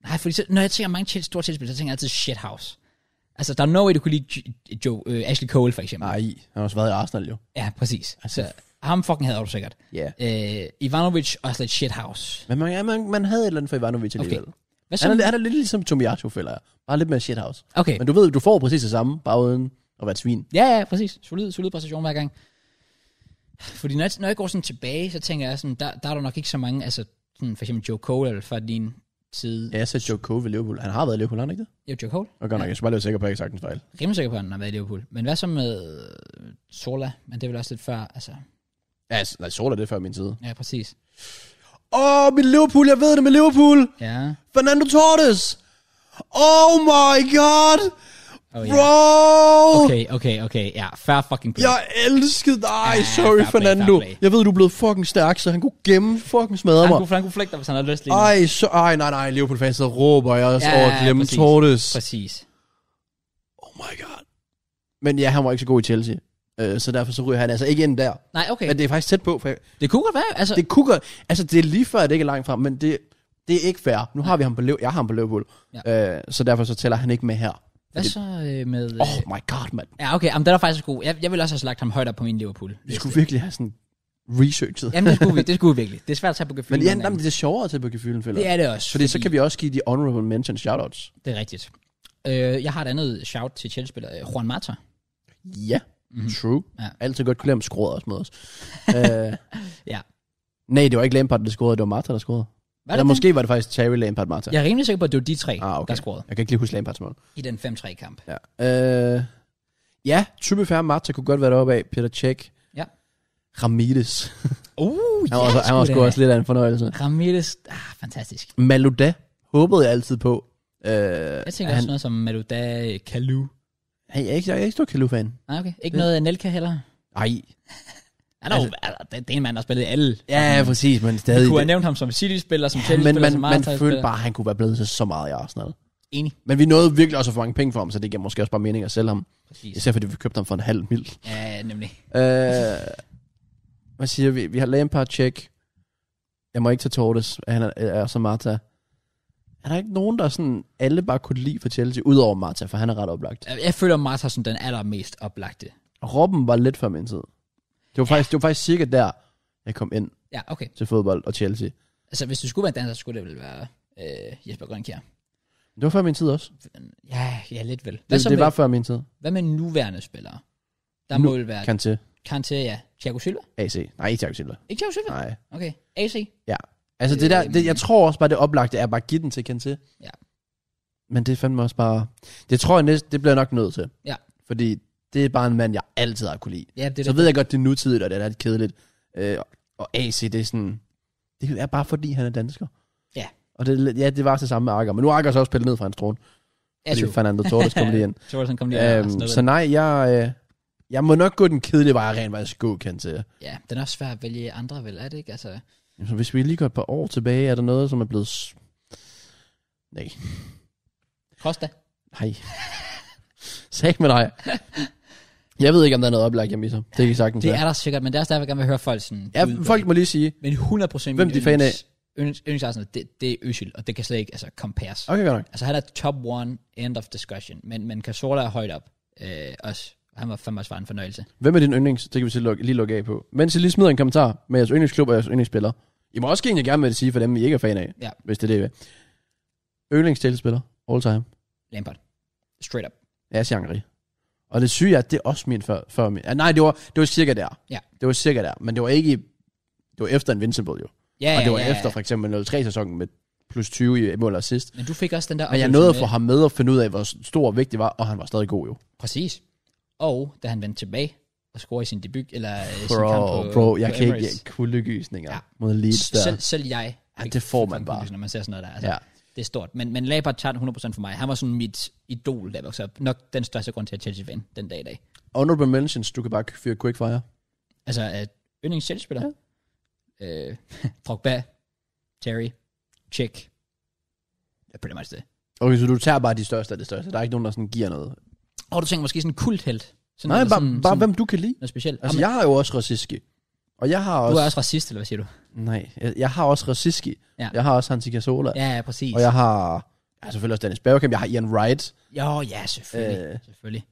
Speaker 1: Nej, fordi så, når jeg tænker mange Chelsea, store Chelsea-spillere, så tænker jeg altid shithouse. Altså, der er no way, du kunne lide J- Joe, øh, Ashley Cole, for eksempel.
Speaker 2: Nej, han har også været i Arsenal jo.
Speaker 1: Ja, præcis.
Speaker 2: Altså,
Speaker 1: Altså, så ham fucking havde du sikkert.
Speaker 2: Ja.
Speaker 1: Øh, Ivanovic, også lidt shithouse.
Speaker 2: Men man, ja, man, man havde et eller andet for Ivanovic alligevel. Okay.
Speaker 1: Hvad
Speaker 2: Han,
Speaker 1: så?
Speaker 2: er, han er lidt ligesom Tomiato, føler jeg. Bare lidt mere shithouse.
Speaker 1: Okay.
Speaker 2: Men du ved, du får præcis det samme, bare uden at være et svin.
Speaker 1: Ja, ja, præcis. Solid, solid præstation hver gang. Fordi når jeg, når jeg går sådan tilbage, så tænker jeg sådan, der, der er der nok ikke så mange, altså sådan for eksempel Joe Cole eller fra din side.
Speaker 2: Ja, jeg sagde Joe Cole ved Liverpool. Han har været i Liverpool, har han ikke det?
Speaker 1: Jo, Joe Cole.
Speaker 2: Og godt nok, jeg skal bare være sikker på, at jeg ikke sagtens fejl.
Speaker 1: Rimelig sikker på, at han har været i Liverpool. Men hvad så med øh, Sola? Men det er vel også lidt før, altså.
Speaker 2: Ja, s- nej, Sola, det er før min tid.
Speaker 1: Ja, præcis.
Speaker 2: Åh, oh, mit Liverpool, jeg ved det med Liverpool!
Speaker 1: Ja.
Speaker 2: Fernando Torres! Oh my god!
Speaker 1: Oh, ja.
Speaker 2: Bro!
Speaker 1: Okay, okay, okay. Ja, fair fucking play.
Speaker 2: Jeg elskede dig!
Speaker 1: Ja,
Speaker 2: Sorry,
Speaker 1: fair play,
Speaker 2: Fernando.
Speaker 1: fair play.
Speaker 2: Jeg ved, du er blevet fucking stærk, så han kunne gemme fucking smadre
Speaker 1: Han
Speaker 2: mig.
Speaker 1: kunne, han kunne flække dig, hvis han havde lyst lige nu.
Speaker 2: Ej, så, ej, nej, nej, Liverpool-fans, så råber jeg også
Speaker 1: Ja,
Speaker 2: ja, over at
Speaker 1: ja,
Speaker 2: glemme
Speaker 1: præcis.
Speaker 2: Torres.
Speaker 1: Præcis.
Speaker 2: Oh my god. Men ja, han var ikke så god i Chelsea. Øh, så derfor så ryger han altså ikke ind der.
Speaker 1: Nej, okay.
Speaker 2: Men
Speaker 1: Det,
Speaker 2: det er faktisk tæt på. For jeg,
Speaker 1: det kunne godt være, altså. Det,
Speaker 2: det kunne godt, altså det er lige før, det ikke er langt frem, men det, det er ikke fair. Nu har vi ham på Liv, jeg har ham på Liverpool. Ja. Øh, så derfor så tæller han ikke med her.
Speaker 1: hvad så øh, med... Øh,
Speaker 2: Oh my god, mand.
Speaker 1: Ja, okay. Jamen, den er faktisk god. Jeg, jeg ville også have slagt ham højt op på min Liverpool.
Speaker 2: Vi skulle virkelig have sådan researchet. Ja,
Speaker 1: Jamen, det skulle vi, det skulle vi virkelig. Det er svært at tage på
Speaker 2: men
Speaker 1: gefylen.
Speaker 2: ja, jamen, det er sjovere til at bygge fylden, føler
Speaker 1: det
Speaker 2: jeg.
Speaker 1: er det også.
Speaker 2: Fordi så kan vi også give de honorable mention shoutouts.
Speaker 1: Det er rigtigt. Øh, jeg har et andet shout til Chelsea-spiller, øh, Juan Mata.
Speaker 2: Ja, mm-hmm. true.
Speaker 1: Ja.
Speaker 2: Ja. Altid godt kunne lide, om scorede også
Speaker 1: *laughs*
Speaker 2: mod os. øh,
Speaker 1: Ja.
Speaker 2: nej, det var ikke Lampard, der scorede, det var Marta, der scorede.
Speaker 1: Var det
Speaker 2: Eller
Speaker 1: den?
Speaker 2: måske var det faktisk Terry Lampard, Marta.
Speaker 1: Jeg er rimelig sikker på, at det var de tre,
Speaker 2: Ah, okay.
Speaker 1: der scorede
Speaker 2: Jeg kan ikke lige huske Lampards mål.
Speaker 1: i den 5-3-kamp.
Speaker 2: Ja. Øh, ja, type færre Marta kunne godt være deroppe af. Peter Cech.
Speaker 1: Ja.
Speaker 2: Ramirez.
Speaker 1: Uh,
Speaker 2: Han var, også, han var sgu også lidt af en fornøjelse.
Speaker 1: Ramirez, ah, fantastisk.
Speaker 2: Malouda håbede jeg altid på. Øh, jeg
Speaker 1: Jeg tænker
Speaker 2: han,
Speaker 1: også noget som Maluda Kalu.
Speaker 2: han, jeg, er ikke, jeg er ikke stor Kalu-fan.
Speaker 1: Nej, okay. Ikke noget Nelka heller?
Speaker 2: Ej.
Speaker 1: Ja, der altså, altså, det, det er en mand, der har spillet i alle.
Speaker 2: Ja, præcis, men stadig.
Speaker 1: Du kunne have nævnt ham som City-spiller, som
Speaker 2: ja,
Speaker 1: Chelsea-spiller,
Speaker 2: men man,
Speaker 1: som
Speaker 2: man
Speaker 1: Marseille-spiller.
Speaker 2: følte bare, at han kunne være blevet så, så meget i Arsenal.
Speaker 1: Enig.
Speaker 2: Men vi nåede virkelig også at få mange penge for ham, så det giver måske også bare mening at sælge ham.
Speaker 1: Præcis.
Speaker 2: Især fordi vi købte ham for en halv mil.
Speaker 1: Ja, nemlig.
Speaker 2: Øh, hvad siger vi? Vi har Lampard check. Jeg må ikke tage Tortes. Han er, er så Marta. Er der ikke nogen, der sådan alle bare kunne lide for Chelsea, udover Marta, for han er ret oplagt.
Speaker 1: Jeg- Jeg føler Marta som den allermest oplagte.
Speaker 2: Og Robben var lidt før min tid. Det var, faktisk, det var faktisk cirka der, jeg kom ind
Speaker 1: Ja, okay.
Speaker 2: til fodbold og Chelsea.
Speaker 1: Altså, hvis du skulle være en danser, så skulle det vel være øh, Jesper Grønkjær.
Speaker 2: Det var før min tid også.
Speaker 1: Ja, ja, lidt vel. Hvad,
Speaker 2: Det,
Speaker 1: så
Speaker 2: det
Speaker 1: med,
Speaker 2: var før min tid.
Speaker 1: hvad med nuværende spillere? Der
Speaker 2: Nu-
Speaker 1: må vel være
Speaker 2: Kan til
Speaker 1: Kanté, ja. Thiago Silva?
Speaker 2: AC. Nej, ikke Thiago Silva.
Speaker 1: Ikke Thiago Silva?
Speaker 2: Nej.
Speaker 1: Okay. AC?
Speaker 2: Ja. Altså det der, det, jeg tror også bare, det oplagte er bare at give den til Kanté.
Speaker 1: Øhm. Ja.
Speaker 2: Men det fandt mig også bare... Det tror jeg næsten, det bliver jeg nok nødt til.
Speaker 1: Ja.
Speaker 2: Fordi det er bare en mand, jeg altid har kunne lide.
Speaker 1: Ja, det er
Speaker 2: Så
Speaker 1: det.
Speaker 2: ved jeg godt, det er nutidigt, og det er lidt kedeligt. Øh, og AC, det er sådan... Det er bare fordi, han er dansker.
Speaker 1: Ja.
Speaker 2: Og det, er lidt- ja, det var det samme med Akker. Men nu er Akker så også spillet ned fra hans trone.
Speaker 1: Ja,
Speaker 2: Fordi
Speaker 1: true.
Speaker 2: Fernando Torres kom lige
Speaker 1: *laughs*
Speaker 2: ind.
Speaker 1: Thorsen kom lige øhm,
Speaker 2: øhm, så nej, jeg... Øh, jeg må nok gå den kedelige vej, jeg rent faktisk gå, kan til.
Speaker 1: Ja, den er også svær at vælge andre, vel? Er det ikke? Altså,
Speaker 2: Så hvis vi lige går et par år tilbage, er der noget, som er blevet... s- Nej.
Speaker 1: Costa?
Speaker 2: Nej. Sag med dig. Jeg ved ikke, om der er noget oplag, jeg misser. Det altså. kan I sagtens
Speaker 1: Det
Speaker 2: være.
Speaker 1: er der sikkert, men det er også derfor, jeg gerne vil høre folk sådan...
Speaker 2: Ja, folk må lige sige.
Speaker 1: Men 100% min
Speaker 2: Hvem de fan af?
Speaker 1: yndlings- yndlings- yndlingsarsenal, det, det er Øsil, og det kan slet ikke altså, compares.
Speaker 2: Okay, godt nok.
Speaker 1: Altså, han er top one, end of discussion. Men, men Casola er højt op. Øh, også. Han var fandme også bare en fornøjelse.
Speaker 2: Hvem er din yndlings? Det kan vi så lukke- lige lukke af på. Mens I lige smider en kommentar med jeres yndlingsklub og jeres yndlingsspiller. I må også egentlig gerne med det sige for dem, I ikke er fan af.
Speaker 1: Ja.
Speaker 2: Hvis det er det, I vil. Yndlingstilspiller. All time.
Speaker 1: Lampard. Straight up.
Speaker 2: Ja, Shangri. Og det syge er, at det er også min før, før min. Ja, nej, det var, det var cirka der.
Speaker 1: Ja.
Speaker 2: Det var cirka der. Men det var ikke... i- Det var efter Invincible jo.
Speaker 1: Ja,
Speaker 2: Ja, og det var
Speaker 1: ja,
Speaker 2: ja, efter for eksempel 0-3-sæsonen med plus 20 i mål og assist.
Speaker 1: Men du fik også den der...
Speaker 2: Men jeg
Speaker 1: oplevelse
Speaker 2: nåede at
Speaker 1: med-
Speaker 2: få ham med og finde ud af, hvor stor og vigtig var, og han var stadig god jo.
Speaker 1: Præcis. Og da han vendte tilbage og scorede i sin debut, eller øh, sin kamp
Speaker 2: Bro,
Speaker 1: på,
Speaker 2: bro, jeg
Speaker 1: på
Speaker 2: kan
Speaker 1: Emirates.
Speaker 2: ikke kuldegysninger
Speaker 1: Ja.
Speaker 2: ja. mod Leeds der.
Speaker 1: Selv, selv jeg.
Speaker 2: Ja,
Speaker 1: fik-
Speaker 2: det får
Speaker 1: fik
Speaker 2: man
Speaker 1: kuldegys,
Speaker 2: bare.
Speaker 1: Når man ser sådan noget der. Altså, ja.
Speaker 2: Ja.
Speaker 1: Det er stort. Men, men Lampard tager den 100% for mig. Han var sådan mit idol, der voksede op. Nok den største grund til, at Chelsea vandt den dag i dag.
Speaker 2: Honorable mentions, du kan bare fyre quickfire.
Speaker 1: Altså, at yndlings Chelsea-spiller. Ja. Øh, *laughs* Drogba, Terry, Chick. Det er pretty much det.
Speaker 2: Okay, så du tager bare de største af det største. Der er ikke nogen, der sådan giver noget.
Speaker 1: Og du tænker måske sådan en kulthelt. Sådan,
Speaker 2: Nej,
Speaker 1: eller
Speaker 2: bare,
Speaker 1: sådan,
Speaker 2: bare
Speaker 1: sådan
Speaker 2: hvem du kan lide.
Speaker 1: noget specielt.
Speaker 2: Altså,
Speaker 1: Jamen,
Speaker 2: jeg har jo også raciski. Og jeg har også...
Speaker 1: Du er også racist, eller hvad siger du?
Speaker 2: Nej, jeg, jeg har også raciski.
Speaker 1: Ja.
Speaker 2: Ja. Jeg har også Hansi Casola. Ja.
Speaker 1: Ja, ja præcis.
Speaker 2: Og jeg har... Jeg har selvfølgelig også Dennis Bergkamp. Jeg har Ian Wright.
Speaker 1: Jo, ja, selvfølgelig. Øh.
Speaker 2: Øh.
Speaker 1: Selvfølgelig.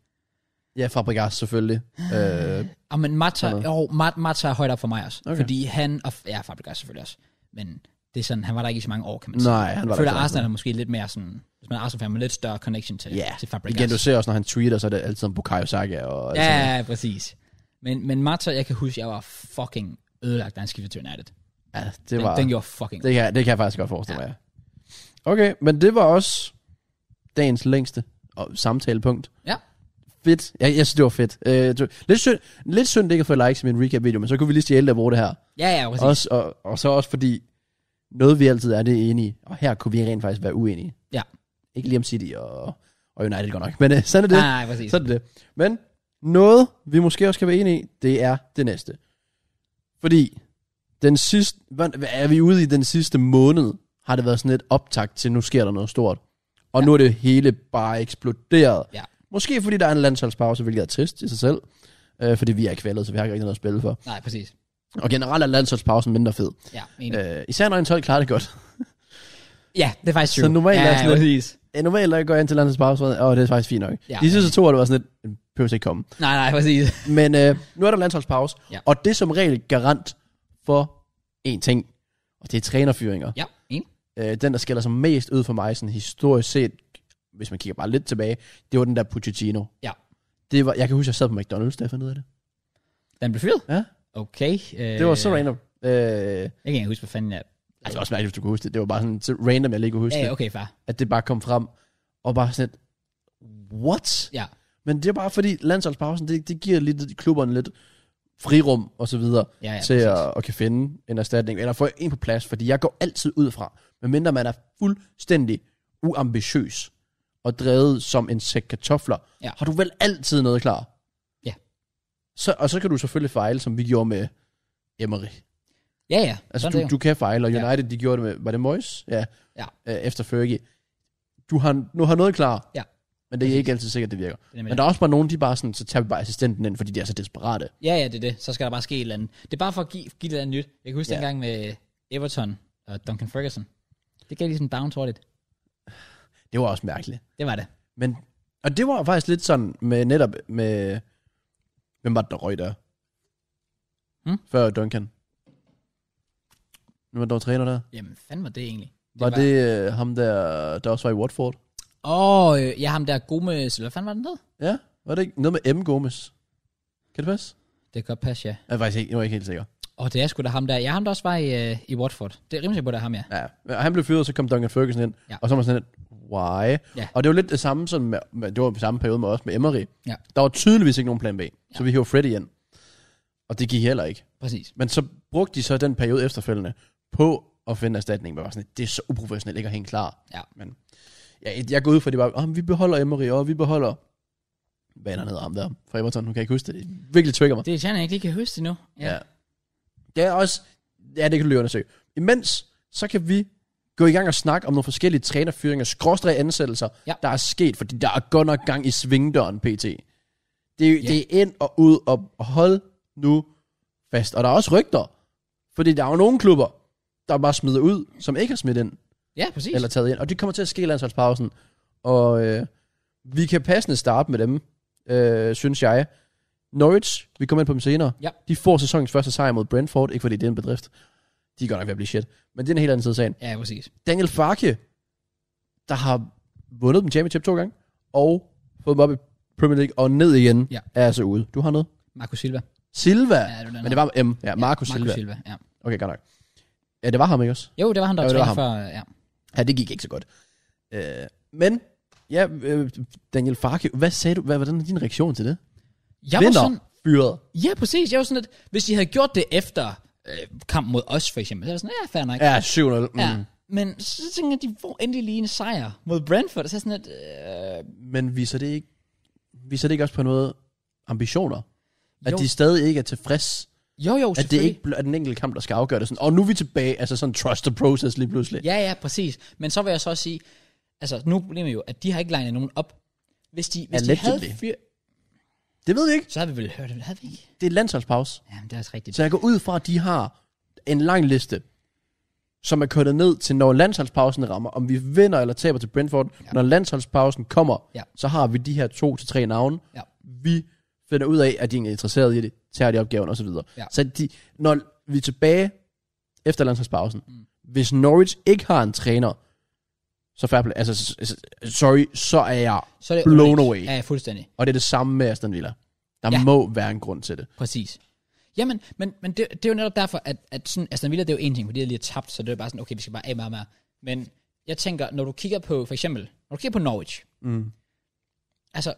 Speaker 2: Ja, Fabregas selvfølgelig. øh,
Speaker 1: Og men Mata,
Speaker 2: Sådan
Speaker 1: jo, Mata, Mata er højt op for mig også. Okay.
Speaker 2: Okay.
Speaker 1: Fordi han, og ja, Fabregas selvfølgelig også, men det er sådan, han var der ikke i så mange år, kan man sige.
Speaker 2: Nej, han var
Speaker 1: jeg
Speaker 2: der
Speaker 1: føler,
Speaker 2: ikke så
Speaker 1: Arsenal er måske lidt mere sådan, hvis man er Arsenal-fan, med lidt større connection til,
Speaker 2: Ja,
Speaker 1: til Fabregas.
Speaker 2: igen, du ser også, når han tweeter, så er det altid om Bukayo Saka. Og
Speaker 1: ja, ja, ja, præcis. Men, men Mata, jeg kan huske, jeg var fucking ødelagt, da han skiftede til United.
Speaker 2: ja det
Speaker 1: Den,
Speaker 2: var...
Speaker 1: den gjorde fucking
Speaker 2: Det kan, det kan jeg faktisk godt forestille ja. mig, ja. Okay, men det var også dagens længste og samtalepunkt.
Speaker 1: Ja.
Speaker 2: Fedt. Jeg, jeg synes, det var fedt. Øh, det var- lidt, synd, lidt synd, det ikke har fået likes i min recap-video, men så kunne vi lige stjæle det og bruge det her.
Speaker 1: Ja, ja, præcis.
Speaker 2: Også, og, og så også fordi, noget vi altid er, det er enige, og her kunne vi rent faktisk være uenige.
Speaker 1: Ja.
Speaker 2: Ikke lige om City og, og United godt nok, men øh, sådan er det.
Speaker 1: nej, nej, præcis.
Speaker 2: Sådan er det. Men noget, vi måske også kan være enige i, det er det næste. Fordi den sidste, hvad, hvad er vi ude i den sidste måned, har det været sådan et optakt til, nu sker der noget stort. Og
Speaker 1: Ja.
Speaker 2: ja. nu er det hele bare eksploderet.
Speaker 1: Ja.
Speaker 2: Måske fordi der er en landsholdspause, hvilket er trist i sig selv. Øh, fordi vi er kvælet, så vi har ikke rigtig noget at spille for.
Speaker 1: Nej, præcis.
Speaker 2: Og generelt er landsholdspausen mindre fed.
Speaker 1: Ja, enig. Øh,
Speaker 2: Øh, især når en 12 klarer det godt.
Speaker 1: ja, det er faktisk
Speaker 2: så
Speaker 1: true.
Speaker 2: normalt
Speaker 1: ja,
Speaker 2: er sådan
Speaker 1: ja,
Speaker 2: lidt-
Speaker 1: præcis.
Speaker 2: Øh, Normalt når jeg går ind til landsholdspausen, og det er faktisk fint nok.
Speaker 1: Ja.
Speaker 2: Ja, De sidste to år, det var sådan lidt, behøver ikke komme.
Speaker 1: Nej, nej, præcis.
Speaker 2: Men øh, nu er der landsholdspause,
Speaker 1: Ja.
Speaker 2: ja. og det er som regel garant for én ting, og det er trænerfyringer.
Speaker 1: Ja, enig.
Speaker 2: Øh, den, der skiller sig mest ud for mig, sådan historisk set, hvis man kigger bare lidt tilbage, det var den der Pochettino.
Speaker 1: Ja.
Speaker 2: Det var, jeg kan huske, jeg sad på McDonald's, da jeg fandt ud af det.
Speaker 1: Den blev fyret?
Speaker 2: Ja.
Speaker 1: Okay. Øh,
Speaker 2: Det var så random. Øh,
Speaker 1: Jeg kan ikke huske, hvad fanden jeg...
Speaker 2: altså, det var også mærkeligt, hvis du kunne huske det. Det var bare sådan så random, jeg lige kunne huske
Speaker 1: Ja,
Speaker 2: ja,
Speaker 1: ja,
Speaker 2: okay.
Speaker 1: okay, far.
Speaker 2: det, at det bare kom frem, og bare sådan et, what?
Speaker 1: Ja.
Speaker 2: Men det er bare fordi, landsholdspausen, det, det giver lidt, klubberne lidt frirum og så videre.
Speaker 1: Ja, ja,
Speaker 2: til
Speaker 1: præcis.
Speaker 2: at, at kan finde en erstatning, eller få en på plads, fordi jeg går altid ud fra, medmindre man er fuldstændig uambitiøs og drevet som en sæk kartofler,
Speaker 1: Ja.
Speaker 2: har du vel altid noget klar?
Speaker 1: Ja.
Speaker 2: Så, og så kan du selvfølgelig fejle, som vi gjorde med Emery.
Speaker 1: Ja, ja.
Speaker 2: Altså,
Speaker 1: Sådan er
Speaker 2: du,
Speaker 1: det jo.
Speaker 2: du kan fejle, og
Speaker 1: Ja.
Speaker 2: United, ja. de gjorde det med, var det Moyes? Ja.
Speaker 1: Ja.
Speaker 2: Øh, efter Fergie. Du har, nu har noget klar,
Speaker 1: Ja.
Speaker 2: men det
Speaker 1: Præcis.
Speaker 2: er ikke altid sikkert, det virker.
Speaker 1: Det er
Speaker 2: Men
Speaker 1: nemlig
Speaker 2: der er også bare nogen, de bare sådan, så tager vi bare assistenten ind, fordi de er så desperate.
Speaker 1: Ja, ja, det er det. Så skal der bare ske et eller andet. Det er bare for at give, give det andet nyt. Jeg kan huske
Speaker 2: Ja.
Speaker 1: yeah. dengang med Everton og Duncan Ferguson. Det gav ligesom down hurtigt.
Speaker 2: Det var også mærkeligt.
Speaker 1: Det var det.
Speaker 2: Men, og det var faktisk lidt sådan med netop med, hvem var det, der røg der?
Speaker 1: Hmm?
Speaker 2: Før Duncan. Nu var der var træner der.
Speaker 1: Jamen, fanden var det egentlig?
Speaker 2: Det var, var det øh, ham der, der også var i Watford?
Speaker 1: Åh, oh, øh, ja, ham der Gomes, eller hvad fanden var den hed?
Speaker 2: Ja, var det ikke? Noget med M. Gomes. Kan det passe?
Speaker 1: Det kan godt passe, ja.
Speaker 2: Jeg er faktisk ikke, jeg var ikke helt sikker.
Speaker 1: Og det er sgu da ham der. Ja, ham der også var i, øh, i Watford. Det er rimelig sikkert på, det er ham, ja.
Speaker 2: Ja, men han blev fyret, og så kom Duncan Ferguson ind.
Speaker 1: Ja.
Speaker 2: Og så var man sådan lidt, why?
Speaker 1: Ja.
Speaker 2: Og det var lidt det samme, sådan med, med, det var i samme periode med os med Emery.
Speaker 1: Ja.
Speaker 2: Der var tydeligvis ikke nogen plan B, så vi hævde Freddy ind. Og det gik heller ikke.
Speaker 1: Præcis.
Speaker 2: Men så brugte de så den periode efterfølgende på at finde erstatning. Men var sådan, det er så uprofessionelt ikke at hænge klar.
Speaker 1: Ja.
Speaker 2: Men jeg, jeg går ud for, at de bare, oh, vi beholder Emery, og vi beholder... Hvad er der hedder ham der fra Everton? Nu kan jeg ikke huske det. Det virkelig trigger mig.
Speaker 1: Det er sjældent, jeg ikke lige kan huske det nu. Ja. ja.
Speaker 2: Det er også... Ja, det kan du lige undersøge. Imens, så kan vi gå i gang og snakke om nogle forskellige trænerfyringer, skråstræk ansættelser,
Speaker 1: Ja.
Speaker 2: der er sket, fordi der er godt nok gang i svingdøren, PT. Det, er-
Speaker 1: Ja.
Speaker 2: det er ind og ud, og og hold nu fast. Og der er også rygter, fordi der er jo nogle klubber, der bare smider ud, som ikke har smidt ind,
Speaker 1: Ja, præcis.
Speaker 2: eller taget ind. Og det kommer til at ske i landsholdspausen. Og øh, vi kan passende starte med dem, øh, synes jeg. Norwich, vi kommer ind på dem senere.
Speaker 1: Ja.
Speaker 2: De får sæsonens første sejr mod Brentford. Ikke fordi det er en bedrift. De er godt nok ved at blive shit. Men det er en helt anden side af sagen.
Speaker 1: Ja, præcis.
Speaker 2: Daniel Farke, der har vundet dem championship to gange, og fået dem op i Premier League og ned igen,
Speaker 1: Ja.
Speaker 2: er altså ude. Du har noget.
Speaker 1: Marco Silva.
Speaker 2: Silva.
Speaker 1: Ja, det var den
Speaker 2: Men det
Speaker 1: her.
Speaker 2: var M. Ja, Marco Silva.
Speaker 1: Silva, ja.
Speaker 2: Okay, godt nok. Ja, det var ham, ikke også?
Speaker 1: Jo, det var han, der
Speaker 2: Jo,
Speaker 1: var
Speaker 2: det var
Speaker 1: træner før. Ja.
Speaker 2: Ja, det gik ikke så godt. Øh, men, ja, øh, Daniel Farke, hvad sagde du? Hvad, hvordan er din reaktion til det?
Speaker 1: Jeg var
Speaker 2: Vinder
Speaker 1: sådan,
Speaker 2: fyret.
Speaker 1: ja, præcis. Jeg var sådan, at hvis de havde gjort det efter øh, kamp mod os, for eksempel, så var jeg sådan, ja, fair nok.
Speaker 2: Ja, 7-0. Mm.
Speaker 1: ja. Men så tænker jeg, de får endelig lige en sejr mod Brentford. Så er jeg sådan, at, øh,
Speaker 2: Men viser det ikke, viser det ikke også på noget ambitioner? At
Speaker 1: Jo.
Speaker 2: jo. de stadig ikke er tilfreds?
Speaker 1: jo, jo,
Speaker 2: At det
Speaker 1: selvfølgelig.
Speaker 2: ikke bl- er den enkelte kamp, der skal afgøre det. Sådan, og nu er vi tilbage, altså sådan trust the process lige pludselig.
Speaker 1: Ja, ja, præcis. Men så vil jeg så også sige, altså nu er problemet jo, at de har ikke legnet nogen op. Hvis de, hvis de havde
Speaker 2: Allegedly.
Speaker 1: fyr,
Speaker 2: Det ved vi ikke.
Speaker 1: så havde vi vel hørt det, havde vi ikke?
Speaker 2: Det er landsholdspause.
Speaker 1: Jamen, det er også rigtigt.
Speaker 2: Så jeg går ud fra, at de har en lang liste, som er kørt ned til, når landsholdspausen rammer. Om vi vinder eller taber til Brentford, ja. når landsholdspausen kommer,
Speaker 1: Ja.
Speaker 2: så har vi de her to til tre navne.
Speaker 1: Ja.
Speaker 2: Vi finder ud af, at de ikke er interesseret i det, tager de opgaven osv.
Speaker 1: Ja.
Speaker 2: Så de, når vi er tilbage efter landsholdspausen, mm. hvis Norwich ikke har en træner, så fair play, altså, s- s- sorry, så er jeg,
Speaker 1: Så er det
Speaker 2: blown
Speaker 1: underligt.
Speaker 2: away.
Speaker 1: Ja, ja, fuldstændig.
Speaker 2: og det er det samme med Aston Villa. Der
Speaker 1: Ja.
Speaker 2: ja. må være en grund til det.
Speaker 1: Præcis. Jamen, men, men det, det, er jo netop derfor, at, at sådan, Aston Villa, det er jo en ting, fordi jeg lige har tabt, så det er bare sådan, okay, vi skal bare af med ham her. Men jeg tænker, når du kigger på, for eksempel, når du kigger på Norwich,
Speaker 2: Mm.
Speaker 1: altså,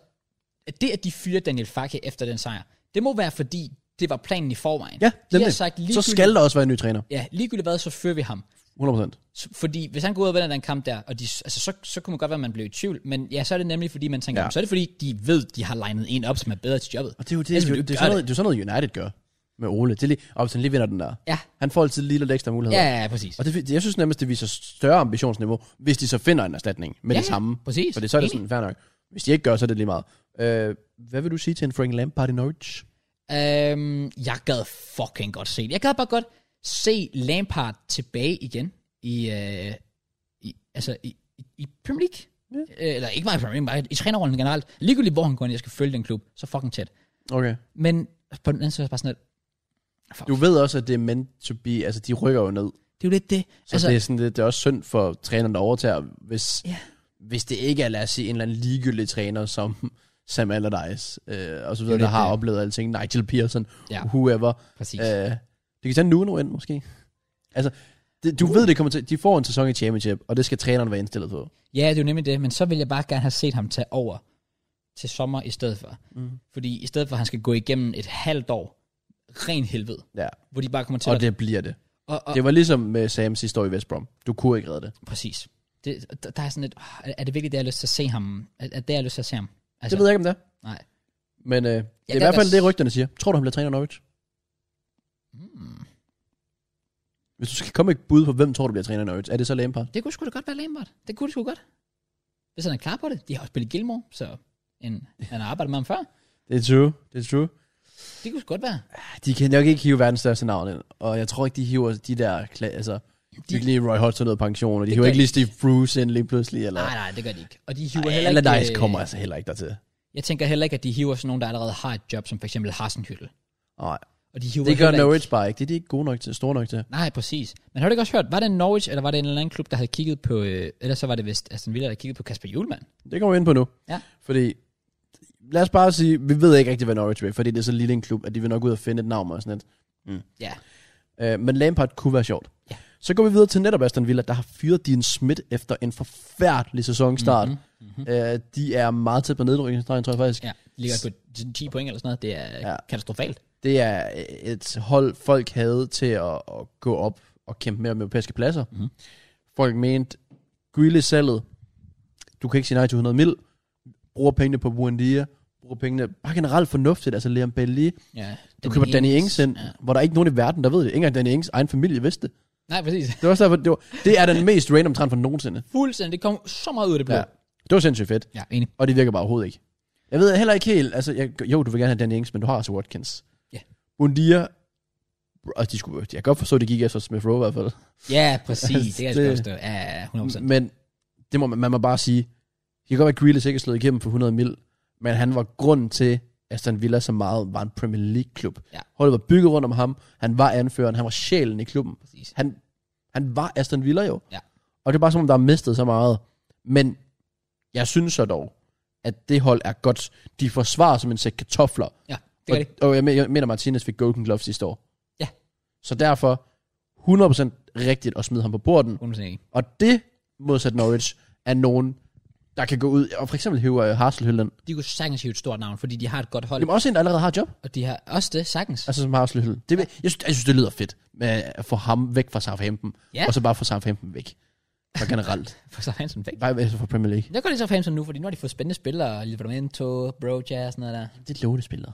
Speaker 1: at det, at de fyrer Daniel Farke efter den sejr, det må være, fordi det var planen i forvejen.
Speaker 2: Ja,
Speaker 1: de har
Speaker 2: nemlig.
Speaker 1: sagt,
Speaker 2: Så
Speaker 1: ligegyldigt-
Speaker 2: skal der også være en ny træner.
Speaker 1: Ja, ligegyldigt hvad, så fører vi ham.
Speaker 2: 100%.
Speaker 1: S- Fordi hvis han går ud og vinder den kamp der, og de, altså, så, så kunne man godt være, at man blev i tvivl. Men ja, så er det nemlig, fordi man tænker,
Speaker 2: Ja.
Speaker 1: ja. så er det fordi, de ved, de har legnet en op, som er bedre til jobbet.
Speaker 2: Og det er jo det,
Speaker 1: Ellers
Speaker 2: det,
Speaker 1: vil
Speaker 2: det,
Speaker 1: du
Speaker 2: det,
Speaker 1: ikke
Speaker 2: er
Speaker 1: gøre
Speaker 2: sådan noget, det er sådan noget, United gør med Ole. Det er lige, og hvis han lige vinder den der.
Speaker 1: Ja,
Speaker 2: Han får altid lige lidt ekstra muligheder.
Speaker 1: ja, ja, ja præcis.
Speaker 2: Og det, jeg synes nærmest, det viser større ambitionsniveau, hvis de så finder en erstatning med
Speaker 1: Ja,
Speaker 2: det
Speaker 1: ja,
Speaker 2: samme.
Speaker 1: præcis.
Speaker 2: For det, så er det
Speaker 1: Enig.
Speaker 2: sådan, fair nok. Hvis de ikke gør, så er det lige meget. Øh, hvad vil du sige til en Frank Lampard i Norwich?
Speaker 1: Øhm, jeg gad fucking godt se det. Jeg gad bare godt se Lampard tilbage igen i, øh, i altså i, i- i Premier League. Øh, Eller ikke bare i Premier League, bare i trænerrollen generelt. Ligegyldigt hvor han går ind, jeg skal følge den klub, så fucking tæt.
Speaker 2: Okay.
Speaker 1: Men på den anden side er jeg bare sådan, lidt,
Speaker 2: Du ved også, at det er meant to be, altså de rykker jo ned.
Speaker 1: det er jo lidt det.
Speaker 2: Så altså, det, er sådan, det, det er også synd for træneren, der overtager, hvis,
Speaker 1: Ja.
Speaker 2: hvis det ikke er, lad os sige, en eller anden ligegyldig træner, som Sam Allardyce, øh, og så videre,
Speaker 1: lidt
Speaker 2: der har
Speaker 1: det.
Speaker 2: oplevet alting, Nigel Pearson,
Speaker 1: Ja.
Speaker 2: whoever.
Speaker 1: præcis.
Speaker 2: Øh, det kan tage Nuno ind, måske. Altså, det, du uh. ved, det kommer til, de får en sæson i championship, og det skal træneren være indstillet på.
Speaker 1: Ja, det er jo nemlig det, men så vil jeg bare gerne have set ham tage over til sommer i stedet for.
Speaker 2: Mhm.
Speaker 1: Mm. Fordi i stedet for, at han skal gå igennem et halvt år, ren helvede,
Speaker 2: Ja.
Speaker 1: hvor de bare kommer til
Speaker 2: Og
Speaker 1: at...
Speaker 2: det bliver det.
Speaker 1: og, og,
Speaker 2: Det var ligesom med Sam sidste år i West Brom. Du kunne ikke redde det.
Speaker 1: Præcis. Det, der- der er sådan lidt, åh, er- er det virkelig det, jeg har lyst til at se ham? Er, er det, jeg har lyst til at se ham? Altså,
Speaker 2: Det ved jeg ikke, om det er.
Speaker 1: Nej.
Speaker 2: Men øh, det er i
Speaker 1: kan
Speaker 2: hvert fald
Speaker 1: godt-
Speaker 2: det, rygterne siger. Tror du, han bliver træner i Norwich?
Speaker 1: Hmm,
Speaker 2: Hvis du skal komme med et bud på, hvem tror du bliver træner i Norwich, er det så Lampard?
Speaker 1: Det kunne sgu da godt være Lambert. Det kunne det sgu godt. Hvis han er klar på det. De har også spillet Gilmore, så en, han har arbejdet med ham før.
Speaker 2: Det er true. Det er true.
Speaker 1: Det kunne sgu godt være.
Speaker 2: Ah, De kan nok ikke hive verdens største navn ind, og jeg tror ikke, de hiver de der, kla- altså, de, de kan lige Roy Hodgson ud af pension, og de
Speaker 1: Det
Speaker 2: hiver
Speaker 1: gør
Speaker 2: ikke
Speaker 1: de
Speaker 2: lige Steve Bruce ind lige pludselig, eller...
Speaker 1: Nej, nej, det gør de ikke. Og de hiver
Speaker 2: Ej,
Speaker 1: heller ikke...
Speaker 2: Allardyce
Speaker 1: øh,
Speaker 2: kommer altså heller ikke dertil.
Speaker 1: Jeg tænker heller ikke, at de hiver sådan nogen, der allerede har et job, som for eksempel Hasenhyttel.
Speaker 2: Nej,
Speaker 1: Og de hiver
Speaker 2: det gør
Speaker 1: heller ikke-
Speaker 2: Norwich bare ikke. Det er de ikke gode nok til, store nok til.
Speaker 1: Nej, præcis. Men har du ikke også hørt, var det Norwich, eller var det en eller anden klub, der havde kigget på, øh, eller så var det vist Aston Villa, der kiggede på Kasper Julemand?
Speaker 2: Det kommer vi ind på nu.
Speaker 1: Ja.
Speaker 2: Fordi, lad os bare sige, vi ved ikke rigtig, hvad Norwich vil, fordi det er så lille en klub, at de vil nok ud og finde et navn og sådan noget.
Speaker 1: Ja.
Speaker 2: Øh, men Lampard kunne være sjovt.
Speaker 1: Ja.
Speaker 2: Så går vi videre til netop Aston Villa, der har fyret Dean Smith efter en forfærdelig sæsonstart. Mm-hmm. Mm-hmm. Øh, de er meget tæt på nedrykningsstregen, tror jeg faktisk.
Speaker 1: Ja, ligger på 10 point eller sådan noget. Det er ja.
Speaker 2: Ja.
Speaker 1: katastrofalt.
Speaker 2: det er et hold, folk havde til at, at gå op og kæmpe med om europæiske pladser. Mm. Folk mente, Grealish-salget, du kan ikke sige nej til 100 mil, bruger pengene på Buendia, bruger pengene bare generelt fornuftigt, altså Liam Bailey,
Speaker 1: Ja,
Speaker 2: du
Speaker 1: den
Speaker 2: køber Danny
Speaker 1: ene-
Speaker 2: Ings ind, ja. hvor der er ikke nogen i verden, der ved det. Ikke engang Danny Ings egen familie vidste det.
Speaker 1: Nej, præcis.
Speaker 2: Det, var også derfor, det, var, det er den mest random trend for nogensinde.
Speaker 1: Fuldstændig. Det kom så meget ud af det blå.
Speaker 2: Ja. Det var sindssygt fedt,
Speaker 1: ja enig.
Speaker 2: og det virker bare overhovedet ikke. Jeg ved heller ikke helt, altså jeg, jo, du vil gerne have Danny Ings, men du har altså Watkins.
Speaker 1: Ja.
Speaker 2: Bundia, og de skulle, jeg kan godt forstå, at de gik efter Smith Rowe i hvert fald.
Speaker 1: Ja, præcis. det er
Speaker 2: Altså, Det- Mm.
Speaker 1: et spørgsmål. Ja, ja, 100%.
Speaker 2: Men det må man, man må bare sige, det kan godt være, at Grealish ikke er slået igennem for 100 mil, men han var grunden til, at Aston Villa så meget var en Premier League-klub.
Speaker 1: Ja.
Speaker 2: Holdet var bygget rundt om ham, han var anføreren, han var sjælen i klubben.
Speaker 1: Præcis.
Speaker 2: Han, han var Aston Villa jo.
Speaker 1: Ja.
Speaker 2: Og det er bare som om, der er mistet så meget. Men jeg synes så dog, at det hold er godt. De forsvarer som en sæk kartofler.
Speaker 1: Ja, det gør det.
Speaker 2: Og, og jeg, men- jeg mener, Martinez fik Golden Gloves sidste år.
Speaker 1: Ja.
Speaker 2: Så derfor, 100% rigtigt og smide ham på borden.
Speaker 1: 100% enig.
Speaker 2: Og det, modsat Norwich, er nogen, der kan gå ud og for eksempel hive øh, Harsel-Hylland.
Speaker 1: De kunne sagtens hive et stort navn, fordi de har et godt hold,
Speaker 2: Jamen også en, der allerede har et job.
Speaker 1: og de har også det sagtens.
Speaker 2: Altså som Harsel Hylland. Det, vil- jeg, synes, jeg synes, det lyder fedt med at få ham væk fra Southampton.
Speaker 1: Ja.
Speaker 2: Og så bare få Southampton væk. Og generelt.
Speaker 1: *laughs* For så er han sådan væk.
Speaker 2: bare altså fra Premier League.
Speaker 1: Jeg går lige så fan som nu, fordi nu har de fået spændende spillere. Livermento, Broja og sådan noget der.
Speaker 2: Det er lånespillere.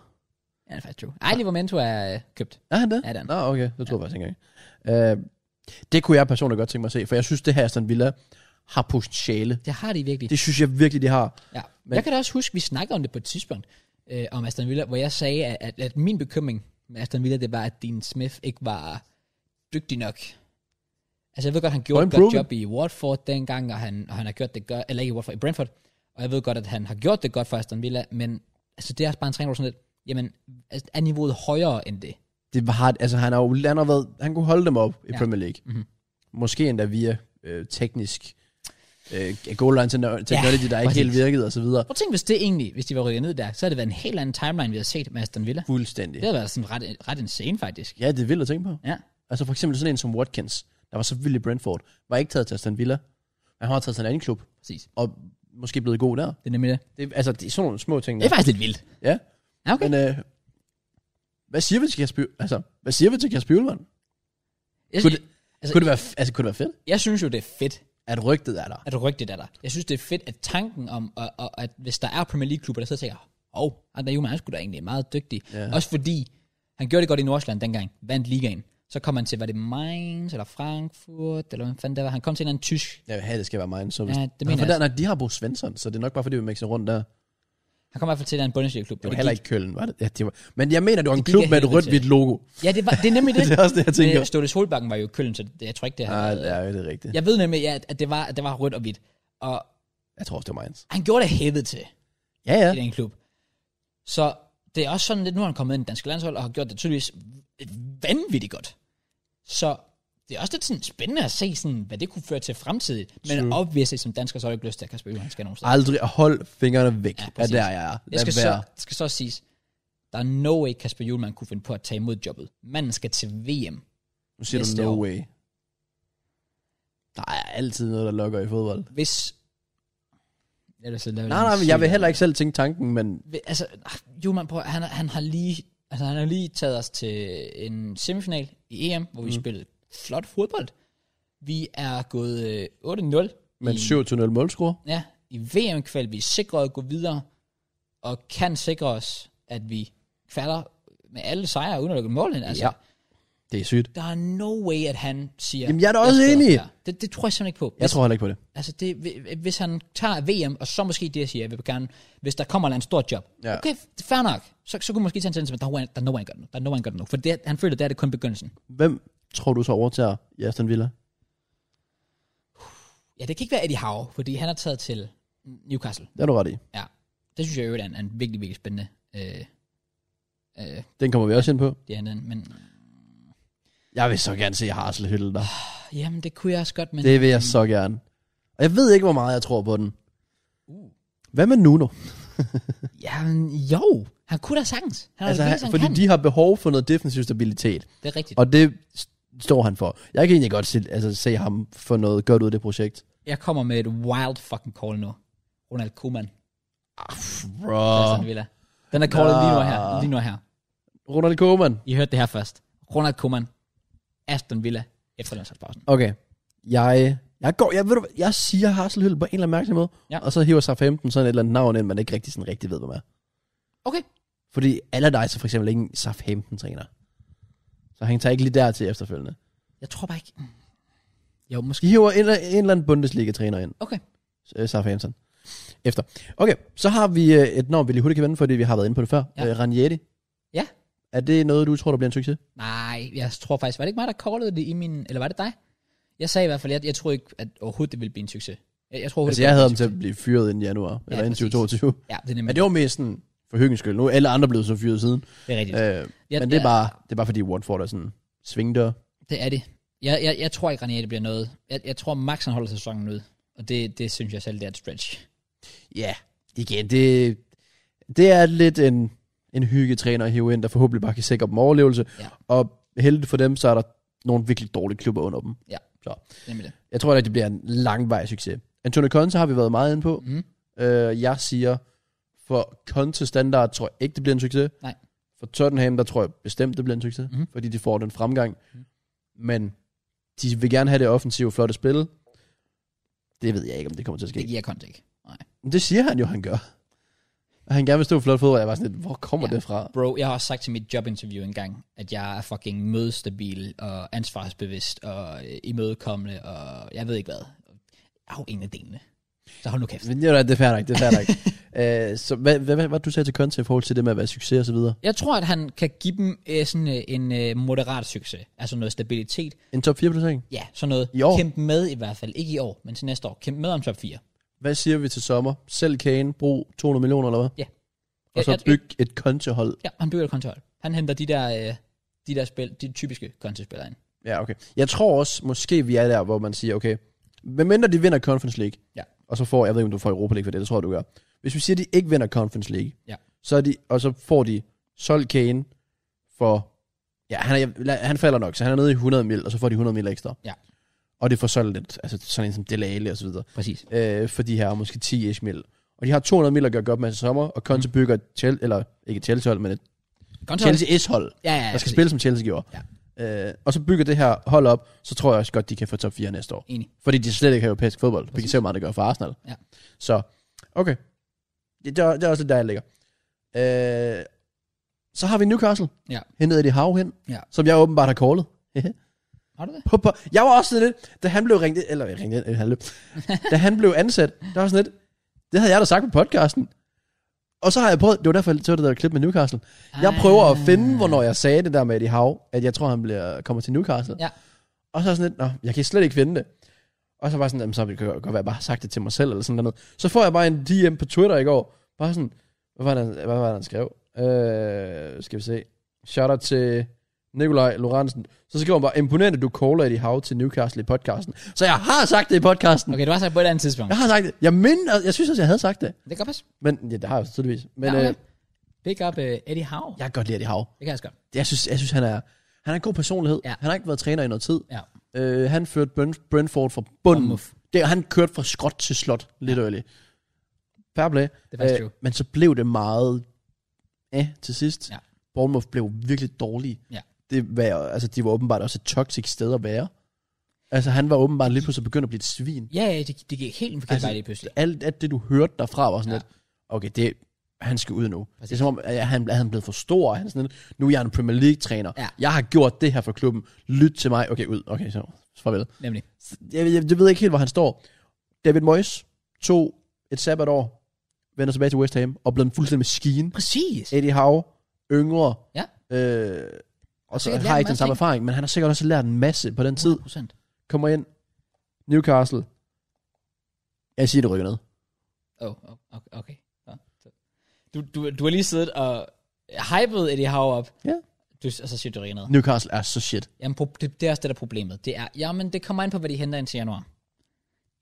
Speaker 1: Ja, det er faktisk true. Ej, Livermento er øh, købt.
Speaker 2: Er han det?
Speaker 1: Ja, det er han.
Speaker 2: Nå, okay. Det tror jeg faktisk ikke engang. Øh, det kunne jeg personligt godt tænke mig at se, for jeg synes, det her Aston Villa har potentiale.
Speaker 1: Det har de virkelig.
Speaker 2: Det synes jeg virkelig, de har.
Speaker 1: Ja.
Speaker 2: Men-
Speaker 1: Men... Jeg kan da også huske, vi snakkede om det på et tidspunkt, øh, om Aston Villa, hvor jeg sagde, at, at, at min bekymring med Aston Villa, det var, at Dean Smith ikke var dygtig nok. Altså, jeg ved godt, han gjorde et godt
Speaker 2: Improving.
Speaker 1: job i Watford dengang, og han, og han har gjort det godt, eller ikke i Watford, i Brentford, og jeg ved godt, at han har gjort det godt for Aston Villa, men altså, det er også bare en træner, hvor sådan lidt, jamen, altså, er niveauet højere end det?
Speaker 2: Det var, altså, han, har, jo- han, har været, han kunne holde dem op i
Speaker 1: Ja.
Speaker 2: Premier League.
Speaker 1: Mhm.
Speaker 2: Måske endda via øh, teknisk øh, goal line techno- technology, der ikke
Speaker 1: præcis.
Speaker 2: helt virkede og så videre.
Speaker 1: Prøv at tænke, hvis det egentlig, hvis de var rykket ned der, så havde det været en helt anden timeline, vi havde set med Aston Villa.
Speaker 2: Fuldstændig.
Speaker 1: Det havde været sådan ret, ret insane, faktisk.
Speaker 2: Ja, det er vildt at tænke på.
Speaker 1: Ja.
Speaker 2: Altså for eksempel sådan en som Watkins, der var så vild i Brentford, var ikke taget til Aston Villa, men han har taget til en anden klub,
Speaker 1: Præcis.
Speaker 2: og måske blevet god der.
Speaker 1: Det er nemlig det.
Speaker 2: Det, altså, det er sådan nogle små ting.
Speaker 1: Det
Speaker 2: Der.
Speaker 1: er faktisk lidt vildt.
Speaker 2: Ja,
Speaker 1: Ja, okay.
Speaker 2: men øh, hvad siger vi til Kasper Altså, hvad siger vi til Kasper Hjulvand?
Speaker 1: Altså- Jeg,
Speaker 2: Kunne det,
Speaker 1: altså-
Speaker 2: altså, kunne det være, f- altså, kunne det være fedt,
Speaker 1: jeg synes jo, det er fedt,
Speaker 2: at rygtet er der?
Speaker 1: at rygtet er der. Jeg synes, det er fedt, at tanken om, og, og, at hvis der er Premier League-klubber, der sidder og tænker, åh, oh, Andre Juhlmann, han skulle da egentlig meget dygtig.
Speaker 2: Ja.
Speaker 1: Ja. Også fordi, han gjorde det godt i Nordsjælland dengang, vandt ligaen. Så kom han til, var det Mainz, eller Frankfurt, eller hvad fanden det var. Han kom til en eller anden tysk.
Speaker 2: Jeg vil have, det skal være mig. Så hvis,
Speaker 1: Ja,
Speaker 2: ja,
Speaker 1: det
Speaker 2: det
Speaker 1: mener
Speaker 2: for
Speaker 1: jeg
Speaker 2: der, nej, de har Bo Svensson, så det er nok bare fordi, vi mixer rundt der.
Speaker 1: Han kom i hvert fald til en eller anden Bundesliga-klub.
Speaker 2: Det var
Speaker 1: og
Speaker 2: heller
Speaker 1: gik-
Speaker 2: ikke Køln, var det? Ja, det var, men jeg mener, det var en
Speaker 1: Det gik
Speaker 2: klub
Speaker 1: af
Speaker 2: med et
Speaker 1: helvede til.
Speaker 2: rødt-hvidt logo.
Speaker 1: Ja, det, var, det er nemlig det.
Speaker 2: *laughs* Det er også det, jeg tænker.
Speaker 1: Men Ståle Solbakken var jo i Køln, så det, jeg tror ikke, det har
Speaker 2: Nej,
Speaker 1: været-
Speaker 2: ja, det er rigtigt.
Speaker 1: Jeg ved nemlig, ja, at, det var, at det var rødt og hvidt. Og
Speaker 2: Jeg tror også, det var Mainz.
Speaker 1: han gjorde det hævet til.
Speaker 2: Ja, ja.
Speaker 1: i den klub. Så det er også sådan lidt, nu er han kommet ind i det danske landshold, og har gjort det tydeligvis vanvittigt godt. Så det er også lidt sådan spændende at se, sådan, hvad det kunne føre til fremtidigt. Men
Speaker 2: True.
Speaker 1: obviously, som dansker, så har jeg ikke lyst til, at Kasper Juhl, han skal nogen steder.
Speaker 2: Aldrig hold fingrene væk.
Speaker 1: Ja,
Speaker 2: Ja, er
Speaker 1: præcis.
Speaker 2: der, jeg er. Lad
Speaker 1: Jeg skal,
Speaker 2: være.
Speaker 1: så, skal så også siges, der er no way, Kasper Julemand kunne finde på at tage imod jobbet. Manden skal til VM.
Speaker 2: Nu siger
Speaker 1: næste
Speaker 2: du no
Speaker 1: år.
Speaker 2: way. Der er altid noget, der lokker i fodbold.
Speaker 1: Hvis... Jeg vil, nej,
Speaker 2: Nej, nej, men jeg vil heller ikke selv tænke tanken, men
Speaker 1: Ved- altså, ah, Juhlmann, prøv, at- han, har- han har lige, altså, han har lige taget os til en semifinal i EM, hvor vi mm. spillede flot fodbold. Vi er gået øh, 8-0.
Speaker 2: men
Speaker 1: i,
Speaker 2: 7-0 målscore.
Speaker 1: Ja, i VM-kval. Vi er sikret at gå videre, og kan sikre os, at vi falder med alle sejre uden at lukke et mål ind. Altså, ja.
Speaker 2: Ja. Det er sygt.
Speaker 1: Der er no way, at han siger...
Speaker 2: Jamen, jeg er da også
Speaker 1: skal
Speaker 2: enig."
Speaker 1: op her." Det, det tror jeg simpelthen ikke på.
Speaker 2: Jeg tror heller ikke på det.
Speaker 1: Altså, det, hvi- hvis han tager VM, og så måske det, jeg siger, jeg vil gerne, hvis der kommer en stor job,
Speaker 2: Ja.
Speaker 1: okay, det er fair nok, så, så kunne man måske tage en tendens, men der er no- der er no one gør det nu. Der er no one gør det nu. For det, han føler, det er det kun begyndelsen.
Speaker 2: Hvem tror du så overtager i Aston Villa?
Speaker 1: Ja, det kan ikke være Eddie Howe, fordi han er taget til Newcastle.
Speaker 2: Det er du ret i.
Speaker 1: Ja, det synes jeg jo er en, en virkelig, virkelig spændende øh, øh,
Speaker 2: Den kommer vi også ind på.
Speaker 1: det andet. Men
Speaker 2: Jeg vil så gerne se Harsel Hylde der.
Speaker 1: jamen, det kunne jeg også godt, men
Speaker 2: Det vil jeg så gerne. Og jeg ved ikke, hvor meget jeg tror på den. Hvad med Nuno?
Speaker 1: jamen, jo, han kunne da sagtens. Han altså,
Speaker 2: Altså,
Speaker 1: er
Speaker 2: han,
Speaker 1: det han,
Speaker 2: fordi
Speaker 1: kan.
Speaker 2: de har behov for noget defensiv stabilitet.
Speaker 1: Det er rigtigt.
Speaker 2: Og det s- står han for. Jeg kan egentlig godt se, altså, se ham få noget godt ud af det projekt.
Speaker 1: Jeg kommer med et wild fucking call nu. Ronald Koeman.
Speaker 2: Ah, Bro.
Speaker 1: Aston Villa. Den er callet lige nu og her.
Speaker 2: Nå.
Speaker 1: Lige nu og her.
Speaker 2: Ronald Koeman.
Speaker 1: I hørte det her først. Ronald Koeman. Aston Villa. Efter landsholdspausen.
Speaker 2: Okay. Jeg, jeg går, jeg, ved du, hvad, jeg siger Harsel Hylde på en eller anden mærkelig måde.
Speaker 1: Ja.
Speaker 2: Og så hiver sig 15 sådan et eller andet navn ind, man ikke rigtig, sådan rigtig ved, hvad man er.
Speaker 1: Okay.
Speaker 2: Fordi Allardyce er for eksempel ikke en Southampton-træner. Så han tager ikke lige der til efterfølgende.
Speaker 1: Jeg tror bare ikke... Jo, måske...
Speaker 2: De hiver en, eller- en eller anden Bundesliga-træner ind,
Speaker 1: Okay.
Speaker 2: øh, Southampton. Efter. Okay, så har vi øh, et navn, vi lige hurtigt kan vende, fordi vi har været inde på det før.
Speaker 1: Ja.
Speaker 2: Ja. Øh, Ranieri.
Speaker 1: Ja.
Speaker 2: Er det noget, du tror, der bliver en succes?
Speaker 1: Nej, jeg tror faktisk... Var det ikke mig, der callede det i min... Eller var det dig? Jeg sagde i hvert fald, jeg, jeg tror ikke, at overhovedet det ville blive en succes. Jeg, jeg tror
Speaker 2: Altså,
Speaker 1: det
Speaker 2: jeg
Speaker 1: kunne blive
Speaker 2: havde dem
Speaker 1: en
Speaker 2: til at blive fyret inden januar, eller inden
Speaker 1: præcis.
Speaker 2: 2022.
Speaker 1: succes. Ja, det er
Speaker 2: Men
Speaker 1: nemlig...
Speaker 2: det var mest sådan for hyggens skyld. Nu er alle andre blevet så fyret siden.
Speaker 1: Det er rigtigt.
Speaker 2: Øh,
Speaker 1: jeg,
Speaker 2: men det er,
Speaker 1: jeg-
Speaker 2: bare, det er bare fordi Watford er sådan svingdør.
Speaker 1: Det er det. Jeg, jeg, jeg tror ikke, Ranieri bliver noget. Jeg, jeg tror, Max han holder sæsonen ud. Og det, det synes jeg selv, det er et stretch.
Speaker 2: Ja, igen, det, det er lidt en, en hyggetræner at hive ind, der forhåbentlig bare kan sikre dem overlevelse.
Speaker 1: Ja.
Speaker 2: Og heldigt for dem, så er der nogle virkelig dårlige klubber under dem.
Speaker 1: Nemlig det.
Speaker 2: Jeg tror ikke, det bliver en langvej succes. Antonio Conte har vi været meget inde på.
Speaker 1: Mhm.
Speaker 2: Øh, jeg siger, for Conte standard tror jeg ikke, det bliver en succes.
Speaker 1: Nej.
Speaker 2: For Tottenham, der tror jeg bestemt, det bliver en succes.
Speaker 1: Mhm.
Speaker 2: Fordi de får den fremgang.
Speaker 1: Mhm.
Speaker 2: Men de vil gerne have det offensive flotte spil. Det ved jeg ikke, om det kommer til at ske.
Speaker 1: Det giver Conte ikke. Nej.
Speaker 2: Men Det siger han jo, han gør. Og han gerne vil stå flot fodbold. Jeg var sådan lidt, hvor kommer
Speaker 1: Ja.
Speaker 2: ja. det fra?
Speaker 1: Bro, jeg har også sagt til mit jobinterview engang, at jeg er fucking mødestabil og ansvarsbevidst og øh, imødekommende og jeg ved ikke hvad. Jeg er jo en af delene. Så hold nu kæft.
Speaker 2: Men det er det er fair nok, det er
Speaker 1: *laughs*
Speaker 2: fair nok. øh, så hvad, hvad, hvad, hvad, du sagde til Conte i forhold til det med at være succes og så videre?
Speaker 1: Jeg tror, at han kan give dem øh, sådan øh, en øh, moderat succes. Altså noget stabilitet.
Speaker 2: En top 4 placering?
Speaker 1: Ja, sådan noget.
Speaker 2: I år?
Speaker 1: Kæmpe med i hvert fald. Ikke i år, men til næste år. Kæmpe med om top 4.
Speaker 2: Hvad siger vi til sommer? Sælg Kane, brug 200 millioner eller hvad?
Speaker 1: Ja.
Speaker 2: Og så
Speaker 1: Jeg- jeg-
Speaker 2: byg et kontehold.
Speaker 1: Ja, han bygger et kontrol. Han henter de der, øh, de der spil, de typiske kontespillere ind.
Speaker 2: Ja, okay. Jeg tror også, måske vi er der, hvor man siger, okay, medmindre de vinder Conference League,
Speaker 1: Ja.
Speaker 2: og så får, jeg ved ikke, om du får Europa League for det, det tror jeg, du gør. Hvis vi siger, at de ikke vinder Conference League,
Speaker 1: Ja.
Speaker 2: så er de, og så får de solgt Kane for, ja, han, er, han falder nok, så han er nede i 100 mil, og så får de 100 mil ekstra.
Speaker 1: Ja.
Speaker 2: Og det får solgt lidt, altså sådan en som Delale og så videre.
Speaker 1: Præcis.
Speaker 2: øh, for de her måske 10 ish mil. Og de har 200 mil at gøre godt med til sommer, og Conte mm. bygger et Chel- eller ikke et Chelsea-hold, men et
Speaker 1: Kontrol.
Speaker 2: Chelsea S-hold,
Speaker 1: Ja, ja, ja.
Speaker 2: der skal
Speaker 1: præcis.
Speaker 2: spille som Chelsea gjorde. Ja. Øh, og så bygger det her hold op, så tror jeg også godt, de kan få top 4 næste år.
Speaker 1: Enig.
Speaker 2: Fordi de slet ikke har europæisk fodbold. Vi kan
Speaker 1: Præcis.
Speaker 2: se, hvor meget det gør for Arsenal.
Speaker 1: Ja.
Speaker 2: Så, okay. Det, det, er, det er også lidt der, jeg ligger. Øh, så har vi Newcastle.
Speaker 1: Ja.
Speaker 2: Hentet Eddie Howe hen,
Speaker 1: Ja.
Speaker 2: som jeg åbenbart har callet.
Speaker 1: Har du det?
Speaker 2: På, på, jeg var også sådan lidt, da han blev ringet, ind- eller ringet ind, øh, han løb, da han blev ansat, der var sådan lidt, det havde jeg da sagt på podcasten. Og så har jeg prøvet, det var derfor, jeg så det der klip med Newcastle. Jeg prøver at finde, hvornår jeg sagde det der med Eddie Hav, at jeg tror, han bliver, kommer til Newcastle.
Speaker 1: Ah. Ja.
Speaker 2: Og så er jeg sådan lidt, Nå, jeg kan slet ikke finde det. Og så var jeg sådan, jamen, så kan det godt være, at jeg bare har sagt det til mig selv, eller sådan noget. Så får jeg bare en DM på Twitter i går, bare sådan, hvad var det, han- hvad var det han skrev? Øh, skal vi se. Shout out til Nikolaj Lorentzen. Så skriver han bare, imponerende, du caller Eddie Howe til Newcastle i podcasten. Så jeg har sagt det i podcasten. Okay.
Speaker 1: Okay, du har sagt på et andet tidspunkt.
Speaker 2: Jeg har sagt det. Jeg minder, jeg synes også, jeg havde sagt det.
Speaker 1: Det kan godt passe.
Speaker 2: Men ja, det har jeg også tydeligvis. Men
Speaker 1: Ja, okay.
Speaker 2: øh,
Speaker 1: Pick up uh, Eddie Howe.
Speaker 2: jeg kan godt lide Eddie Howe.
Speaker 1: Det kan jeg også godt.
Speaker 2: Jeg synes, jeg synes han er han er en god personlighed.
Speaker 1: Ja.
Speaker 2: Han har ikke været træner i noget tid.
Speaker 1: Ja.
Speaker 2: Øh, han førte Brent, Brentford fra bunden.
Speaker 1: Bournemouth.
Speaker 2: Det, han kørte fra skråt til slot, lidt ja. early. Fair play. Øh,
Speaker 1: er faktisk true.
Speaker 2: men så blev det meget eh, til sidst.
Speaker 1: Ja.
Speaker 2: Bournemouth blev virkelig dårlige.
Speaker 1: Ja.
Speaker 2: Det var, altså, de var åbenbart også et toxic sted at være. Altså, han var åbenbart lige pludselig begyndt at blive et svin.
Speaker 1: Ja, ja, det, det gik helt en forkert altså,
Speaker 2: Altså,
Speaker 1: vej lige pludselig.
Speaker 2: Alt, alt det, du hørte derfra, var sådan
Speaker 1: Ja.
Speaker 2: ja. lidt, okay, det, han skal ud nu.
Speaker 1: Præcis.
Speaker 2: Det er som om, at han, er han blevet for stor. Han er sådan lidt, nu er jeg en Premier League-træner.
Speaker 1: Ja.
Speaker 2: Jeg har gjort det her for klubben. Lyt til mig. Okay, ud. Okay, så farvel.
Speaker 1: Nemlig.
Speaker 2: Jeg, jeg, jeg ved ikke helt, hvor han står. David Moyes tog et sabbatår, vender tilbage til West Ham, og blev en fuldstændig maskine.
Speaker 1: Præcis.
Speaker 2: Eddie Howe, yngre.
Speaker 1: Ja.
Speaker 2: Øh, og så
Speaker 1: sikkert lært
Speaker 2: har
Speaker 1: en
Speaker 2: ikke den
Speaker 1: masse
Speaker 2: samme
Speaker 1: ting.
Speaker 2: erfaring, men han har sikkert også lært en masse på den tid.
Speaker 1: 100%.
Speaker 2: Kommer ind. Newcastle. Jeg siger, det rykker ned.
Speaker 1: Oh, oh, okay. okay. Ja. Du, du, du har lige siddet og hypet Eddie Howe op.
Speaker 2: Ja.
Speaker 1: Du, og så siger du rent noget.
Speaker 2: Newcastle er så shit.
Speaker 1: Jamen, pro- det, det, er også det, der er problemet. Det er, jamen, det kommer ind på, hvad de henter ind til januar.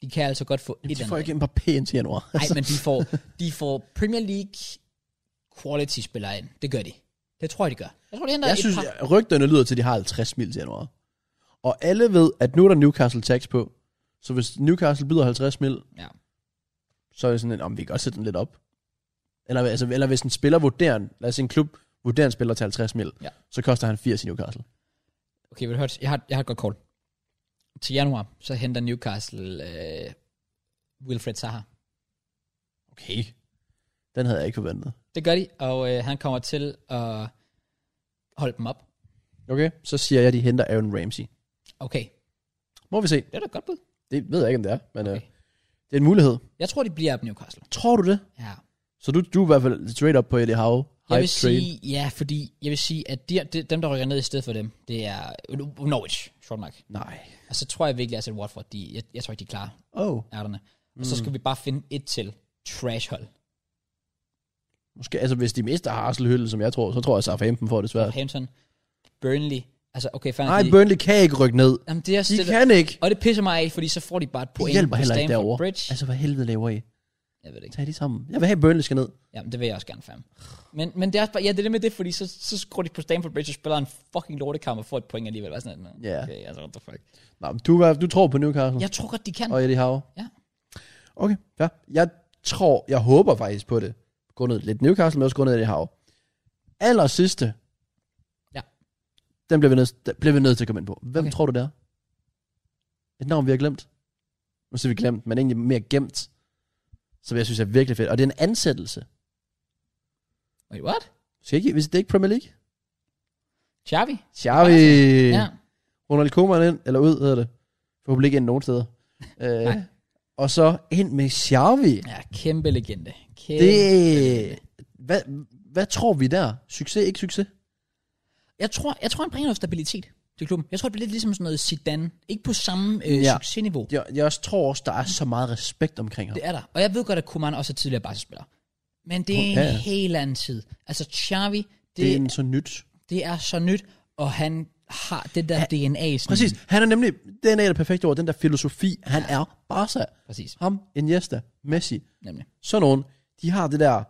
Speaker 1: De kan altså godt få et
Speaker 2: De
Speaker 1: eller
Speaker 2: får
Speaker 1: andet.
Speaker 2: ikke en par pæn til januar. Altså,
Speaker 1: Nej, men de får, de får Premier League quality spillere ind. Det gør de. Det tror jeg, de gør. Jeg tror, de henter
Speaker 2: jeg
Speaker 1: et
Speaker 2: synes,
Speaker 1: par.
Speaker 2: par... rygterne lyder til, at de har 50 mil til januar. Og alle ved, at nu er der Newcastle tax på. Så hvis Newcastle byder 50 mil,
Speaker 1: Ja.
Speaker 2: så er det sådan, om vi kan godt sætte den lidt op. Eller, altså, eller hvis en spiller vurderer, en- lad os sige en klub vurderer en spiller til 50 mil,
Speaker 1: Ja.
Speaker 2: så koster han 80 i Newcastle.
Speaker 1: Okay, vil du høre? Jeg har, jeg har et godt kort. Til januar, så henter Newcastle øh, Wilfred Zaha.
Speaker 2: Okay. Den havde jeg ikke forventet.
Speaker 1: Det gør de, og øh, han kommer til at holde dem op.
Speaker 2: Okay. Så siger jeg, at de henter Aaron Ramsey.
Speaker 1: Okay,
Speaker 2: Må vi se.
Speaker 1: det er da et godt bud.
Speaker 2: Det ved jeg ikke, om det er, men okay. øh,
Speaker 1: Okay.
Speaker 2: det er en mulighed.
Speaker 1: Jeg tror, de bliver op Newcastle.
Speaker 2: Tror du det?
Speaker 1: Ja.
Speaker 2: Så du, du er i hvert fald straight up på Eddie Howe.
Speaker 1: Jeg
Speaker 2: Hype
Speaker 1: vil
Speaker 2: train.
Speaker 1: sige, ja, fordi jeg vil sige, at de, de, dem, der rykker ned i stedet for dem, det er Norwich, sjovt nok.
Speaker 2: Nej.
Speaker 1: Og så tror jeg virkelig, altså, at Watford, de, jeg, jeg tror ikke, de er klar,
Speaker 2: Oh.
Speaker 1: ærterne. Og så skal vi bare finde et til trashhold.
Speaker 2: Måske, altså hvis de mister Harsel Hølle, som jeg tror, så tror jeg, at Southampton får det svært.
Speaker 1: Hampton, Burnley, altså okay, fair nok,
Speaker 2: Nej,
Speaker 1: de-
Speaker 2: Burnley kan ikke rykke ned.
Speaker 1: Jamen, det er
Speaker 2: De
Speaker 1: stille,
Speaker 2: kan ikke.
Speaker 1: Og det pisser mig af, fordi så får de bare et
Speaker 2: Det
Speaker 1: point
Speaker 2: hjælper
Speaker 1: på
Speaker 2: heller ikke
Speaker 1: Stamford
Speaker 2: derovre.
Speaker 1: Bridge. Altså,
Speaker 2: Altså, hvad helvede laver I?
Speaker 1: Jeg ved det ikke.
Speaker 2: Tag de sammen. Jeg vil have, at Burnley skal ned.
Speaker 1: Jamen, det vil jeg også gerne, fam. Men, men det er også bare, ja, det er det med det, fordi så, så skruer de på Stamford Bridge og spiller en fucking lortekamp og får et point alligevel. Bare sådan, at,
Speaker 2: Ja.
Speaker 1: Okay, altså, what the fuck.
Speaker 2: Nå, men du, er i hvert fald- du tror på Newcastle
Speaker 1: Jeg tror godt, de kan.
Speaker 2: og Eddie Howe.
Speaker 1: Ja.
Speaker 2: Okay, ja. Jeg tror, jeg håber faktisk på det. Grundet lidt Newcastle, men også grundet Eddie Howe. Aller sidste.
Speaker 1: Ja.
Speaker 2: Den bliver vi, nødt, den bliver vi nødt til at komme ind på. Hvem
Speaker 1: Okay.
Speaker 2: tror du det er? Et navn, vi har glemt. Nu siger vi glemt, men egentlig mere gemt. Som jeg synes er virkelig fedt. Og det er en ansættelse.
Speaker 1: Wait, what?
Speaker 2: Skal ikke, hvis det er ikke Premier League?
Speaker 1: Xavi?
Speaker 2: Xavi.
Speaker 1: Ja.
Speaker 2: Ronald Koeman ind, eller ud hedder det. Forhåbentlig ikke ind nogen
Speaker 1: *laughs*
Speaker 2: steder. øh,
Speaker 1: Nej.
Speaker 2: og så ind med Xavi.
Speaker 1: Ja, kæmpe legende. Kæmpe.
Speaker 2: Det, hvad, hvad tror vi der? Succes, ikke succes?
Speaker 1: Jeg, tror, jeg tror, han bringer noget stabilitet til klubben. Jeg tror, det bliver lidt ligesom sådan noget Zidane. Ikke på samme øh,
Speaker 2: Ja.
Speaker 1: ja. succesniveau.
Speaker 2: Jeg, jeg også tror også, der er så meget respekt omkring ham.
Speaker 1: Det er der. Og jeg ved godt, at Kuman også er tidligere Barca-spiller. Men det er en
Speaker 2: Ja,
Speaker 1: ja,
Speaker 2: ja.
Speaker 1: ja. helt anden tid. Altså, Xavi, det,
Speaker 2: Det, det er
Speaker 1: det,
Speaker 2: en så nyt.
Speaker 1: det er så nyt, og han har det der DNA. Sådan,
Speaker 2: Præcis. Mm. Han er nemlig, den er det perfekte ord, den der filosofi. Han er Barca.
Speaker 1: Præcis,
Speaker 2: Ham, Iniesta, Messi.
Speaker 1: nemlig.
Speaker 2: Sådan nogen, de har det der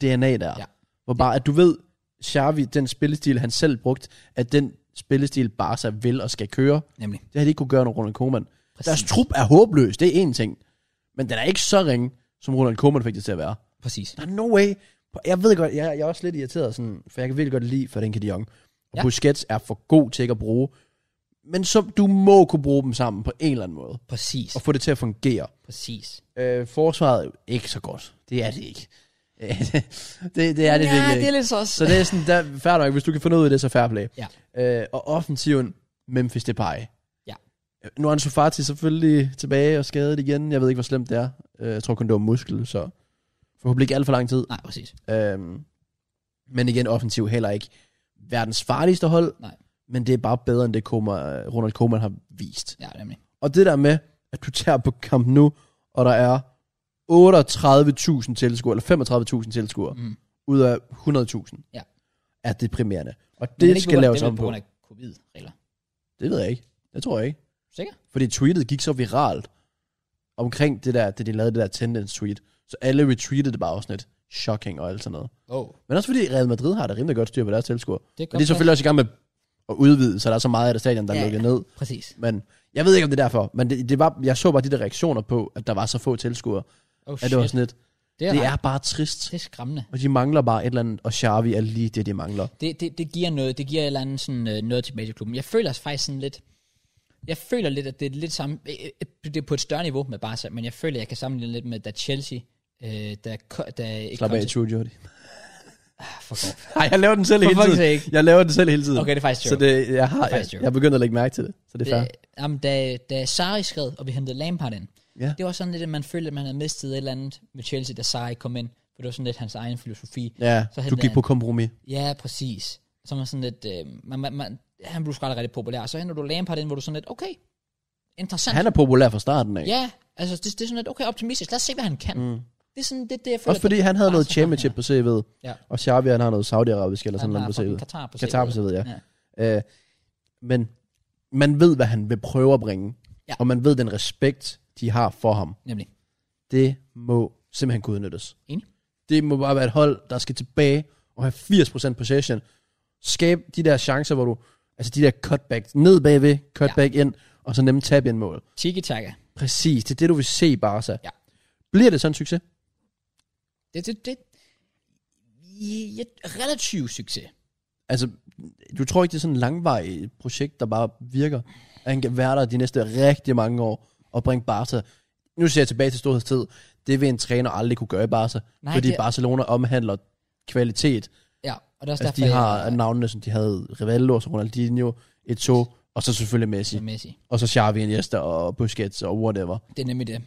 Speaker 2: DNA der.
Speaker 1: Ja.
Speaker 2: Hvor bare, at du ved, Xavi, den spillestil, han selv brugt, at den spillestil Barca vil og skal køre.
Speaker 1: Nemlig.
Speaker 2: Det har de ikke kunne gøre under Ronald Koeman.
Speaker 1: Præcis.
Speaker 2: Deres trup er håbløs, det er én ting. Men den er ikke så ringe, som Ronald Koeman fik det til at være.
Speaker 1: Præcis.
Speaker 2: Der er no way. Jeg ved godt, jeg, jeg er også lidt irriteret, sådan, for jeg kan virkelig godt lide Ferdinand de Jong. Og ja.
Speaker 1: Ja.
Speaker 2: Busquets er for god til ikke at bruge. Men så, du må kunne bruge dem sammen på en eller anden måde.
Speaker 1: Præcis.
Speaker 2: Og få det til at fungere.
Speaker 1: Præcis.
Speaker 2: Øh, forsvaret, ikke så godt. Det er det ikke. *laughs* Øh, det, det er det virkelig
Speaker 1: det
Speaker 2: ikke.
Speaker 1: er lidt så også.
Speaker 2: Så det er sådan, der, fair nok, hvis du kan finde ud af det, så fair play.
Speaker 1: Ja.
Speaker 2: Øh, og offensiven, Memphis Depay.
Speaker 1: Ja.
Speaker 2: Øh, Nu er Ansu Fati selvfølgelig tilbage og skadet igen. Jeg ved ikke, hvor slemt det er. Øh, jeg tror kun, det var muskel, så forhåbentlig ikke alt for lang tid.
Speaker 1: Nej, præcis.
Speaker 2: Øhm, men igen, offensiv heller ikke verdens farligste hold.
Speaker 1: Nej.
Speaker 2: Men det er bare bedre, end det Koma, øh, Ronald Koeman har vist.
Speaker 1: Ja, nemlig.
Speaker 2: Og det der med, at du tager på kamp nu, og der er 38.000 tilskuere, eller 35.000 tilskuere,
Speaker 1: Mm.
Speaker 2: ud af 100.000,
Speaker 1: Ja.
Speaker 2: er deprimerende. Og
Speaker 1: Men er
Speaker 2: det
Speaker 1: ikke
Speaker 2: skal
Speaker 1: på grund-
Speaker 2: laves
Speaker 1: det er
Speaker 2: om
Speaker 1: vel
Speaker 2: på.
Speaker 1: af covid-regler.
Speaker 2: Det ved jeg ikke. Det tror jeg ikke.
Speaker 1: Sikker?
Speaker 2: Fordi tweetet gik så viralt omkring det der, det de lavede det der tendence tweet. Så alle retweetede det bare også sådan lidt shocking og alt sådan noget.
Speaker 1: Oh,
Speaker 2: Men også fordi Real Madrid har det rimelig godt styr på deres tilskuere.
Speaker 1: det
Speaker 2: Men de er selvfølgelig også i gang med at udvide, så der er så meget af det stadion, der er
Speaker 1: Ja,
Speaker 2: lukket
Speaker 1: ja.
Speaker 2: ned.
Speaker 1: Præcis.
Speaker 2: Men jeg ved ikke, om det er derfor, men det, det var, jeg så bare de der reaktioner på, at der var så få tilskuere.
Speaker 1: Oh,
Speaker 2: At det var sådan lidt,
Speaker 1: det, er,
Speaker 2: det
Speaker 1: det, er,
Speaker 2: er bare trist.
Speaker 1: det er skræmmende.
Speaker 2: Og de mangler bare et eller andet, og Xavi er lige det, de mangler.
Speaker 1: det, det, det giver noget, det giver et eller andet sådan, øh, noget tilbage til klubben. Jeg føler faktisk sådan lidt, jeg føler lidt, at det er lidt samme, øh, øh, det er på et større niveau med Barca, men jeg føler, at jeg kan sammenligne lidt med, da Chelsea, øh, da, ko- da ikke
Speaker 2: Slap
Speaker 1: kom
Speaker 2: af,
Speaker 1: til,
Speaker 2: True Jordi. *laughs*
Speaker 1: ah, fuck off.
Speaker 2: Nej, jeg laver den selv
Speaker 1: For
Speaker 2: hele
Speaker 1: fuck's
Speaker 2: tiden.
Speaker 1: sake.
Speaker 2: Jeg laver den selv hele tiden.
Speaker 1: Okay, det er faktisk
Speaker 2: Så
Speaker 1: sjovt.
Speaker 2: det, jeg har, jeg,
Speaker 1: faktisk sjovt.
Speaker 2: jeg er begyndt at lægge mærke til det. Så det er fair.
Speaker 1: Det, jamen, da, da Sarri skred, og vi hentede Lampard ind,
Speaker 2: Ja.
Speaker 1: det var sådan lidt, at man følte, at man havde mistet et eller andet med Chelsea, da Sarri kom ind, for det var sådan lidt hans egen filosofi.
Speaker 2: Ja,
Speaker 1: så henter
Speaker 2: du gik
Speaker 1: han-
Speaker 2: på kompromis.
Speaker 1: Ja, præcis. Så man sådan lidt, øh, man, man, man, han blev sgu aldrig rigtig populær, så henter du Lampard ind, hvor du sådan lidt, okay, interessant.
Speaker 2: Han er populær fra starten af.
Speaker 1: Ja, altså det, det er sådan lidt, okay, optimistisk, lad os se, hvad han kan. Mm. Det er sådan, det, det jeg føler.
Speaker 2: Også fordi han havde
Speaker 1: Barca
Speaker 2: noget
Speaker 1: har
Speaker 2: championship på CV'et,
Speaker 1: Ja.
Speaker 2: og Xavi han har noget Saudi-Arabisk
Speaker 1: her.
Speaker 2: eller sådan
Speaker 1: Han
Speaker 2: noget
Speaker 1: har
Speaker 2: på
Speaker 1: fucking
Speaker 2: CV'et.
Speaker 1: Katar på
Speaker 2: Katar på
Speaker 1: CV'et.
Speaker 2: CV'et, ja. Øh, men man ved, hvad han vil prøve at bringe.
Speaker 1: Ja.
Speaker 2: Og man ved den respekt, de har for ham.
Speaker 1: Nemlig.
Speaker 2: Det må simpelthen kunne udnyttes.
Speaker 1: Enig.
Speaker 2: Det må bare være et hold, der skal tilbage og have 80% possession. Skab de der chancer, hvor du... Altså de der cutback ned bagved, cutback ja. ind, og så nemme tab ind mål.
Speaker 1: Tiki-taka.
Speaker 2: Præcis, det er det, du vil se, Barca.
Speaker 1: Ja.
Speaker 2: Bliver det sådan en succes?
Speaker 1: Det, det, det. I- Ja, relativ succes.
Speaker 2: Altså, du tror ikke, det er sådan et langvarigt projekt, der bare virker? At han kan være der de næste rigtig mange år og bringe Barca... Nu ser jeg tilbage til storhedstid. Det vil en træner aldrig kunne gøre i Barca. Nej,
Speaker 1: Nej,
Speaker 2: fordi det...
Speaker 1: det-
Speaker 2: Barcelona omhandler kvalitet.
Speaker 1: Ja, og det er også
Speaker 2: Altså,
Speaker 1: derfor,
Speaker 2: de har
Speaker 1: jeg,
Speaker 2: navnene, som de havde Rivaldo, og så Ronaldinho, Eto'o, og så selvfølgelig Messi.
Speaker 1: jeg er Messi.
Speaker 2: Og så Xavi, Iniesta og Busquets og whatever.
Speaker 1: Det er nemlig det.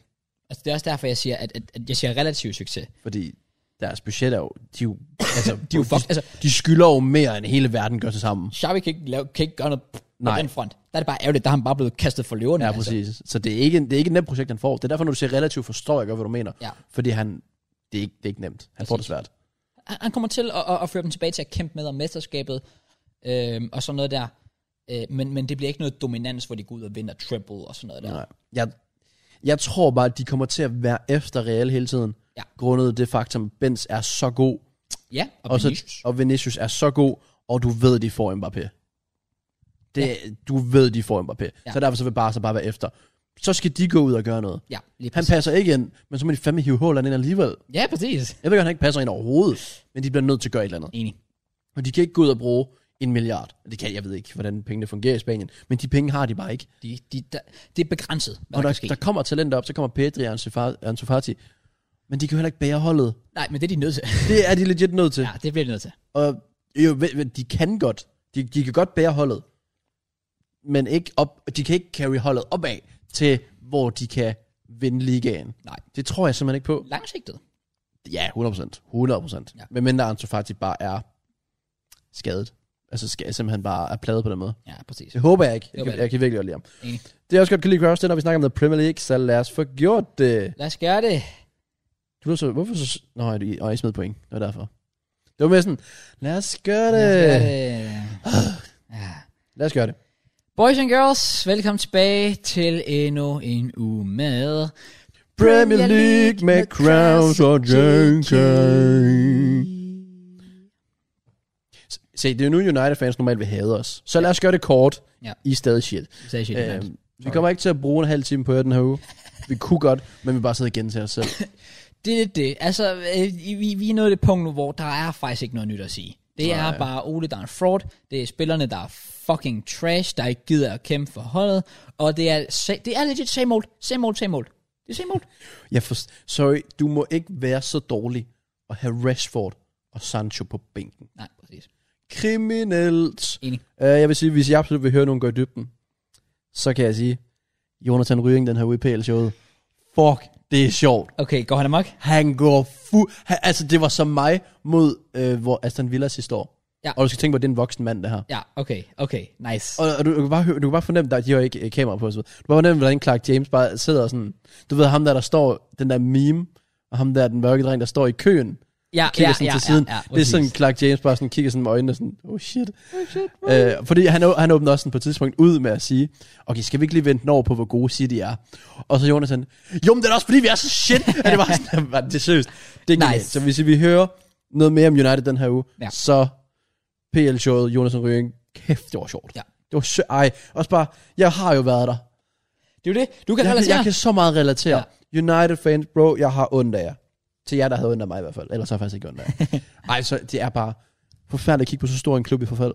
Speaker 1: Altså, det er også derfor, jeg siger, at, at, at jeg siger relativ succes.
Speaker 2: Fordi deres budget er jo... De, er jo-
Speaker 1: *laughs*
Speaker 2: altså, de,
Speaker 1: er jo fuck-
Speaker 2: altså,
Speaker 1: altså-
Speaker 2: de skylder jo mere, end hele verden gør sig sammen.
Speaker 1: Xavi kan ikke, lave, kan ikke gøre noget på
Speaker 2: Nej.
Speaker 1: den front. Der er det bare ærgerligt, der er han bare blevet kastet for løverne. altså.
Speaker 2: Ja, præcis. Så det er ikke, det er ikke et nemt projekt, han får. Det er derfor, når du siger relativt, forstår jeg godt, hvad du mener.
Speaker 1: Ja.
Speaker 2: Fordi han, det, er ikke, det er ikke nemt. Han får det svært.
Speaker 1: han, han kommer til at, at, at føre dem tilbage til at kæmpe med om mesterskabet, øhm, og sådan noget der. Øh, men, men det bliver ikke noget dominans, hvor de går ud og vinder triple og sådan noget der.
Speaker 2: Nej. Jeg, Jeg tror bare, at de kommer til at være efter Real hele tiden.
Speaker 1: Ja.
Speaker 2: Grundet det faktum, at Benz er så god,
Speaker 1: Ja, og,
Speaker 2: og,
Speaker 1: og
Speaker 2: så, og Vinicius er så god, og du ved, de får Mbappé. Det, ja. Du ved, de får Mbappé.
Speaker 1: Ja.
Speaker 2: Ja. Så derfor så vil Barca bare være efter. Så skal de gå ud og gøre noget.
Speaker 1: Ja, lige
Speaker 2: Han
Speaker 1: præcis.
Speaker 2: passer ikke ind, men så må de fandme hive Haaland ind alligevel.
Speaker 1: ja, præcis.
Speaker 2: Jeg ved godt, han ikke passer ind overhovedet, men de bliver nødt til at gøre et eller andet.
Speaker 1: Enig.
Speaker 2: Og de kan ikke gå ud og bruge en milliard. Det kan, jeg ved ikke, hvordan pengene fungerer i Spanien, men de penge har de bare ikke.
Speaker 1: De, de, der, det er begrænset, hvad
Speaker 2: Og
Speaker 1: der,
Speaker 2: der,
Speaker 1: kan ske.
Speaker 2: der kommer talenter op, så kommer Pedri og Ansu Fa- Ansu Fati, men de kan jo heller ikke bære holdet.
Speaker 1: Nej, men det er de nødt til. *laughs*
Speaker 2: Det er de legit nødt til.
Speaker 1: ja, det bliver de nødt til.
Speaker 2: Og jo, ved- ved- de kan godt. De, de kan godt bære holdet. Men ikke op, de kan ikke carry holdet opad til, hvor de kan vinde ligaen.
Speaker 1: Nej.
Speaker 2: Det tror jeg simpelthen ikke på.
Speaker 1: Langsigtet.
Speaker 2: Ja, 100%. 100%.
Speaker 1: Ja.
Speaker 2: Ja. Men mindre Ansu Fati bare er skadet. Altså skal simpelthen bare er pladet på den måde.
Speaker 1: Ja, præcis.
Speaker 2: Det håber jeg ikke. Jeg,
Speaker 1: håber jeg
Speaker 2: kan, jeg kan virkelig godt lide ham.
Speaker 1: Enig.
Speaker 2: Det er også godt, kan lide Kraus, det er, når vi snakker om The Premier League, så lad os få gjort det.
Speaker 1: Lad os gøre det.
Speaker 2: Du blev så, hvorfor så... Nå, jeg, jeg, jeg smed point. Det var derfor. Det var mere sådan, lad os gøre
Speaker 1: Lad os gøre
Speaker 2: det.
Speaker 1: det. Ja.
Speaker 2: Lad os gøre det.
Speaker 1: Boys and girls, velkommen tilbage til endnu en uge med
Speaker 2: Premier League med Kraus og Jenkins. Se, det er jo nu United-fans normalt vil hade os. Så lad os gøre det kort.
Speaker 1: Ja.
Speaker 2: I er stadig shit.
Speaker 1: Sagde shit, øh,
Speaker 2: Øhm, vi kommer ikke til at bruge en halv time på jer den her uge. Vi kunne godt, men vi bare sidder igen til os selv.
Speaker 1: Det er det. Altså, øh, vi, vi er nået det punkt nu, hvor der er faktisk ikke noget nyt at sige. Det Nej. er
Speaker 2: Nej.
Speaker 1: bare Ole, der er en fraud. Det er spillerne, der er fucking trash, der ikke gider at kæmpe for holdet. Og det er, sa- det er legit same old, same old, same old. Det er same old.
Speaker 2: Jeg for, sorry, du må ikke være så dårlig at have Rashford og Sancho på bænken.
Speaker 1: Nej, præcis.
Speaker 2: Kriminelt.
Speaker 1: Enig.
Speaker 2: Uh, jeg vil sige, hvis jeg absolut vil høre nogen gå i dybden, så kan jeg sige, Jonathan Ryring, den her UPL-showet, fuck, det er sjovt.
Speaker 1: Okay, går han amok?
Speaker 2: Han går fu... Han, altså, det var som mig mod øh, hvor Aston Villa sidste år.
Speaker 1: Ja.
Speaker 2: Og du skal tænke på, at det er en voksen mand, det her.
Speaker 1: Ja, okay, okay, nice.
Speaker 2: Og, og du, du, kan bare, høre- du kan bare fornemme, at de har ikke øh, kamera på. og Så videre. du kan bare fornemme, hvordan Clark James bare sidder og sådan... Du ved, ham der, der står... Den der meme, og ham der, den mørke dreng, der står i køen,
Speaker 1: ja,
Speaker 2: kigger sådan til siden. det er sådan,
Speaker 1: præcis.
Speaker 2: Clark James bare sådan kigger sådan med øjnene og sådan, oh shit. Øh, fordi han, å- han åbner også sådan på et tidspunkt ud med at sige, okay, skal vi ikke lige vente den over på, hvor gode City er? Og så Jonathan, jo, men det er da også fordi, vi er så shit, *laughs* at det var sådan, "Hva, det er seriøst. Det er nice.
Speaker 1: Nice.
Speaker 2: Så hvis vi hører noget mere om United den her uge,
Speaker 1: Ja.
Speaker 2: ja. så PL-showet, Jonathan Røring, kæft, det var sjovt.
Speaker 1: Ja.
Speaker 2: Det var sø- Ej, også bare, jeg har jo været der.
Speaker 1: Det er jo det. Du kan
Speaker 2: Jeg,
Speaker 1: relatere.
Speaker 2: jeg kan så meget relatere. Ja. United fans, bro, jeg har ondt af jer. Til jer, der havde ondt af mig i hvert fald. Ellers har jeg faktisk ikke ondt af *laughs* jer. Ej, så det er bare forfærdeligt at kigge på så stor en klub i forfald.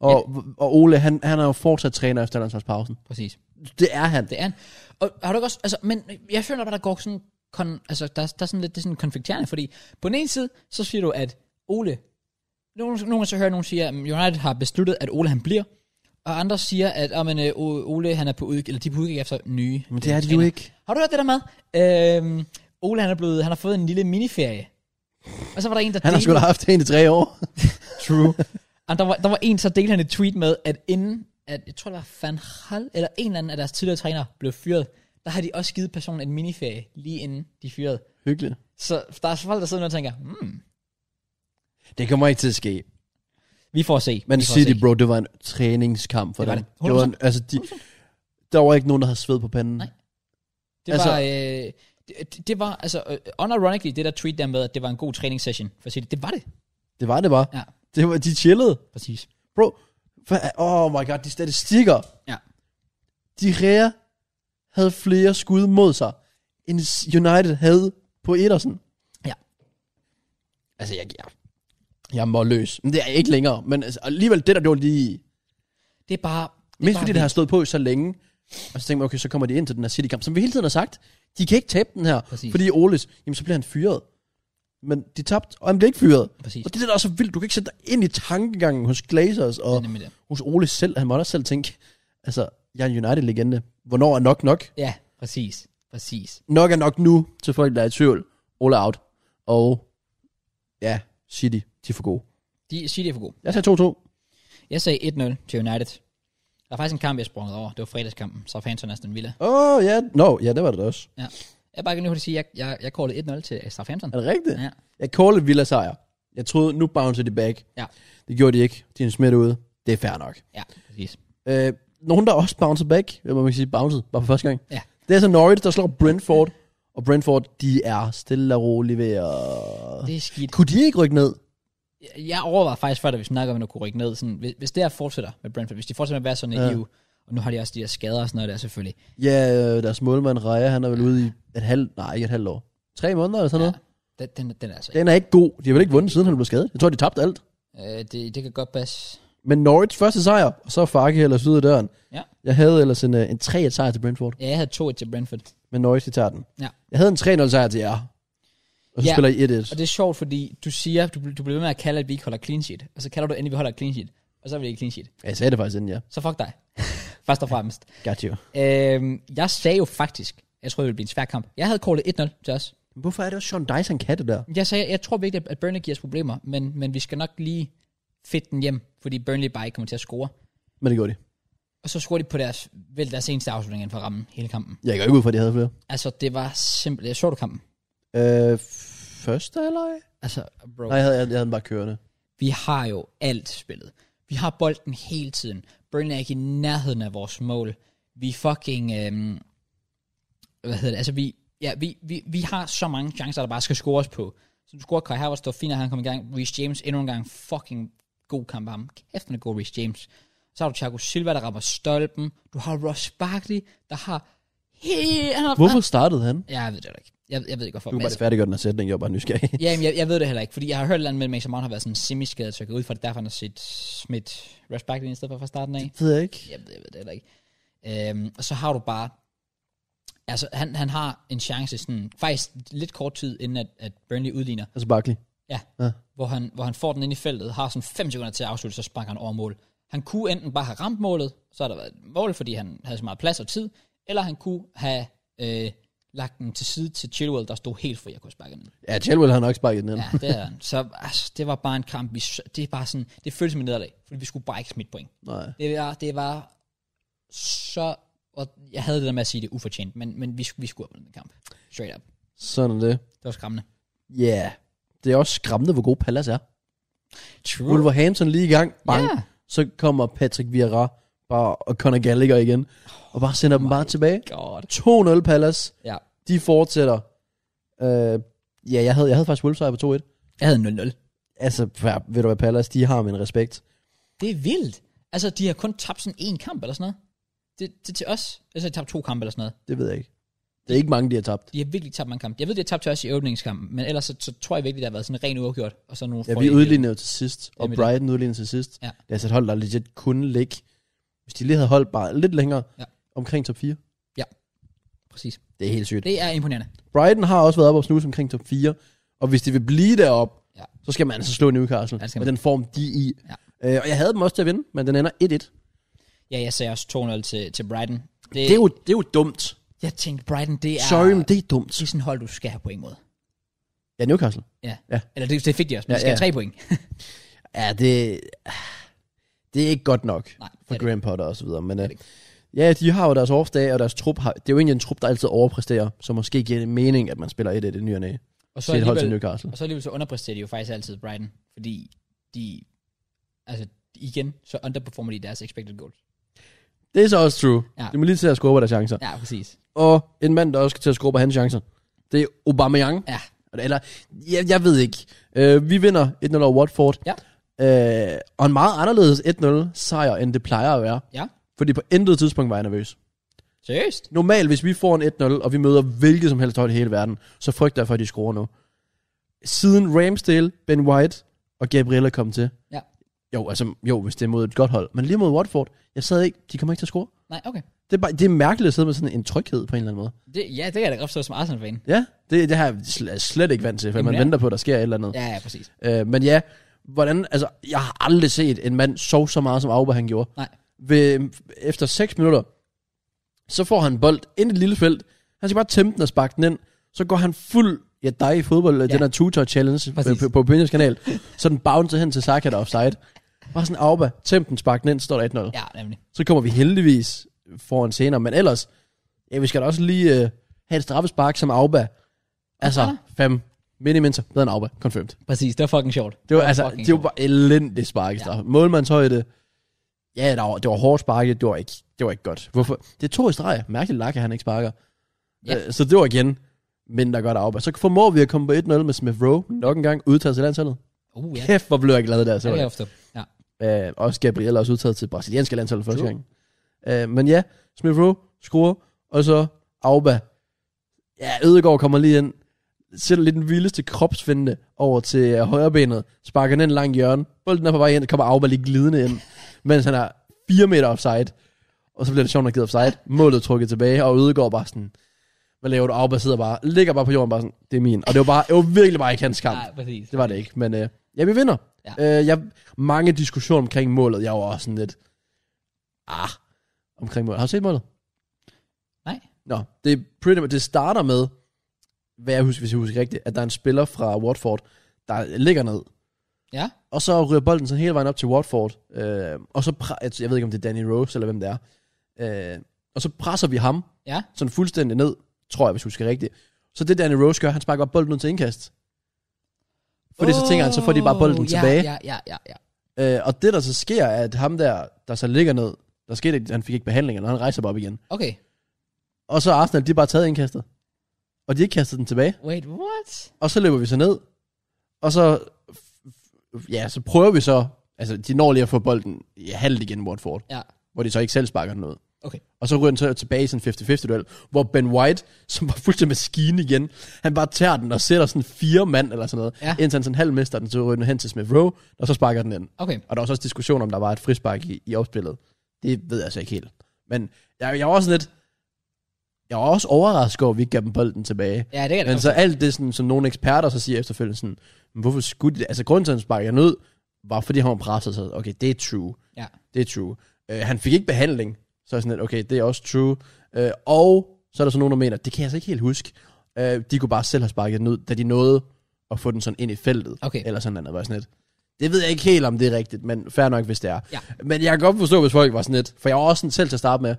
Speaker 2: Og, og Ole, han, han er jo fortsat træner efter landsholdspausen.
Speaker 1: Præcis.
Speaker 2: Det er han.
Speaker 1: Det er han. Og har du ikke også, altså, men jeg føler bare, der går sådan, kon, altså, der, der er sådan lidt, det er sådan konflikterende, fordi på den ene side, så siger du, at Ole, nogen, nogen gange så hører jeg nogen sige, at mm, United har besluttet, at Ole han bliver, og andre siger, at oh, men, Ole han er på udkig, eller de er på udkig efter nye.
Speaker 2: Men det er det jo ikke.
Speaker 1: Har du hørt det der med? Øhm, Ole han er blevet, han har fået en lille miniferie. Og så var der en, der
Speaker 2: Han har sgu da haft en i tre år. *laughs*
Speaker 1: *laughs*
Speaker 2: True.
Speaker 1: og der var, der var en, så delte han et tweet med, at inden, at jeg tror, det var Van Hal, eller en eller anden af deres tidligere trænere, blev fyret, der har de også givet personen en miniferie, lige inden de fyrede.
Speaker 2: Hyggeligt.
Speaker 1: Så der er folk, der sidder nu og tænker, hmm,
Speaker 2: Det kommer ikke til at ske.
Speaker 1: vi får se.
Speaker 2: Men
Speaker 1: vi får
Speaker 2: City,
Speaker 1: se.
Speaker 2: bro, det var en træningskamp for
Speaker 1: Det var
Speaker 2: dem.
Speaker 1: det.
Speaker 2: Det var en, altså, de, der var ikke nogen, der havde sved på panden.
Speaker 1: Nej. Det
Speaker 2: altså-
Speaker 1: var, øh, det, det var, altså, øh, unironically, det der tweet der med, at det var en god træningssession for City, det var det.
Speaker 2: Det var det bare.
Speaker 1: Ja.
Speaker 2: Det var, de chillede.
Speaker 1: Præcis.
Speaker 2: Bro, hva- oh my god, de statistikker.
Speaker 1: Ja.
Speaker 2: De Rea havde flere skud mod sig, end United havde på Ederson.
Speaker 1: Ja.
Speaker 2: Altså, jeg, jeg, jeg må løs. Men det er jeg ikke længere. Men altså, alligevel, det der, det var lige...
Speaker 1: Det er bare... Det er
Speaker 2: Mindst
Speaker 1: bare
Speaker 2: fordi det har stået på så længe. Og så tænkte man, okay, så kommer de ind til den her City-kamp, som vi hele tiden har sagt. De kan ikke tabe den her,
Speaker 1: Præcis.
Speaker 2: fordi Oles, jamen så bliver han fyret. Men de tabte, og han blev ikke fyret.
Speaker 1: Præcis.
Speaker 2: Og det er det, der er så vildt. Du kan ikke sætte dig ind i tankegangen hos Glazers og
Speaker 1: Det er nemlig det.
Speaker 2: hos Ole selv. Han måtte også selv tænke, altså, jeg er en United-legende. Hvornår er nok nok?
Speaker 1: Ja, præcis. Præcis.
Speaker 2: Nok er nok nu til folk, der er i tvivl. Ole er out. Og ja, City, de er for gode.
Speaker 1: De, City er for god.
Speaker 2: Jeg sagde 2-2.
Speaker 1: Jeg sagde 1-0 til United. Der er faktisk en kamp, jeg sprunget over. Det var fredagskampen. Southampton Aston Villa.
Speaker 2: Åh, oh, ja. Nå, ja, det var det da også.
Speaker 1: Ja. Jeg vil bare gerne hurtigt sige, at jeg, jeg, jeg callede 1-0 til øh, Southampton.
Speaker 2: Er det rigtigt?
Speaker 1: Ja.
Speaker 2: Jeg callede Villa sejr. Jeg troede, nu bouncer de back.
Speaker 1: Ja.
Speaker 2: Det gjorde de ikke. De er smidt ude. Det er fair nok.
Speaker 1: Ja, præcis.
Speaker 2: Øh, nogen, der også bouncer back, jeg må man sige, bounced, bare for første gang.
Speaker 1: Ja.
Speaker 2: Det er så Norwich, der slår Brentford. Og Brentford, de er stille og roligt ved at...
Speaker 1: Det er skidt.
Speaker 2: Kunne de ikke rykke ned?
Speaker 1: Jeg- Jeg overvejer faktisk før, da vi snakker om, at kunne rykke ned. Sådan, hvis, hvis det her fortsætter med Brentford, hvis de fortsætter med at være sådan
Speaker 2: Ja.
Speaker 1: ja. EU, og nu har de også de der skader og sådan noget der selvfølgelig.
Speaker 2: Ja, øh, deres målmand Raja, han er vel ude i et halvt... Nej, ikke et halvt år. Tre måneder eller sådan
Speaker 1: Ja.
Speaker 2: noget.
Speaker 1: Den, den, den er altså
Speaker 2: Den er ikke god. De har vel ikke vundet, siden han blev skadet. Jeg tror, de tabte alt.
Speaker 1: Øh, det, det kan godt passe.
Speaker 2: Men Norwich første sejr, og så Farke ellers ude af døren.
Speaker 1: Ja.
Speaker 2: Jeg havde ellers en, øh, en 3 sejr til Brentford,
Speaker 1: Ja, jeg havde 2-1 til Brentford.
Speaker 2: men Norwich de tager den.
Speaker 1: Ja.
Speaker 2: Jeg havde en 3-0 sejr til jer. Og så
Speaker 1: Ja.
Speaker 2: spiller I 1-1.
Speaker 1: Og det er sjovt, fordi du siger, du, du bliver ved med at kalde, at vi ikke holder clean sheet. Og så kalder du endelig, at vi holder clean sheet. Og så er vi ikke clean sheet.
Speaker 2: Ja, jeg sagde det faktisk inden, ja.
Speaker 1: Så fuck dig. *laughs* Først og fremmest.
Speaker 2: Got you.
Speaker 1: Øhm, jeg sagde jo faktisk, jeg troede, det ville blive en svær kamp. Jeg havde callet 1-0 til os.
Speaker 2: Men hvorfor er det også Sean Dice, han kan det der?
Speaker 1: Jeg sagde, jeg tror virkelig, at Burnley giver os problemer, men, men vi skal nok lige fedt den hjem, fordi Burnley bare ikke kommer til at score.
Speaker 2: Men det gjorde de.
Speaker 1: Og så scorer de på deres, vel deres eneste afslutning inden for rammen hele kampen.
Speaker 2: Jeg går ikke ud fra, at de havde flere.
Speaker 1: Altså, det var simpelthen... Jeg så du kampen.
Speaker 2: Øh, første eller?
Speaker 1: Altså, bro.
Speaker 2: Nej, jeg havde, jeg havde den bare kørende.
Speaker 1: Vi har jo alt spillet. Vi har bolden hele tiden. Burnley er ikke i nærheden af vores mål. Vi fucking... Øhm, hvad hedder det? Altså, vi, ja, vi, vi, vi har så mange chancer, der bare skal scores på. Så du scorer Kai Havertz, der var fint, at han kom i gang. Reece James endnu en gang fucking god kamp af ham. Kæft, han er god, Reece James. Så har du Thiago Silva, der rammer stolpen. Du har Ross Barkley, der har... He- han har
Speaker 2: Hvorfor startede han?
Speaker 1: Ja, jeg ved det da ikke. Jeg, jeg ved ikke, hvorfor.
Speaker 2: Du kan
Speaker 1: Ah. men
Speaker 2: bare færdiggøre den her sætning, jeg var bare
Speaker 1: *laughs*
Speaker 2: nysgerrig.
Speaker 1: Ja, jamen, jeg, jeg ved det heller ikke, fordi jeg har hørt et eller andet med, at Mason Mount har været sådan semiskadet, så jeg går ud fra det, er derfor han har set Smith Rush Barkley i stedet for fra starten af.
Speaker 2: Det ved jeg ikke.
Speaker 1: Jeg ved, jeg ved det heller ikke. Øhm, og så har du bare, altså han, han har en chance, sådan, faktisk lidt kort tid inden at, at Burnley udligner,
Speaker 2: Altså Barkley.
Speaker 1: hvor han, hvor han får den ind i feltet, har sådan 5 sekunder til at afslutte, så sparker han over mål. Han kunne enten bare have ramt målet, så har der været et mål, fordi han havde så meget plads og tid, eller han kunne have øh, lagt den til side til Chilwell, der stod helt fri at kunne sparke den. ind.
Speaker 2: Ja, Chilwell har nok sparket den ind.
Speaker 1: Ja, det er han. Så altså, det var bare en kamp. Vi, s- det er bare sådan, det føles som et nederlag, fordi vi skulle bare ikke smide point.
Speaker 2: Nej.
Speaker 1: Det var, det var så... Og jeg havde det der med at sige det er ufortjent, men, men vi, sk- vi skulle have vundet den kamp. Straight up.
Speaker 2: Sådan er det.
Speaker 1: Det var skræmmende.
Speaker 2: Ja. Yeah. Det er også skræmmende, hvor god Pallas er.
Speaker 1: True.
Speaker 2: Wolverhampton lige i gang. Bang.
Speaker 1: Mm. Ja.
Speaker 2: Så kommer Patrick Vieira bare, og Conor Gallagher igen. Og bare sender dem bare tilbage.
Speaker 1: Oh God.
Speaker 2: 2-0 Palace.
Speaker 1: Ja.
Speaker 2: De fortsætter. Øh, ja, jeg havde, jeg havde faktisk Wolves sejr på 2-1.
Speaker 1: Jeg havde 0-0.
Speaker 2: Altså, ja, ved du hvad, Palace, de har min respekt.
Speaker 1: Det er vildt. Altså, de har kun tabt sådan en kamp eller sådan noget. Det, det til os. Altså, de tabte to kampe eller sådan noget.
Speaker 2: Det ved jeg ikke. Det er ikke mange, de har tabt.
Speaker 1: De har virkelig tabt mange kampe. Jeg ved, de har tabt til os i åbningskampen, men ellers så, så tror jeg virkelig, det har været sådan ren uafgjort. Og så nogle
Speaker 2: Ja, vi
Speaker 1: fordele.
Speaker 2: udlignede jo til sidst, og
Speaker 1: Jamen, det-
Speaker 2: Brighton udlignede til sidst.
Speaker 1: Ja.
Speaker 2: Det er altså et hold, der legit kunne ligge, hvis de lige havde holdt bare lidt længere,
Speaker 1: Ja.
Speaker 2: omkring top 4.
Speaker 1: Præcis.
Speaker 2: Det er helt sygt.
Speaker 1: Det er imponerende.
Speaker 2: Brighton har også været op og snuse omkring top 4, og hvis de vil blive deroppe,
Speaker 1: Ja.
Speaker 2: så skal man altså slå Newcastle,
Speaker 1: Ja, det skal
Speaker 2: med
Speaker 1: man.
Speaker 2: den form, de er i. Øh, og jeg havde dem også til at vinde, men den ender 1-1. Det,
Speaker 1: Ja, jeg sagde også 2-0 til, til Brighton. Det,
Speaker 2: det, er jo, det er jo dumt.
Speaker 1: Jeg tænkte, Brighton, det er...
Speaker 2: Sorry, men det er dumt.
Speaker 1: Det er sådan et hold, du skal have point mod.
Speaker 2: Ja, Newcastle.
Speaker 1: Eller det, det fik de også, men
Speaker 2: Ja,
Speaker 1: ja, de skal have tre
Speaker 2: ja.
Speaker 1: point.
Speaker 2: Ja, det, det er ikke godt nok
Speaker 1: *laughs* Nej, det
Speaker 2: for
Speaker 1: er det
Speaker 2: Graham Potter og så videre. Men
Speaker 1: Det er
Speaker 2: øh,
Speaker 1: det ikke.
Speaker 2: ja, de har jo deres off-dag, og deres trup har, det er jo egentlig en trup, der altid overpræsterer, så måske giver det mening, at man spiller 1-1 i ny og næ.
Speaker 1: Og så,
Speaker 2: til et hold til
Speaker 1: alligevel,
Speaker 2: Newcastle.
Speaker 1: og så alligevel så underpræsterer de jo faktisk altid Brighton, fordi de... Altså, igen, så underperformer de deres expected goals.
Speaker 2: Det er så også true.
Speaker 1: Ja.
Speaker 2: De må lige til at score på deres chancer.
Speaker 1: Ja, præcis.
Speaker 2: Og en mand, der også skal til at score på hans chancer, det er Aubameyang.
Speaker 1: Ja,
Speaker 2: Eller, jeg, jeg ved ikke. Øh, vi vinder 1-0 over Watford.
Speaker 1: Ja.
Speaker 2: Øh, og en meget anderledes 1-0 sejr, end det plejer at være.
Speaker 1: ja.
Speaker 2: Fordi på intet tidspunkt var jeg nervøs.
Speaker 1: Seriøst?
Speaker 2: Normalt, hvis vi får en 1-0, og vi møder hvilket som helst hold i hele verden, så frygter jeg for, at de scorer nu. Siden Ramsdale, Ben White og Gabriella kom til.
Speaker 1: Ja.
Speaker 2: Jo, altså, jo, hvis det er mod et godt hold. Men lige mod Watford, jeg sad ikke, de kommer ikke til at score.
Speaker 1: Nej, okay.
Speaker 2: Det er, bare, det er mærkeligt at sidde med sådan en tryghed på en eller anden måde.
Speaker 1: Det, ja, det kan jeg da godt forstå som Arsenal-fan.
Speaker 2: Ja, det, det har jeg sl- er slet ikke vant til, for man
Speaker 1: Jamen, ja.
Speaker 2: venter på, at der sker et eller andet.
Speaker 1: Ja, ja, præcis.
Speaker 2: Øh, men ja, hvordan, altså, jeg har aldrig set en mand sove så meget, som Auba han gjorde.
Speaker 1: Nej.
Speaker 2: Ved, efter 6 minutter, så får han bold ind i et lille felt. Han skal bare tæmme den og sparke den ind. Så går han fuld ja, dig i fodbold, ja. den her tutor challenge øh,
Speaker 1: Præcis.
Speaker 2: på, på Opinions kanal. så den bouncer hen til Saka, der er offside. Bare sådan, Auba, tæm den, spark den ind, står der 1-0. Ja.
Speaker 1: Ja, nemlig.
Speaker 2: Så kommer vi heldigvis foran senere, men ellers, ja, vi skal da også lige øh, have et straffespark som Auba.
Speaker 1: Ja.
Speaker 2: Altså, fem miniminter bedre end Auba, confirmed.
Speaker 1: Præcis, det var fucking sjovt.
Speaker 2: Det var, altså,
Speaker 1: fucking
Speaker 2: det var
Speaker 1: sjovt.
Speaker 2: bare elendigt sparkestraf. Ja. Målmandshøjde. Ja, der var, det var hårdt sparket. Det var ikke, det var ikke godt. Hvorfor? Det er to i streg. Mærkeligt lakke, han ikke sparker.
Speaker 1: Ja.
Speaker 2: Øh, Så det var igen mindre godt arbejde. Så formår vi at komme på 1-0 med Smith Rowe, nok en gang udtaget til landsholdet.
Speaker 1: Uh, ja.
Speaker 2: Kæft, hvor blev jeg glad der.
Speaker 1: Det
Speaker 2: Så
Speaker 1: er
Speaker 2: var
Speaker 1: jeg
Speaker 2: det.
Speaker 1: ofte. Ja.
Speaker 2: Øh, også Gabriel er også udtaget til brasilianske landshold første
Speaker 1: True.
Speaker 2: gang. Øh, men ja, Smith Rowe scorer, og så Auba. Ja, Ødegaard kommer lige ind, sætter lidt den vildeste kropsvende over til øh, højrebenet, sparker den ind langt hjørne, bolden er på vej ind, kommer Auba lige glidende ind, mens han er 4 meter offside. Og så bliver det sjovt, at givet offside. Målet trukket tilbage, og Ødegaard bare sådan, hvad laver du? Auba sidder bare, ligger bare på jorden, bare sådan, det er min. Og det var, bare, det var virkelig bare ikke hans kamp.
Speaker 1: Nej, præcis.
Speaker 2: Det var det ikke, men øh, ja, vi vinder. Ja. Øh, jeg, mange diskussioner omkring målet, jeg var også sådan lidt, ah, omkring målet. Har du set målet?
Speaker 1: Nej.
Speaker 2: Nå, det, er pretty, much- det starter med, hvad jeg husker, hvis jeg husker rigtigt, at der er en spiller fra Watford, der ligger ned.
Speaker 1: Ja.
Speaker 2: Og så ryger bolden sådan hele vejen op til Watford. Øh, og så, pre- jeg jeg ved ikke, om det er Danny Rose, eller hvem det er. Øh, og så presser vi ham,
Speaker 1: Ja.
Speaker 2: sådan fuldstændig ned, tror jeg, hvis jeg husker rigtigt. Så det Danny Rose gør, han sparker bare bolden ud til indkast. Fordi oh, så tænker han, så får de bare bolden
Speaker 1: Åh, ja,
Speaker 2: tilbage.
Speaker 1: Ja, ja, ja, ja.
Speaker 2: Øh, og det, der så sker, er, at ham der, der så ligger ned, der skete ikke, han fik ikke behandling, og han rejser bare op igen.
Speaker 1: Okay.
Speaker 2: Og så er Arsenal, de har bare taget indkastet. Og de har ikke kastet den tilbage.
Speaker 1: Wait, what?
Speaker 2: Og så løber vi så ned. Og så, f- f- ja, så prøver vi så, altså de når lige at få bolden i halvt igen, Watford.
Speaker 1: Ja.
Speaker 2: Hvor de så ikke selv sparker den ud.
Speaker 1: Okay.
Speaker 2: Og så ryger den så tilbage i sådan en 50-50 duel, hvor Ben White, *laughs* som var fuldstændig maskine igen, han bare tager den og sætter sådan fire mand eller sådan noget,
Speaker 1: Ja.
Speaker 2: indtil han sådan halv mister den, så ryger den hen til Smith Rowe, og så sparker den ind.
Speaker 1: Okay.
Speaker 2: Og der var så også diskussion om, der var et frispark i, i opspillet. Det ved jeg så ikke helt. Men jeg, jeg var også lidt... Jeg var også overrasket over, at vi ikke gav dem bolden tilbage.
Speaker 1: Ja, det kan det
Speaker 2: Men
Speaker 1: godt.
Speaker 2: så alt det, sådan, som nogle eksperter så siger efterfølgende, sådan, "Men hvorfor skulle de det? Altså, grunden til, at han sparkede ned, var fordi han var presset sig. Okay, det er true.
Speaker 1: Ja.
Speaker 2: Det er true. Øh, han fik ikke behandling. Så er jeg sådan lidt, okay, det er også true. Øh, og så er der så nogen, der mener, det kan jeg altså ikke helt huske. Øh, de kunne bare selv have sparket den ud, da de nåede at få den sådan ind i feltet.
Speaker 1: Okay.
Speaker 2: Eller sådan noget, var jeg sådan lidt. Det ved jeg ikke helt, om det er rigtigt, men fair nok, hvis det er.
Speaker 1: Ja.
Speaker 2: Men jeg kan godt forstå, hvis folk var sådan lidt, for jeg var også sådan selv til at starte med,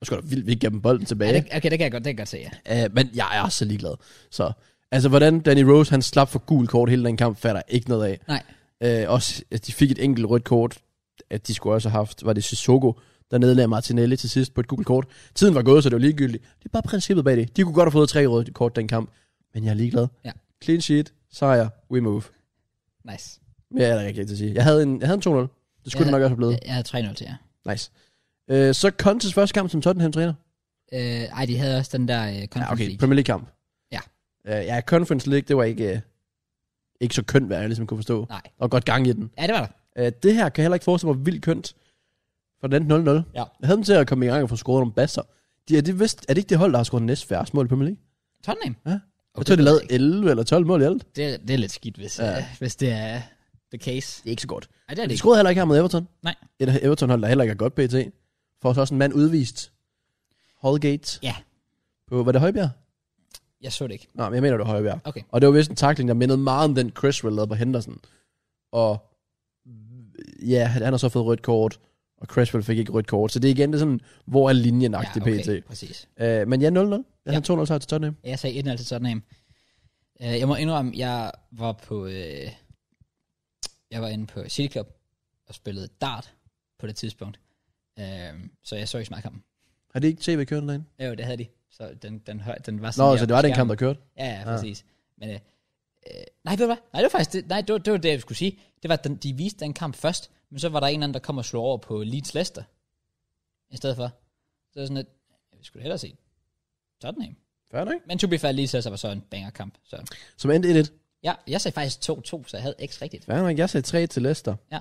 Speaker 2: og skulle da vildt, vi ikke gav dem bolden tilbage.
Speaker 1: Ja, det, okay, det kan jeg godt, det kan jeg godt se, ja.
Speaker 2: Øh, men jeg er så ligeglad. Så, altså, hvordan Danny Rose, han slap for gul kort hele den kamp, fatter jeg ikke noget af.
Speaker 1: Nej.
Speaker 2: Øh, også, at de fik et enkelt rødt kort, at de skulle også have haft, var det Sissoko, der nedlagde Martinelli til sidst på et gult kort. Tiden var gået, så det var ligegyldigt. Det er bare princippet bag det. De kunne godt have fået tre røde kort den kamp, men jeg er ligeglad.
Speaker 1: Ja.
Speaker 2: Clean sheet, sejr, we move.
Speaker 1: Nice.
Speaker 2: Mere er der ikke rigtig at sige. Jeg havde en, jeg havde en 2-0. Det
Speaker 1: Ja.
Speaker 2: skulle ja. det nok også have
Speaker 1: Jeg,
Speaker 2: blevet.
Speaker 1: jeg havde 3-0 til jer.
Speaker 2: Nice. Øh, så Contes første kamp som Tottenham-træner.
Speaker 1: Øh, ej, de havde også den der øh,
Speaker 2: Ja,
Speaker 1: Conference
Speaker 2: okay,
Speaker 1: League.
Speaker 2: Premier League-kamp.
Speaker 1: Ja.
Speaker 2: Uh, ja, Conference League, det var ikke, uh, ikke så kønt, hvad jeg ligesom kunne forstå.
Speaker 1: Nej.
Speaker 2: Der var godt gang i den.
Speaker 1: Ja, det var der.
Speaker 2: Uh, det her kan jeg heller ikke forestille mig vildt kønt. For den endte 0-0.
Speaker 1: Ja.
Speaker 2: Jeg havde dem til at komme i gang og få scoret nogle basser. De, er, det vist, er det ikke det hold, der har scoret næst færre mål i Premier League?
Speaker 1: Tottenham?
Speaker 2: Ja.
Speaker 1: Okay,
Speaker 2: Jeg tror, de
Speaker 1: ved
Speaker 2: lavede
Speaker 1: ikke.
Speaker 2: 11 eller 12 mål i alt.
Speaker 1: det, er- det er lidt skidt, hvis,
Speaker 2: Ja.
Speaker 1: ja. hvis det er the case.
Speaker 2: Det er ikke så godt.
Speaker 1: Ej, det er det
Speaker 2: De
Speaker 1: ikke.
Speaker 2: scorede heller ikke her mod Everton.
Speaker 1: Nej.
Speaker 2: Et Everton-hold, der heller ikke er godt pt. Får så også en mand udvist. Holgate.
Speaker 1: Ja.
Speaker 2: På, var det Højbjerg?
Speaker 1: Jeg så det ikke.
Speaker 2: Nej, men jeg mener, det var Højbjerg.
Speaker 1: Okay.
Speaker 2: Og det var vist en takling, der mindede meget om den Criswell lavede på Henderson. Og ja, han han har så fået rødt kort, og Criswell fik ikke rødt kort. Så det er igen det er sådan, hvor er linjen agtig ja, okay. pt.
Speaker 1: præcis.
Speaker 2: Øh, men ja, 0-0. Jeg
Speaker 1: Ja.
Speaker 2: havde 2-0 sejr til Tottenham.
Speaker 1: Jeg sagde 1-0 til Tottenham. Øh, jeg må indrømme, jeg var på... Øh, jeg var inde på City Club og spillede dart på det tidspunkt. Øh, så jeg så ikke så meget kampen.
Speaker 2: Har det ikke tv kørt derinde?
Speaker 1: Ja, Jo, det havde de. Så den, den, høj, den var sådan...
Speaker 2: Nå,
Speaker 1: her
Speaker 2: så det
Speaker 1: på
Speaker 2: var den
Speaker 1: skærmen.
Speaker 2: kamp, Ah. der kørte.
Speaker 1: Ja, ja, præcis. Men, øh, øh, nej, ved du hvad? Nej, det var faktisk det, nej, det, var, det, var det jeg skulle sige. Det var, at den, de viste den kamp først, men så var der en eller anden, der kom og slog over på Leeds Leicester. I stedet for. Så er sådan lidt, jeg skulle hellere se Tottenham.
Speaker 2: Færdig, ikke?
Speaker 1: Men to be fair, Leeds Leicester var så en bangerkamp. Så.
Speaker 2: Som endte 1-1.
Speaker 1: Ja, jeg sagde faktisk 2-2, så jeg havde ikke rigtigt.
Speaker 2: Færdig, ikke? Jeg sagde 3 til Leicester.
Speaker 1: Ja.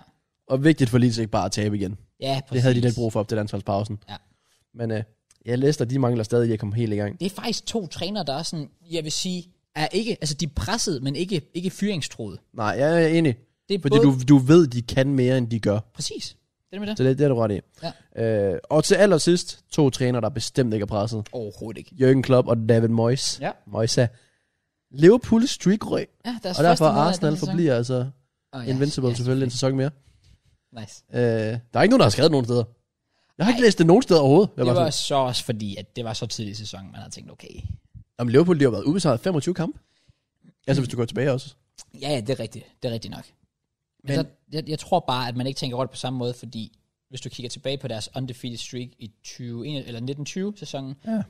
Speaker 2: Og vigtigt for Leeds ikke bare at tabe igen.
Speaker 1: Ja, præcis.
Speaker 2: Det havde de lidt brug for op til landsholdspausen.
Speaker 1: Ja.
Speaker 2: Men øh, ja, Leicester, de mangler stadig at komme helt i gang.
Speaker 1: Det er faktisk to trænere, der er sådan, jeg vil sige, er ikke, altså de er presset, men ikke, ikke fyringstroede.
Speaker 2: Nej, jeg er enig.
Speaker 1: Det er
Speaker 2: Fordi
Speaker 1: både,
Speaker 2: du, du ved, de kan mere, end de gør.
Speaker 1: Præcis. Det er det med det.
Speaker 2: Så det, det er du ret i. Ja. Øh, og til allersidst, to træner, der bestemt ikke er presset.
Speaker 1: Overhovedet ikke.
Speaker 2: Jørgen Klopp og David Moyes.
Speaker 1: Ja.
Speaker 2: Moyes er Liverpool streak røg,
Speaker 1: Ja, deres
Speaker 2: og derfor
Speaker 1: første nederlag Altså,
Speaker 2: Arsenal
Speaker 1: den her sæson.
Speaker 2: forbliver altså
Speaker 1: Oh,
Speaker 2: ja, Invincible ja, selvfølgelig en sæson mere.
Speaker 1: Nice.
Speaker 2: Øh, der er ikke nogen, der har skrevet nogen steder. Jeg har ikke
Speaker 1: Nej.
Speaker 2: læst det nogen steder overhovedet. Jeg
Speaker 1: Det
Speaker 2: var
Speaker 1: var
Speaker 2: sådan,
Speaker 1: så også fordi, at det var så tidlig i sæsonen, man havde tænkt, okay.
Speaker 2: om Liverpool de har været ubesejret 25 kampe. Altså hvis du går tilbage også.
Speaker 1: Ja, ja, det er rigtigt. Det er rigtigt nok. Men,
Speaker 2: Men-
Speaker 1: Men så, jeg, jeg, tror bare, at man ikke tænker over det på samme måde, fordi hvis du kigger tilbage på deres undefeated streak i 20, eller 1920-sæsonen,
Speaker 2: Ja.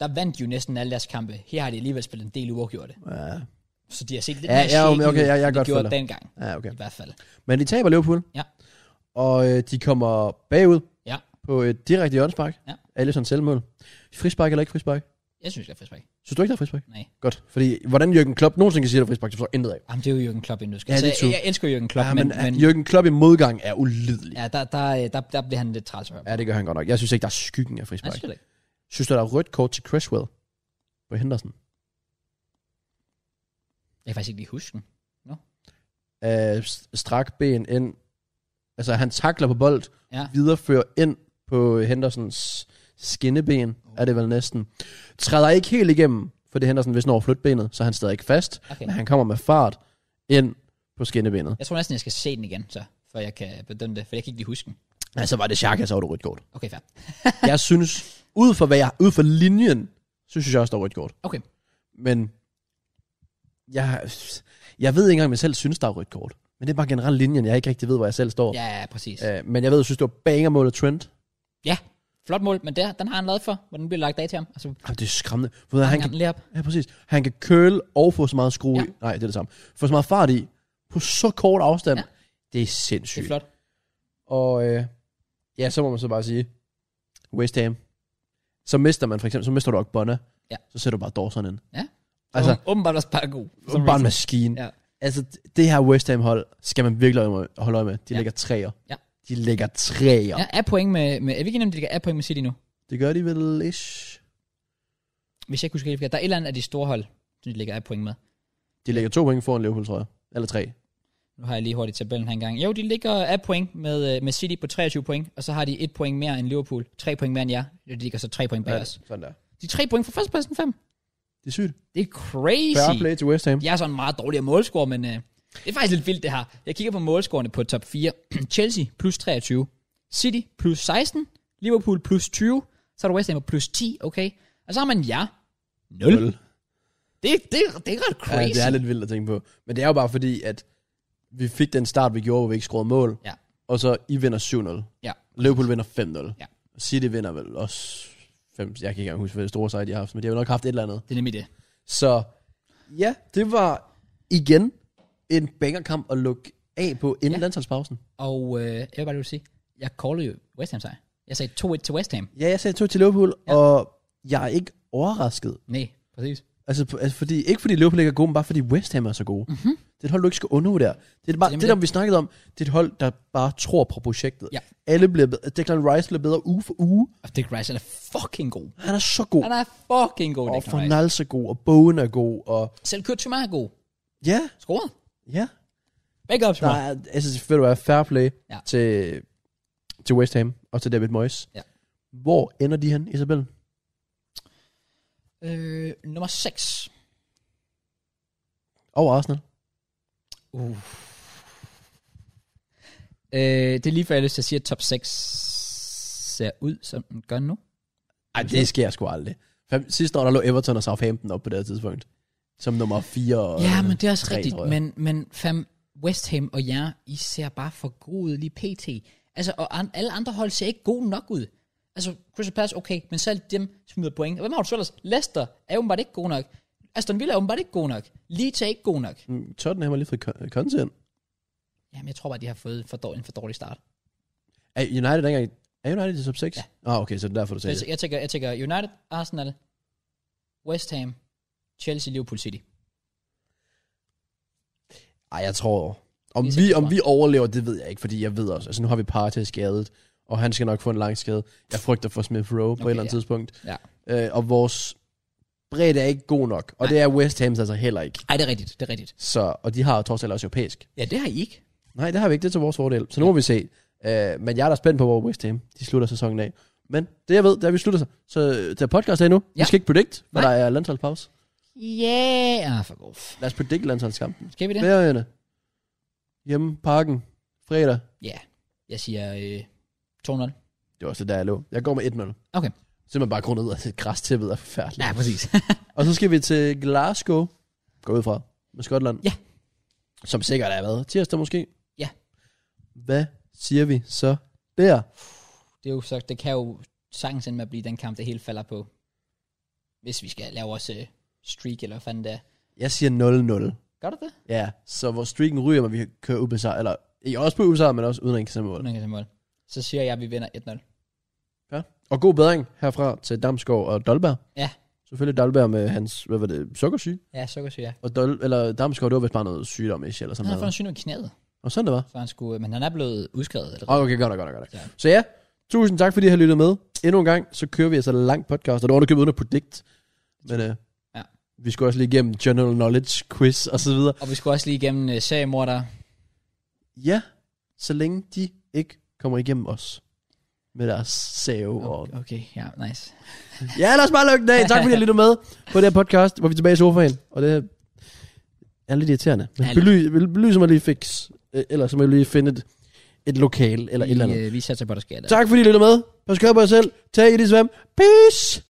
Speaker 1: der vandt de jo næsten alle deres kampe. Her har de alligevel spillet en del uafgjorte.
Speaker 2: Ja,
Speaker 1: Så de har set lidt
Speaker 2: Ja,
Speaker 1: mere
Speaker 2: ja,
Speaker 1: shaky
Speaker 2: okay,
Speaker 1: ud,
Speaker 2: okay, ja, jeg
Speaker 1: end de
Speaker 2: godt
Speaker 1: gjorde
Speaker 2: følger.
Speaker 1: dengang,
Speaker 2: ja okay.
Speaker 1: i hvert fald.
Speaker 2: Men de taber Liverpool.
Speaker 1: Ja.
Speaker 2: Og øh, de kommer bagud
Speaker 1: Ja.
Speaker 2: på et direkte hjørnespark.
Speaker 1: Ja.
Speaker 2: Allison selvmål. Frispark eller ikke frispark?
Speaker 1: Jeg synes, jeg er frispark.
Speaker 2: Synes du ikke, der er frispark?
Speaker 1: Nej.
Speaker 2: Godt. Fordi, hvordan Jørgen Klopp nogensinde kan sige, der er frispark, det forstår jeg intet af.
Speaker 1: Jamen, det er jo Jørgen Klopp, inden du skal.
Speaker 2: Ja,
Speaker 1: Altså,
Speaker 2: det er true.
Speaker 1: jeg, jeg elsker Jørgen Klopp,
Speaker 2: Ja,
Speaker 1: men,
Speaker 2: men,
Speaker 1: men
Speaker 2: men Jørgen Klopp i modgang er ulidelig. Ja.
Speaker 1: ja, der, der, øh, der, der bliver han lidt træls af. Ja,
Speaker 2: ja, det gør han godt nok. Jeg synes ikke, der er skyggen af
Speaker 1: Nej,
Speaker 2: frispark.
Speaker 1: det ikke.
Speaker 2: Synes du, der er rødt kort til Cresswell? På Henderson.
Speaker 1: Jeg kan faktisk ikke lige huske den.
Speaker 2: Øh, s- strak ben ind. Altså, han takler på bold,
Speaker 1: Ja.
Speaker 2: viderefører ind på Hendersons skinneben, er det vel næsten. Træder ikke helt igennem, fordi Henderson hvis når flytbenet, så er han stadig ikke fast.
Speaker 1: Okay.
Speaker 2: Men han kommer med fart ind på skinnebenet.
Speaker 1: Jeg tror næsten, jeg skal se den igen, så, før jeg kan bedømme det, for jeg kan ikke lige huske den.
Speaker 2: Altså var det Xhaka, så var det rødt kort.
Speaker 1: Okay, fair.
Speaker 2: Jeg synes, ud fra, hvad jeg, ud fra linjen, så synes jeg også, der var rødt kort.
Speaker 1: Okay.
Speaker 2: Men jeg, jeg ved ikke engang, om jeg selv synes, der er rødt kort. Men det er bare generelt linjen, jeg ikke rigtig ved, hvor jeg selv står.
Speaker 1: Ja, ja, præcis.
Speaker 2: Øh, men jeg ved, jeg synes, det var bangermålet Trent.
Speaker 1: Ja, flot mål, men der, den har han lavet for, hvor den bliver lagt af til ham. Altså,
Speaker 2: Jamen, det er skræmmende. For han,
Speaker 1: han
Speaker 2: han
Speaker 1: kan
Speaker 2: kan
Speaker 1: den lige op.
Speaker 2: Ja, præcis. Han kan køle og få så meget skrue
Speaker 1: Ja.
Speaker 2: ja. i. Nej, det er det samme. Få så meget fart i på så kort afstand.
Speaker 1: Ja.
Speaker 2: Ja. Det er
Speaker 1: Det
Speaker 2: sindssygt.
Speaker 1: er flot.
Speaker 2: Og øh, ja, så må man så bare sige, West Ham. Så mister man for eksempel, så mister du Ogbonna.
Speaker 1: Ja.
Speaker 2: Så sætter du bare Dawson ind.
Speaker 1: Ja. Altså,
Speaker 2: Altså,
Speaker 1: åbenbart også bare god. for some
Speaker 2: bare en
Speaker 1: reason.
Speaker 2: maskine.
Speaker 1: Ja.
Speaker 2: Ja. Altså, det her West Ham hold, skal man virkelig holde øje med- holde øje med. De
Speaker 1: Ja.
Speaker 2: ja. ligger træer.
Speaker 1: Ja.
Speaker 2: De ligger træer.
Speaker 1: Ja, er point med, med jeg ved ikke, om de ligger er point med City nu.
Speaker 2: Det gør de vel ish.
Speaker 1: Hvis jeg ikke husker helt forkert. Der er et eller andet af de store hold, som de ligger af point med.
Speaker 2: De ligger to point foran Liverpool, tror jeg. Eller tre.
Speaker 1: Nu har jeg lige hurtigt tabellen her engang. Jo, de ligger af point med, øh, med City på 23 point, og så har de et point mere end Liverpool. Tre point mere end jer. De ligger så tre point bag
Speaker 2: Ja,
Speaker 1: os.
Speaker 2: sådan der.
Speaker 1: De er tre point fra førstepladsen fem.
Speaker 2: Det er sygt.
Speaker 1: Det er crazy.
Speaker 2: Fair play til West Ham.
Speaker 1: Jeg er sådan en meget dårligere målscore, men øh, det er faktisk lidt vildt det her. Jeg kigger på målscorene på top 4. *clears throat* Chelsea plus 23. City plus 16. Liverpool plus 20. Så er der West Ham på plus 10, okay? Og så har man jer. 0.
Speaker 2: Nul.
Speaker 1: Det, det, det er ret crazy.
Speaker 2: Ja, det er lidt vildt at tænke på. Men det er jo bare fordi, at vi fik den start, vi gjorde, hvor vi ikke scorede mål.
Speaker 1: Ja.
Speaker 2: Og så I vinder 7-0.
Speaker 1: Ja.
Speaker 2: Liverpool vinder 5-0.
Speaker 1: Ja.
Speaker 2: City vinder vel også 5 Jeg kan ikke engang huske, hvad det store sejr de har haft, men de har jo nok haft et eller andet.
Speaker 1: det er nemlig det.
Speaker 2: Så ja, det var igen en bangerkamp at lukke af på inden
Speaker 1: Ja.
Speaker 2: ja. landsholdspausen.
Speaker 1: Og øh, jeg vil bare lige sige, jeg callede jo West Ham sejr. Jeg sagde 2-1 til West Ham.
Speaker 2: Ja, jeg sagde 2 til Liverpool,
Speaker 1: Ja.
Speaker 2: ja. og jeg er ikke overrasket.
Speaker 1: Nej, præcis.
Speaker 2: Altså, p- altså fordi, ikke fordi Liverpool ikke er gode, men bare fordi West Ham er så gode. Mm-hmm. Det er et hold, du ikke skal undervurdere. Det er bare,
Speaker 1: Det er nemlig
Speaker 2: det, det, der vi snakkede om, det er et hold, der bare tror på projektet.
Speaker 1: Ja.
Speaker 2: Alle bliver bedre. Declan Rice bliver bedre uge for uge.
Speaker 1: Og Dick Rice han er fucking god.
Speaker 2: Han er så god.
Speaker 1: Han er fucking god, Declan
Speaker 2: Og
Speaker 1: Rice.
Speaker 2: Fornals er god, og Bowen er god, og
Speaker 1: Selv Kurtzuma er god.
Speaker 2: ja,
Speaker 1: Scoret.
Speaker 2: ja.
Speaker 1: Begge op,
Speaker 2: Der er, altså, ved du hvad, fair play
Speaker 1: Ja.
Speaker 2: ja. til, til West Ham og til David Moyes.
Speaker 1: Ja.
Speaker 2: Hvor ender de hen, Isabel?
Speaker 1: øh, Nummer 6.
Speaker 2: Over Arsenal.
Speaker 1: Uh. Øh, det er lige før, jeg har lyst til at sige, at top 6 ser ud, som den gør nu.
Speaker 2: Ej, Altså, det sker sgu aldrig. Fem, sidste år, der lå Everton og Southampton op på det her tidspunkt. Som nummer 4 og
Speaker 1: Ja, men det er også
Speaker 2: tre,
Speaker 1: rigtigt.
Speaker 2: tror jeg.
Speaker 1: Men, men fam, West Ham og jer, I ser bare for gode ud lige pt. Altså, og an, alle andre hold ser ikke gode nok ud. Altså, Crystal Palace, okay, men selv dem smider point. Og Hvem har du så ellers? Leicester er åbenbart ikke god nok. Aston Villa er åbenbart ikke god nok. Leeds er ikke god nok.
Speaker 2: Mm, Tottenham har lige fået Kon- Conte ind.
Speaker 1: Jamen, jeg tror bare, de har fået for dårlig, en for dårlig start.
Speaker 2: Er United dengang... Er United i top 6? Ja. Ah, okay, så det er derfor, du
Speaker 1: Så
Speaker 2: sagde
Speaker 1: jeg,
Speaker 2: det.
Speaker 1: jeg, tænker, jeg tænker United, Arsenal, West Ham, Chelsea, Liverpool City.
Speaker 2: Ej, jeg tror... Om
Speaker 1: Det er
Speaker 2: vi,
Speaker 1: sikkert
Speaker 2: om
Speaker 1: svar.
Speaker 2: vi overlever, det ved jeg ikke, fordi jeg ved også. Altså, nu har vi Partey skadet, og han skal nok få en lang skade. Jeg frygter for Smith Rowe okay, på
Speaker 1: Okay,
Speaker 2: et eller andet
Speaker 1: ja.
Speaker 2: tidspunkt.
Speaker 1: Ja.
Speaker 2: Øh, og vores bredde er ikke god nok, og
Speaker 1: Nej.
Speaker 2: Nej. det er West Ham's altså heller ikke.
Speaker 1: Nej, det er rigtigt, det er rigtigt.
Speaker 2: Så, og de har jo trods alt også europæisk.
Speaker 1: Ja, det har I ikke.
Speaker 2: Nej, det har vi ikke. Det er til vores fordel. Så nu må vi se. Øh, men jeg er da spændt på, hvor West Ham de slutter sæsonen af. Men det jeg ved, det er, at vi slutter sig. Så øh, der er podcast af nu. Ja.
Speaker 1: Ja.
Speaker 2: Vi skal ikke predict, hvad
Speaker 1: Nej.
Speaker 2: der er landsholdspause.
Speaker 1: Ja, yeah. ah, for god.
Speaker 2: Lad os predict landsholdskampen.
Speaker 1: Skal vi det?
Speaker 2: Færøerne. Hjemme, parken, fredag.
Speaker 1: Ja. Jeg siger øh, 2-0.
Speaker 2: Det var også det, der jeg lå. Jeg går med 1-0.
Speaker 1: Okay.
Speaker 2: Simpelthen bare grundet ud af græstæppet er forfærdeligt.
Speaker 1: Ja, *laughs* præcis.
Speaker 2: Og så skal vi til Glasgow. Gå ud fra. Med Skotland.
Speaker 1: Ja.
Speaker 2: Som sikkert er været tirsdag måske.
Speaker 1: Ja.
Speaker 2: Hvad siger vi så der?
Speaker 1: det, er jo så, det kan jo sagtens ende med at blive den kamp, det hele falder på. hvis vi skal lave vores øh, streak, eller hvad fanden det er.
Speaker 2: Jeg siger 0-0.
Speaker 1: Gør du det?
Speaker 2: Ja, så hvor streaken ryger, men vi kører ubesejret, eller ikke også på ubesejret, men også uden en kasse mål.
Speaker 1: Hvordan kan jeg tage mål? Så siger jeg, at vi vinder 1-0.
Speaker 2: Og god bedring herfra til Damskov og Dolberg.
Speaker 1: Ja.
Speaker 2: Selvfølgelig Dolberg med hans, hvad var det, sukkersyge.
Speaker 1: Ja, så kan jeg.
Speaker 2: Og Dol, eller Damskov, det var vist bare noget sygdom, ish, eller
Speaker 1: Han
Speaker 2: sådan
Speaker 1: har fået en
Speaker 2: noget.
Speaker 1: sygdom i knæet,
Speaker 2: Og sådan det var.
Speaker 1: så han skulle, men han er blevet udskrevet. Eller?
Speaker 2: Okay, godt, godt, godt.
Speaker 1: Ja.
Speaker 2: Ja. Så ja, tusind tak, fordi I har lyttet med. Endnu en gang, så kører vi altså en lang podcast, og det var underkøbet uden at predict. Men øh,
Speaker 1: Ja.
Speaker 2: ja. vi skulle også lige igennem general knowledge, quiz og så videre.
Speaker 1: Og vi skulle også lige igennem øh, seriemorder.
Speaker 2: Ja, så længe de ikke kommer igennem os med deres save okay. og
Speaker 1: Okay, okay, ja, nice.
Speaker 2: Ja, lad os bare lukke den af. Tak fordi I lyttede med på det her podcast, hvor vi er tilbage i sofaen. Og det er lidt irriterende. Men
Speaker 1: Ja, lidt.
Speaker 2: bely, bely, bely, så må jeg lige fix. øh, Eller så må jeg lige finde et, et lokal eller et eller andet.
Speaker 1: Vi, øh, vi satser på, at der sker det.
Speaker 2: Tak fordi I lyttede med. Pas på jer selv. Tag i det svøm. Peace!